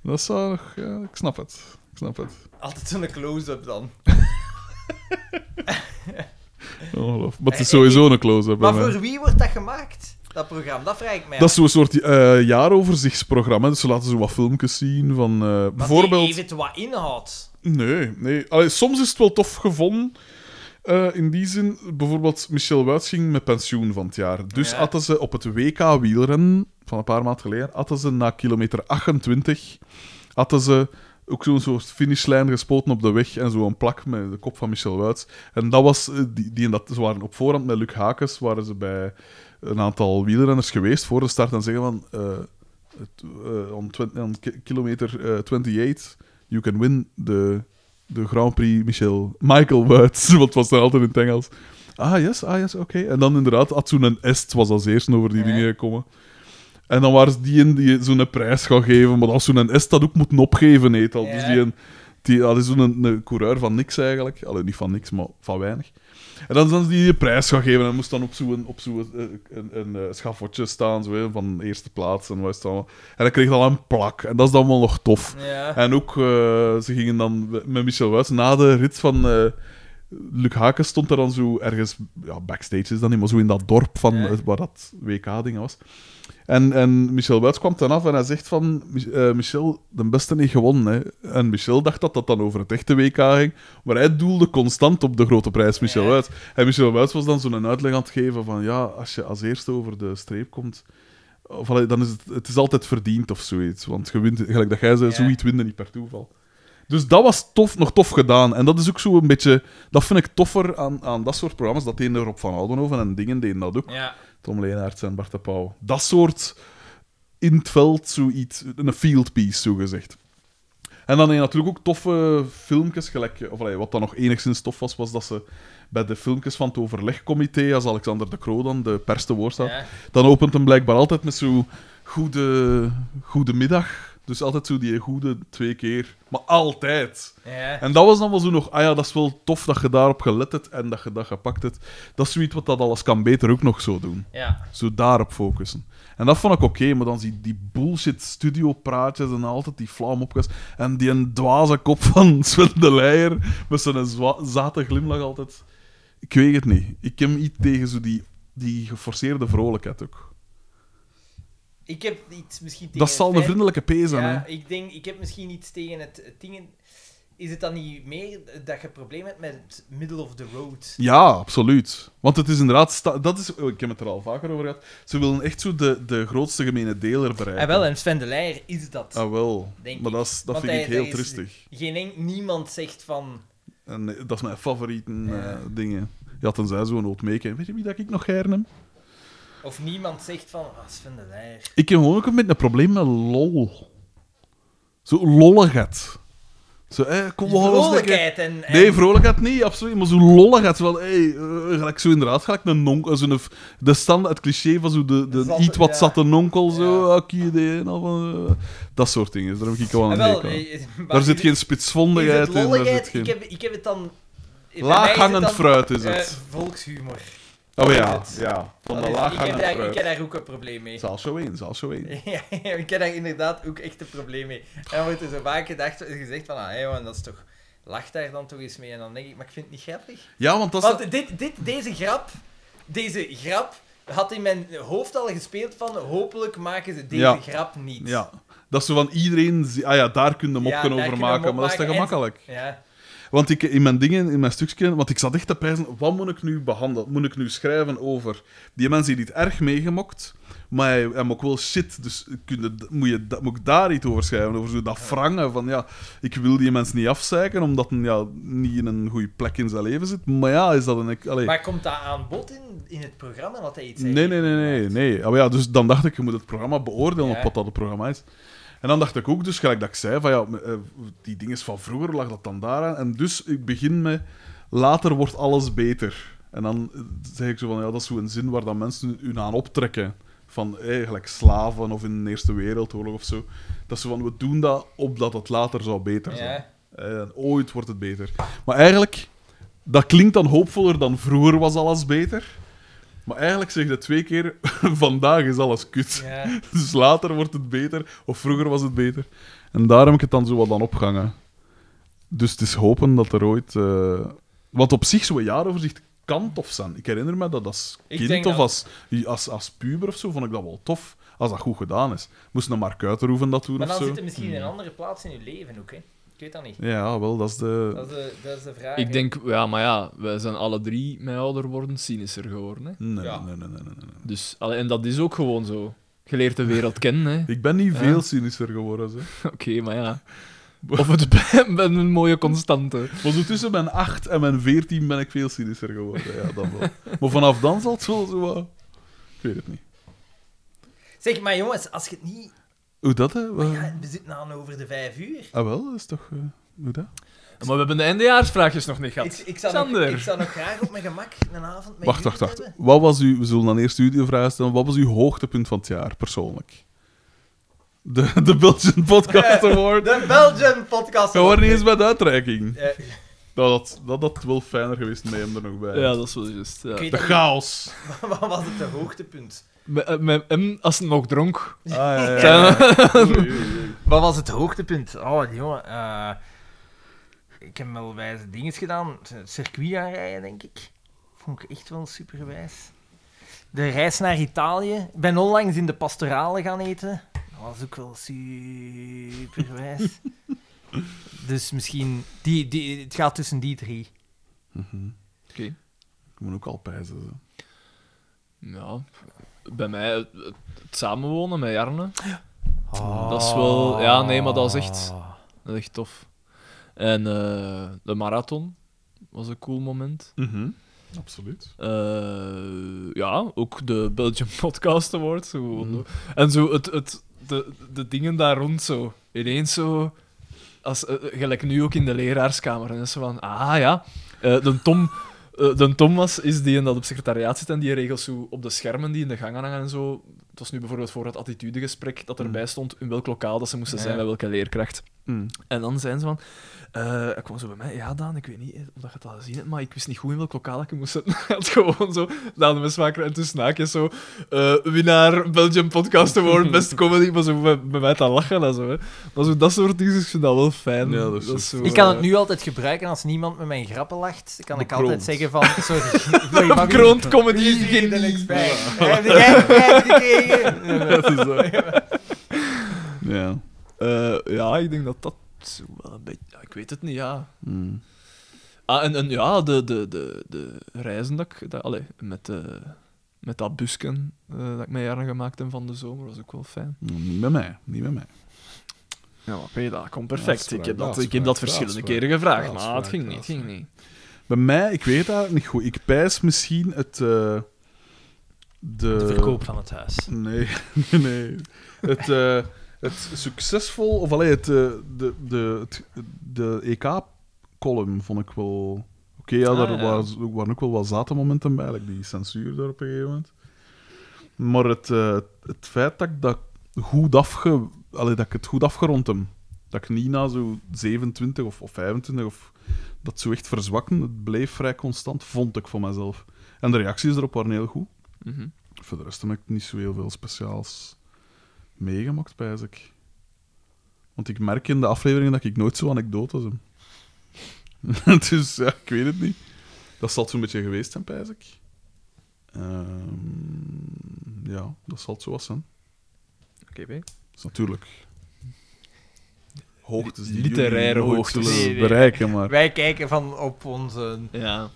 Dat zou nog... Ja, ik snap het. Ik snap het. Altijd zo'n close-up dan. Ongelooflijk. Maar het is sowieso een close-up bij Maar mij. voor wie wordt dat gemaakt? Dat programma, dat vraag ik mij. eh, Dat af. is zo'n soort eh, jaaroverzichtsprogramma. Dus ze laten zo wat filmpjes zien van... eh, Want bijvoorbeeld... Die heeft het wat inhoud. Nee, nee. Allee, soms is het wel tof gevonden. eh, in die zin, bijvoorbeeld Michel Wuits ging met pensioen van het jaar. Dus Ja. hadden ze op het WK wielrennen, van een paar maanden geleden, hadden ze na kilometer 28, hadden ze ook zo'n soort finishlijn gespoten op de weg en zo'n plak met de kop van Michel Wuits. En dat was, eh, die, die en dat, ze waren op voorhand met Luc Hakes, waren ze bij een aantal wielrenners geweest voor de start en zeggen van... eh, het, eh, on, twen- on ki- kilometer eh, 28, you can win de, de Grand Prix Michel Michael Woods, want het was daar altijd in het Engels. Ah, yes, ah, yes, oké. En dan inderdaad, had zo'n Est was als eerste over die Ja. dingen gekomen. En dan waren ze die in die zo'n prijs gaan geven, maar als zo'n Est dat ook moeten opgeven, heet al. Dus Ja. die, een- die, dat is zo'n een coureur van niks eigenlijk. Allee, niet van niks, maar van weinig. En dan zijn ze die een prijs gaan geven en moest dan op zo'n op zo een, een, een, eh, schafotje staan zo, hè, van eerste plaats en wat is het allemaal. En dan kreeg je al een plak. En dat is dan wel nog tof. Ja. En ook, eh, ze gingen dan met Michel Wuits na de rit van... eh, Luc Haken stond er dan zo ergens... Ja, backstage is dan niet, maar zo in dat dorp van, Ja. het- waar dat WK-ding was. En, en Michel Wuits kwam dan af en hij zegt van... "Mich- eh, Michel, de beste niet gewonnen, hè. En Michel dacht dat dat dan over het echte WK ging. Maar hij doelde constant op de grote prijs, Michel Ja. Wuits. En Michel Wuits was dan zo'n uitleg aan het geven van... Ja, als je als eerste over de streep komt... Of, allee, dan is het, het is altijd verdiend of zoiets. Want je wint, gelijk dat jij zei, Ja. zoiets winnen niet per toeval. Dus dat was tof, nog tof gedaan. En dat is ook zo een beetje... Dat vind ik toffer aan, aan dat soort programma's. Dat deden Rob van Oudenhoven en dingen deden dat ook. ja. Tom Leenaerts en Bart de Pauw. Dat soort in het veld zoiets... Een field piece, zogezegd. En dan heb je natuurlijk ook toffe filmpjes. Gelijk, of allee, wat dan nog enigszins tof was, was dat ze bij de filmpjes van het overlegcomité, als Alexander de Croo dan de pers te woord staat, ja. dan opent hem blijkbaar altijd met zo goede, goede middag. Dus altijd zo die goede twee keer. Maar altijd. ja. En dat was dan wel zo nog, ah ja, dat is wel tof dat je daarop gelet hebt en dat je dat gepakt hebt. Dat is zoiets wat dat alles kan beter ook nog zo doen. Ja. Zo daarop focussen. En dat vond ik oké, maar dan zie je die bullshit studiopraatjes en altijd die vlam opgas. En die een dwaze kop van Sven de Leijer met zijn zwa- zate glimlach altijd. Ik weet het niet. Ik heb iets tegen zo die, die geforceerde vrolijkheid ook. Ik heb iets misschien tegen Dat zal het een feit- vriendelijke P zijn, eh, Ja, hè? ik denk, ik heb misschien iets tegen het, het dingen. Is het dan niet meer dat je een probleem hebt met het middle of the road? Ja, absoluut. Want het is inderdaad... sta- Dat is, oh, ik heb het er al vaker over gehad. Ze willen echt zo de, de grootste gemene deler bereiken. En Ah, wel, en Sven de Leijer is dat. Ah, wel. Denk maar ik. dat, is, dat Want vind hij- ik heel hij is- tristig. Geen enk, niemand zegt van. En eh, dat is mijn favoriete Ja. eh, dingen. Ja, tenzij zo'n oud meeken. Weet je wie dat ik nog hernem? Of niemand zegt van. Ah, Sven de Leijer. Ik heb gewoon ook een beetje een probleem met lol. Zo lolligheid. Zo, hé, kom we gaan eens een keer- Vrolijkheid en... en- Nee, vrolijkheid niet, absoluut. Maar zo lolligheid. Wel, hé, eh, gelijk zo inderdaad, gelijk een nonkel. Zo'n, f- de stand, het cliché van zo de, de Zatte, iets wat ja. zatte nonkel, zo, Ja. ah, kie idee en al van, eh, dat soort dingen. Daar heb ik wel Ah, aan wel, hekel aan. eh, eh, maar Daar zit is- geen is het spitsvondigheid in. Daar lolligheid? zit geen... Ik, heb, ik heb het dan... bij mij is het Laaghangend dan, fruit is eh, het. volkshumor. oh ja, het- ja. Van Dat de is- ik, heb laaghangend daar, ik fruit. heb daar ook een probleem mee. Zal zo in, zal zo in. Ja, ik heb daar inderdaad ook echt een probleem mee. En dan wordt er zo vaak gedacht, gezegd van, ah, hé, man, dat is toch... Lach daar dan toch eens mee. En dan denk ik, maar ik vind het niet grappig. Ja, want dat is... Want dit, dit, deze grap, deze grap had in mijn hoofd al gespeeld van hopelijk maken ze deze Ja. grap niet. Ja. Dat ze van iedereen... zi- Ah ja, daar kun je Ja, mopken daar kun over je maken, mop maar dat is te maken en- gemakkelijk. Ja. Want ik, in mijn dingen, in mijn stukje, want ik zat echt te prijzen, wat moet ik nu behandelen? Moet ik nu schrijven over die mensen die het erg meegemokt, maar hij, hij mokt wel shit, dus kun je, moet, je, da- moet ik daar iets over schrijven? Over zo dat wrangen van, ja, ik wil die mensen niet afzeiken, omdat hij ja, niet in een goede plek in zijn leven zit. Maar ja, is dat een... Allee, Maar komt dat aan bod in, in het programma dat hij iets nee, nee, nee, nee, nee. Ah, maar ja, dus dan dacht ik, je moet het programma beoordelen Ja. op wat dat het programma is. En dan dacht ik ook, dus gelijk dat ik zei, van ja, eh, die dingen van vroeger lag dat dan daaraan. En dus ik begin met, later wordt alles beter. En dan eh, zeg ik zo van, ja, dat is zo'n zin waar dan mensen hun aan optrekken. Van eigenlijk slaven of in de Eerste Wereldoorlog of zo. Dat ze van, we doen dat opdat het later zou beter zijn. Ja. En Eh, ooit wordt het beter. Maar eigenlijk, dat klinkt dan hoopvoller dan vroeger was alles beter. Maar eigenlijk zeg je twee keer, vandaag is alles kut. Ja. Dus later wordt het beter, of vroeger was het beter. En daarom heb ik het dan zo wat aan opgehangen. Dus het is hopen dat er ooit... eh, Want op zich, zo'n jaaroverzicht kan tof zijn. Ik herinner me dat als Ik kind denk of dat- als, als, als puber of zo, vond ik dat wel tof. Als dat goed gedaan is. Moest een Mark Uiterhoeven dat doen Maar of dan zo. zit er misschien een andere plaats in je leven ook, hè. Ik weet dat niet. Ja, wel, dat is de... Dat is de, dat is de vraag. hè. Ik denk, ja, maar ja, wij zijn alle drie met ouder worden cynischer geworden. Hè. Nee, Ja. nee, nee, nee, nee, nee. Dus, allee, en dat is ook gewoon zo. Je leert de wereld kennen, hè. Ik ben niet Ja. veel cynischer geworden. Zo. Oké, maar ja. Of het bij- bij een mooie constante. Maar zo tussen mijn 8 en mijn 14 ben ik veel cynischer geworden. Ja, dan wel. Maar vanaf dan zal het wel zo. wat- Ik weet het niet. Zeg, maar jongens, als je het niet... Hoe dat, hè? Wat- Ja, we zitten aan over de vijf uur. Ah, wel, dat is toch. eh, hoe dat? Maar we hebben de eindejaarsvraagjes nog niet Ik, gehad. ik, zou nog, Sander. ik zou nog graag op mijn gemak een avond met Wacht, jullie wacht, wacht. hebben. Wat was uw, we zullen dan eerst u de vraag stellen. Wat was uw hoogtepunt van het jaar, persoonlijk? De, de Belgian Podcast Award. De Belgian podcast. We waren niet eens bij de uitreiking. Nou, Eh, Dat had dat, dat wel fijner geweest met hem er nog bij. Ja, dat is wel juist. Ja. Ik weet De dat chaos. niet. Wat was het de hoogtepunt? Met- eh, met hem, als hij nog dronk. Ah, ja, ja, Zijn we- Oei, oei, oei. Wat was het hoogtepunt? Oh, jongen. eh, ik heb wel wijze dingen gedaan. Het Circuit aanrijden, denk ik. Vond ik echt wel superwijs. De reis naar Italië. Ik ben onlangs in de pastorale gaan eten. Dat was ook wel superwijs. dus misschien... Die, die, het gaat tussen die drie. Mhm. Ik moet ook al pijzen. zo. Ja, bij mij het, het samenwonen met Jarne. Dat is wel- ja, nee, maar dat is echt- Dat is echt tof. En eh, de marathon was een cool moment. Mhm. Absoluut. Eh, ja, ook de Belgium Podcast Award. Zo. Mm. En zo het, het, de, de dingen daar rond zo. Ineens zo... Als, eh, gelijk nu ook in de leraarskamer. En dan is zo van... Ah ja, eh, de Tom... eh, de Thomas is die en dat op secretariaat zit en die regelt zo op de schermen die in de gangen hangen en zo. Het was nu bijvoorbeeld voor het attitudegesprek dat erbij stond in welk lokaal dat ze moesten Mm. Ja. zijn bij welke leerkracht. Mm. En dan zijn ze van... eh hij kwam zo bij mij. Ja, Daan, ik weet niet eh, of dat je het al gezien hebt, maar ik wist niet goed in welk lokaal ik moest zetten. Hij had gewoon zo... Daan de Mesmaker en tussen haakjes zo... eh, winnaar Belgium Podcast Award, best comedy. Maar zo bij, bij mij te lachen en zo. Hè. Maar zo dat soort dingen, ik vind dat wel fijn. Ja, dat is zo. zo, Ik kan het eh, nu altijd gebruiken als niemand met mijn grappen lacht. Dan kan ik Bekroond. altijd zeggen van... Sorry, sorry mag ik- Kroont comedy Wie zit er genie. niks bij? Heb ik echt prijs gekregen? Dat is zo. Ja. Eh, ja, ik denk dat dat zo wel een beetje... ja, ik weet het niet, ja. Mm. Ah, en, en ja, de, de, de, de reizen dat ik... Dat, allee, met, eh, met dat busken eh, dat ik met jaren gemaakt heb van de zomer, was ook wel fijn. Niet bij mij. Niet bij mij. Ja, maar dat perfect. komt perfect. Uitspraak, ik heb dat, ik heb uitspraak, dat verschillende uitspraak, keren gevraagd, maar uitspraak, het ging niet. het ging niet. Bij mij, ik weet eigenlijk niet goed. Ik pijs misschien het... eh, de... Eh, De verkoop van het huis. Nee, nee, nee. Het, eh, het succesvol, of allee, het, eh, de, de, het- de EK-column vond ik wel. Oké, ja, Ah, daar ja. was- waren ook wel wat zate momenten bij, like die censuur daar op een gegeven moment. Maar het, eh, het feit dat ik dat goed afge... Allee, dat ik het goed afgerond heb. Dat ik niet na zo 27 of, of 25 of dat zo echt verzwakken, het bleef vrij constant, vond ik van mezelf. En de reacties erop waren heel goed. Mhm. Voor de rest heb ik niet zo heel veel speciaals meegemaakt, pijs ik. Want ik merk in de afleveringen dat ik nooit zo anekdotes heb. dus ja, ik weet het niet. Dat zal het zo'n beetje geweest zijn, pijs ik. Ehm, ja, dat zal het zo wat zijn. Oké, B. Dat is natuurlijk hoogtes die Literaire jullie nooit hoogtes. zullen Nee, nee. bereiken, maar... Wij kijken van op onze... Ja.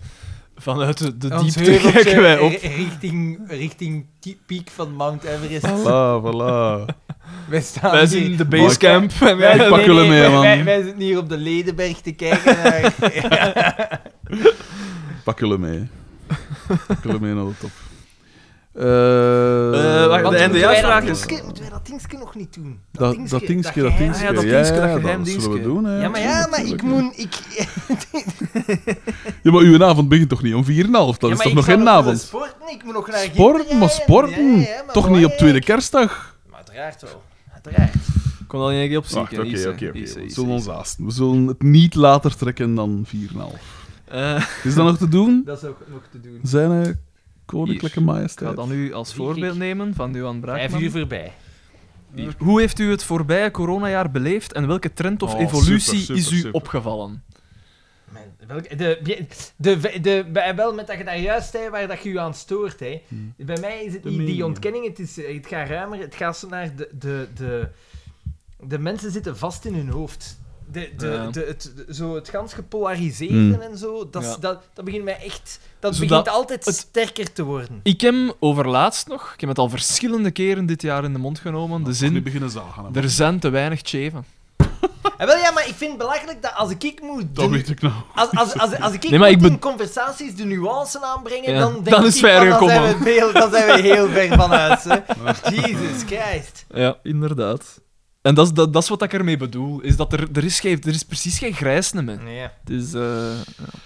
Vanuit de, de ons diepte heuveltje kijken wij op. ri- Richting, richting die piek van Mount Everest. Voilà, voilà. Wij staan Wij hier- zijn in de Maar- basecamp. en Wij, Pak wij- nee, nee, jullie mee, wij- man. Wij, wij zitten hier op de Ledenberg te kijken. naar- Pak jullie mee. Pak jullie mee naar de top. Eh, Eh, wacht, Want de moeten wij eindejaarsvraag dat is- dingetje- Moeten wij dat dingetje nog niet doen? Dat, dat dingetje, dat geheim- dingetje. Ah ja, dat dingetje, dat ja, geheim dat zullen we dingetje. doen, hè. Ja, maar, ja, maar ik Tuurlijk. moet... Ik, Ja, maar uw avond begint toch niet om 4,5? Dat Ja, is maar toch ik nog ga geen nog willen avond? Sporten, ik moet nog naar Sporten, maar sporten. toch niet op tweede kerstdag? kerst. Maar uiteraard wel. Uiteraard. Ik kon al niet keer opzien. Wacht, oké, oké, oké. We zullen ons haasten. We zullen het niet later trekken dan 4,5. Eh, Is dat nog te doen? Dat is ook nog te doen. Zijn eh, koninklijke Ik ga majesteit. dat nu als Wie voorbeeld ik? nemen van Duan Vijf uur Braakman. voorbij. Hoe heeft u het voorbije coronajaar beleefd en welke trend of Oh, evolutie super, super, is u super. opgevallen? Man, welke- de, de, de, de, bij- wel met dat je daar juist zei waar dat je je aan stoort. Hè. Hmm. Bij mij is het De niet die media. ontkenning, het, is, eh, het gaat ruimer. Het gaat zo naar de, de, de, de mensen zitten vast in hun hoofd. De, de, Ja. de, het, de- zo het gans gepolariseren Hmm. en zo, dat, is- Ja. dat, dat begint mij echt... Dat Zodat begint altijd het- sterker te worden. Ik heb overlaatst nog, ik heb het al verschillende keren dit jaar in de mond genomen, de Nu zin, beginnen zagen. hè, man. er zijn te weinig cheven. En wel ja, maar ik vind het belachelijk dat als ik, ik moet Dat doen- weet ik nou. Als, als, als, als ik, Nee, maar moet ik ben- in conversaties de nuance aanbrengen, Ja, dan denk dan ik is ver van, dan zijn, gekomen. we veel, dan zijn we heel ver van huis. Hè. Jesus Christ. Ja, inderdaad. En dat is, dat, dat is wat ik ermee bedoel, is dat er, er, is, geen, er is precies geen grijsne meer. Nee. Het is, eh,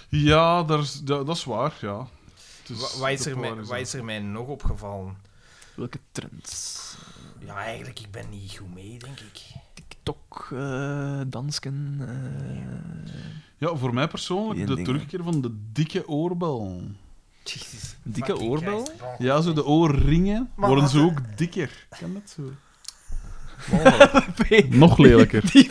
Ja, daar is- ja, dat is waar, ja. Het is Wa- Wat is, de er mij, wat polarisatie. is er mij nog opgevallen? welke trends? Ja, eigenlijk, ik ben niet goed mee, denk ik. TikTok, eh, dansken... eh, Ja, voor mij Die persoonlijk de dingen. terugkeer van de dikke oorbel. Jesus. Dikke fucking oorbel? Christ. Ja, zo de oorringen Maar worden wat- ze ook dikker. Kan dat zo? Nog lelijker. Die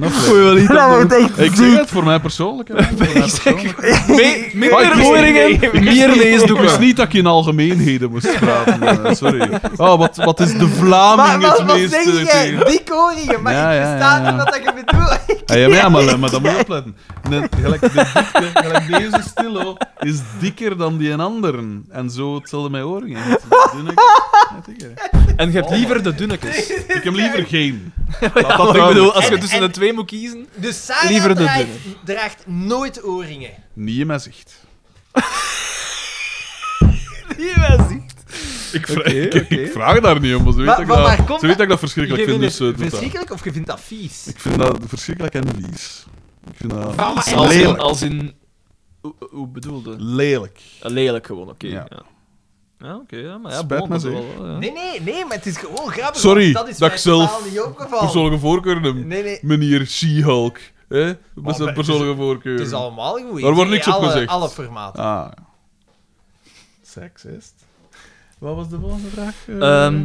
Nog Moet je wel iets Nou, aan doen. Ik zeg het voor mij persoonlijk. hè. Voor mij persoonlijk. Me- Maar Minder ik- oringen, meer Ik wist neusdoeken. niet dat ik in algemeenheden moest praten. eh, sorry. Ah, wat, wat is de Maar Vlaming wat, het wat meest eh, zeg jij? tegen? Dik oorringen, maar Ja, ik ja, versta ja, ja. niet wat dat je bedoelt. Ah, ja, maar, ja, maar, maar dat moet je opletten. De, gelijk, de dikte, gelijk deze stillo is dikker dan die een anderen. En zo hetzelfde met oorringen. Het is dunner, maar dikker. En je hebt liever de dunnetjes. Ik heb liever geen. Ja, dat maar ik duidelijk. bedoel, als je En- tussen en- de twee moet kiezen... Dus Sarah Liever de draait- draagt nooit oorringen. Niet in mijn zicht. Die was niet. Ik, Oké, ik, oké. ik vraag daar niet om, maar ze weet, Maar- dat ik maar dat- waar komt ze weet dat ik dat Je verschrikkelijk vind. vindt Dus, eh, het doet dat. verschrikkelijk of je vindt dat vies? Ik vind dat verschrikkelijk en vies. Ik vind dat Als in... lelijk. Als in hoe, hoe bedoelde? Ah, Lelijk. Lelijk gewoon, oké. Ja. Ja, Ja, oké, ja, maar ja, Spijt bon, me dat is zeer. wel, eh, ja. Nee, nee, nee, maar het is gewoon grappig. Sorry, want dat is dat mij ik zelf totaal niet opgevallen. Persoonlijke voorkeur, hem. Nee, nee, meneer She-Hulk. hè? maar Met het zijn is- persoonlijke voorkeur. het is allemaal goed. Daar wordt Nee, niks op alle, gezegd. Alle formaten. Ah. Seksist. Wat was de volgende vraag? Eh, Ehm,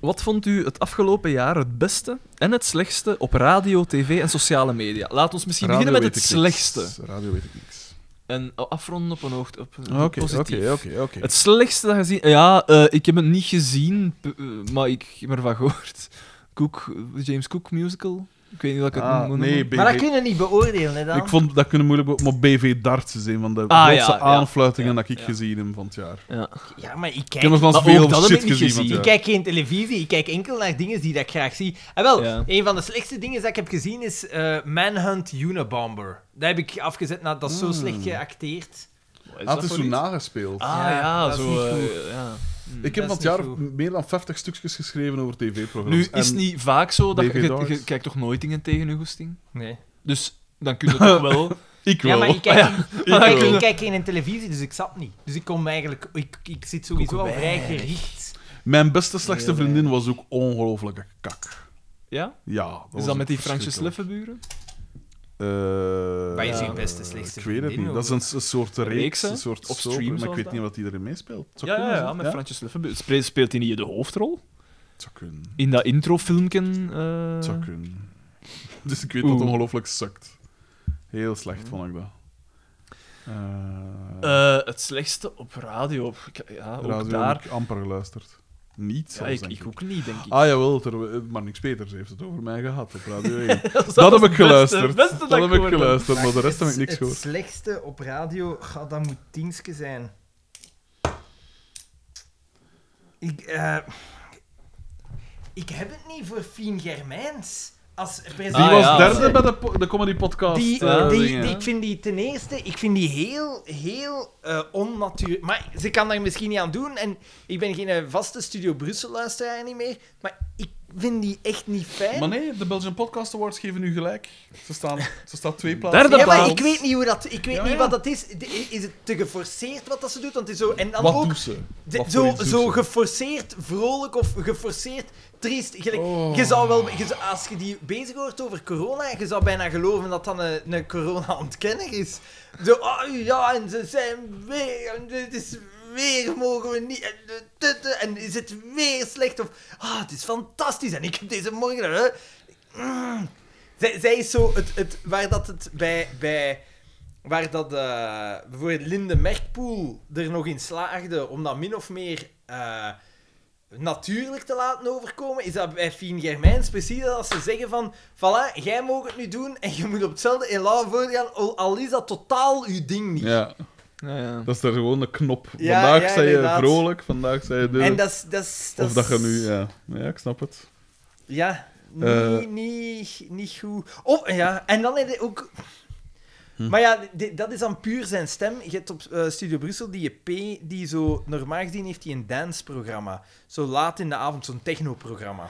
wat vond u het afgelopen jaar het beste en het slechtste op radio, tv en sociale media? Laat ons misschien beginnen met het slechtste. Radio weet ik niks. En afronden op een, hoogte, op een Oké, positief. oké, oké, oké. Het slechtste dat je ziet... Ja, eh, ik heb het niet gezien, p- eh, maar ik heb ervan gehoord. Cook, eh, James Cook musical. Ik weet niet wat ik het Ah, moet nee, noemen. BV. Maar dat kun je niet beoordelen, hè, dan? ik vond dat kunnen moeilijk be- maar BV Darts is een van de Ah, ja, grootste ja. aanfluitingen Ja, dat ik ja. gezien heb van het jaar. Ja, maar ik Ik kijk, heb nog van maar ook veel dat heb shit ik niet gezien van gezien. het ja. ik kijk geen televisie, ik kijk enkel naar dingen die dat ik graag zie. En wel, Ja. een van de slechtste dingen dat ik heb gezien is eh, Manhunt Unabomber. Dat heb ik afgezet, nou, dat is zo Mm. slecht geacteerd. jaar. Ah, het is zo nagespeeld. Ah, ja, Ja, dat is zo... niet eh, goed. ja. Ik Dat heb is van het niet jaar goed. meer dan 50 stukjes geschreven over tv-programma's. Nu is En het niet vaak zo dat je, David je, Doris. je kijkt toch nooit dingen tegen je goesting? Nee. Dus dan kun je toch wel. Ah, Ik Ja, wel. maar ik kijk, ik, ja, kijk, ik wil. ik kijk geen televisie, dus ik zat niet. Dus ik kom eigenlijk... Ik, ik zit sowieso al vrij gericht. Mijn beste slechtste Heel vriendin was ook ongelooflijke kak. Ja? Ja, dat Is was dat ook met die Fransjes verschrikkelijk. Leffenburen? Eh, Wat is je beste slechtste Ik weet het vriendin, niet. Dat is een, een soort reeks, Reeks, hè? een soort Of soap, streams maar ik was weet dat? niet wat die erin meespeelt. Het zou Ja, ja, kunnen, ja, zo. met Fransjes Leffenburen. Spe- Speelt hij niet de hoofdrol? Het zou kunnen. In dat introfilmpje. eh, Het zou kunnen. Dus ik weet dat Oeh. het ongelooflijk sukt. Heel slecht vond ik dat. Eh, eh, het slechtste op radio. op- ik- Ja, ook radio heb daar. ik amper geluisterd. Niet Ja, zelfs, ik, denk ik ook niet, denk ik. Ah jawel, ter, maar niks beters heeft het over mij gehad op Radio 1. dat dat heb ik was het beste- geluisterd. het beste dat Dat ik heb ik gehoord heb. geluisterd, maar de rest heb ik niks Het gehoord. slechtste op radio, ga, dat moet Tienske zijn. Ik, eh, ik heb het niet voor Fien Germijns als Die president. Ah, was ja, derde zeg. bij de, po- de comedy podcast. Die, eh, die, dingen. die- ik vind die ten eerste, ik vind die heel, heel eh onnatuurlijk. Maar ze kan daar misschien niet aan doen. En ik ben geen eh, vaste Studio Brussel luisteraar niet meer. Maar ik vind die echt niet fijn. Maar nee, de Belgian Podcast Awards geven u gelijk. Ze staan, ze staan twee plaatsen. Derde ja, maar plaats. ik weet niet hoe dat, ik weet Ja, niet ja. wat dat is. De- Is het te geforceerd wat dat ze doet? Want het is zo en dan Wat ook doet ze? de- Wat voor zo, iets doet zo ze? geforceerd vrolijk of geforceerd triest. Gelijk, Oh. Je zou wel, je zou- als je die bezig hoort over corona, je zou bijna geloven dat dat een, een corona-ontkenner is. Zo, ah, ja, en ze zijn weer, en dit is weer mogen we niet, en, de- de- de- en is het weer slecht, of ah, het is fantastisch, en ik heb deze morgen, hè. Mm. Zij, zij is zo, het, het, waar dat het bij, bij waar dat eh, bijvoorbeeld Linde Merkpoel er nog in slaagde om dat min of meer eh, natuurlijk te laten overkomen, is dat bij Fien Germijns precies dat als ze zeggen van voilà, jij mag het nu doen en je moet op hetzelfde elan voortgaan, al- al is dat totaal uw ding niet. Ja, Ja, ja. dat is daar gewoon een knop. Ja, vandaag ja, zei je inderdaad. vrolijk, vandaag zei je de... En dat is... dat is- Of dat is- je nu... Ja, ja ik snap het. Ja, niet, Eh. niet, niet goed. Oh, ja, en dan heb je ook... Maar ja, di- dat is dan puur zijn stem. Je hebt op eh, Studio Brussel die P, die zo... Normaal gezien heeft hij een dansprogramma. Zo laat in de avond, zo'n technoprogramma.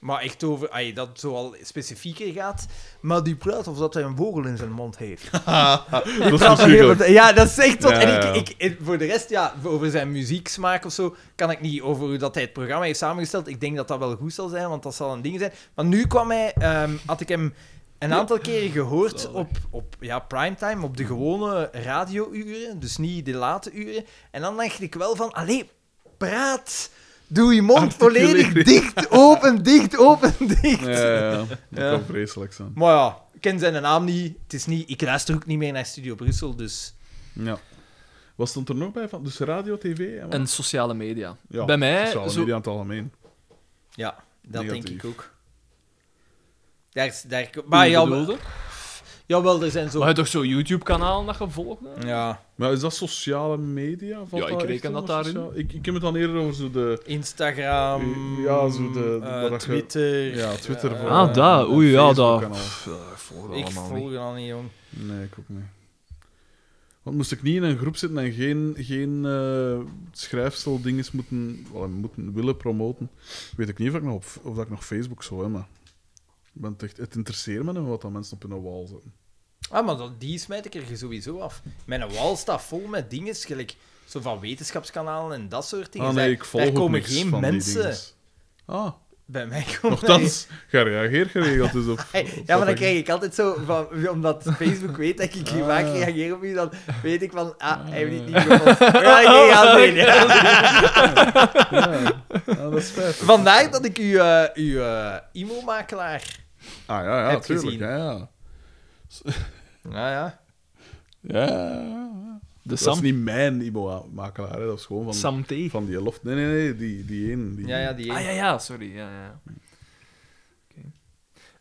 Maar echt over... Ay, dat zo al specifieker gaat. Maar die praat of dat hij een vogel in zijn mond heeft. dat is dus Praat de hele verschrikkelijk. tijd- Ja, dat is echt tot... Ja, ja, En ja. ik, ik, en voor de rest, ja, over zijn muzieksmaak of zo, kan ik niet over hoe dat hij het programma heeft samengesteld. Ik denk dat dat wel goed zal zijn, want dat zal een ding zijn. Maar nu kwam hij... ehm, had ik hem een aantal keren gehoord op, op ja, primetime, op de gewone radiouren, dus niet de late uren. En dan dacht ik wel van, allee, praat... Doe je mond volledig Articuleer. dicht, open, dicht, open, dicht. Ja, ja, ja. Dat Ja. kan vreselijk zijn. Maar ja, ik ken zijn naam niet. Het is niet. Ik luister ook niet meer naar Studio Brussel, dus. Ja. Wat stond er nog bij? Van? Dus radio, tv... En wat? En sociale media. ja, Bij mij, sociale zo, media in het algemeen. Ja, dat denk Negatief. ik ook. Daar, is- daar, maar ja, bedoelde? jawel, er zijn zo... Maar je hebt toch zo'n YouTube-kanaal dat je volgde? Ja, Maar is dat sociale media? Valt Ja, ik dat echt reken dat onder daarin. sociaal- Ik, ik heb het dan eerder over zo de... Instagram, Ja, zo de- de- eh, waar dat je- Twitter... Ja, Twitter. eh, voor, Ah, eh, daar. en Oei, ja, Facebook daar. en al. Ik volg er al niet, jong. Nee, ik ook niet. Want moest ik niet in een groep zitten en geen, geen eh schrijfsel dinges moeten, wel, moeten willen promoten, weet ik niet of ik nog, op, of dat ik nog Facebook zou hebben. Ik ben het echt, het interesseert me nog wat dat mensen op hun wal zetten. Ah, maar dat, die smijt ik er sowieso af. Mijn wal staat vol met dingen, gelijk zo van wetenschapskanalen en dat soort dingen. Ah nee, Daar- ik volg daar ook komen niks geen van die mensen dinges. Ah, bij mij komen. nogthans, ga reageer geregeld dus op. Hey, op ja, maar wat dan ik- krijg ik altijd zo van, omdat Facebook weet dat ik hier Ah. vaak reageer op je, dan weet ik van, ah, hij heeft het niet gepost. Ja, ik ga het doen. Ja, ja, dat is spijtig. Vandaar dat ik uw, eh uw eh IMO-makelaar. Ah ja, ja, Heb tuurlijk. gezien. Ja, ja. Ja, ja. Ja, ja, ja. De Dat is Sam, niet mijn IBO-makelaar, hè. dat is gewoon van... Sam T. Van die loft. Nee, nee, nee, die, die één. Die... Ja, ja, die Ah één. ja, ja, sorry. Ja, ja. ja. Oké.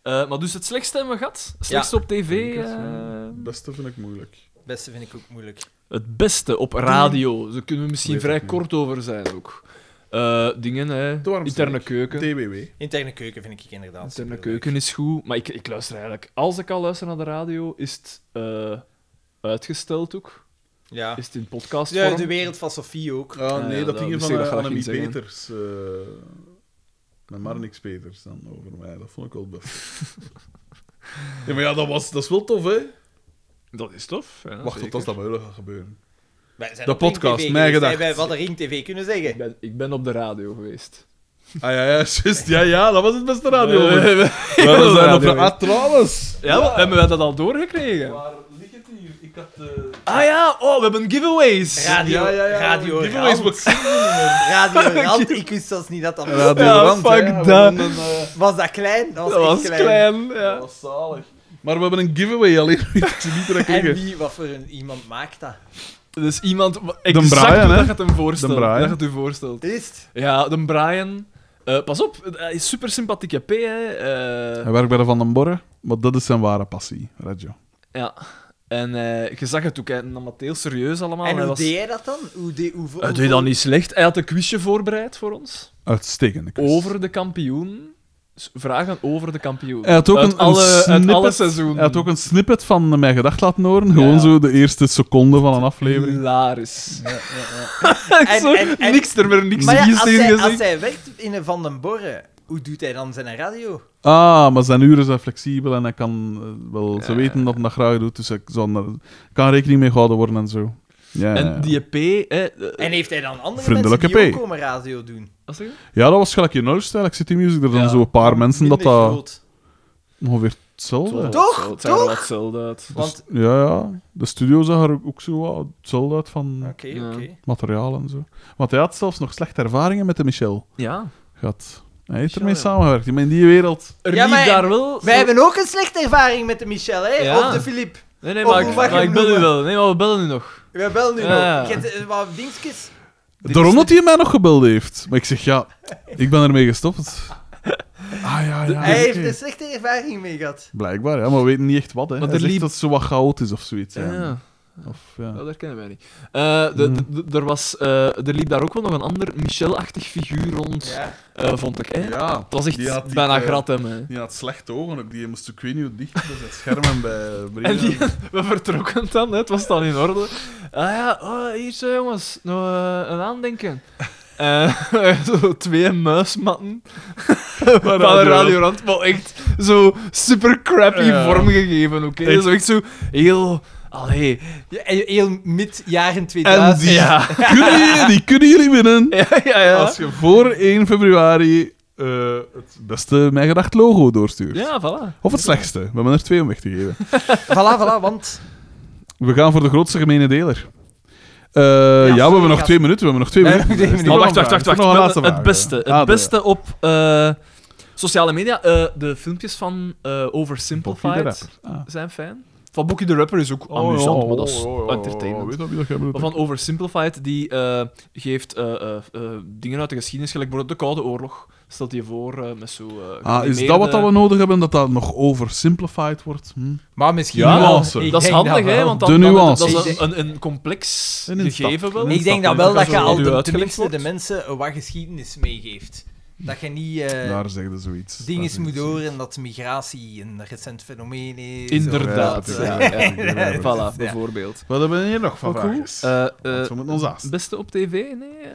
Eh, maar dus het slechtste hebben we gehad. Slechtste op tv. Ik denk het, eh, ja. Het beste vind ik moeilijk. Beste vind ik ook moeilijk. het beste op radio. Daar kunnen we misschien Weet vrij ik niet. kort over zijn ook. Eh, dingen, hè. De warmste Interne week. keuken. TBW. Interne keuken vind ik inderdaad. Interne superleuk. keuken is goed. Maar ik, ik luister eigenlijk... Als ik al luister naar de radio, is het eh, uitgesteld ook. Ja. Is het in podcast De, de wereld van Sophie ook. Ah, Ah, nee, dat ja, dat ging hier wist van ik uh, nog wel Annemie ging zeggen. Peters. eh met maar niks Peters dan over mij. Dat vond ik wel best. ja, maar ja, dat, was, dat is wel tof, hè? Dat is tof. Ja, Wacht tot als dat bij jullie gaat gebeuren. Wij zijn De op Ring podcast, TV mijn geweest, hè. gedacht. Wij hadden Ring TV kunnen Ik zeggen. ben, ik ben op de radio geweest. Ah ja, ja, juist. Ja, ja, dat was het beste radio. Eh, moment. ik ben Maar op we de zijn op radio de geweest. Ah, trouwens. Ja, wat- hebben wij dat al doorgekregen? Waar ligt het hier? Ik had eh, de... Ah ja, oh, we hebben giveaways. Radio, Ja, ja, ja. radio, Die wil eens Rand. radio, Rand. Ik wist zelfs niet dat dat was. Radio Ja, Rand, fuck hè. We dat. hadden een, eh, Was dat klein? Dat was, Dat echt was klein. klein. Dat ja. was zalig. Maar we hebben een giveaway, alleen weet ik ze niet dat En ik wie, wat voor een iemand maakt dat? Dus iemand... De Exact Brian, hoe hè? dat gaat hem voorstellen. De Brian. Dat gaat u voorstellen. Is het? Ja, de Brian... eh, pas op, hij is super sympathieke P, hè. eh, Hij werkt bij de Van den Borre, maar dat is zijn ware passie, radio. Ja. En eh, je zag het ook, hij nam het heel serieus allemaal. en hij hoe was... deed jij dat dan? Hoe deed, hoe, Hij deed dat niet slecht. Hij had een quizje voorbereid voor ons. Uitstekende quiz. Over de kampioen. S- Vragen over de kampioen. Hij had ook uit een, alle, een uit snippet, alle seizoenen. Hij had ook een snippet van eh, mijn gedacht laten horen. Gewoon Ja. zo de eerste seconde van een aflevering. Hilarisch. En- Zo, en- en- niks, er werd niks Maar ja, hier als, hij, gezegd. als hij werkt in een Van den Borre, hoe doet hij dan zijn radio? Ah, maar zijn uren zijn flexibel en hij kan eh, wel... Ze weten dat hij dat graag doet, dus hij zal er- kan rekening mee gehouden worden en zo. Ja, ja, ja. En die P... eh, eh, En heeft hij dan andere Vriendelijke mensen die P. ook komen radio doen? wat zeg je? ja, dat was gelijk in Noordstijl. Ik zit in music, er zijn Ja. zo een paar mensen dat eh, Minder dat groot. ongeveer hetzelfde... Dus Toch? Het zag er wel hetzelfde uit. Want, Ja, ja. De studio zag er ook zo wat hetzelfde uit van oké, Ja. oké. materiaal en zo. Want hij had zelfs nog slechte ervaringen met de Michel Ja. gehad. Hij heeft Michel, ermee ja. samengewerkt. Maar in die wereld... Er Ja, liep maar- daar wel... Wij hebben ook een slechte ervaring met de Michel, hè? Ja. Of de Filip. Nee, nee, Of maar, hoe ik, mag je maar hem ik bel u noemen? wel. Nee, maar we bellen u nog. We bellen nu Ja. nog. Je hebt, eh, wat dingetjes. Daarom dat hij mij nog gebeld heeft. Maar ik zeg, ja, ik ben ermee gestopt. Ah ja, ja. Hij heeft oké. een slechte ervaring mee gehad. Blijkbaar, ja, maar we weten niet echt wat. Hè. Maar Hij er zegt liep- dat ze wat chaotisch of zoiets zijn. ja. Of, ja. Oh, dat kennen wij niet. Eh, de- de- de- er, was, eh, er liep daar ook wel nog een ander Michel-achtig figuur rond, Ja. eh, vond ik. Hè? Ja, het was echt die had die, bijna eh, grat hem. Hè. Die had slecht ogen ook. Die moest ook, ik weet niet hoe dicht bij zijn schermen bij Breda. En die, we vertrokken dan, hè, het was dan in orde. Ah ja, oh, hier zo jongens, nog eh, een aandenken. Eh, zo twee muismatten van Radio een radiorand, maar echt zo super crappy Ja. vormgegeven. Oké, Echt. zo echt zo heel. Allee. Ja, en heel mid jaren En 2000. die. Ja, Kunnen jullie- die kunnen jullie winnen. ja, ja. Ja, Als je voor 1 februari eh, het beste Mijn Gedacht logo doorstuurt. ja voilà. Of het slechtste. We hebben er twee om weg te geven. Voilà, voilà, want... We gaan voor de grootste gemene deler. Eh, ja, sorry, we hebben nog gast. twee minuten. We hebben nog twee Ja, minuten. nog twee Dat is nog minuten. Maar een Oh, wacht, vraag. wacht, wacht, wacht. Nog een Wel, laatste het vraag. beste. Het Ah, de- beste op eh, sociale media. Eh, de filmpjes van eh, Boekie de Oversimplified Rapper. Ah. zijn Oh, fijn. Van Boekie de Rapper is ook Oh, amusant, maar dat is entertainment. Weet dat wie dat jij bedoelt? Maar oh, van Oversimplified, die eh, geeft eh, eh, eh, dingen uit de geschiedenis, gelijk bijvoorbeeld de Koude Oorlog. Stelt je voor eh, met zo... eh, Ah, is geanimeerde- dat wat dat we nodig hebben? Dat dat nog oversimplified wordt? Hm? Maar misschien Ja, wel. nuance. Ik Dat is denk handig, wel. hè? Want dan, De dan- nuance. dat Ik is een, een, een complex Een instap. gegeven wel. Een Ik denk dat dan wel dat dat je zo al nu de, uitgelegd tenminste de wordt. mensen wat geschiedenis meegeeft. Dat je niet eh, Daar zeggen ze zoiets. dingen Daar moet zeggen ze horen dat migratie een recent fenomeen is. Inderdaad. of Ja, dat, eh, ja, ja, ja, ja, ja. Voilà, Ja. bijvoorbeeld. Wat hebben we hier nog van Ook hoe? vraagjes? Eh, eh, Want we moeten ons haasten. Beste op tv? Nee. eh.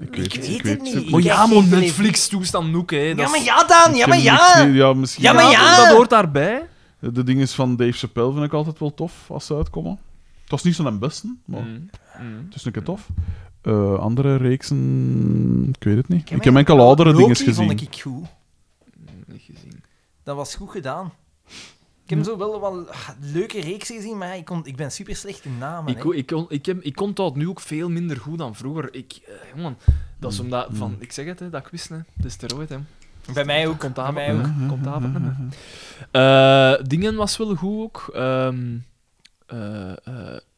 ik weet het niet. ook Ik Maar heb ja, geen maar televisie. Netflix toestand ook, hè. dat Ja, maar is- ja, Daan, ja, Ik maar heb ja. niks- ja, misschien Ja, maar wel. ja. Dat hoort daarbij. De dingen van Dave Chappelle vind ik altijd wel tof als ze uitkomen. Het was niet zo'n beste, maar Mm. Mm. het is een keer tof. Eh, andere reeksen, ik weet het niet. Ik heb, mijn- enkel oudere dingen Loki gezien. vond ik goed. Niet gezien. Dat was goed gedaan. Ik heb zo wel wat ah, leuke reeksen gezien, maar ik, kon, ik ben super slecht in namen. Ik, hè. kon- ik, kon, ik, heb, ik kon dat nu ook veel minder goed dan vroeger. Ik, eh, jongen, dat is omdat... Van, ik zeg het, hè, dat quiz, hè. De steroid, hè. Bij mij ook. Komt Bij avond- mij ook. eh, komt avond met me. Eh, Dingen was wel goed ook. Ehm eh, eh,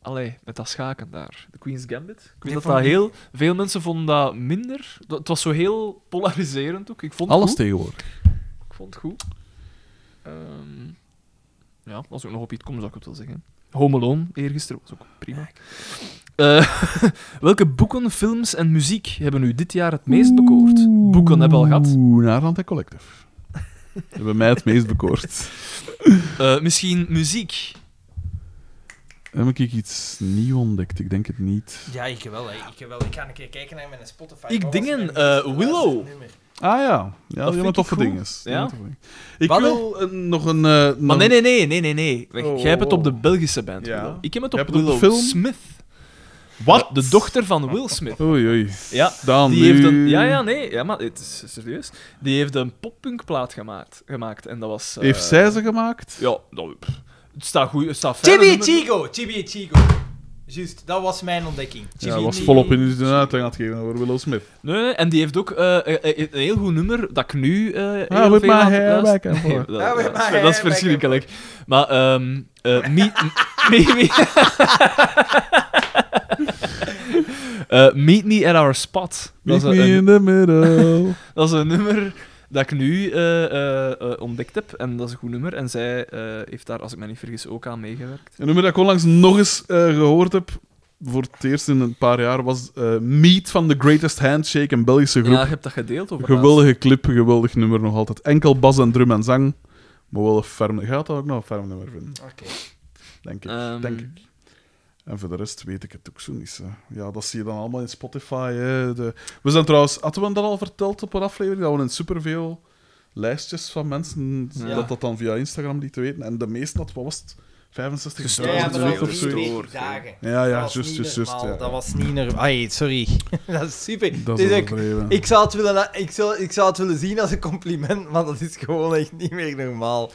allee, met dat schaken daar. De Queen's Gambit. Ik weet Die dat, vond dat ik- heel... Veel mensen vonden dat minder. Dat, het was zo heel polariserend ook. Ik vond het Alles goed. tegenwoordig. Ik vond het goed. Ehm, ja, als ik nog op iets kom, zou ik het wel zeggen. Home Alone, eergisteren, was ook prima. Eh, welke boeken, films en muziek hebben u dit jaar het meest bekoord? Boeken hebben we al gehad. Oeh, Naarland en Collective. hebben mij het meest bekoord. Eh, misschien muziek. Heb ik iets nieuw ontdekt? Ik denk het niet. Ja, ik wel, hè. ik wel. Ik ga een keer kijken naar mijn Spotify. Ik Wat was dingen, mijn eerste eh, Willow. luisternummer? Ah ja, ja dat vind een ik toffe cool. ding is. Ja? Ik Wat, wil eh, nog een... eh, nog- Maar nee, nee, nee, nee, nee. nee. Wacht, Oh, Jij hebt het oh. op de Belgische band. Ja. Willow. Ik heb het Jij op hebt het op de Willow film? Smith. Wat? De dochter van Will Smith. Oei, oei. Ja. Daan, Die heeft nu- een, ja, ja, nee, ja, maar het is serieus. Die heeft een poppunkplaat gemaakt, gemaakt en dat was. eh, Heeft zij ze gemaakt? Ja, dat, pff. het staat goed, het staat verder. Chibi Chigo, Chibi Chigo. Juist, dat was mijn ontdekking. Ja, Chibi was Chigo. volop in de uitleg aan het geven over Willow Smith. Nee, nee, en die heeft ook eh, eh, eh, een heel goed nummer dat ik nu. eh heel Ah, with veel my aan het hair luisteren- back and Nee, forth. dat- Ah, with dat my is- hair Dat is back and verschrikkelijk. Maar, ehm eh, me- m- me- me- Eh, meet me at our spot. Dat Meet is, me een, in the middle. dat is een nummer dat ik nu eh, eh, eh, ontdekt heb. En dat is een goed nummer. En zij eh, heeft daar, als ik me niet vergis, ook aan meegewerkt. Een nummer dat ik onlangs nog eens eh, gehoord heb, voor het eerst in een paar jaar, was eh, Meet van The Greatest Handshake, een Belgische Ja, groep. je hebt dat gedeeld over Geweldige clip, geweldig nummer nog altijd. Enkel bas en drum en zang. Maar wel een ferm... Je gaat dat ook nog een ferm nummer vinden, Oké. denk ik. Ehm, denk ik. En voor de rest weet ik het ook zo niet. hè. Ja, dat zie je dan allemaal in Spotify. Hè. De... We zijn trouwens... Hadden we dat al verteld op een aflevering? Dat we in superveel lijstjes van mensen... Ja. Dat dat dan via Instagram lieten weten. En de meeste, dat wat was het? 65 Ja, ja, maar dat Gestoord. of was zo. niet Gestoord, twee ja. dagen. Ja, Dat ja, was juist, niet juist, juist. normaal, ja. Dat was niet normaal. Ai, sorry. dat is super. Dat Het is is ook- overdreven. ik, zou het willen, ik, zou, ik zou het willen zien als een compliment, maar dat is gewoon echt niet meer normaal.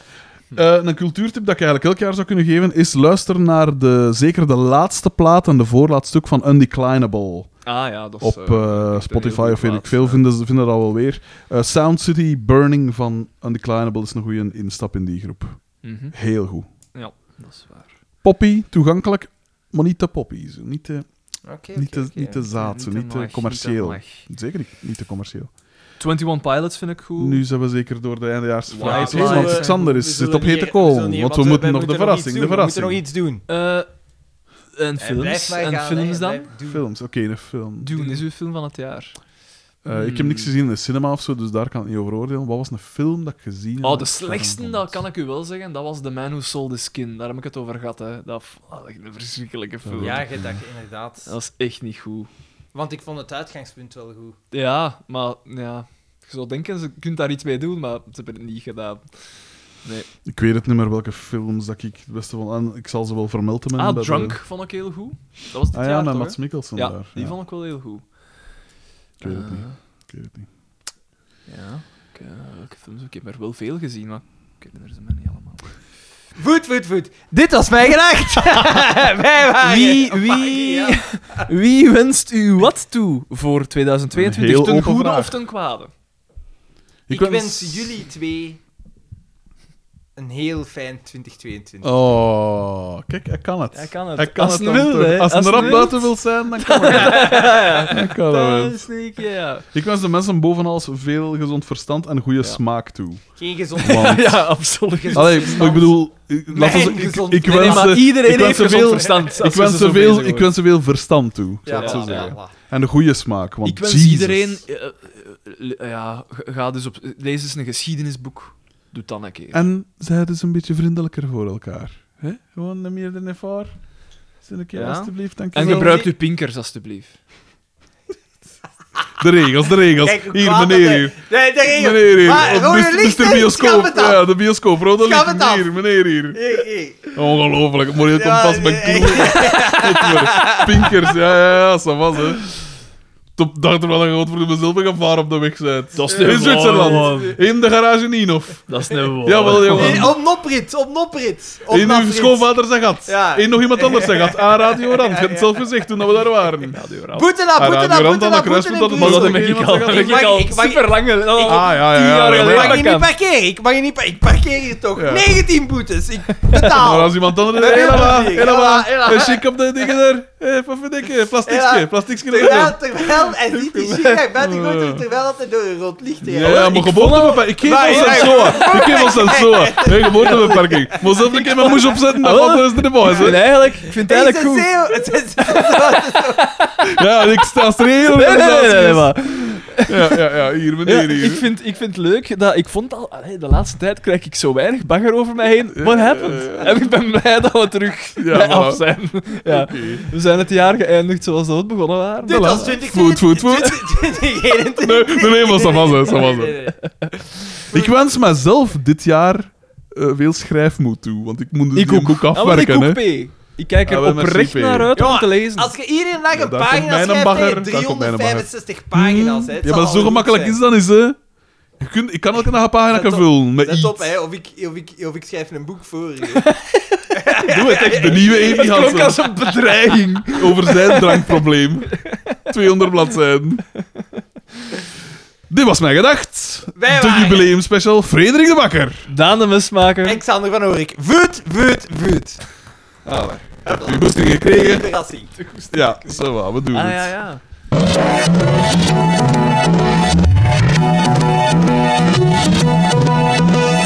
Eh, een cultuurtip dat ik eigenlijk elk jaar zou kunnen geven is luister naar de, zeker de laatste plaat en de voorlaatste stuk van Undeclinable. Ah ja, dat is. Op eh, eh, Spotify of weet ik plaat, veel, ja. vinden ze vinden dat wel weer. Eh, Sound City Burning van Undeclinable is een goede instap in die groep. mhm. Heel goed. Ja, dat is waar. Poppy, toegankelijk, maar niet te poppy. zo. Niet te, Oké, niet te, niet te zaad, zo, niet te mag, commercieel. niet te mag. Zeker niet, niet te commercieel. 21 Pilots vind ik goed. Nu zijn we zeker door de eindejaars... Why Ja, is it- want Xander is, zit op hete kool, want we moeten nog de verrassing, de We moeten nog verrassing. iets doen. Eh, en Hij blijft films, maar en gaan, hè, films hij dan? blijft doen. Films, oké, een film. Dune is uw film van het jaar. Eh, Ik heb niks gezien in de cinema of zo, dus daar kan ik niet over oordelen. Wat was een film dat ik gezien heb? Oh, de dat ik slechtste, vond? dat kan ik u wel zeggen, dat was The Man Who Sold His Skin. Daar heb ik het over gehad, hè. Dat f- oh, dat is een verschrikkelijke film. Ja, je- dat je inderdaad. Dat was echt niet goed. Want ik vond het uitgangspunt wel goed. Ja, maar ja, je zou denken, ze kunt daar iets mee doen, maar ze hebben het niet gedaan. Ik weet het niet meer welke films dat ik het beste vond. En ik zal ze wel vermelden. met- ah, bij de- Drunk vond ik heel goed. Dat was dit Ah ja, jaar, met toch, Mats hè? Mikkelsen Ja, daar. die ja. vond ik wel heel goed. Ik weet het Eh, niet. Ik weet het niet. Ja, ik, eh, welke films? Ik heb er wel veel gezien, maar ik herinner ze me niet allemaal. Voet, voet, voet. Dit was mijn gedacht. Wij waren... Oh, Wie, wie, wie wenst u wat toe voor 2022? Een heel ten open goede vraag. Eh, of ten kwade? Ik wens- wens jullie twee een heel fijn 2022. Oh, kijk, hij kan het. Hij kan het. Hij kan Als het een dan wilde, toch. hè. Als Als een een rap wilde. buiten wil zijn, dan kan het. Hij kan Dat het. is niet, ja. Ik wens de mensen boven alles veel gezond verstand en goede Ja. smaak toe. Geen gezondheid. Want... Ja, absoluut. Gezond Allee, maar verstand. ik bedoel, ik, laat ons- Mijn ik, gezond- ik Nee, nee, wens maar ze- ik iedereen wens heeft ze gezond veel- verstand. ik wens ze veel- ik wens ze veel verstand toe, Ja, zou ik zo voilà, zeggen. voilà. En de goede smaak, want Ik wens Jesus. iedereen... eh, eh, eh, ja, ga- ga dus op... Lees eens een geschiedenisboek. Doe het dan een keer. En zij dus een beetje vriendelijker voor elkaar. hè? Gewoon een meer dan ervoor. Zin een keer, Ja. alstublieft, En dankjewel. gebruik uw pinkers, alstublieft. De regels, de regels. Kijk, hoe hier, kwaad meneer dat hier. hij- Nee, daar ging het. Meneer hier. Maar Op rode Mr. lichten, schaf Bioscoop. het af. Ja, de bioscoop. Rode Schaf het lichten. af. Hier, meneer hier. Hey, hey. Ongelooflijk. Mooi, je komt Ja, vast bij nee, Google. Goed, Pinkers, ja, ja, ja, ça was, hè. Top, dacht er wel dat je gewoon voor mezelf een gevaar op de weg bent. Dat is In Zwitserland. In de garage Ninof. Dat is een Jawel, jawel. Hey, op noprit, op noprit. Op In uw nafrit. schoonvader zijn gat. Ja. In nog iemand anders zijn gat. Aan Radio Rand. Je hebt het zelf gezegd toen we daar waren. Boete na, Ah, boete Radio Rand na, boete aan na, de boete kruispunt na, dat het boete was na. dat ik Ik al- ik mag- ik mag- lang. Ah, ja, ja. Tien ja, jaar maar- geleden. mag hier niet kan. parkeren, ik mag hier niet par- Ik parkeer hier toch. Ja. 19 boetes, ik Maar betaal. als iemand anders... Helemaal, Ja, helemaal. ja. Eh, Chic op de dingen er. Even verdikken. Plastiekje, Ja. plastiekje erin. Terwijl, terwijl, en ziet die shit uit buiten gooit, terwijl dat hij door een rood licht Ja, rijdt. ja, maar geboortebeperking. Ik geef Maar- ons een zoa. Ik geef ons een zoa. Nee, geboortebeperking. Moet zelf een keer mijn moes opzetten, dan Ah, valt er eens de boys. hè. eigenlijk, ik vind het Het is eigenlijk een goed. zeeuw. Het is- Ja, en ik sta als er heel Nee, nee, nee, nee, organisatie nee, is. maar- Ja, ja, ja, hier, Ja, meneer, hier. ik, vind, ik vind het leuk dat ik vond al, allee, de laatste tijd krijg ik zo weinig bagger over mij heen. What Ja, happened? ja, ja. En ik ben blij dat we terug Ja, bij voilà. af zijn. Ja. Oké. We zijn het jaar geëindigd zoals dat we het begonnen waren. Dit Voilà. was 20 Voet, voet, voet. 2021. Nee, nee, nee, maar dat was het, dat was het. Nee, nee, nee. Ik wens mezelf dit jaar eh, veel schrijfmoed toe, want ik moet dus Ik die ook. boek Ah, want ik afwerken. ook hè. P. Ik kijk er Ah, wel, merci, oprecht P. naar uit om Jongen, te lezen. Als je iedere dag Ja, een daar komt pagina mijn schrijft, bagger, heb je daar komt mijn bagger. 365 pagina's. Hè. Het Ja, zal maar al zo goed gemakkelijk zijn. is dat is, hè. Je kunt, ik kan elke dag een pagina Let op, vullen met iets. Let op, hè. Of, ik, of, ik, of ik schrijf een boek voor je. Doe het echt, de nieuwe Evi Dat klonk als Hansen. een bedreiging. Over zijn drankprobleem. 200 bladzijden. Dit was mijn gedacht. Wij de waren- jubileumspecial Frederik de Bakker. Daan de mesmaker. Alexander van Oorik. Vuut, vuut, vuut. Ah, heb je goesting gekregen? Verrassing. Ja, zo we doen Ah het. ja, ja.